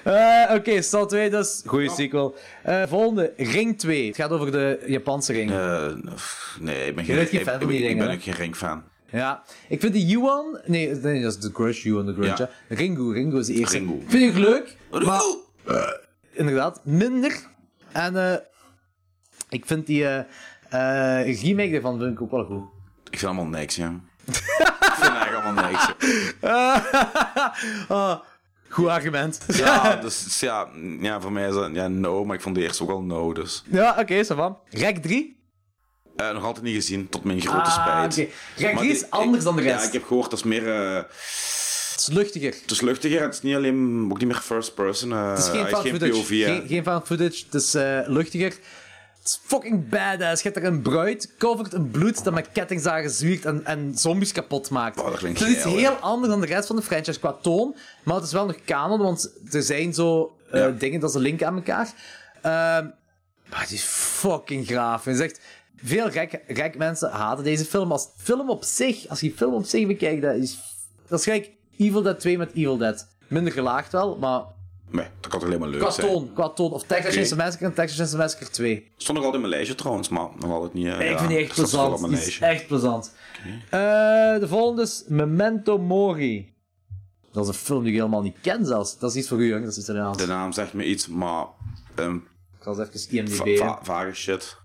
[SPEAKER 1] Eh, Oké, Stal 2, dat is goede sequel. Eh, volgende, Ring 2. Het gaat over de Japanse ring.
[SPEAKER 2] Eh, pff, nee, ik ben geen,
[SPEAKER 1] bent geen
[SPEAKER 2] ik-
[SPEAKER 1] fan van
[SPEAKER 2] ik,
[SPEAKER 1] die
[SPEAKER 2] ik
[SPEAKER 1] dingen,
[SPEAKER 2] ben
[SPEAKER 1] hè?
[SPEAKER 2] ook geen ringfan.
[SPEAKER 1] Ja, ik vind de Yuan. Nee, nee, dat is de Grudge, Yuan de Grudge.
[SPEAKER 2] Ja.
[SPEAKER 1] hè. Ringu, Ringu is de eerste.
[SPEAKER 2] Ringu.
[SPEAKER 1] Vind ik leuk, maar
[SPEAKER 2] Oeh!
[SPEAKER 1] inderdaad, minder. En eh, ik vind die eh eh, remake ervan vind ik ook wel goed.
[SPEAKER 2] Ik vind allemaal niks, ja. ik vind eigenlijk allemaal niks. ja.
[SPEAKER 1] Ah, goed argument.
[SPEAKER 2] Ja, dus ja, ja, voor mij is dat ja, no, maar ik vond de eerste ook al no, dus.
[SPEAKER 1] Ja, oké, zo van. Rek 3?
[SPEAKER 2] Eh, nog altijd niet gezien, tot mijn grote
[SPEAKER 1] Ah,
[SPEAKER 2] spijt.
[SPEAKER 1] oké. Rek
[SPEAKER 2] Maar
[SPEAKER 1] 3
[SPEAKER 2] die-
[SPEAKER 1] is anders
[SPEAKER 2] ik-
[SPEAKER 1] dan de rest.
[SPEAKER 2] Ja, ik heb gehoord, dat is meer... eh,
[SPEAKER 1] Het is luchtiger.
[SPEAKER 2] het is luchtiger, en het is niet alleen, ook niet meer first person. eh,
[SPEAKER 1] Het is geen
[SPEAKER 2] hij
[SPEAKER 1] found
[SPEAKER 2] geen
[SPEAKER 1] footage.
[SPEAKER 2] POV, hè.
[SPEAKER 1] geen, geen found footage. Het is eh, luchtiger. Het is fucking badass. Je hebt er een bruid, covert in bloed, dat met kettingzagen zwiert en, en zombies kapot maakt.
[SPEAKER 2] Wow, dat klinkt
[SPEAKER 1] het is iets
[SPEAKER 2] geil,
[SPEAKER 1] heel anders dan de rest van de franchise qua toon. Maar het is wel nog canon, want er zijn zo eh,
[SPEAKER 2] Ja.
[SPEAKER 1] dingen dat ze linken aan elkaar. Ehm, maar die is fucking graaf. En zegt, veel rek, rek mensen haten deze film. Als film op zich, als je die film op zich bekijkt, dat is, dat is gelijk Evil Dead 2 met Evil Dead. Minder gelaagd wel, maar
[SPEAKER 2] Nee, dat kan toch alleen maar leuk
[SPEAKER 1] Qua
[SPEAKER 2] zijn.
[SPEAKER 1] toon, qua toon. Of Texas
[SPEAKER 2] Oké.
[SPEAKER 1] Chainsaw Massacre en Texas Chainsaw Massacre 2.
[SPEAKER 2] Stond nog altijd in mijn lijstje trouwens, maar nog altijd niet... eh,
[SPEAKER 1] ik
[SPEAKER 2] ja,
[SPEAKER 1] vind die echt
[SPEAKER 2] er staat wel op
[SPEAKER 1] plezant.
[SPEAKER 2] mijn
[SPEAKER 1] Die is
[SPEAKER 2] lijstje.
[SPEAKER 1] echt plezant. Eh, de volgende is Memento Mori. Dat is een film die ik helemaal niet ken zelfs. Dat is iets voor u, jong. Dat is Italiaans.
[SPEAKER 2] De naam zegt me iets, maar... ehm,
[SPEAKER 1] Ik zal eens even IMDb.
[SPEAKER 2] va-
[SPEAKER 1] hè.
[SPEAKER 2] va- vage shit.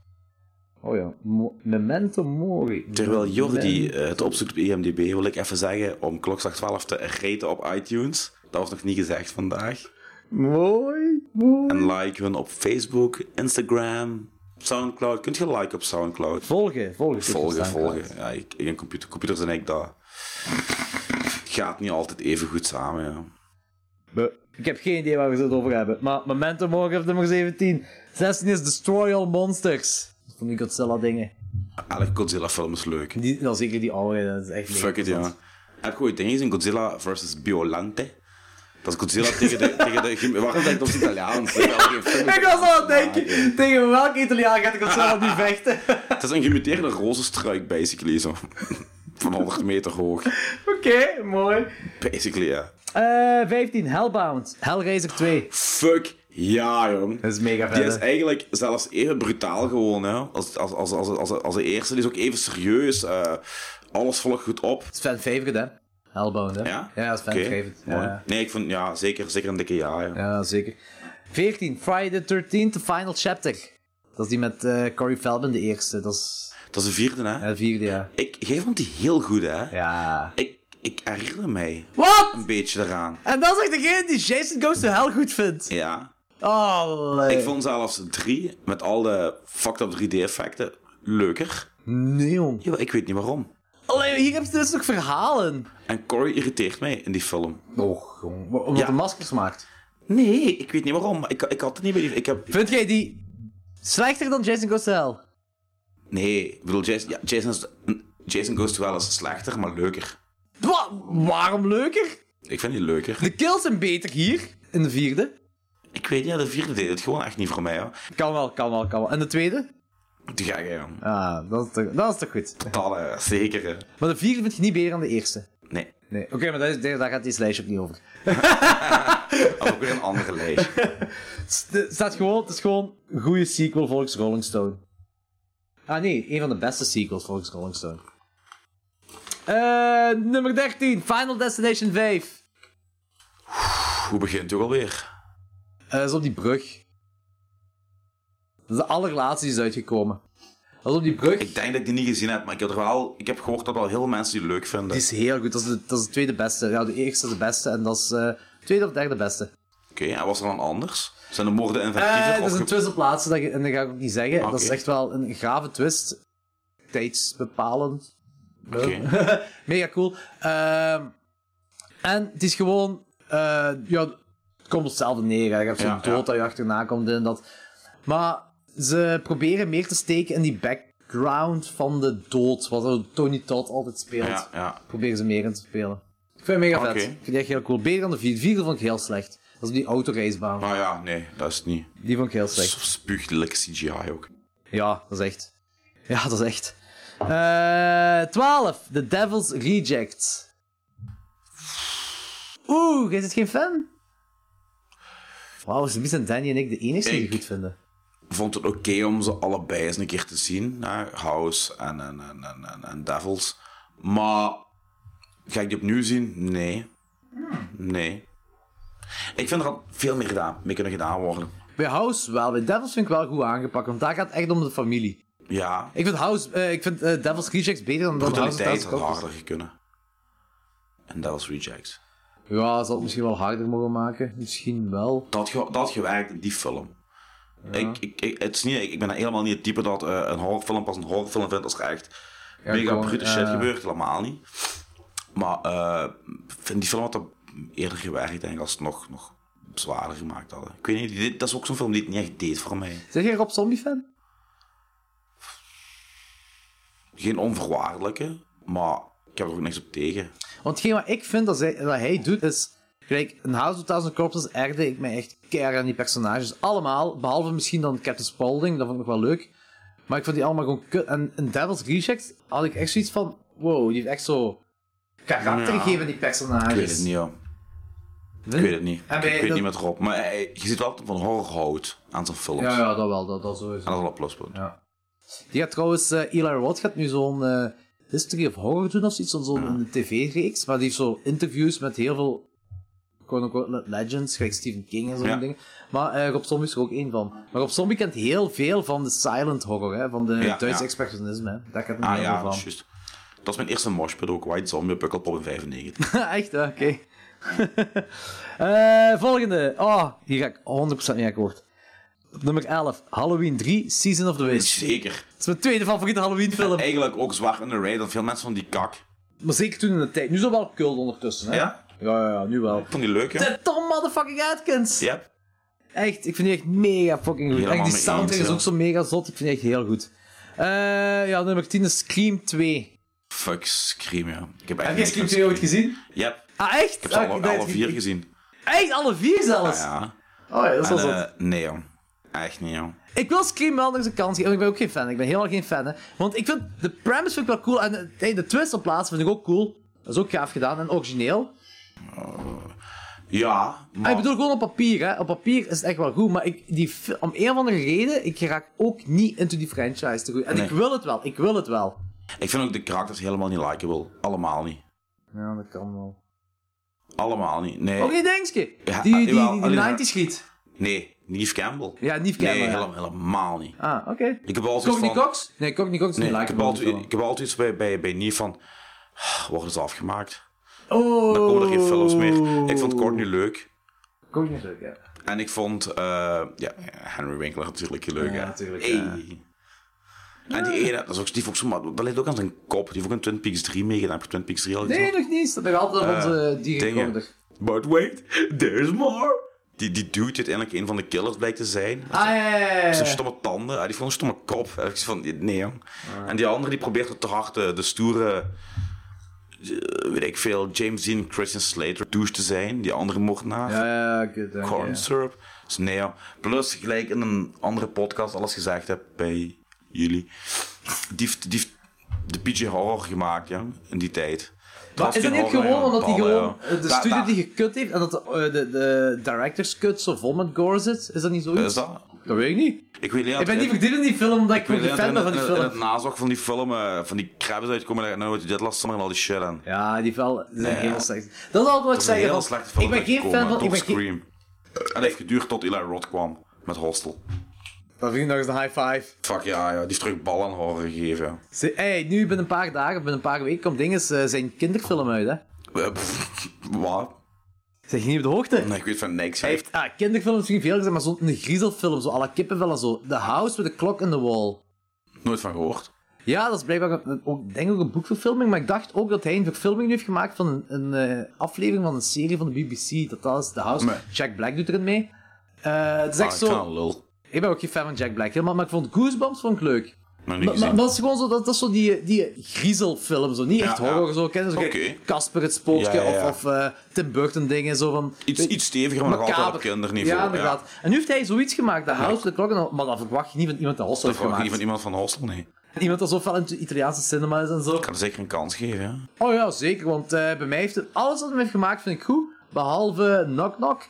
[SPEAKER 1] oh ja, Mo- Memento Mori.
[SPEAKER 2] Terwijl Jordi
[SPEAKER 1] Memento-
[SPEAKER 2] eh, het opzoekt op IMDb, wil ik even zeggen om klokslag 12 te reten op iTunes. Dat was nog niet gezegd vandaag.
[SPEAKER 1] Mooi, mooi.
[SPEAKER 2] En like hun op Facebook, Instagram, Soundcloud, kunt je liken op Soundcloud?
[SPEAKER 1] Volgen, volgen.
[SPEAKER 2] Volgen,
[SPEAKER 1] Staan.
[SPEAKER 2] volgen. Ja, ik, ik en computer, computers en ik, dat gaat niet altijd even goed samen. Ja.
[SPEAKER 1] We- Ik heb geen idee waar we het over hebben. Maar Memento morgen op nummer 17. 16 is Destroy All Monsters. Van die Godzilla dingen.
[SPEAKER 2] Elke Godzilla-film is leuk.
[SPEAKER 1] Die, dan zeker die oude, dat is echt leuk.
[SPEAKER 2] Fuck it, ja. Heb je ooit dingen gezien? Godzilla versus Biolante? Dat is Godzilla tegen de... tegen de waarom denk ik op het Italiaans? Ik had geen fucking
[SPEAKER 1] Ik was al aan het
[SPEAKER 2] Italiaans
[SPEAKER 1] denken,
[SPEAKER 2] maken.
[SPEAKER 1] tegen welke Italiaan gaat Godzilla nu vechten?
[SPEAKER 2] Het is een gemuteerde rozenstruik, basically, zo. Van 100 meter hoog.
[SPEAKER 1] Oké, mooi.
[SPEAKER 2] Basically, ja.
[SPEAKER 1] Eh 15, Hellbound. Hellraiser 2.
[SPEAKER 2] Fuck ja, jong.
[SPEAKER 1] Dat is mega
[SPEAKER 2] Die is
[SPEAKER 1] vet. hè?
[SPEAKER 2] eigenlijk zelfs even brutaal gewoon, hè. Als, als, als, als, als, als de eerste. Die is ook even serieus. eh, alles volgt goed op.
[SPEAKER 1] Dat is fan favorite, hè? Hellbound, hè?
[SPEAKER 2] Ja?
[SPEAKER 1] dat is fan
[SPEAKER 2] Oké,
[SPEAKER 1] favorite.
[SPEAKER 2] mooi.
[SPEAKER 1] Ja,
[SPEAKER 2] Nee, ik vond... Ja, zeker, zeker een dikke ja, ja.
[SPEAKER 1] ja, zeker. 14, Friday the 13th, The Final Chapter. Dat is die met eh Corey Feldman, de eerste. Dat is
[SPEAKER 2] Dat is de vierde, hè.
[SPEAKER 1] ja, de vierde, ja.
[SPEAKER 2] Ik, jij vond die heel goed, hè.
[SPEAKER 1] Ja.
[SPEAKER 2] Ik, ik herinner mij
[SPEAKER 1] Wat?
[SPEAKER 2] een beetje eraan.
[SPEAKER 1] En dat is echt degene die Jason Goes to Hell goed vindt.
[SPEAKER 2] Ja.
[SPEAKER 1] Oh,
[SPEAKER 2] Ik vond zelfs 3, met al de fucked up 3D-effecten, leuker.
[SPEAKER 1] Nee, jong.
[SPEAKER 2] Ja, maar ik weet niet waarom.
[SPEAKER 1] Allee, hier heb je dus nog verhalen.
[SPEAKER 2] En Corey irriteert mij in die film.
[SPEAKER 1] Och, jong. Wa- Omdat
[SPEAKER 2] Ja.
[SPEAKER 1] de maskers maakt.
[SPEAKER 2] Nee, ik weet niet waarom. maar Ik, ik had het niet bij die... Ik heb...
[SPEAKER 1] Vind jij die slechter dan Jason Goes to Hell?
[SPEAKER 2] Nee, ik bedoel, Jason, ja, Jason, is- Jason Goes to Hell is slechter, maar leuker.
[SPEAKER 1] Wa- waarom leuker?
[SPEAKER 2] Ik vind die leuker.
[SPEAKER 1] De kills zijn beter hier, in de vierde.
[SPEAKER 2] Ik weet niet, ja, de vierde deed het gewoon echt niet voor mij, hoor.
[SPEAKER 1] Kan wel, kan wel, kan wel. En de tweede?
[SPEAKER 2] Die ga je, joh.
[SPEAKER 1] Ah, dat is toch, dat is toch goed.
[SPEAKER 2] Tallen, zeker. hè.
[SPEAKER 1] Maar de vierde vind je niet beter dan de eerste.
[SPEAKER 2] Nee,
[SPEAKER 1] Nee, oké, maar daar, is- daar daar gaat deze lijstje ook niet over.
[SPEAKER 2] had ook weer een andere lijst.
[SPEAKER 1] Het is- het staat gewoon, het is gewoon een goede sequel volgens Rolling Stone. Ah nee, een van de beste sequels volgens Rolling Stone. Eh, nummer 13, Final Destination 5.
[SPEAKER 2] Hoe begint het ook alweer?
[SPEAKER 1] Eh, dat is op die brug. Dat is de allerlaatste die is uitgekomen. Dat is op die brug.
[SPEAKER 2] Ik denk dat ik die niet gezien heb, maar ik heb, er wel, ik heb gehoord dat er wel heel veel mensen die leuk vinden.
[SPEAKER 1] Die is heel goed. Dat is, de, dat is de tweede beste. Ja, de eerste is de beste en dat is eh tweede of derde beste.
[SPEAKER 2] Oké, en was er dan anders? Zijn de moorden inventiever?
[SPEAKER 1] Eh dat is
[SPEAKER 2] of
[SPEAKER 1] een
[SPEAKER 2] ge-
[SPEAKER 1] twist op laatste, dat, en dat ga ik ook niet zeggen. Dat is
[SPEAKER 2] Oké.
[SPEAKER 1] echt wel een grave twist. Tijdsbepalend.
[SPEAKER 2] Oké.
[SPEAKER 1] Mega cool. Ehm, en het is gewoon... eh, ja, het komt op hetzelfde neer. hè. Je hebt zo'n
[SPEAKER 2] Ja,
[SPEAKER 1] dood
[SPEAKER 2] ja.
[SPEAKER 1] dat je achterna komt en dat. Maar ze proberen meer te steken in die background van de dood. Wat Tony Todd altijd speelt.
[SPEAKER 2] Ja, ja.
[SPEAKER 1] proberen ze meer in te spelen. Ik vind het mega
[SPEAKER 2] Oké.
[SPEAKER 1] vet. Ik vind het echt heel cool. Beter dan de vierde. De vierde vond ik heel slecht. Dat is die autoracebaan.
[SPEAKER 2] Nou ja, nee, dat is het niet.
[SPEAKER 1] Die vond ik heel slecht.
[SPEAKER 2] Spuugdelijk CGI ook.
[SPEAKER 1] Ja, dat is echt. Ja, dat is echt. Eh 12. The Devil's Rejects. Oeh, jij zit geen fan? Wauw, ze zijn Danny en ik de enigste die
[SPEAKER 2] Ik.
[SPEAKER 1] het goed vinden.
[SPEAKER 2] Vond het oké om ze allebei eens een keer te zien. Hè? House en, en, en, en, en, en Devils. Maar ga ik die opnieuw zien? Nee. Nee. Ik vind er al veel meer gedaan, mee kunnen gedaan worden.
[SPEAKER 1] Bij House wel, bij Devils vind ik wel goed aangepakt, want daar gaat het echt om de familie.
[SPEAKER 2] Ja,
[SPEAKER 1] Ik vind House, eh, ik vind eh, Devil's Rejects beter dan, dan House of
[SPEAKER 2] brutaliteit had
[SPEAKER 1] Cards.
[SPEAKER 2] harder kunnen. En Devils Rejects.
[SPEAKER 1] Ja, ze had het misschien wel harder mogen maken. Misschien wel.
[SPEAKER 2] dat, ge- dat gewerkt in die film. Ik, ik, ik, het is niet, ik, ik ben helemaal niet het type dat eh, een horrorfilm pas een horrorfilm vindt als er echt mega
[SPEAKER 1] gewoon,
[SPEAKER 2] brute
[SPEAKER 1] eh,
[SPEAKER 2] shit gebeurt. Helemaal niet. Maar eh, vind die film had dat eerder gewerkt, denk ik, als ze het nog, nog zwaarder gemaakt hadden. Ik weet niet, dit, dat is ook zo'n film die het niet echt deed voor mij.
[SPEAKER 1] Zeg jij Rob Zombie fan?
[SPEAKER 2] Geen onvoorwaardelijke, maar ik heb er ook niks op tegen.
[SPEAKER 1] Want hetgeen wat ik vind dat, zij, dat hij doet is. Kijk, in House of Thousand Corpses ergde ik me echt keihard aan die personages. Allemaal, behalve misschien dan Captain Spaulding, dat vond ik nog wel leuk. Maar ik vond die allemaal gewoon kut. En in Devil's Rejects had ik echt zoiets van: wow, die heeft echt zo. karakter
[SPEAKER 2] Ja.
[SPEAKER 1] gegeven aan die personages.
[SPEAKER 2] Ik weet het niet, ja. Ik weet het niet.
[SPEAKER 1] En
[SPEAKER 2] Ik,
[SPEAKER 1] bij-
[SPEAKER 2] ik weet
[SPEAKER 1] Ah, dat-
[SPEAKER 2] niet met Rob. Maar eh, je ziet wel dat hij van horror houdt aan zijn films.
[SPEAKER 1] Ja,
[SPEAKER 2] En
[SPEAKER 1] ja, dat wel, dat, dat sowieso.
[SPEAKER 2] dat is wel een pluspunt.
[SPEAKER 1] Die gaat trouwens, eh, Eli Roth gaat nu zo'n eh, History of Horror doen of zoiets, zo'n zo'n een tv-reeks, maar die heeft zo interviews met heel veel quote-unquote legends, gelijk Stephen King en zo'n
[SPEAKER 2] Ja.
[SPEAKER 1] dingen. Maar eh, Rob Zombie is er ook één van. Maar Rob Zombie kent heel veel van de silent horror, hè, van de
[SPEAKER 2] Ja,
[SPEAKER 1] Duitse
[SPEAKER 2] ja.
[SPEAKER 1] expressionisme. Hè. Daar kent hij
[SPEAKER 2] Ah
[SPEAKER 1] heel
[SPEAKER 2] ja,
[SPEAKER 1] veel
[SPEAKER 2] dat is juist. Dat is mijn eerste moshpit ook. White Zombie, Pukkelpop in 95.
[SPEAKER 1] van. Echt, hè? oké. Eh volgende. Oh, hier ga ik 100% mee akkoord. Op nummer 11, Halloween 3, Season of the Witch.
[SPEAKER 2] Zeker.
[SPEAKER 1] Dat is mijn tweede favoriete Halloween film.
[SPEAKER 2] Eigenlijk ook zwaar underrated, want veel mensen vonden die kak.
[SPEAKER 1] Maar zeker toen in de tijd. Nu is dat wel kult ondertussen, hè?
[SPEAKER 2] Ja?
[SPEAKER 1] Ja, ja, ja, nu wel.
[SPEAKER 2] Ik vond die leuk, hè?
[SPEAKER 1] De Tom motherfucking Atkins!
[SPEAKER 2] Ja.
[SPEAKER 1] Echt, ik vind die echt mega fucking goed.
[SPEAKER 2] Helemaal
[SPEAKER 1] Echt, die
[SPEAKER 2] mee
[SPEAKER 1] soundtrack
[SPEAKER 2] eens,
[SPEAKER 1] is
[SPEAKER 2] ja.
[SPEAKER 1] ook zo mega zot. Ik vind die echt heel goed. Eh, ja, nummer 10 is Scream 2.
[SPEAKER 2] Fuck, Scream, ja. Ik heb
[SPEAKER 1] Heb
[SPEAKER 2] echt
[SPEAKER 1] je
[SPEAKER 2] niks
[SPEAKER 1] Scream
[SPEAKER 2] met
[SPEAKER 1] 2 ooit gezien?
[SPEAKER 2] Ja. Ik
[SPEAKER 1] Ah, echt?
[SPEAKER 2] heb ze
[SPEAKER 1] Ah,
[SPEAKER 2] alle,
[SPEAKER 1] dat-
[SPEAKER 2] alle vier gezien.
[SPEAKER 1] Echt, alle vier zelfs?
[SPEAKER 2] Ja.
[SPEAKER 1] Oh ja, dat is wel
[SPEAKER 2] En,
[SPEAKER 1] zot.
[SPEAKER 2] eh, nee, joh. Echt niet, joh.
[SPEAKER 1] Ik wil Scream wel nog eens een kans geven. want Ik ben ook geen fan. Ik ben helemaal geen fan. Hè. Want ik vind de premise vind ik wel cool. En eh, hey, de twist op plaats vind ik ook cool. Dat is ook gaaf gedaan en origineel.
[SPEAKER 2] Ja,
[SPEAKER 1] Ah,
[SPEAKER 2] maar...
[SPEAKER 1] ik bedoel gewoon op papier. Hè. Op papier is het echt wel goed. Maar ik, die, fi- om een of andere reden, ik raak ook niet into die franchise te goed. En ik
[SPEAKER 2] Nee.
[SPEAKER 1] wil het wel. Ik wil het wel.
[SPEAKER 2] Ik vind ook de karakters helemaal niet likable. Allemaal niet.
[SPEAKER 1] Ja, dat kan wel.
[SPEAKER 2] Allemaal niet. Nee.
[SPEAKER 1] Ook niet Dingske.
[SPEAKER 2] Ja, ah,
[SPEAKER 1] die die, die,
[SPEAKER 2] jawel,
[SPEAKER 1] die,
[SPEAKER 2] alleen-
[SPEAKER 1] 90's giet.
[SPEAKER 2] Nee, Neve Campbell.
[SPEAKER 1] Ja, Neve Campbell,
[SPEAKER 2] Nee,
[SPEAKER 1] ja.
[SPEAKER 2] helemaal, helemaal niet.
[SPEAKER 1] Ah, oké.
[SPEAKER 2] Ik heb altijd
[SPEAKER 1] Courtney
[SPEAKER 2] van...
[SPEAKER 1] Cox? Nee, Courtney Cox is
[SPEAKER 2] Nee,
[SPEAKER 1] niet
[SPEAKER 2] ik heb altijd,
[SPEAKER 1] likable.
[SPEAKER 2] ik heb altijd iets bij, bij, bij Neve van... "Ah, Worden ze afgemaakt?
[SPEAKER 1] Oh.
[SPEAKER 2] Dan komen er geen films meer. Ik vond Courtney leuk.
[SPEAKER 1] Courtney Cox, ja.
[SPEAKER 2] En ik vond... eh, ja, Henry Winkler natuurlijk leuk, hè.
[SPEAKER 1] natuurlijk,
[SPEAKER 2] Hey. En die ene, dat, is ook, die vond ik zo, maar dat ligt ook aan zijn kop. Die heeft ook in Twin Peaks 3 meegedaan. Heb je Twin Peaks 3 al gezien?
[SPEAKER 1] Nee, nog niet. Dat ben ik altijd op onze
[SPEAKER 2] Eh, dingen.
[SPEAKER 1] dierenkondig.
[SPEAKER 2] But wait, there's more. Die, die dude die uiteindelijk een van de killers blijkt te zijn.
[SPEAKER 1] Ah, ja, ja, ja, ja.
[SPEAKER 2] Zijn stomme tanden. Ah, Die vond een stomme kop. En ik zei van, nee jong.
[SPEAKER 1] Ah.
[SPEAKER 2] En die andere die probeert het te hard de, de stoere, eh, weet ik veel, James Dean Christian Slater douche te zijn. Die andere moordenaar.
[SPEAKER 1] Ja, ja, goed. dank je.
[SPEAKER 2] Corn syrup. Dus nee jong. Plus gelijk in een andere podcast alles gezegd heb bij jullie. Die heeft, die heeft de PG Horror gemaakt jong, in die tijd.
[SPEAKER 1] Maar is dat niet gewoon omdat hij
[SPEAKER 2] die
[SPEAKER 1] gewoon eh, de studio die gekut heeft en dat de, eh, de, de director's cut zo vol met gore zit? Is dat niet zoiets?
[SPEAKER 2] Is dat?
[SPEAKER 1] Dat weet ik niet.
[SPEAKER 2] Ik weet niet.
[SPEAKER 1] Ik ben niet verdiept in die film omdat ik,
[SPEAKER 2] Ik
[SPEAKER 1] gewoon geen
[SPEAKER 2] weet niet,
[SPEAKER 1] fan ben van die
[SPEAKER 2] in- in- in het
[SPEAKER 1] film.
[SPEAKER 2] nazocht van die film, eh, van die krabbers uitkomen en nooit dit last en al nou die shit aan.
[SPEAKER 1] Ja, die film is
[SPEAKER 2] ja.
[SPEAKER 1] heel slecht. Dat is altijd wat ik
[SPEAKER 2] Dat is een
[SPEAKER 1] zeg.
[SPEAKER 2] heel
[SPEAKER 1] want
[SPEAKER 2] slechte film.
[SPEAKER 1] Ik ben geen fan van... Ik ben geen...
[SPEAKER 2] Scream. En dat heeft geduurd tot Eli Roth kwam met Hostel.
[SPEAKER 1] Dat vind ik nog eens een high five.
[SPEAKER 2] Fuck ja, ja. Die heeft terug bal aan horror gegeven. ja.
[SPEAKER 1] Ze- Hey, nu binnen een paar dagen, binnen een paar weken komt dinges eh, zijn kinderfilm uit, hè?
[SPEAKER 2] Eh, pff, Wat?
[SPEAKER 1] Zeg je niet op de hoogte?
[SPEAKER 2] Nee, ik weet van niks.
[SPEAKER 1] Hij heeft ah, kinderfilms misschien veel gezien, maar zo'n een griezelfilm, zo à la kippenvel en zo. The House with the Clock in the Wall.
[SPEAKER 2] Nooit van gehoord.
[SPEAKER 1] Ja, dat is blijkbaar een- ook, denk ik ook een boekverfilming, maar ik dacht ook dat hij een verfilming heeft gemaakt van een, een eh, aflevering van een serie van de BBC. Dat dat is The House.
[SPEAKER 2] Nee.
[SPEAKER 1] Jack Black doet erin mee. Eh, het is echt
[SPEAKER 2] Ah, ik vind dat
[SPEAKER 1] zo...
[SPEAKER 2] een lul.
[SPEAKER 1] Ik ben ook geen fan van Jack Black, helemaal, maar ik vond Goosebumps vond ik leuk.
[SPEAKER 2] Nog niet
[SPEAKER 1] Maar, maar,
[SPEAKER 2] gezien.
[SPEAKER 1] maar dat is gewoon zo, dat, dat is zo die, die griezelfilm, zo. niet echt
[SPEAKER 2] Ja, ja.
[SPEAKER 1] horror, zo. Ken je zo, kijk,
[SPEAKER 2] Oké.
[SPEAKER 1] Casper het Spookje
[SPEAKER 2] Ja, ja, ja.
[SPEAKER 1] of, of eh, Tim Burton dingen, zo van...
[SPEAKER 2] Iets, iets steviger, maar nog altijd op
[SPEAKER 1] Macaber.
[SPEAKER 2] kinderniveau.
[SPEAKER 1] Ja, inderdaad. En nu heeft hij zoiets gemaakt, de House of the Clock, en- maar dat verwacht je niet van iemand dat Hossel
[SPEAKER 2] Dat
[SPEAKER 1] heeft
[SPEAKER 2] vraag
[SPEAKER 1] gemaakt.
[SPEAKER 2] ik niet van iemand van Hostel, nee. Ik
[SPEAKER 1] Iemand dat zo fel in de Italiaanse cinema is en zo.
[SPEAKER 2] kan er zeker een kans geven, ja.
[SPEAKER 1] Oh ja, zeker, want eh, bij mij heeft het, alles wat hij heeft gemaakt vind ik goed, behalve Knock Knock.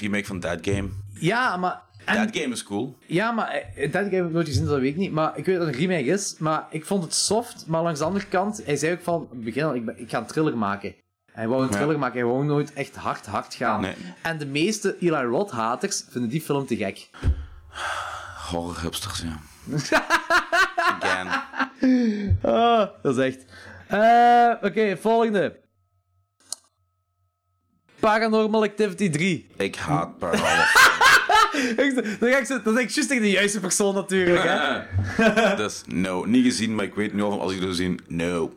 [SPEAKER 2] Remake van Dead Game.
[SPEAKER 1] Ja, maar... En,
[SPEAKER 2] Dead Game is cool.
[SPEAKER 1] Ja, maar eh, dat heb ik nooit gezien, dus dat weet ik niet. Maar ik weet dat het een remake is, maar ik vond het soft. Maar langs de andere kant, hij zei ook van, in het begin al, ik, ben- ik ga een thriller maken. Hij wou een thriller maken, hij wou nooit echt hard, hard gaan.
[SPEAKER 2] Nee.
[SPEAKER 1] En de meeste Eli Roth-haters vinden die film te gek.
[SPEAKER 2] Horror hipsters, ja. Again.
[SPEAKER 1] Ah, dat is echt. Eh, Oké, volgende. Paranormal Activity 3.
[SPEAKER 2] Ik haat Paranormal.
[SPEAKER 1] Ik- Dan ga ik zo- dan denk ik juist tegen de juiste persoon natuurlijk. Hè?
[SPEAKER 2] dus no, niet gezien, maar ik weet nu al van als ik het zou zien, no.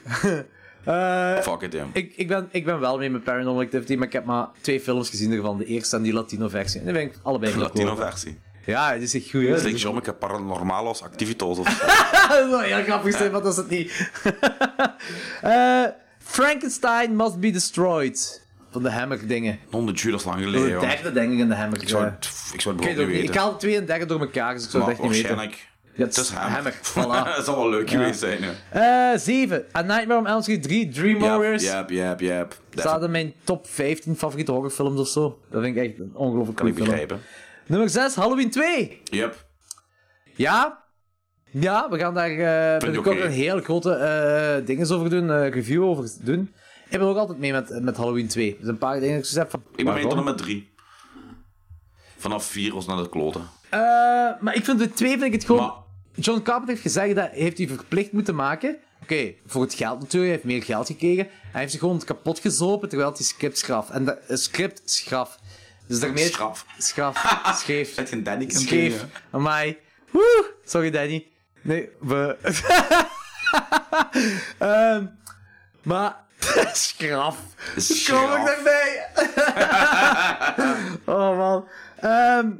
[SPEAKER 2] Fuck it, damn.
[SPEAKER 1] Eh, Ik, ik, ben, ik ben wel mee met Paranormal Activity, maar ik heb maar twee films gezien ervan. De eerste en die Latino-versie. En die ben ik allebei
[SPEAKER 2] De
[SPEAKER 1] wel
[SPEAKER 2] Latino
[SPEAKER 1] cool.
[SPEAKER 2] versie.
[SPEAKER 1] Ja, het is echt goed. hè?
[SPEAKER 2] Het lijkt Jommeke Paranormalos Activitos of zo.
[SPEAKER 1] Dat is Ah, wel heel grappig, zijn, maar dat is het niet. Eh, Frankenstein Must Be Destroyed. Van de Hammer-dingen.
[SPEAKER 2] 100 uur, dat is lang geleden,
[SPEAKER 1] De
[SPEAKER 2] joh. Ik
[SPEAKER 1] derde, denk ik, in de Hammer. Ik
[SPEAKER 2] zou het, ik zou het
[SPEAKER 1] Ik weet
[SPEAKER 2] bijvoorbeeld
[SPEAKER 1] het ook niet.
[SPEAKER 2] niet
[SPEAKER 1] Ik
[SPEAKER 2] weten.
[SPEAKER 1] haal de twee en derde door elkaar, dus ik zou
[SPEAKER 2] Maar
[SPEAKER 1] het echt niet weten.
[SPEAKER 2] waarschijnlijk...
[SPEAKER 1] Ja, het
[SPEAKER 2] Het is Hammer.
[SPEAKER 1] Voilà.
[SPEAKER 2] dat zou wel leuk geweest zijn, hè.
[SPEAKER 1] Eh, Zeven. A Nightmare on Elm Street 3, Dream Warriors.
[SPEAKER 2] Yep, yep, yep.
[SPEAKER 1] Staat
[SPEAKER 2] Dat
[SPEAKER 1] in mijn top 15 favoriete horrorfilms of zo. Dat vind ik echt een ongelooflijk
[SPEAKER 2] kan
[SPEAKER 1] coole
[SPEAKER 2] ik
[SPEAKER 1] film.
[SPEAKER 2] begrijpen.
[SPEAKER 1] Nummer 6, Halloween 2.
[SPEAKER 2] Yep.
[SPEAKER 1] Ja. Ja, we gaan daar eh binnenkort
[SPEAKER 2] oké.
[SPEAKER 1] een heel grote eh dingen over doen, eh, review over doen. Ik ben ook altijd mee met, met Halloween 2. Dus een paar dingen dat ik zoiets heb van...
[SPEAKER 2] Ik ben mee tot en
[SPEAKER 1] waarom?
[SPEAKER 2] met 3. Vanaf 4 was naar de kloten.
[SPEAKER 1] Eh, maar ik vind de twee vind ik het gewoon...
[SPEAKER 2] Maar-
[SPEAKER 1] John Carpenter heeft gezegd dat heeft hij verplicht moeten maken. Oké, voor het geld natuurlijk, hij heeft meer geld gekregen. Hij heeft zich gewoon kapot gezopen terwijl hij script schraf. En dat eh, script schraf. Dus daarmee...
[SPEAKER 2] Schraf.
[SPEAKER 1] Schraf. Scheef.
[SPEAKER 2] Zet je een Danny kan
[SPEAKER 1] Scheef.
[SPEAKER 2] doen,
[SPEAKER 1] Amai. Woe. Sorry, Danny. Nee, we... Ehm, maar... Schraf.
[SPEAKER 2] Schraf.
[SPEAKER 1] Kom ik daarbij? oh, man. Ehm,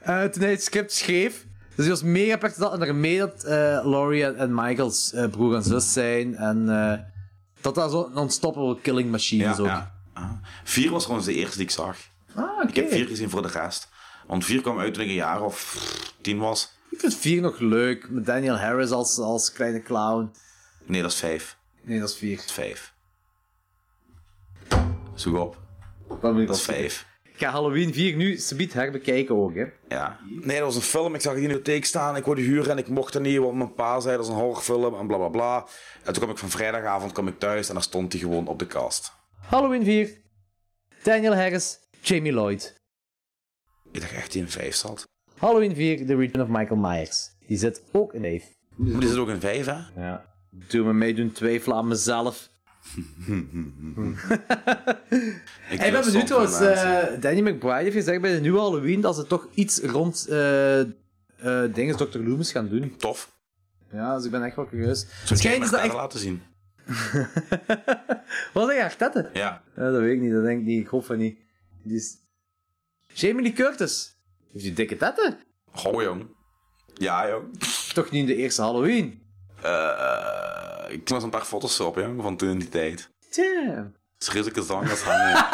[SPEAKER 1] eh, toen hij het script schreef... Dus hij was mega pertinent en daarmee dat eh Laurie en, en Michaels eh, broer en zus zijn. En eh, dat dat zo'n unstoppable killing machine
[SPEAKER 2] Ja,
[SPEAKER 1] is ook.
[SPEAKER 2] ja. Ah. Vier was gewoon de eerste die ik zag.
[SPEAKER 1] Ah, oké.
[SPEAKER 2] Ik heb vier gezien voor de rest. Want vier kwam uit toen ik een jaar of tien was.
[SPEAKER 1] Ik vind 4 nog leuk, met Daniel Harris als, als kleine clown.
[SPEAKER 2] Nee, dat is vijf.
[SPEAKER 1] Nee, dat is 4.
[SPEAKER 2] Dat is vijf. Zoek op. Dat is vijf.
[SPEAKER 1] Ik ga Halloween 4 nu subiet herbekijken ook, hè.
[SPEAKER 2] Ja. Nee, dat was een film. Ik zag die in de bibliotheek staan. Ik wilde huren en ik mocht er niet. Want mijn pa zei dat is een horrorfilm en bla bla bla. En toen kwam ik van vrijdagavond kwam ik thuis en daar stond hij gewoon op de kast.
[SPEAKER 1] Halloween 4. Daniel Harris, Jamie Lloyd.
[SPEAKER 2] Ik dacht echt dat hij in vijf zat.
[SPEAKER 1] Halloween 4, The Return of Michael Myers. Die zit ook in Dave.
[SPEAKER 2] Maar die zit ook in vijf, hè?
[SPEAKER 1] Ja. Doe me mee doen twijfelen aan mezelf.
[SPEAKER 2] Ik
[SPEAKER 1] Ik ben benieuwd
[SPEAKER 2] stond
[SPEAKER 1] trouwens,
[SPEAKER 2] van mensen.
[SPEAKER 1] eh, Danny McBride heeft gezegd bij de nieuwe Halloween dat ze toch iets rond eh eh dingen Dr. Loomis gaan doen.
[SPEAKER 2] Tof.
[SPEAKER 1] Ja, dus ik ben echt wel curieus.
[SPEAKER 2] Zou jij
[SPEAKER 1] Schijnt is dat echt...
[SPEAKER 2] laten zien?
[SPEAKER 1] Wat een Artette?
[SPEAKER 2] Ja.
[SPEAKER 1] Ja, dat weet ik niet, dat denk ik niet. Ik hoop van niet. Die is... Jamie Lee Curtis. Heeft die dikke tetten?
[SPEAKER 2] Goh, jong. Ja, jong.
[SPEAKER 1] Toch niet in de eerste Halloween?
[SPEAKER 2] Eh, ik was een paar foto's op, jong, van toen in die tijd.
[SPEAKER 1] Damn.
[SPEAKER 2] Schrikkelijke zang als hangen.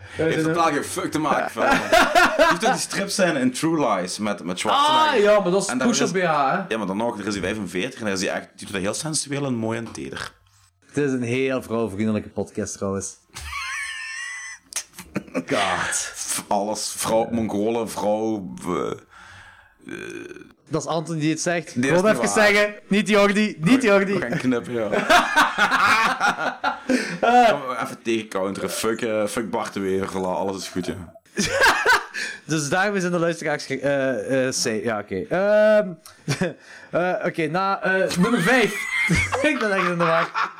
[SPEAKER 2] Heeft totaal geen fuck te maken van. Heeft ook die strips zijn in True Lies met, met Schwarzenegger.
[SPEAKER 1] Ah, ja, maar dat is
[SPEAKER 2] En daar
[SPEAKER 1] push-up
[SPEAKER 2] is-
[SPEAKER 1] BH, hè?
[SPEAKER 2] Ja, maar dan nog, er is hij 45 en hij is hij echt, die doet dat heel sensueel en mooi en teder.
[SPEAKER 1] Het is een heel vrouwvriendelijke podcast, trouwens. God.
[SPEAKER 2] Alles, vrouw, Mongolen, vrouw... eh,
[SPEAKER 1] Dat is Anton die het zegt. Ik
[SPEAKER 2] is
[SPEAKER 1] wil
[SPEAKER 2] niet
[SPEAKER 1] even
[SPEAKER 2] waar.
[SPEAKER 1] zeggen. Niet Jordi, niet
[SPEAKER 2] we
[SPEAKER 1] Jordi.
[SPEAKER 2] gaan knippen, ja. Gaan we Even tegencounteren. Fuck, eh, fuck Bart de Weer, voilà, alles is goed,
[SPEAKER 1] Ah.
[SPEAKER 2] ja.
[SPEAKER 1] Dus daarom zijn de luisteraars... ge- eh eh safe. Ja, oké. Ehm, eh, oké, na eh, nummer 5. ik ben echt in de war.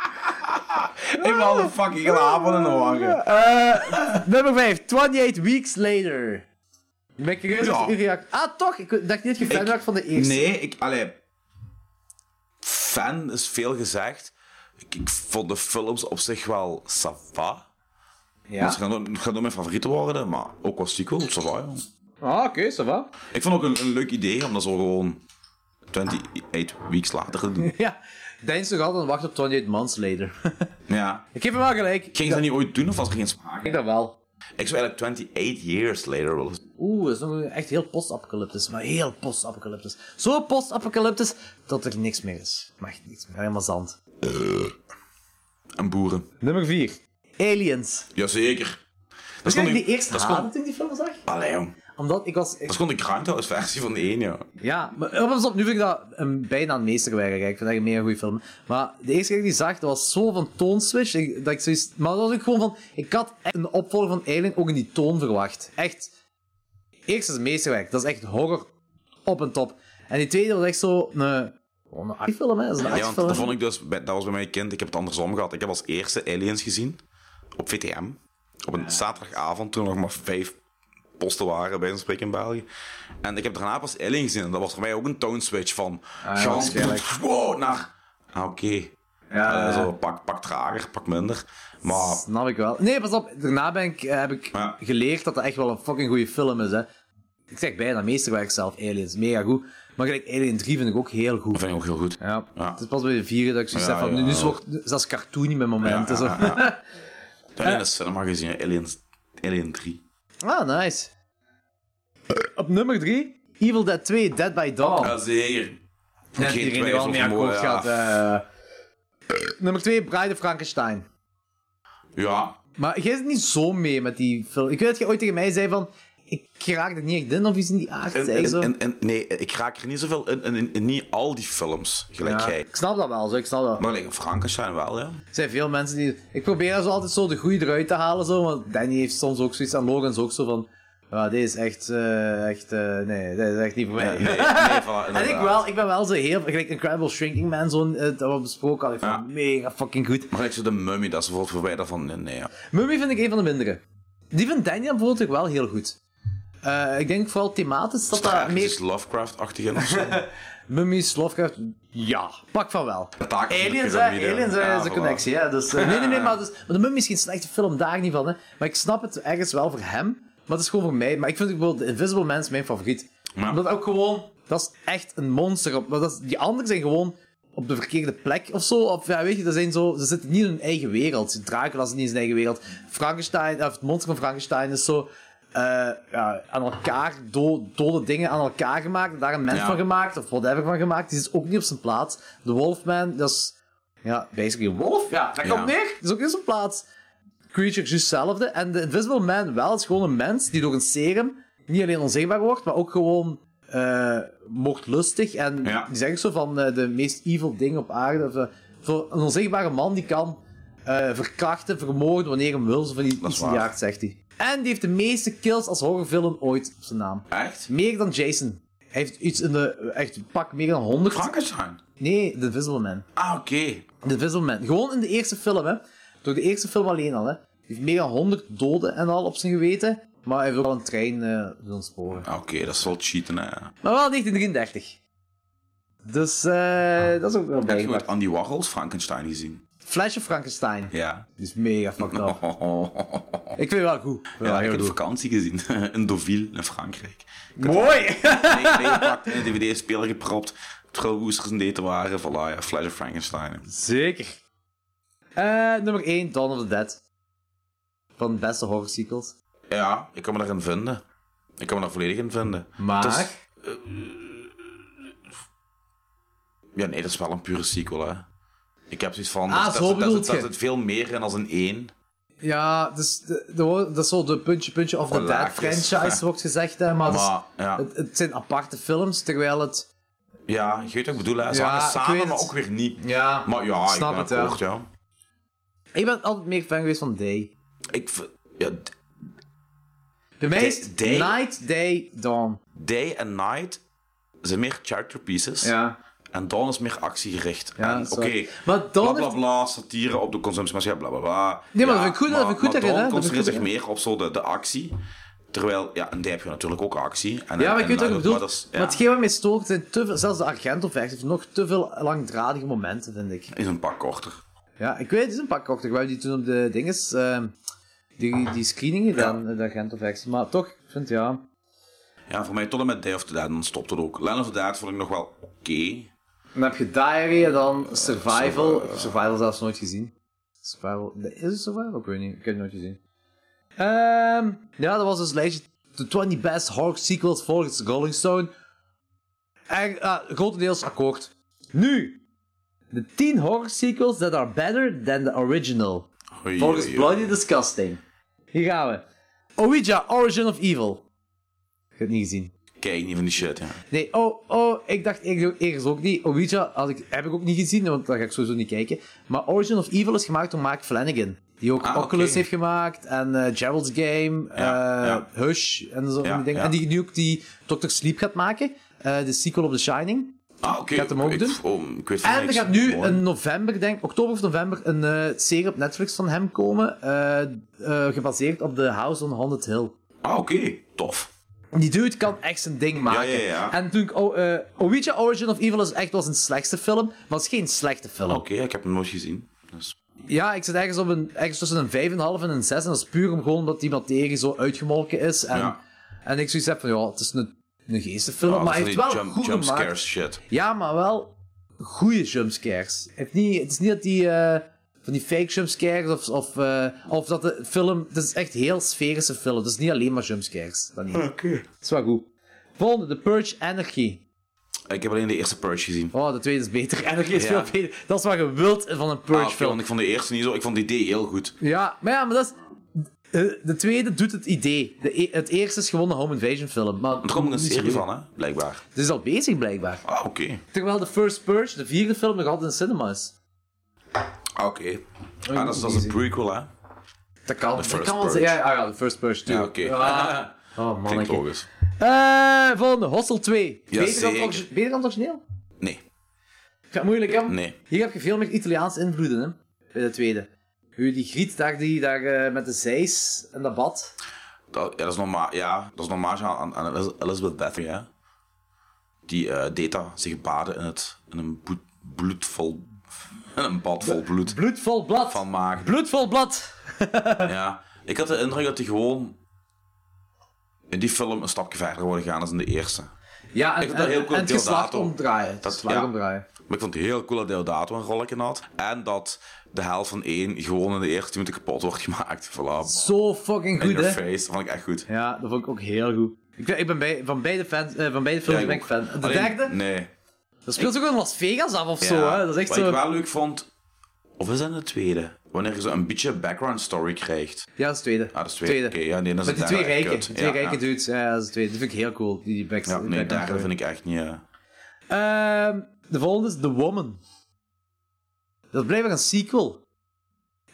[SPEAKER 2] Ik ben al een fucking lapen in de wagen.
[SPEAKER 1] Eh, Nummer 5, 28 Weeks Later. Ik ben curieus
[SPEAKER 2] Ja.
[SPEAKER 1] als uw reactie... Ah, toch? Ik dacht niet dat je fan
[SPEAKER 2] Ik-
[SPEAKER 1] was van de eerste.
[SPEAKER 2] Nee, ik... Allee, fan is veel gezegd. Ik, ik vond de films op zich wel sava.
[SPEAKER 1] Ja?
[SPEAKER 2] Het gaat nooit- het gaat nooit mijn favoriete worden, maar ook als sequel, sava, ja.
[SPEAKER 1] Ah, oké, zo wat.
[SPEAKER 2] Ik vond ook een, een leuk idee om dat zo gewoon 28 weeks later te doen.
[SPEAKER 1] Ja. Dijn toch altijd wacht op 28 Months Later.
[SPEAKER 2] Ja.
[SPEAKER 1] ik geef hem wel gelijk. Ik
[SPEAKER 2] Ging ze dat niet ooit doen of was er geen sprake?
[SPEAKER 1] denk dat wel.
[SPEAKER 2] Ik zou eigenlijk 28 years later willen zien.
[SPEAKER 1] Oeh, dat is nog een- echt heel post-apocalyptisch. Maar heel post-apocalyptisch. Zo post-apocalyptisch dat er niks meer is. Mag niks meer. Helemaal zand.
[SPEAKER 2] En boeren.
[SPEAKER 1] Nummer 4. Aliens.
[SPEAKER 2] Jazeker. Dat is
[SPEAKER 1] Dus ik
[SPEAKER 2] gewoon
[SPEAKER 1] die
[SPEAKER 2] de-
[SPEAKER 1] eerste
[SPEAKER 2] dat is
[SPEAKER 1] haat
[SPEAKER 2] gewoon,
[SPEAKER 1] dat ik die film zag?
[SPEAKER 2] Allee, jong. Dat
[SPEAKER 1] Omdat ik was... ik-
[SPEAKER 2] is gewoon de Groundhouse versie van de 1, ja.
[SPEAKER 1] Ja, maar eh, pas op, nu vind ik dat een, bijna een meesterwerk. eigenlijk. Ik vind dat een mega goede film. Maar de eerste keer dat ik die zag, dat was zo van toonswitch. Ik, dat ik zoiets, maar dat was ook gewoon van... Ik had echt een opvolger van Alien ook in die toon verwacht. Echt. Eerst is het meesterwerk. Dat is echt horror op en top. En die tweede was echt zo... Een, gewoon een actiefilm, hè. Dat is een
[SPEAKER 2] Ja, want dat vond
[SPEAKER 1] actiefilm.
[SPEAKER 2] ik dus, bij- dat was bij mij kind, ik heb het andersom gehad. Ik heb als eerste Aliens gezien, op VTM. Op een zaterdagavond, toen er nog maar vijf posten waren, bij een spreken in België. En ik heb daarna pas Alien gezien, en dat was voor mij ook een tone switch van...
[SPEAKER 1] Ah,
[SPEAKER 2] Gans, wow, naar... Ah, oké. Eh, zo, pak, pak trager, pak minder. Maar
[SPEAKER 1] Snap ik wel. Nee, pas op. Daarna ben ik, eh, heb ik
[SPEAKER 2] Ja.
[SPEAKER 1] geleerd dat dat echt wel een fucking goede film is, hè. Ik zeg bijna meesterwerk zelf, Aliens. Mega goed. Maar gelijk Alien 3 vind ik ook heel goed.
[SPEAKER 2] dat vind ik ook heel goed.
[SPEAKER 1] Ja.
[SPEAKER 2] Ja.
[SPEAKER 1] Het is pas bij de vierde dat ik zoiets
[SPEAKER 2] Ja,
[SPEAKER 1] heb van,
[SPEAKER 2] ja,
[SPEAKER 1] nu is
[SPEAKER 2] ja.
[SPEAKER 1] het ook zelfs cartoony met momenten.
[SPEAKER 2] Ja,
[SPEAKER 1] zo.
[SPEAKER 2] ja, Ik heb in de cinema gezien, Alien, Alien 3.
[SPEAKER 1] ah, nice. Eh, Op nummer drie, Evil Dead 2, Dead by Dawn.
[SPEAKER 2] Ja, zeker.
[SPEAKER 1] Net
[SPEAKER 2] Oh, geen
[SPEAKER 1] iedereen die
[SPEAKER 2] twijfel
[SPEAKER 1] wel mee
[SPEAKER 2] van
[SPEAKER 1] akkoord
[SPEAKER 2] mooi,
[SPEAKER 1] gaat.
[SPEAKER 2] ja.
[SPEAKER 1] eh. nummer twee, Bride of Frankenstein.
[SPEAKER 2] Ja,
[SPEAKER 1] Maar jij zit niet zo mee met die film. Ik weet dat je ooit tegen mij zei van, ik raak er niet echt in of iets in die aard.
[SPEAKER 2] En,
[SPEAKER 1] zei je zo.
[SPEAKER 2] en, en, en- nee, ik raak er niet zoveel in, in, in, in niet al die films, gelijk
[SPEAKER 1] Ja,
[SPEAKER 2] jij.
[SPEAKER 1] ik snap dat wel, zo, ik snap dat.
[SPEAKER 2] Maar like, Frankenstein wel, ja.
[SPEAKER 1] Er zijn veel mensen die... Ik probeer zo altijd zo de goede eruit te halen, zo, want Danny heeft soms ook zoiets en Logan is ook zo van... Ah, dit is echt... eh, echt eh, nee, dit is echt niet voor mij.
[SPEAKER 2] Nee, nee, voilà,
[SPEAKER 1] En ik
[SPEAKER 2] inderdaad.
[SPEAKER 1] wel, ik ben wel zo heel... Gelijk Incredible Shrinking Man, zo'n... eh, dat we besproken hadden, ik vond het
[SPEAKER 2] Ja.
[SPEAKER 1] mega fucking goed.
[SPEAKER 2] Maar like, zo de mummy, dat is bijvoorbeeld voor mij daarvan, nee, nee. Ja.
[SPEAKER 1] Mummy vind ik een van de mindere. Die van Daniel vond ik wel heel goed. Eh, ik denk vooral thematisch dat daar
[SPEAKER 2] Ergens
[SPEAKER 1] eh, meer...
[SPEAKER 2] is Lovecraft-achtig in of zo.
[SPEAKER 1] Mummies, Lovecraft... Ja, pak van wel.
[SPEAKER 2] Taak van de
[SPEAKER 1] Aliens, hè?
[SPEAKER 2] piramide.
[SPEAKER 1] Aliens hè,
[SPEAKER 2] Ja,
[SPEAKER 1] is een
[SPEAKER 2] voilà.
[SPEAKER 1] connectie, hè? Dus, eh, nee, nee, nee, maar, dus, maar de Mummy is geen slechte film, daar niet van, hè? Maar ik snap het ergens wel voor hem, maar het is gewoon voor mij. Maar ik vind bijvoorbeeld The Invisible Man is mijn favoriet.
[SPEAKER 2] Maar-
[SPEAKER 1] Omdat ook gewoon, dat is echt een monster. Op, maar dat is, die anderen zijn gewoon op de verkeerde plek of zo. Of ja, weet je, dat zijn zo, ze zitten niet in hun eigen wereld. Dracula is niet in zijn eigen wereld. Frankenstein, of het monster van Frankenstein is zo. eh, ja, aan elkaar, do- dode dingen aan elkaar gemaakt, daar een mens
[SPEAKER 2] Ja.
[SPEAKER 1] van gemaakt, of whatever van gemaakt, die is ook niet op zijn plaats. De Wolfman, dat is ja, basically een wolf. Ja, daar
[SPEAKER 2] Ja.
[SPEAKER 1] komt neer. Dat is ook in zijn plaats. Creature is juist hetzelfde. En de Invisible Man wel is gewoon een mens die door een serum niet alleen onzichtbaar wordt, maar ook gewoon eh moordlustig. En
[SPEAKER 2] Ja.
[SPEAKER 1] die zeggen zo van eh, de meest evil ding op aarde. Of, eh, voor een onzichtbare man die kan eh, verkrachten, vermoorden wanneer hem wil. Zo van die
[SPEAKER 2] Dat is
[SPEAKER 1] iets
[SPEAKER 2] waar.
[SPEAKER 1] jaagt, zegt hij. En die heeft de meeste kills als horrorfilm ooit op zijn naam.
[SPEAKER 2] Echt?
[SPEAKER 1] Meer dan Jason. Hij heeft iets in de... Echt, pak, meer dan 100.
[SPEAKER 2] Frankenstein?
[SPEAKER 1] Nee, The Invisible Man.
[SPEAKER 2] Ah, oké.
[SPEAKER 1] The Invisible Man. Gewoon in de eerste film, hè. Door de eerste film alleen al, hè. Hij heeft meer dan 100 doden en al op zijn geweten. Maar hij heeft ook al een trein eh doen sporen.
[SPEAKER 2] Ah, Oké, dat is wel cheaten, hè. Heb
[SPEAKER 1] Maar wel 1933. Dus, eh...
[SPEAKER 2] Ah.
[SPEAKER 1] dat is ook wel
[SPEAKER 2] je
[SPEAKER 1] bijgepakt.
[SPEAKER 2] ooit Andy Warhol's Frankenstein gezien?
[SPEAKER 1] Flash of Frankenstein.
[SPEAKER 2] Ja.
[SPEAKER 1] Die is mega fucked up.
[SPEAKER 2] Ja,
[SPEAKER 1] Ik vind het wel goed.
[SPEAKER 2] ik heb het op
[SPEAKER 1] goed.
[SPEAKER 2] vakantie gezien. In Deauville, in Frankrijk.
[SPEAKER 1] Mooi!
[SPEAKER 2] Nee, meegepakt in een dvd-speler gepropt. Terwijl woesters in daten waren. Voilà, ja, Flash of Frankenstein.
[SPEAKER 1] Zeker. Eh, nummer 1, Dawn of the Dead. Van de beste horror sequels.
[SPEAKER 2] Ja, ik kan me daarin vinden. Ik kan me daar volledig in vinden.
[SPEAKER 1] Maar...
[SPEAKER 2] Het is- Ja, nee, dat is wel een pure sequel, hè. Ik heb zoiets van...
[SPEAKER 1] Ah,
[SPEAKER 2] dat,
[SPEAKER 1] zo
[SPEAKER 2] dat, dat,
[SPEAKER 1] bedoelt
[SPEAKER 2] dat, dat
[SPEAKER 1] je.
[SPEAKER 2] zit veel meer in als een één.
[SPEAKER 1] Ja, dus de, de, dat is zo de puntje, puntje of the dead
[SPEAKER 2] Laagjes.
[SPEAKER 1] franchise, wordt gezegd. Hè, maar het, is-
[SPEAKER 2] dus- Maar, ja.
[SPEAKER 1] het, het zijn aparte films, terwijl het...
[SPEAKER 2] Ja, je weet wat ik bedoel, hè. Ze
[SPEAKER 1] Ja,
[SPEAKER 2] hangen
[SPEAKER 1] ik
[SPEAKER 2] samen,
[SPEAKER 1] weet
[SPEAKER 2] maar
[SPEAKER 1] het.
[SPEAKER 2] ook weer niet.
[SPEAKER 1] Ja,
[SPEAKER 2] Maar ja,
[SPEAKER 1] snap
[SPEAKER 2] ik
[SPEAKER 1] het,
[SPEAKER 2] ben
[SPEAKER 1] ja.
[SPEAKER 2] akkoord, ja.
[SPEAKER 1] Ik ben altijd meer fan geweest van Day.
[SPEAKER 2] Ik... v- Ja, d-
[SPEAKER 1] Bij mij is
[SPEAKER 2] Day-
[SPEAKER 1] Night, Day, Dawn.
[SPEAKER 2] Day and Night zijn meer character pieces. En Dawn is meer actiegericht.
[SPEAKER 1] Ja,
[SPEAKER 2] en
[SPEAKER 1] zo.
[SPEAKER 2] oké,
[SPEAKER 1] Maar
[SPEAKER 2] bla
[SPEAKER 1] Dawn
[SPEAKER 2] bla
[SPEAKER 1] heeft-
[SPEAKER 2] bla, satire op de consumptiemaatschappij, bla bla bla.
[SPEAKER 1] Nee, maar dat
[SPEAKER 2] Ja,
[SPEAKER 1] vind ik goed, dat
[SPEAKER 2] maar-
[SPEAKER 1] vind ik goed
[SPEAKER 2] maar
[SPEAKER 1] dat je
[SPEAKER 2] Dawn
[SPEAKER 1] dat- dat vind ik
[SPEAKER 2] concentreert zich
[SPEAKER 1] goed.
[SPEAKER 2] meer op zo de, de actie. Terwijl, ja, en Day heb je natuurlijk ook actie. En,
[SPEAKER 1] Ja, maar
[SPEAKER 2] en
[SPEAKER 1] ik weet wat
[SPEAKER 2] Night
[SPEAKER 1] ik
[SPEAKER 2] ook,
[SPEAKER 1] bedoel.
[SPEAKER 2] maar
[SPEAKER 1] Maar,
[SPEAKER 2] dat is- ja,
[SPEAKER 1] hetgeen wat mij stoort, zijn te veel, zelfs de Argento-versie, heeft nog te veel langdradige momenten, vind ik.
[SPEAKER 2] is een pak korter.
[SPEAKER 1] Ja, ik weet, het is een pak korter. We hebben die toen op de dinges, eh, die, die screening gedaan, de Argento-versie. Maar toch, ik vind ja...
[SPEAKER 2] Ja, voor mij tot en met Day of the Dead, dan stopt het ook. Land of the Dead vond ik nog wel oké.
[SPEAKER 1] Dan heb je Diary en dan Survival. survival zelfs nooit gezien. Survival. nee, Is het Survival? Ik weet niet. Ik heb het nooit gezien. Ehm, ja, dat was dus lijstje. De 20 best horror sequels volgens Rolling Stone. En, ah, grotendeels akkoord. Nu! De 10 horror sequels that are better than the original.
[SPEAKER 2] Oei,
[SPEAKER 1] Volgens
[SPEAKER 2] oei, oei.
[SPEAKER 1] Bloody Disgusting. Hier gaan we. Ouija, Origin of Evil. Ik heb het niet gezien.
[SPEAKER 2] Kijk, niet van die shit, ja.
[SPEAKER 1] Nee, oh, oh, ik dacht eerder, eerder ook niet. Ouija had ik, heb ik ook niet gezien, want daar ga ik sowieso niet kijken. Maar Origin of Evil is gemaakt door Mark Flanagan. Die ook
[SPEAKER 2] Ah,
[SPEAKER 1] Oculus
[SPEAKER 2] oké.
[SPEAKER 1] heeft gemaakt en eh, Gerald's Game, eh
[SPEAKER 2] ja.
[SPEAKER 1] Hush en zo.
[SPEAKER 2] Ja,
[SPEAKER 1] van die dingen.
[SPEAKER 2] ja.
[SPEAKER 1] En die nu ook die Dr. Sleep gaat maken, eh, de sequel op The Shining.
[SPEAKER 2] Ah, oké.
[SPEAKER 1] Gaat hem ook
[SPEAKER 2] ik,
[SPEAKER 1] doen?
[SPEAKER 2] oh, ik weet van
[SPEAKER 1] En er
[SPEAKER 2] niks.
[SPEAKER 1] gaat nu
[SPEAKER 2] Mooi.
[SPEAKER 1] in november, denk oktober of november, een eh, serie op Netflix van hem komen. eh, eh, gebaseerd op The House on Haunted Hill.
[SPEAKER 2] Ah, oké. Tof.
[SPEAKER 1] Die dude kan echt zijn ding maken.
[SPEAKER 2] ja, ja.
[SPEAKER 1] En toen ik oh, eh, Ouija Origin of Evil is echt wel zijn slechtste film, maar het is geen slechte film.
[SPEAKER 2] Oké, ik heb hem nooit gezien. Dus...
[SPEAKER 1] Ja, ik zit ergens, op een, ergens tussen een 5,5 en een 6. En dat is puur om gewoon dat die materie zo uitgemolken is. En,
[SPEAKER 2] Ja.
[SPEAKER 1] en ik zoiets heb van, ja, het is een, een geestenfilm,
[SPEAKER 2] Ah,
[SPEAKER 1] maar hij
[SPEAKER 2] van
[SPEAKER 1] heeft
[SPEAKER 2] die
[SPEAKER 1] wel
[SPEAKER 2] jump,
[SPEAKER 1] goed
[SPEAKER 2] jumpscares
[SPEAKER 1] gemaakt.
[SPEAKER 2] shit.
[SPEAKER 1] Ja, maar wel goede jumpscares. Hij heeft niet, het is niet dat die... eh, van die fake jumpscares of, of, eh, of dat de film... Het is echt een heel sferische film. Het is niet alleen maar jumpscares. Dat niet.
[SPEAKER 2] Oké.
[SPEAKER 1] is wel goed. Volgende, The Purge Energy.
[SPEAKER 2] Ik heb alleen de eerste Purge gezien.
[SPEAKER 1] Oh, de tweede is beter. En nog is
[SPEAKER 2] Ja.
[SPEAKER 1] veel beter. Dat is wat je wilt van een
[SPEAKER 2] Ah,
[SPEAKER 1] Purge
[SPEAKER 2] oké,
[SPEAKER 1] film.
[SPEAKER 2] want ik vond de eerste niet zo. Ik vond die idee heel goed.
[SPEAKER 1] Ja, maar ja, maar dat is... eh, De tweede doet het idee. De e- het eerste is gewoon een home invasion film. Maar
[SPEAKER 2] Er komt ook een
[SPEAKER 1] niet zo
[SPEAKER 2] serie
[SPEAKER 1] goed.
[SPEAKER 2] van, hè? Blijkbaar.
[SPEAKER 1] Het is al bezig, blijkbaar.
[SPEAKER 2] Ah, oké.
[SPEAKER 1] Terwijl de First Purge, de vierde film, nog altijd in cinema is.
[SPEAKER 2] Ah, oké. Ah, dat is, dat is een prequel, hè?
[SPEAKER 1] Dat kan.
[SPEAKER 2] First
[SPEAKER 1] Dat kan wel
[SPEAKER 2] Purge.
[SPEAKER 1] zijn. Ja, ah ja, de First Purge,
[SPEAKER 2] Ja,
[SPEAKER 1] tuurlijk.
[SPEAKER 2] oké.
[SPEAKER 1] Oh,
[SPEAKER 2] Klinkt
[SPEAKER 1] man.
[SPEAKER 2] logisch.
[SPEAKER 1] Eh volgende, Hostel 2.
[SPEAKER 2] Ja,
[SPEAKER 1] beter, dan het
[SPEAKER 2] zeker.
[SPEAKER 1] origi- beter dan het origineel?
[SPEAKER 2] Nee.
[SPEAKER 1] Gaat moeilijk, hè?
[SPEAKER 2] Nee.
[SPEAKER 1] Hier heb je veel meer Italiaanse invloeden, hè? Bij de tweede. Hoe die griet daar, die, daar eh, met de zeis en dat bad.
[SPEAKER 2] Dat, ja, dat is normaal, ja, dat is normaal aan, aan Elis- Elizabeth Bathory, hè. Die eh deed dat, zich baden in, het, in een bloed, bloed vol... In een bad vol bloed.
[SPEAKER 1] Bloedvol blad.
[SPEAKER 2] Van maag.
[SPEAKER 1] Bloedvol blad.
[SPEAKER 2] Ja. Ik had de indruk dat die gewoon... In die film een stapje verder worden gaan dan in de eerste.
[SPEAKER 1] Ja, en,
[SPEAKER 2] Ik vind dat
[SPEAKER 1] en-
[SPEAKER 2] heel cool,
[SPEAKER 1] en het geslacht
[SPEAKER 2] Deodato.
[SPEAKER 1] omdraaien. Het
[SPEAKER 2] Dat-
[SPEAKER 1] geslacht
[SPEAKER 2] ja.
[SPEAKER 1] omdraaien.
[SPEAKER 2] Maar ik vond het heel cool dat Deodato een rolletje had. En dat de helft van één gewoon in de eerste 10 minuten kapot wordt gemaakt. Voilà.
[SPEAKER 1] Zo fucking
[SPEAKER 2] In
[SPEAKER 1] goed,
[SPEAKER 2] your
[SPEAKER 1] hè?
[SPEAKER 2] face. Dat vond ik echt goed.
[SPEAKER 1] Ja, dat vond ik ook heel goed. Ik, ben- ik ben bij, van beide, fans, eh, van beide films
[SPEAKER 2] Ja, ik
[SPEAKER 1] ben ik fan.
[SPEAKER 2] ook.
[SPEAKER 1] De
[SPEAKER 2] Alleen-
[SPEAKER 1] derde,
[SPEAKER 2] Nee.
[SPEAKER 1] dat speelt zich ook in Las Vegas af of zo,
[SPEAKER 2] Ja.
[SPEAKER 1] hè? Dat is echt
[SPEAKER 2] Wat
[SPEAKER 1] zo...
[SPEAKER 2] ik wel leuk vond... Of is dat in de tweede? Wanneer je zo een beetje background story krijgt.
[SPEAKER 1] Ja, dat is de tweede.
[SPEAKER 2] Ah, dat is twee. Oké, ja, nee, dat is
[SPEAKER 1] Met die
[SPEAKER 2] de
[SPEAKER 1] twee
[SPEAKER 2] derde
[SPEAKER 1] rijken.
[SPEAKER 2] echt
[SPEAKER 1] Die
[SPEAKER 2] kut.
[SPEAKER 1] twee
[SPEAKER 2] Ja,
[SPEAKER 1] rijken
[SPEAKER 2] ja.
[SPEAKER 1] dudes. Ja, dat is de tweede. Dat vind ik heel cool. Die die backs.
[SPEAKER 2] Ja,
[SPEAKER 1] die
[SPEAKER 2] nee,
[SPEAKER 1] background
[SPEAKER 2] derde
[SPEAKER 1] story.
[SPEAKER 2] vind ik echt niet... eh,
[SPEAKER 1] Ehm, de volgende is The Woman. Dat is blijkbaar een sequel.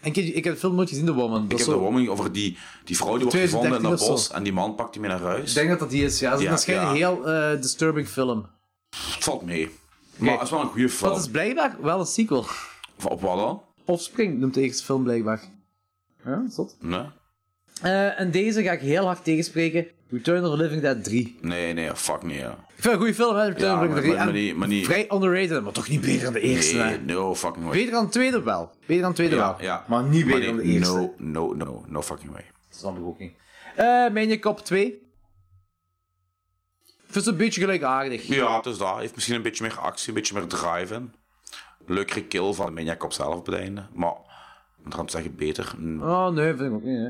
[SPEAKER 1] En ik, ik heb de film nooit gezien, The Woman. Dat
[SPEAKER 2] Ik
[SPEAKER 1] is
[SPEAKER 2] heb
[SPEAKER 1] zo-
[SPEAKER 2] de warming over die, die vrouw die wordt gevonden in dat
[SPEAKER 1] 2013 of
[SPEAKER 2] bos
[SPEAKER 1] zo.
[SPEAKER 2] en die man pakt die mee naar huis.
[SPEAKER 1] Ik denk dat dat die is. Ja, dat is
[SPEAKER 2] Ja,
[SPEAKER 1] waarschijnlijk een heel eh, disturbing film.
[SPEAKER 2] Het valt mee. Maar het is wel een goede film.
[SPEAKER 1] Dat is blijkbaar wel een sequel.
[SPEAKER 2] Of Op wat dan?
[SPEAKER 1] Offspring noemt de eerste film blijkbaar. Ja, zot.
[SPEAKER 2] Nee,
[SPEAKER 1] Eh, en deze ga ik heel hard tegenspreken. Return of the Living Dead 3. Ik
[SPEAKER 2] nee, nee fuck nee. ja.
[SPEAKER 1] vind het een goede film, hè? Return
[SPEAKER 2] Ja,
[SPEAKER 1] of the Living
[SPEAKER 2] maar-
[SPEAKER 1] Dead 3.
[SPEAKER 2] maar- maar
[SPEAKER 1] En
[SPEAKER 2] niet- maar niet-
[SPEAKER 1] Vrij underrated, maar toch niet beter dan de eerste.
[SPEAKER 2] Nee,
[SPEAKER 1] hè.
[SPEAKER 2] no fucking way.
[SPEAKER 1] Beter dan de tweede wel. Beter dan de tweede
[SPEAKER 2] ja,
[SPEAKER 1] wel.
[SPEAKER 2] ja.
[SPEAKER 1] Maar niet beter dan de
[SPEAKER 2] nee,
[SPEAKER 1] eerste.
[SPEAKER 2] No, no, no, no fucking way.
[SPEAKER 1] Dat snap ik ook niet. Eh Maniac Cop 2. Ik vind het een beetje gelijkaardig.
[SPEAKER 2] Ja, dus dat heeft misschien een beetje meer actie, een beetje meer drive in. Leukere kill van Maniac op zelf op het einde. Maar, om het te zeggen, beter. Mm,
[SPEAKER 1] Oh nee, vind ik ook niet. Hè.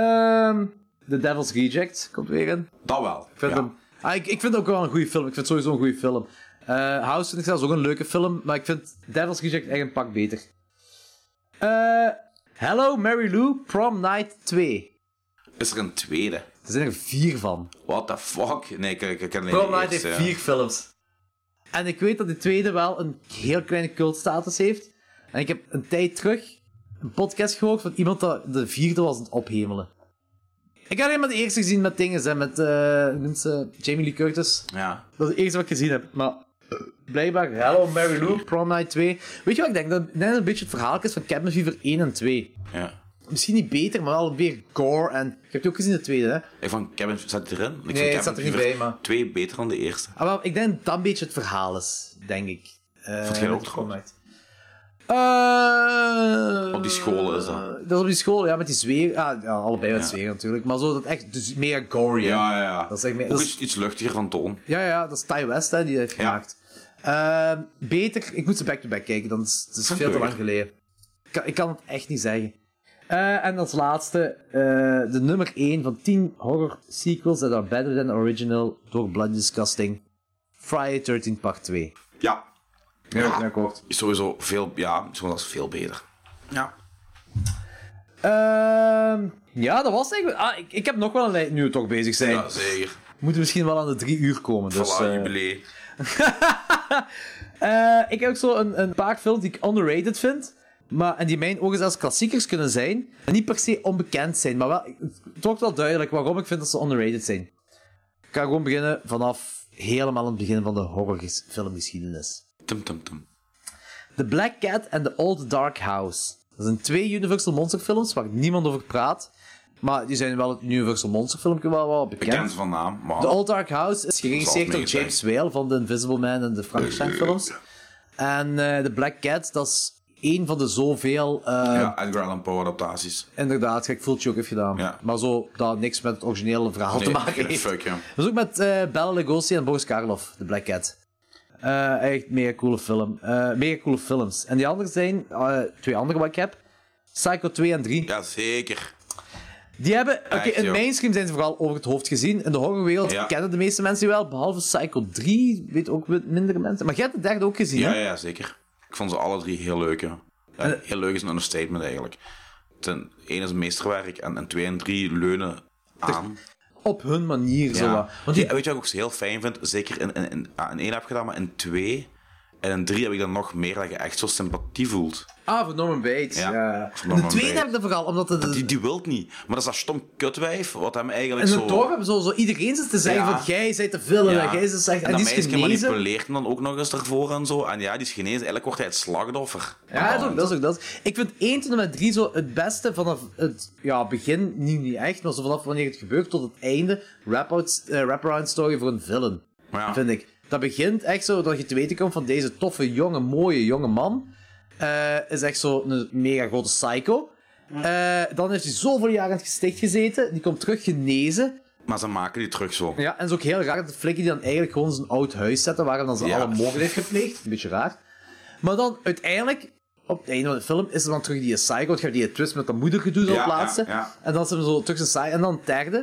[SPEAKER 1] Ehm, The Devil's Reject komt weer in.
[SPEAKER 2] Dat wel.
[SPEAKER 1] Ik vind,
[SPEAKER 2] ja.
[SPEAKER 1] hem, ah, ik, ik vind het ook wel een goede film. Ik vind het sowieso een goede film. Eh, House vind ik zelfs ook een leuke film, maar ik vind Devil's Reject echt een pak beter. Eh, Hello Mary Lou Prom Night 2.
[SPEAKER 2] Is er een tweede?
[SPEAKER 1] Er zijn er vier van.
[SPEAKER 2] What the fuck? Nee, ik, ik, ik ken alleen
[SPEAKER 1] Prom
[SPEAKER 2] de
[SPEAKER 1] Night heeft
[SPEAKER 2] eerste, ja.
[SPEAKER 1] vier films. En ik weet dat die tweede wel een heel kleine cultstatus heeft. En ik heb een tijd terug een podcast gehoord van iemand dat de vierde was aan het ophemelen. Ik had alleen maar de eerste gezien met dingen, hè, met eh, hoe noemt ze? Jamie Lee Curtis.
[SPEAKER 2] Ja.
[SPEAKER 1] Dat is het eerste wat ik gezien heb. Maar eh, blijkbaar Hello Mary Lou, Prom Night 2. Weet je wat ik denk? Dat ik denk dat het een beetje het verhaal is van Cabin Fever 1 en 2.
[SPEAKER 2] ja.
[SPEAKER 1] Misschien niet beter, maar wel weer gore. En... Je hebt die ook gezien de tweede, hè?
[SPEAKER 2] Ik vond Kevin zat hij erin. Ik vond
[SPEAKER 1] het
[SPEAKER 2] Cabin
[SPEAKER 1] zat er niet
[SPEAKER 2] Fever
[SPEAKER 1] bij, maar-
[SPEAKER 2] Twee beter dan de eerste.
[SPEAKER 1] Ah, wel, ik denk dat dat een beetje het verhaal is, denk ik. Eh,
[SPEAKER 2] Vond jij dat ook
[SPEAKER 1] met Prom
[SPEAKER 2] goed?
[SPEAKER 1] Night. Eh,
[SPEAKER 2] Op die school is dat.
[SPEAKER 1] Dat is op die school, ja, met die zweer. Ah, ja, allebei met zweer natuurlijk. Maar zo dat echt dus meer gory. hè.
[SPEAKER 2] Ja, ja, ja.
[SPEAKER 1] Dat is echt meer-
[SPEAKER 2] Ook
[SPEAKER 1] dat is-
[SPEAKER 2] iets, iets luchtiger van toon.
[SPEAKER 1] Ja, ja, dat is Ty West hè, die dat heeft
[SPEAKER 2] Ja.
[SPEAKER 1] gemaakt. Ehm, beter, ik moet ze back-to-back kijken, dan is het is
[SPEAKER 2] Van
[SPEAKER 1] veel te
[SPEAKER 2] Keur.
[SPEAKER 1] lang geleden. Ik kan, ik kan het echt niet zeggen. Eh, en als laatste, eh, de nummer 1 van 10 horror sequels that are better than original door Blood Disgusting. Friday 13 part 2.
[SPEAKER 2] Ja.
[SPEAKER 1] Ja, akkoord.
[SPEAKER 2] Is sowieso veel, ja, is gewoon als veel beter. Ja.
[SPEAKER 1] Ehm, ja, dat was het eigenlijk. Ah, ik, ik heb nog wel een lijst, nu we toch bezig zijn.
[SPEAKER 2] Ja, zeker.
[SPEAKER 1] We moeten misschien wel aan de 3 uur komen. Dus,
[SPEAKER 2] voilà,
[SPEAKER 1] eh,
[SPEAKER 2] jubilee.
[SPEAKER 1] Eh, ik heb ook zo een, een paar films die ik underrated vind. Maar, en die in mijn ogen zelfs klassiekers kunnen zijn. En niet per se onbekend zijn. Maar wel, het wordt wel duidelijk waarom ik vind dat ze underrated zijn. Ik ga gewoon beginnen vanaf helemaal aan het begin van de horrorfilmgeschiedenis.
[SPEAKER 2] Tum, tum, tum.
[SPEAKER 1] The Black Cat and the Old Dark House. Dat zijn twee Universal Monster films waar niemand over praat. Maar die zijn wel het Universal Monster filmpje wel, wel
[SPEAKER 2] Bekend
[SPEAKER 1] bekend.
[SPEAKER 2] van naam, maar...
[SPEAKER 1] The Old Dark House is geregisseerd door
[SPEAKER 2] algemeen
[SPEAKER 1] James Whale van The Invisible Man en de Frankenstein
[SPEAKER 2] Eh,
[SPEAKER 1] films. En eh, The Black Cat, dat is één van de zoveel... eh,
[SPEAKER 2] ja, Edgar Allan Poe adaptaties.
[SPEAKER 1] Inderdaad, gek voelt je ook heeft gedaan.
[SPEAKER 2] Ja.
[SPEAKER 1] Maar zo dat niks met het originele verhaal te
[SPEAKER 2] Nee,
[SPEAKER 1] maken
[SPEAKER 2] geen
[SPEAKER 1] heeft.
[SPEAKER 2] fuck, ja.
[SPEAKER 1] Dat is ook met eh Bella Lugosi en Boris Karloff, The Black Cat. Eh, echt mega coole film. Eh, mega coole films. En die andere zijn, eh, twee andere wat ik heb, Psycho 2 en 3.
[SPEAKER 2] Ja, zeker.
[SPEAKER 1] Die hebben, oké,
[SPEAKER 2] Echt,
[SPEAKER 1] in
[SPEAKER 2] joh.
[SPEAKER 1] mainstream zijn ze vooral over het hoofd gezien. In de horrorwereld
[SPEAKER 2] Ja.
[SPEAKER 1] kennen de meeste mensen die wel, behalve Psycho 3, weet ook wat mindere mensen. Maar jij hebt de derde ook gezien,
[SPEAKER 2] Ja,
[SPEAKER 1] hè?
[SPEAKER 2] ja, zeker. Ik vond ze alle drie heel leuk, ja. Ja,
[SPEAKER 1] Eh.
[SPEAKER 2] heel leuk is een understatement, eigenlijk. Ten één is een meesterwerk en, en twee en drie leunen aan.
[SPEAKER 1] Op hun manier, zo
[SPEAKER 2] Ja.
[SPEAKER 1] wat. Want
[SPEAKER 2] Ja,
[SPEAKER 1] die,
[SPEAKER 2] weet je wat ik ook heel fijn vind? Zeker in, in, in, ah, in één heb ik gedaan, maar in twee En in drie heb ik dan nog meer dat je echt zo sympathie voelt.
[SPEAKER 1] Ah, voor Norman Bates.
[SPEAKER 2] Ja,
[SPEAKER 1] Ja. En
[SPEAKER 2] voor
[SPEAKER 1] de
[SPEAKER 2] Norman
[SPEAKER 1] tweede
[SPEAKER 2] Bates.
[SPEAKER 1] heb ik dat vooral, omdat het...
[SPEAKER 2] Die, die wilt niet. Maar dat is dat stom kutwijf, wat hem eigenlijk
[SPEAKER 1] Eh. en
[SPEAKER 2] zo...
[SPEAKER 1] zo dorp hebben zo, zo iedereen zit te zeggen
[SPEAKER 2] Ja.
[SPEAKER 1] van, jij bent te veel en
[SPEAKER 2] Ja.
[SPEAKER 1] jij is slecht. dus En,
[SPEAKER 2] En dat
[SPEAKER 1] die is
[SPEAKER 2] meisje
[SPEAKER 1] genezen.
[SPEAKER 2] manipuleert hem dan ook nog eens daarvoor en zo. En ja, die is genezen. Eigenlijk wordt hij het slachtoffer.
[SPEAKER 1] Ja, dat is, ook, dat is ook dat. Ik vind 1 tot en met 3 zo het beste vanaf het ja, begin, niet, niet echt, maar zo vanaf wanneer het gebeurt tot het einde, wrap-out- eh, wraparound story voor een villain.
[SPEAKER 2] Ja.
[SPEAKER 1] Vind ik. Dat begint echt zo dat je te weten komt van deze toffe, jonge, mooie, jonge man. eh, is echt zo een mega grote psycho. Eh, dan heeft hij zoveel jaren in het gesticht gezeten. Die komt terug genezen.
[SPEAKER 2] Maar ze maken die terug zo.
[SPEAKER 1] Ja, en het is ook heel raar dat de flikken die dan eigenlijk gewoon zijn oud huis zetten, waar hij dan zijn
[SPEAKER 2] Ja.
[SPEAKER 1] alle moorden heeft gepleegd. Een beetje raar. Maar dan uiteindelijk, op het einde van de film, is er dan terug die psycho, want je hebt die twist met de moeder gedoe zo op
[SPEAKER 2] Ja,
[SPEAKER 1] het laatste.
[SPEAKER 2] ja, ja.
[SPEAKER 1] En dan is hem zo terug zijn saai. En dan het derde,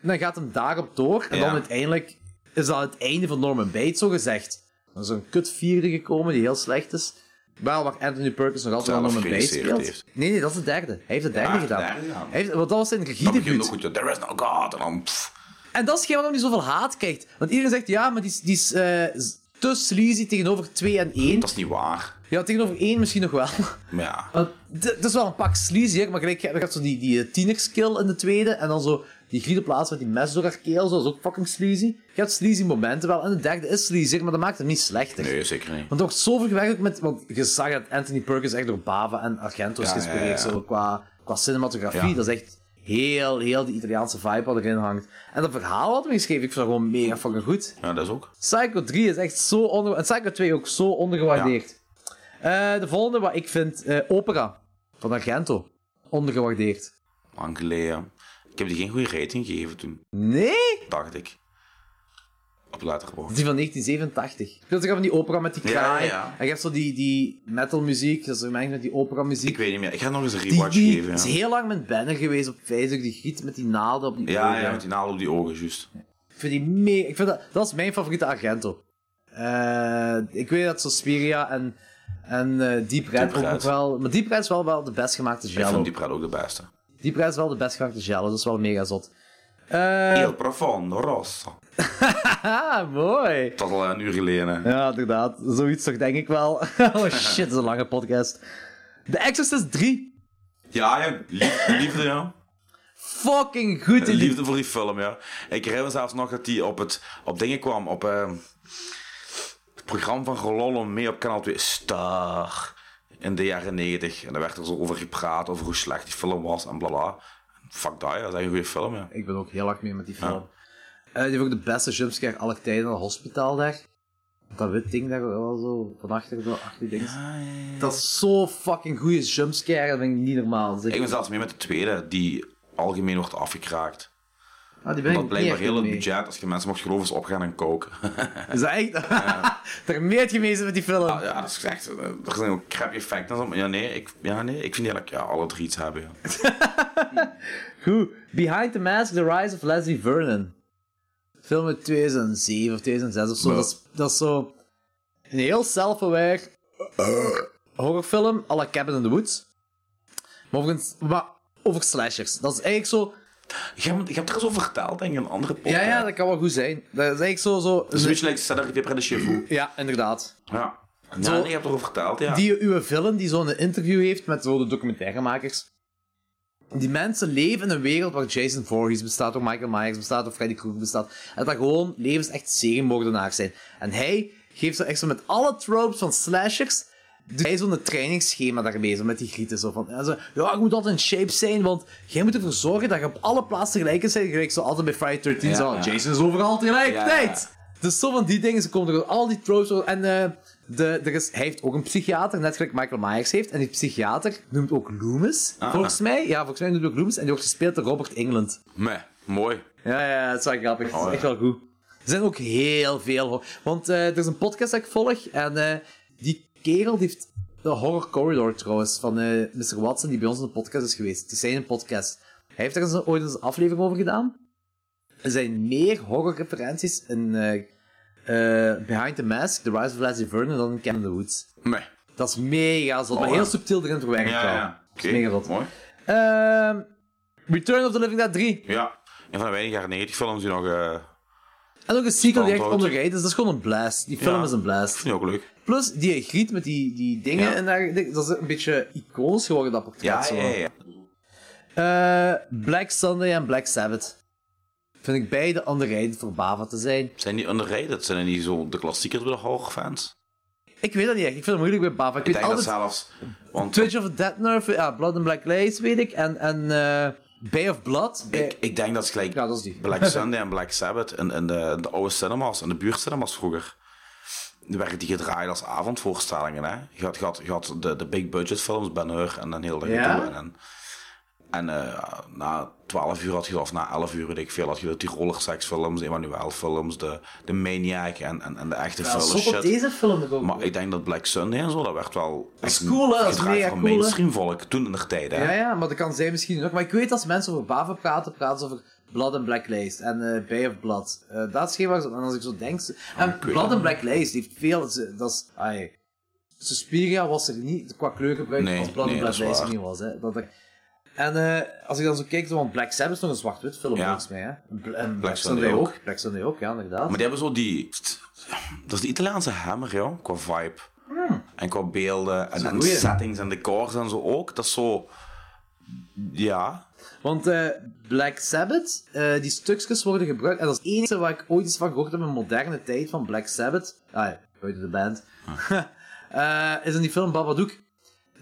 [SPEAKER 1] en dan gaat hem daarop door. En
[SPEAKER 2] Ja.
[SPEAKER 1] dan uiteindelijk is dat het einde van Norman Bates, zo gezegd. Dan is er een kut vierde gekomen die heel slecht is. Wel, waar Anthony Perkins nog altijd
[SPEAKER 2] Zelf
[SPEAKER 1] wel Norman Bates
[SPEAKER 2] geregisseerd
[SPEAKER 1] speelt.
[SPEAKER 2] heeft.
[SPEAKER 1] Nee, nee, dat is de derde. Hij heeft de derde
[SPEAKER 2] Ah, de
[SPEAKER 1] gedaan.
[SPEAKER 2] derde, ja.
[SPEAKER 1] Hij heeft, want dat was zijn
[SPEAKER 2] Dan begint het
[SPEAKER 1] regiedebuut.
[SPEAKER 2] ook goed. ja, There is no God. En dan... pff.
[SPEAKER 1] En dat is geen waarom hij zoveel haat krijgt. Want iedereen zegt, ja, maar die is, die is eh, te sleazy tegenover 2 en 1.
[SPEAKER 2] Dat is niet waar.
[SPEAKER 1] Ja, tegenover 1 misschien nog wel.
[SPEAKER 2] Maar ja.
[SPEAKER 1] Want d- dat is wel een pak sleazy, hè. maar gelijk, je hebt zo die, die eh, tienerskill in de tweede. En dan zo die griet op plaats met die mes door haar keel. Zo, dat is ook fucking sleazy. Je hebt sleazy momenten wel. En de derde is sleazy, maar dat maakt het niet slechter.
[SPEAKER 2] Nee, zeker niet.
[SPEAKER 1] Want er wordt zoveel gewerkt ook met... Want je zag dat Anthony Perkins echt door Bava en Argento is
[SPEAKER 2] Ja,
[SPEAKER 1] geïnspireerd.
[SPEAKER 2] ja, ja.
[SPEAKER 1] Zo qua, qua cinematografie.
[SPEAKER 2] Ja.
[SPEAKER 1] Dat is echt heel, heel die Italiaanse vibe wat erin hangt. En dat verhaal wat we geschreven, ik vond dat gewoon mega fucking goed.
[SPEAKER 2] Ja, dat is ook.
[SPEAKER 1] Psycho 3 is echt zo onder... En Psycho 2 ook zo ondergewaardeerd. Eh, de volgende wat ik vind... eh, opera. Van Argento. Ondergewaardeerd.
[SPEAKER 2] Lang geleden. Ik heb die geen goede rating gegeven toen.
[SPEAKER 1] Nee?
[SPEAKER 2] Dacht ik. Op Letterboxd.
[SPEAKER 1] Die van 1987. Ik speelt zich af van die opera met die
[SPEAKER 2] Ja,
[SPEAKER 1] kraai.
[SPEAKER 2] ja.
[SPEAKER 1] En je hebt zo die, die metalmuziek. Dat is gemengd met die opera muziek.
[SPEAKER 2] Ik weet niet meer. Ik ga nog eens een
[SPEAKER 1] Die,
[SPEAKER 2] rewatch
[SPEAKER 1] die
[SPEAKER 2] geven.
[SPEAKER 1] is
[SPEAKER 2] Ja.
[SPEAKER 1] heel lang met banner geweest op Facebook. Die giet met die naalden op die
[SPEAKER 2] Ja,
[SPEAKER 1] ogen.
[SPEAKER 2] ja, met die naald op die ogen, juist.
[SPEAKER 1] Ik vind die me- Ik vind dat, dat is mijn favoriete Argento. Eh, ik weet dat Suspiria en, en eh, Deep Red
[SPEAKER 2] Deep
[SPEAKER 1] ook
[SPEAKER 2] Red.
[SPEAKER 1] nog wel... Maar Deep Red is wel, wel de best gemaakte
[SPEAKER 2] Ik
[SPEAKER 1] giallo.
[SPEAKER 2] vond die
[SPEAKER 1] Deep...
[SPEAKER 2] pret ook de beste.
[SPEAKER 1] Red is wel de best gemaakte giallo. Dat is wel mega zot.
[SPEAKER 2] Heel profondo, rosso.
[SPEAKER 1] Ah, mooi.
[SPEAKER 2] Dat al een uur geleden.
[SPEAKER 1] Ja, inderdaad. Zoiets toch denk ik wel. oh shit, dat is een lange podcast. The Exorcist 3.
[SPEAKER 2] Ja, ja. lief- Liefde, ja.
[SPEAKER 1] Fucking goed in die
[SPEAKER 2] Liefde voor die film, ja. Ik herinner me zelfs nog dat die op, het, op dingen kwam. Op eh, het programma van Rololo mee op kanaal 2. Star. In de jaren 90. En daar werd er zo over gepraat, over hoe slecht die film was en blabla. Fuck dat, ja. Dat is echt een goede film, ja.
[SPEAKER 1] Ik ben ook heel hard mee met die film. Eh, die heeft ook de beste jumpscare aller tijden in het hospitaal daar. Dat wit ding daar wel zo van achter, de- achter die ding. Dat is zo fucking goede jumpscare, dat vind ik niet normaal. Zeg.
[SPEAKER 2] Ik ben zelfs mee met de tweede, die algemeen wordt afgekraakt.
[SPEAKER 1] ah, die ben
[SPEAKER 2] Dat
[SPEAKER 1] ik niet
[SPEAKER 2] blijkbaar
[SPEAKER 1] echt
[SPEAKER 2] heel het
[SPEAKER 1] mee.
[SPEAKER 2] budget, als je mensen mocht geloven, is opgaan en koken.
[SPEAKER 1] Is dat echt? Daar meer geweest met die film.
[SPEAKER 2] ja, dat is echt... eh, Er zijn ook crappy effecten en zo. maar Ja, nee, ik, ja, nee, ik vind eigenlijk ja, alle drie iets hebben, ja.
[SPEAKER 1] Goed. Behind the Mask, The Rise of Leslie Vernon. Film uit 2007 of 2006 of zo. Dat is, dat is zo... Een heel self-aware... Eh. horrorfilm à la Cabin in the Woods. Maar, overigens, maar over slashers. Dat is eigenlijk zo...
[SPEAKER 2] Je hebt, je hebt er eens over verteld, denk ik, in een andere podcast.
[SPEAKER 1] Ja, ja, dat kan wel goed zijn. Dat is eigenlijk zo... zo
[SPEAKER 2] Dat is een beetje like Cedric de Près de Chez Vous.
[SPEAKER 1] Ja, inderdaad.
[SPEAKER 2] Ja. Ja,
[SPEAKER 1] Zo-
[SPEAKER 2] nee, je hebt erover verteld, ja.
[SPEAKER 1] Die uw villain die zo'n interview heeft met zo de documentairemakers. Die mensen leven in een wereld waar Jason Voorhees bestaat, waar Michael Myers bestaat, of Freddy Krueger bestaat. En dat gewoon levens echt seriemoordenaars zijn. En hij geeft zo echt zo met alle tropes van slashers. doet hij zo'n trainingsschema daarmee, zo met die grieten. Zo van, en zo, ja, je moet altijd in shape zijn, want jij moet ervoor zorgen dat je op alle plaatsen tegelijk is. Gelijk zo altijd bij Friday 13,
[SPEAKER 2] Ja,
[SPEAKER 1] zo,
[SPEAKER 2] ja.
[SPEAKER 1] Jason is overal tegelijkertijd. Dus zo van die dingen, ze komen door al die tropes. door- En eh, de, er is, hij heeft ook een psychiater, net gelijk Michael Myers heeft. En die psychiater noemt ook Loomis, volgens mij. Ja, volgens mij noemt hij ook Loomis. En die wordt gespeeld door Robert England.
[SPEAKER 2] Meh, mooi.
[SPEAKER 1] Ja, ja, dat is wel grappig. Dat is
[SPEAKER 2] ja.
[SPEAKER 1] echt wel goed. Er zijn ook heel veel... hor- Want eh, er is een podcast dat ik volg. En eh, die kerel die heeft de Horror Corridor trouwens van eh, Mr. Watson, die bij ons in de podcast is geweest. Het is zijn podcast. Hij heeft er eens, ooit eens een aflevering over gedaan. Er zijn meer horrorreferenties in eh, eh, Behind the Mask, The Rise of Leslie Vernon dan in Cabin in the Woods.
[SPEAKER 2] Meh.
[SPEAKER 1] Dat is mega zot, maar
[SPEAKER 2] Oh, ja.
[SPEAKER 1] heel subtiel erin verwerkt
[SPEAKER 2] Ja,
[SPEAKER 1] wel.
[SPEAKER 2] ja.
[SPEAKER 1] Dat
[SPEAKER 2] Oké,
[SPEAKER 1] is mega zot.
[SPEAKER 2] mooi.
[SPEAKER 1] Ehm, Return of the Living Dead 3.
[SPEAKER 2] Ja. Een van de weinige jaren 90 films die nog... eh,
[SPEAKER 1] En ook een sequel die echt
[SPEAKER 2] Standaard.
[SPEAKER 1] ondergeheid is. Dat is gewoon een blast. Die film
[SPEAKER 2] Ja.
[SPEAKER 1] is een blast.
[SPEAKER 2] Vind ik ook leuk.
[SPEAKER 1] Plus, die griet met die, die dingen
[SPEAKER 2] Ja.
[SPEAKER 1] en daar, dat is een beetje iconisch geworden, dat portret.
[SPEAKER 2] Ja,
[SPEAKER 1] zo.
[SPEAKER 2] ja, ja.
[SPEAKER 1] Eh, Black Sunday en Black Sabbath. Vind ik beide ondergeheid voor Bava te zijn.
[SPEAKER 2] Zijn die underrated? Zijn die niet zo de klassiekers bij de horrorfans?
[SPEAKER 1] Ik weet dat niet echt. Ik vind het moeilijk bij Bava. Ik,
[SPEAKER 2] Ik
[SPEAKER 1] weet
[SPEAKER 2] denk dat
[SPEAKER 1] altijd...
[SPEAKER 2] zelfs. Want
[SPEAKER 1] Twitch of the Dead Nerve, ja, Blood and Black Lace weet ik. En, en eh, Bay of Blood.
[SPEAKER 2] ik, ik denk dat is gelijk
[SPEAKER 1] Eh, Ja, dat is die.
[SPEAKER 2] Black Sunday en Black Sabbath en, en de, de oude cinemas en de buurtcinemas vroeger. Die werden die gedraaid als avondvoorstellingen. Hè? Je had, je had, je had de, de big budget films, Ben Hur en dan heel de
[SPEAKER 1] Ja?
[SPEAKER 2] gedoe. En, en, en, eh, na 12 uur had je, of na 11 uur weet ik veel, had je de Tiroler seksfilms, de Emmanuel films, de, de Maniac en, en, en de echte
[SPEAKER 1] Ja,
[SPEAKER 2] vuile
[SPEAKER 1] zo op
[SPEAKER 2] shit.
[SPEAKER 1] deze film ook.
[SPEAKER 2] Maar ik denk dat Black Sunday en zo, dat werd wel
[SPEAKER 1] is cool, hè? Dat is
[SPEAKER 2] gedraaid
[SPEAKER 1] mega
[SPEAKER 2] voor
[SPEAKER 1] cool, hè?
[SPEAKER 2] mainstream volk toen in de tijd. Hè?
[SPEAKER 1] Ja, ja, maar dat kan zij misschien ook. Maar ik weet als mensen over Bava praten, praten ze over Blood and Black Lace en eh Bay of Blood. Eh, dat is geen waar ze- en als ik zo denk. ze- en
[SPEAKER 2] Ah, weet
[SPEAKER 1] Blood
[SPEAKER 2] het.
[SPEAKER 1] and Black Lace heeft veel. ze- Dat is. Ai. Suspiria was er niet qua kleurgebruik
[SPEAKER 2] Nee,
[SPEAKER 1] als Blood
[SPEAKER 2] nee,
[SPEAKER 1] and Black
[SPEAKER 2] dat is
[SPEAKER 1] Lace er
[SPEAKER 2] waar.
[SPEAKER 1] niet was. Hè. Dat ik... En eh, als ik dan zo kijk, zo, want Black Sabbath is nog een zwart-wit film
[SPEAKER 2] Ja.
[SPEAKER 1] volgens mij. Hè. En Bla- En
[SPEAKER 2] Black
[SPEAKER 1] Black
[SPEAKER 2] Sunday
[SPEAKER 1] Sunday
[SPEAKER 2] ook.
[SPEAKER 1] ook. Black Sunday ook, ja, inderdaad.
[SPEAKER 2] Maar die hebben zo die. Dat is de Italiaanse hammer, joh, qua vibe. En qua beelden en,
[SPEAKER 1] Hmm. een
[SPEAKER 2] en
[SPEAKER 1] goeie.
[SPEAKER 2] settings en decors en zo ook. Dat is zo. Ja.
[SPEAKER 1] Want eh, Black Sabbath, eh, die stukjes worden gebruikt. En dat is het enige waar ik ooit iets van gehoord heb in moderne tijd van Black Sabbath. Ah ja, buiten de band.
[SPEAKER 2] Ah.
[SPEAKER 1] Eh, is in die film Babadook.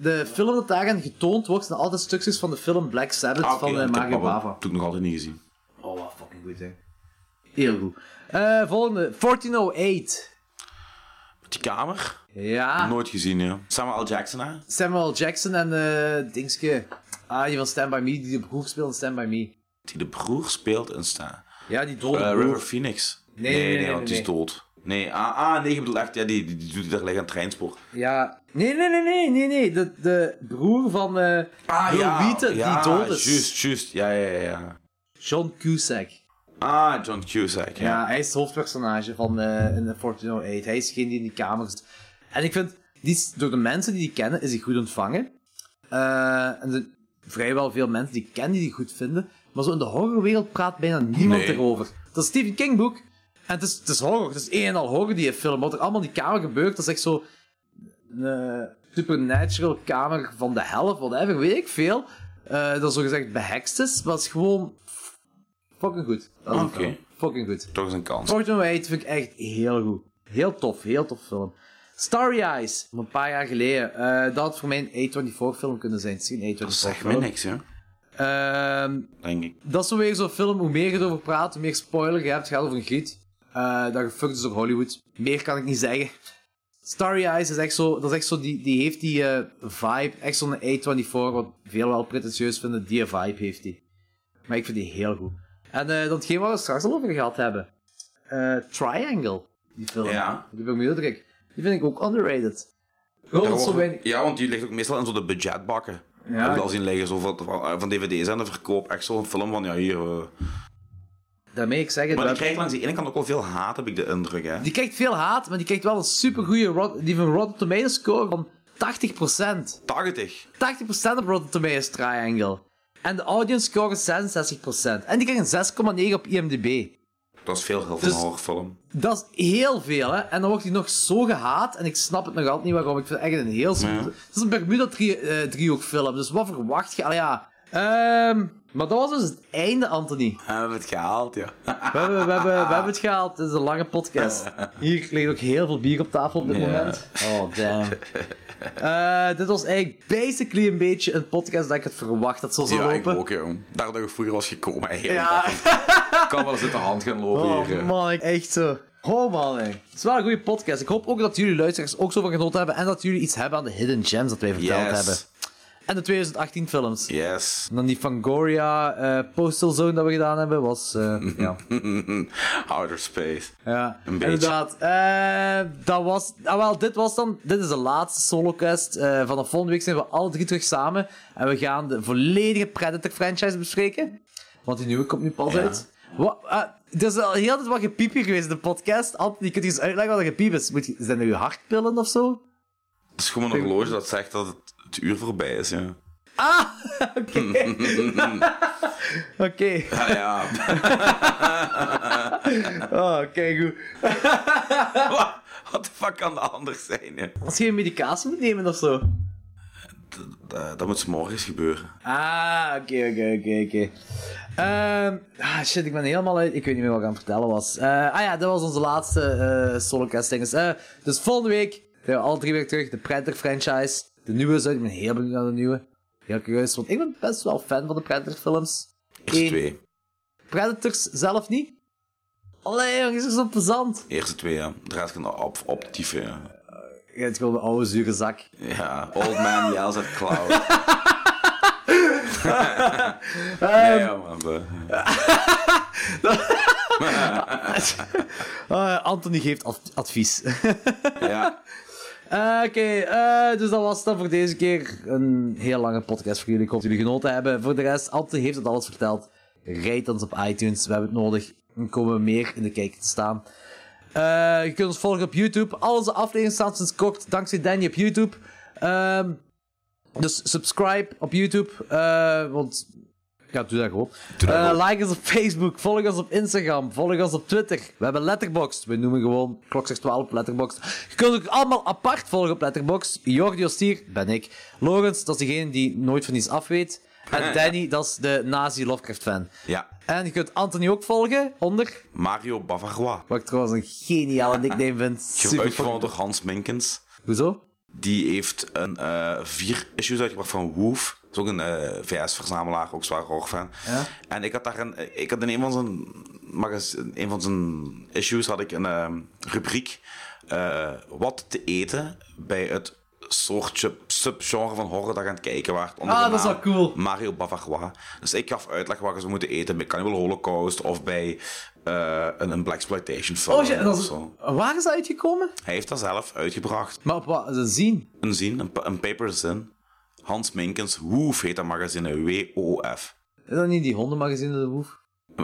[SPEAKER 1] De film dat daarin getoond wordt, zijn altijd stukjes van de film Black Sabbath
[SPEAKER 2] Ah, oké,
[SPEAKER 1] van eh,
[SPEAKER 2] ik heb
[SPEAKER 1] Mario
[SPEAKER 2] Baba
[SPEAKER 1] Bava.
[SPEAKER 2] Toen nog altijd niet gezien.
[SPEAKER 1] Oh, wat fucking goed, hè. Heel goed. Eh, volgende, 1408.
[SPEAKER 2] Die kamer?
[SPEAKER 1] Ja,
[SPEAKER 2] Nooit gezien, ja. Samuel L. Jackson, hè?
[SPEAKER 1] Samuel Jackson en eh Dingske. Ah, die van Stand By Me, die de broer speelt in Stand By Me.
[SPEAKER 2] Die de broer speelt in staan.
[SPEAKER 1] Ja, die dode Oh, broer.
[SPEAKER 2] Eh, River Phoenix.
[SPEAKER 1] Nee, nee, nee, nee,
[SPEAKER 2] want die is
[SPEAKER 1] nee.
[SPEAKER 2] dood. Nee, ah, ah, nee, je bedoelt echt, ja, die, die, die doet hij daar liggen aan het treinspoor.
[SPEAKER 1] Ja, nee, nee, nee, nee, nee, nee. De, de broer van eh Bill Wheaton,
[SPEAKER 2] Ah, ja,
[SPEAKER 1] die dood is.
[SPEAKER 2] Juist, juist, ja, ja, ja, ja.
[SPEAKER 1] John Cusack.
[SPEAKER 2] Ah, John Cusack,
[SPEAKER 1] Ja. hij is het hoofdpersonage van eh in de 1408. Hij is degene die in die kamer zit. En ik vind, die is- door de mensen die die kennen, is hij goed ontvangen. Eh, en er zijn vrijwel veel mensen die ik ken die die goed vinden. Maar zo in de horrorwereld praat bijna niemand
[SPEAKER 2] Nee.
[SPEAKER 1] erover. Dat is een Stephen King boek. En het is, het is horror. Het is één en al horror die je film. Wat er allemaal in die kamer gebeurt, dat is echt zo... Een eh, supernatural kamer van de hel of whatever, weet ik veel. Eh dat zogezegd behekst is, maar het is gewoon... Fucking goed. Dat is een
[SPEAKER 2] Oké.
[SPEAKER 1] film. Fucking goed.
[SPEAKER 2] Toch eens een kans.
[SPEAKER 1] Fortune Wade vind ik echt heel goed. Heel tof, heel tof film. Starry Eyes, van een paar jaar geleden. Eh, dat had voor mij een A24 film kunnen zijn. Het is geen A24
[SPEAKER 2] Dat zegt me
[SPEAKER 1] film.
[SPEAKER 2] niks, ja.
[SPEAKER 1] Ehm,
[SPEAKER 2] Denk ik.
[SPEAKER 1] dat is zo weer zo'n film, hoe meer je erover praat, hoe meer spoiler je hebt. Het gaat over een griet. Eh dat gefukt is door Hollywood. Meer kan ik niet zeggen. Starry Eyes is echt zo, dat is echt zo die, die heeft die eh, vibe. Echt zo'n A24, wat veel wel pretentieus vinden. Die vibe heeft die. Maar ik vind die heel goed. En eh datgene waar we het straks al over gehad hebben. Eh, Triangle, die film.
[SPEAKER 2] Ja.
[SPEAKER 1] Die Bermuda-druk. Die vind ik ook underrated. Gewoon zo weinig.
[SPEAKER 2] Ja, want die ligt ook meestal in zo de budgetbakken. Ja. Heb ik al zien liggen, zo van, van, van dvd's en de verkoop. Echt zo'n film van, ja, hier... eh.
[SPEAKER 1] Daarmee ik zeg het.
[SPEAKER 2] Maar
[SPEAKER 1] dat-
[SPEAKER 2] die krijgt langs de ene kant ook wel veel haat, heb ik de indruk, hè.
[SPEAKER 1] Die krijgt veel haat, maar die krijgt wel een supergoeie rot, die heeft een Rotten Tomatoes score van 80%. 80%
[SPEAKER 2] 80.
[SPEAKER 1] op Rotten Tomatoes Triangle. En de audience score is 66%. En die krijgt een 6,9 op IMDb.
[SPEAKER 2] Dat is veel heel van
[SPEAKER 1] Dus-
[SPEAKER 2] een horrorfilm.
[SPEAKER 1] Dat is heel veel, hè. En dan wordt hij nog zo gehaat. En ik snap het nog altijd niet waarom. Ik vind het echt een heel...
[SPEAKER 2] Ja.
[SPEAKER 1] Het is een Bermuda-driehoek film. Dus wat verwacht je? Al ja... Ehm, maar dat was dus het einde, Anthony.
[SPEAKER 2] We hebben het gehaald, ja.
[SPEAKER 1] We hebben, we, hebben, we hebben het gehaald. Het is een lange podcast. Hier ligt ook heel veel bier op tafel op dit moment. Oh, damn. Eh, dit was eigenlijk basically een beetje een podcast dat ik het verwacht dat zo zou
[SPEAKER 2] Ja, ik
[SPEAKER 1] lopen.
[SPEAKER 2] ook, joh. Daar dat ik vroeger was gekomen, eigenlijk.
[SPEAKER 1] Ja,
[SPEAKER 2] Ik kan wel eens uit de hand gaan lopen hier.
[SPEAKER 1] oh
[SPEAKER 2] eh.
[SPEAKER 1] man, ik- echt zo. Oh man, hè. Het is wel een goede podcast. Ik hoop ook dat jullie luisteraars ook zo van genoten hebben en dat jullie iets hebben aan de hidden gems dat wij verteld
[SPEAKER 2] Yes.
[SPEAKER 1] hebben. En de 2018 films.
[SPEAKER 2] Yes.
[SPEAKER 1] En dan die Fangoria eh, Postal Zone dat we gedaan hebben was... eh, ja.
[SPEAKER 2] Outer space.
[SPEAKER 1] Ja,
[SPEAKER 2] Een beetje.
[SPEAKER 1] inderdaad. Eh, dat was, ah, wel, dit was dan, dit is de laatste solocast. Eh vanaf volgende week zijn we alle drie terug samen. En we gaan de volledige Predator franchise bespreken. Want die nieuwe komt nu pas uit. Wat, ah, er is al heel tijd wat gepiep hier geweest in de podcast. Anthony, je kunt eens uitleggen wat er gepiep is. Moet je, zijn er je hartpillen of zo?
[SPEAKER 2] Het is gewoon een horloge dat zegt dat het, het uur voorbij is, ja.
[SPEAKER 1] Oké.
[SPEAKER 2] Ah, ja.
[SPEAKER 1] Oh, kijk goed.
[SPEAKER 2] Wat- Wat de fuck kan dat anders zijn? hè?
[SPEAKER 1] Als je een medicatie moet nemen of zo.
[SPEAKER 2] Eh, Dat, dat moet 's morgens gebeuren.
[SPEAKER 1] Ah, oké, oké, oké, oké. Ehm, ah, shit, ik ben helemaal uit. Ik weet niet meer wat ik aan het vertellen was. Eh, ah ja, dat was onze laatste eh solocast dinges. Eh, dus volgende week zijn we al drie weken terug. De Predator franchise. De nieuwe is uit. Ik ben heel benieuwd naar de nieuwe. Heel curieus, want ik ben best wel fan van de Predator films.
[SPEAKER 2] Eerste
[SPEAKER 1] Eén.
[SPEAKER 2] twee.
[SPEAKER 1] Predators zelf niet. Allee, jongens, is zo plezant.
[SPEAKER 2] Eerste twee, ja. De rest kan op, optieven. ja.
[SPEAKER 1] Je hebt gewoon de oude zure zak.
[SPEAKER 2] Ja, Old Man Yells at Cloud. nee, ja, maar, eh,
[SPEAKER 1] Eh, Anthony geeft ad- advies.
[SPEAKER 2] ja.
[SPEAKER 1] Eh, Oké, eh, dus dat was het dan voor deze keer. Een heel lange podcast voor jullie. Ik hoop dat jullie genoten hebben. Voor de rest, Anton heeft het alles verteld. Rijd ons op iTunes, we hebben het nodig. Dan komen we meer in de kijker te staan. Eh, je kunt ons volgen op YouTube. Al onze afleveringen staan sinds kort dankzij Danny op YouTube. Ehm, dus subscribe op YouTube. eh, want ja, doe dat gewoon. Eh, like ons op Facebook, volg ons op Instagram, volg ons op Twitter. We hebben Letterboxd. We noemen gewoon klok zegt 12 op Letterboxd. Je kunt ook allemaal apart volgen op Letterboxd. Jordi Ostier, ben ik. Logans, dat is degene die nooit van iets af weet. En Danny, dat is de nazi Lovecraft fan.
[SPEAKER 2] ja.
[SPEAKER 1] En je kunt Anthony ook volgen, onder.
[SPEAKER 2] Mario Bavarois.
[SPEAKER 1] Wat ik trouwens een geniale nickname vind. Super
[SPEAKER 2] Uitgevonden door Hans Minkens.
[SPEAKER 1] Hoezo?
[SPEAKER 2] Die heeft een, eh, vier issues uitgebracht van Woof. Dat is ook een VS-verzamelaar, ook zwaar horrorfan. En ik had daar een, ik had in een van zijn, magaz- in een van zijn issues had ik een ehm, rubriek eh, wat te eten bij het soortje subgenre van horror dat je aan het kijken waart. onder
[SPEAKER 1] Ah,
[SPEAKER 2] de
[SPEAKER 1] dat is
[SPEAKER 2] naam
[SPEAKER 1] wel cool.
[SPEAKER 2] Mario Bavarois. Dus ik gaf uitleg wat ze moeten eten bij Cannibal Holocaust of bij eh, een, een Blaxploitation film eh,
[SPEAKER 1] Oh shit, dat
[SPEAKER 2] of
[SPEAKER 1] is...
[SPEAKER 2] zo.
[SPEAKER 1] Waar is dat uitgekomen?
[SPEAKER 2] Hij heeft dat zelf uitgebracht.
[SPEAKER 1] Maar op wat? Ze zien.
[SPEAKER 2] Een zin, een, pa- een paper zin. Hans Minkens, Woof heet dat magazine, W-O-F.
[SPEAKER 1] Is dat niet die hondenmagazine de Woef?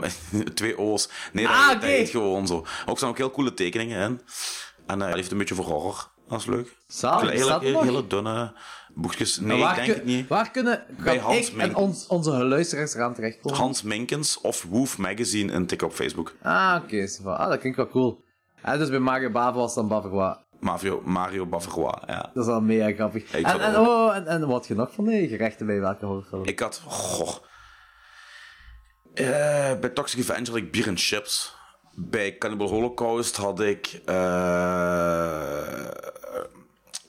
[SPEAKER 2] Twee O's. Nee, dat,
[SPEAKER 1] Ah,
[SPEAKER 2] heet- dat
[SPEAKER 1] oké.
[SPEAKER 2] heet gewoon zo. Ook staan ook heel coole tekeningen in. En eh, hij heeft een beetje voor horror. Dat is leuk.
[SPEAKER 1] Zalig,
[SPEAKER 2] Hele-
[SPEAKER 1] staat er
[SPEAKER 2] hele,
[SPEAKER 1] nog?
[SPEAKER 2] hele dunne boekjes. Nee, ik
[SPEAKER 1] waar,
[SPEAKER 2] denk
[SPEAKER 1] kun-
[SPEAKER 2] het niet.
[SPEAKER 1] waar kunnen
[SPEAKER 2] Bij
[SPEAKER 1] kan
[SPEAKER 2] Hans
[SPEAKER 1] ik en
[SPEAKER 2] Menken.
[SPEAKER 1] ons, onze luisteraars eraan terechtkomen?
[SPEAKER 2] Hans Minkens of Woof Magazine en tik op Facebook.
[SPEAKER 1] Ah, oké. zo van, ah, dat klinkt wel cool. En dus bij Mario Bavo was dan Bavarois.
[SPEAKER 2] Mario, Mario Bavarois, ja.
[SPEAKER 1] Dat is wel mega grappig.
[SPEAKER 2] ik
[SPEAKER 1] en,
[SPEAKER 2] vond
[SPEAKER 1] en,
[SPEAKER 2] het
[SPEAKER 1] oh, en, en wat je nog van die gerechten bij welke horrorfilm?
[SPEAKER 2] Ik had... Goh. Eh, bij Toxic Avenger had ik bier en chips. Bij Cannibal Holocaust had ik... eh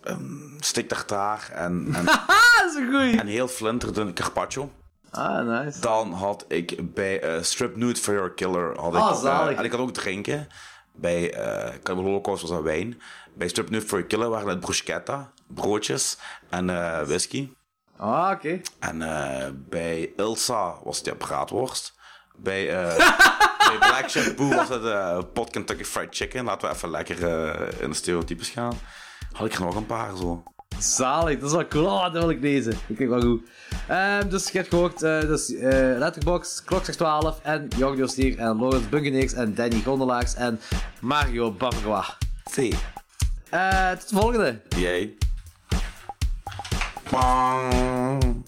[SPEAKER 2] een stik tartaar en, en,
[SPEAKER 1] Ah, dat is een goeie!
[SPEAKER 2] en heel flinterdun carpaccio.
[SPEAKER 1] Ah, nice.
[SPEAKER 2] Dan had ik bij eh, Strip Nude for Your Killer... Had ik,
[SPEAKER 1] Ah, zalig.
[SPEAKER 2] eh, en ik had ook drinken. Bij eh Cannibal Holocaust was dat wijn. Bij Strip Nude for Your Killer waren het bruschetta, broodjes en eh, whisky.
[SPEAKER 1] Ah, oké.
[SPEAKER 2] En eh, bij Ilsa was het ja, braadworst. Bij, eh bij Black Shampoo was het eh, pot Kentucky Fried Chicken. Laten we even lekker eh, in de stereotypes gaan. Had ik er nog een paar zo.
[SPEAKER 1] Zalig, dat is wel cool. Oh, dat wil ik lezen. Dat klinkt wel goed. Ehm, dus je hebt gehoord, eh, dus, eh Letterboxd, Klok zegt 12 en Jordi Ostier en Lorenz Bungeneeks en Danny Gondelaars en Mario Bavarois.
[SPEAKER 2] Zee.
[SPEAKER 1] Eh, tot de volgende!
[SPEAKER 2] Jij. Bang.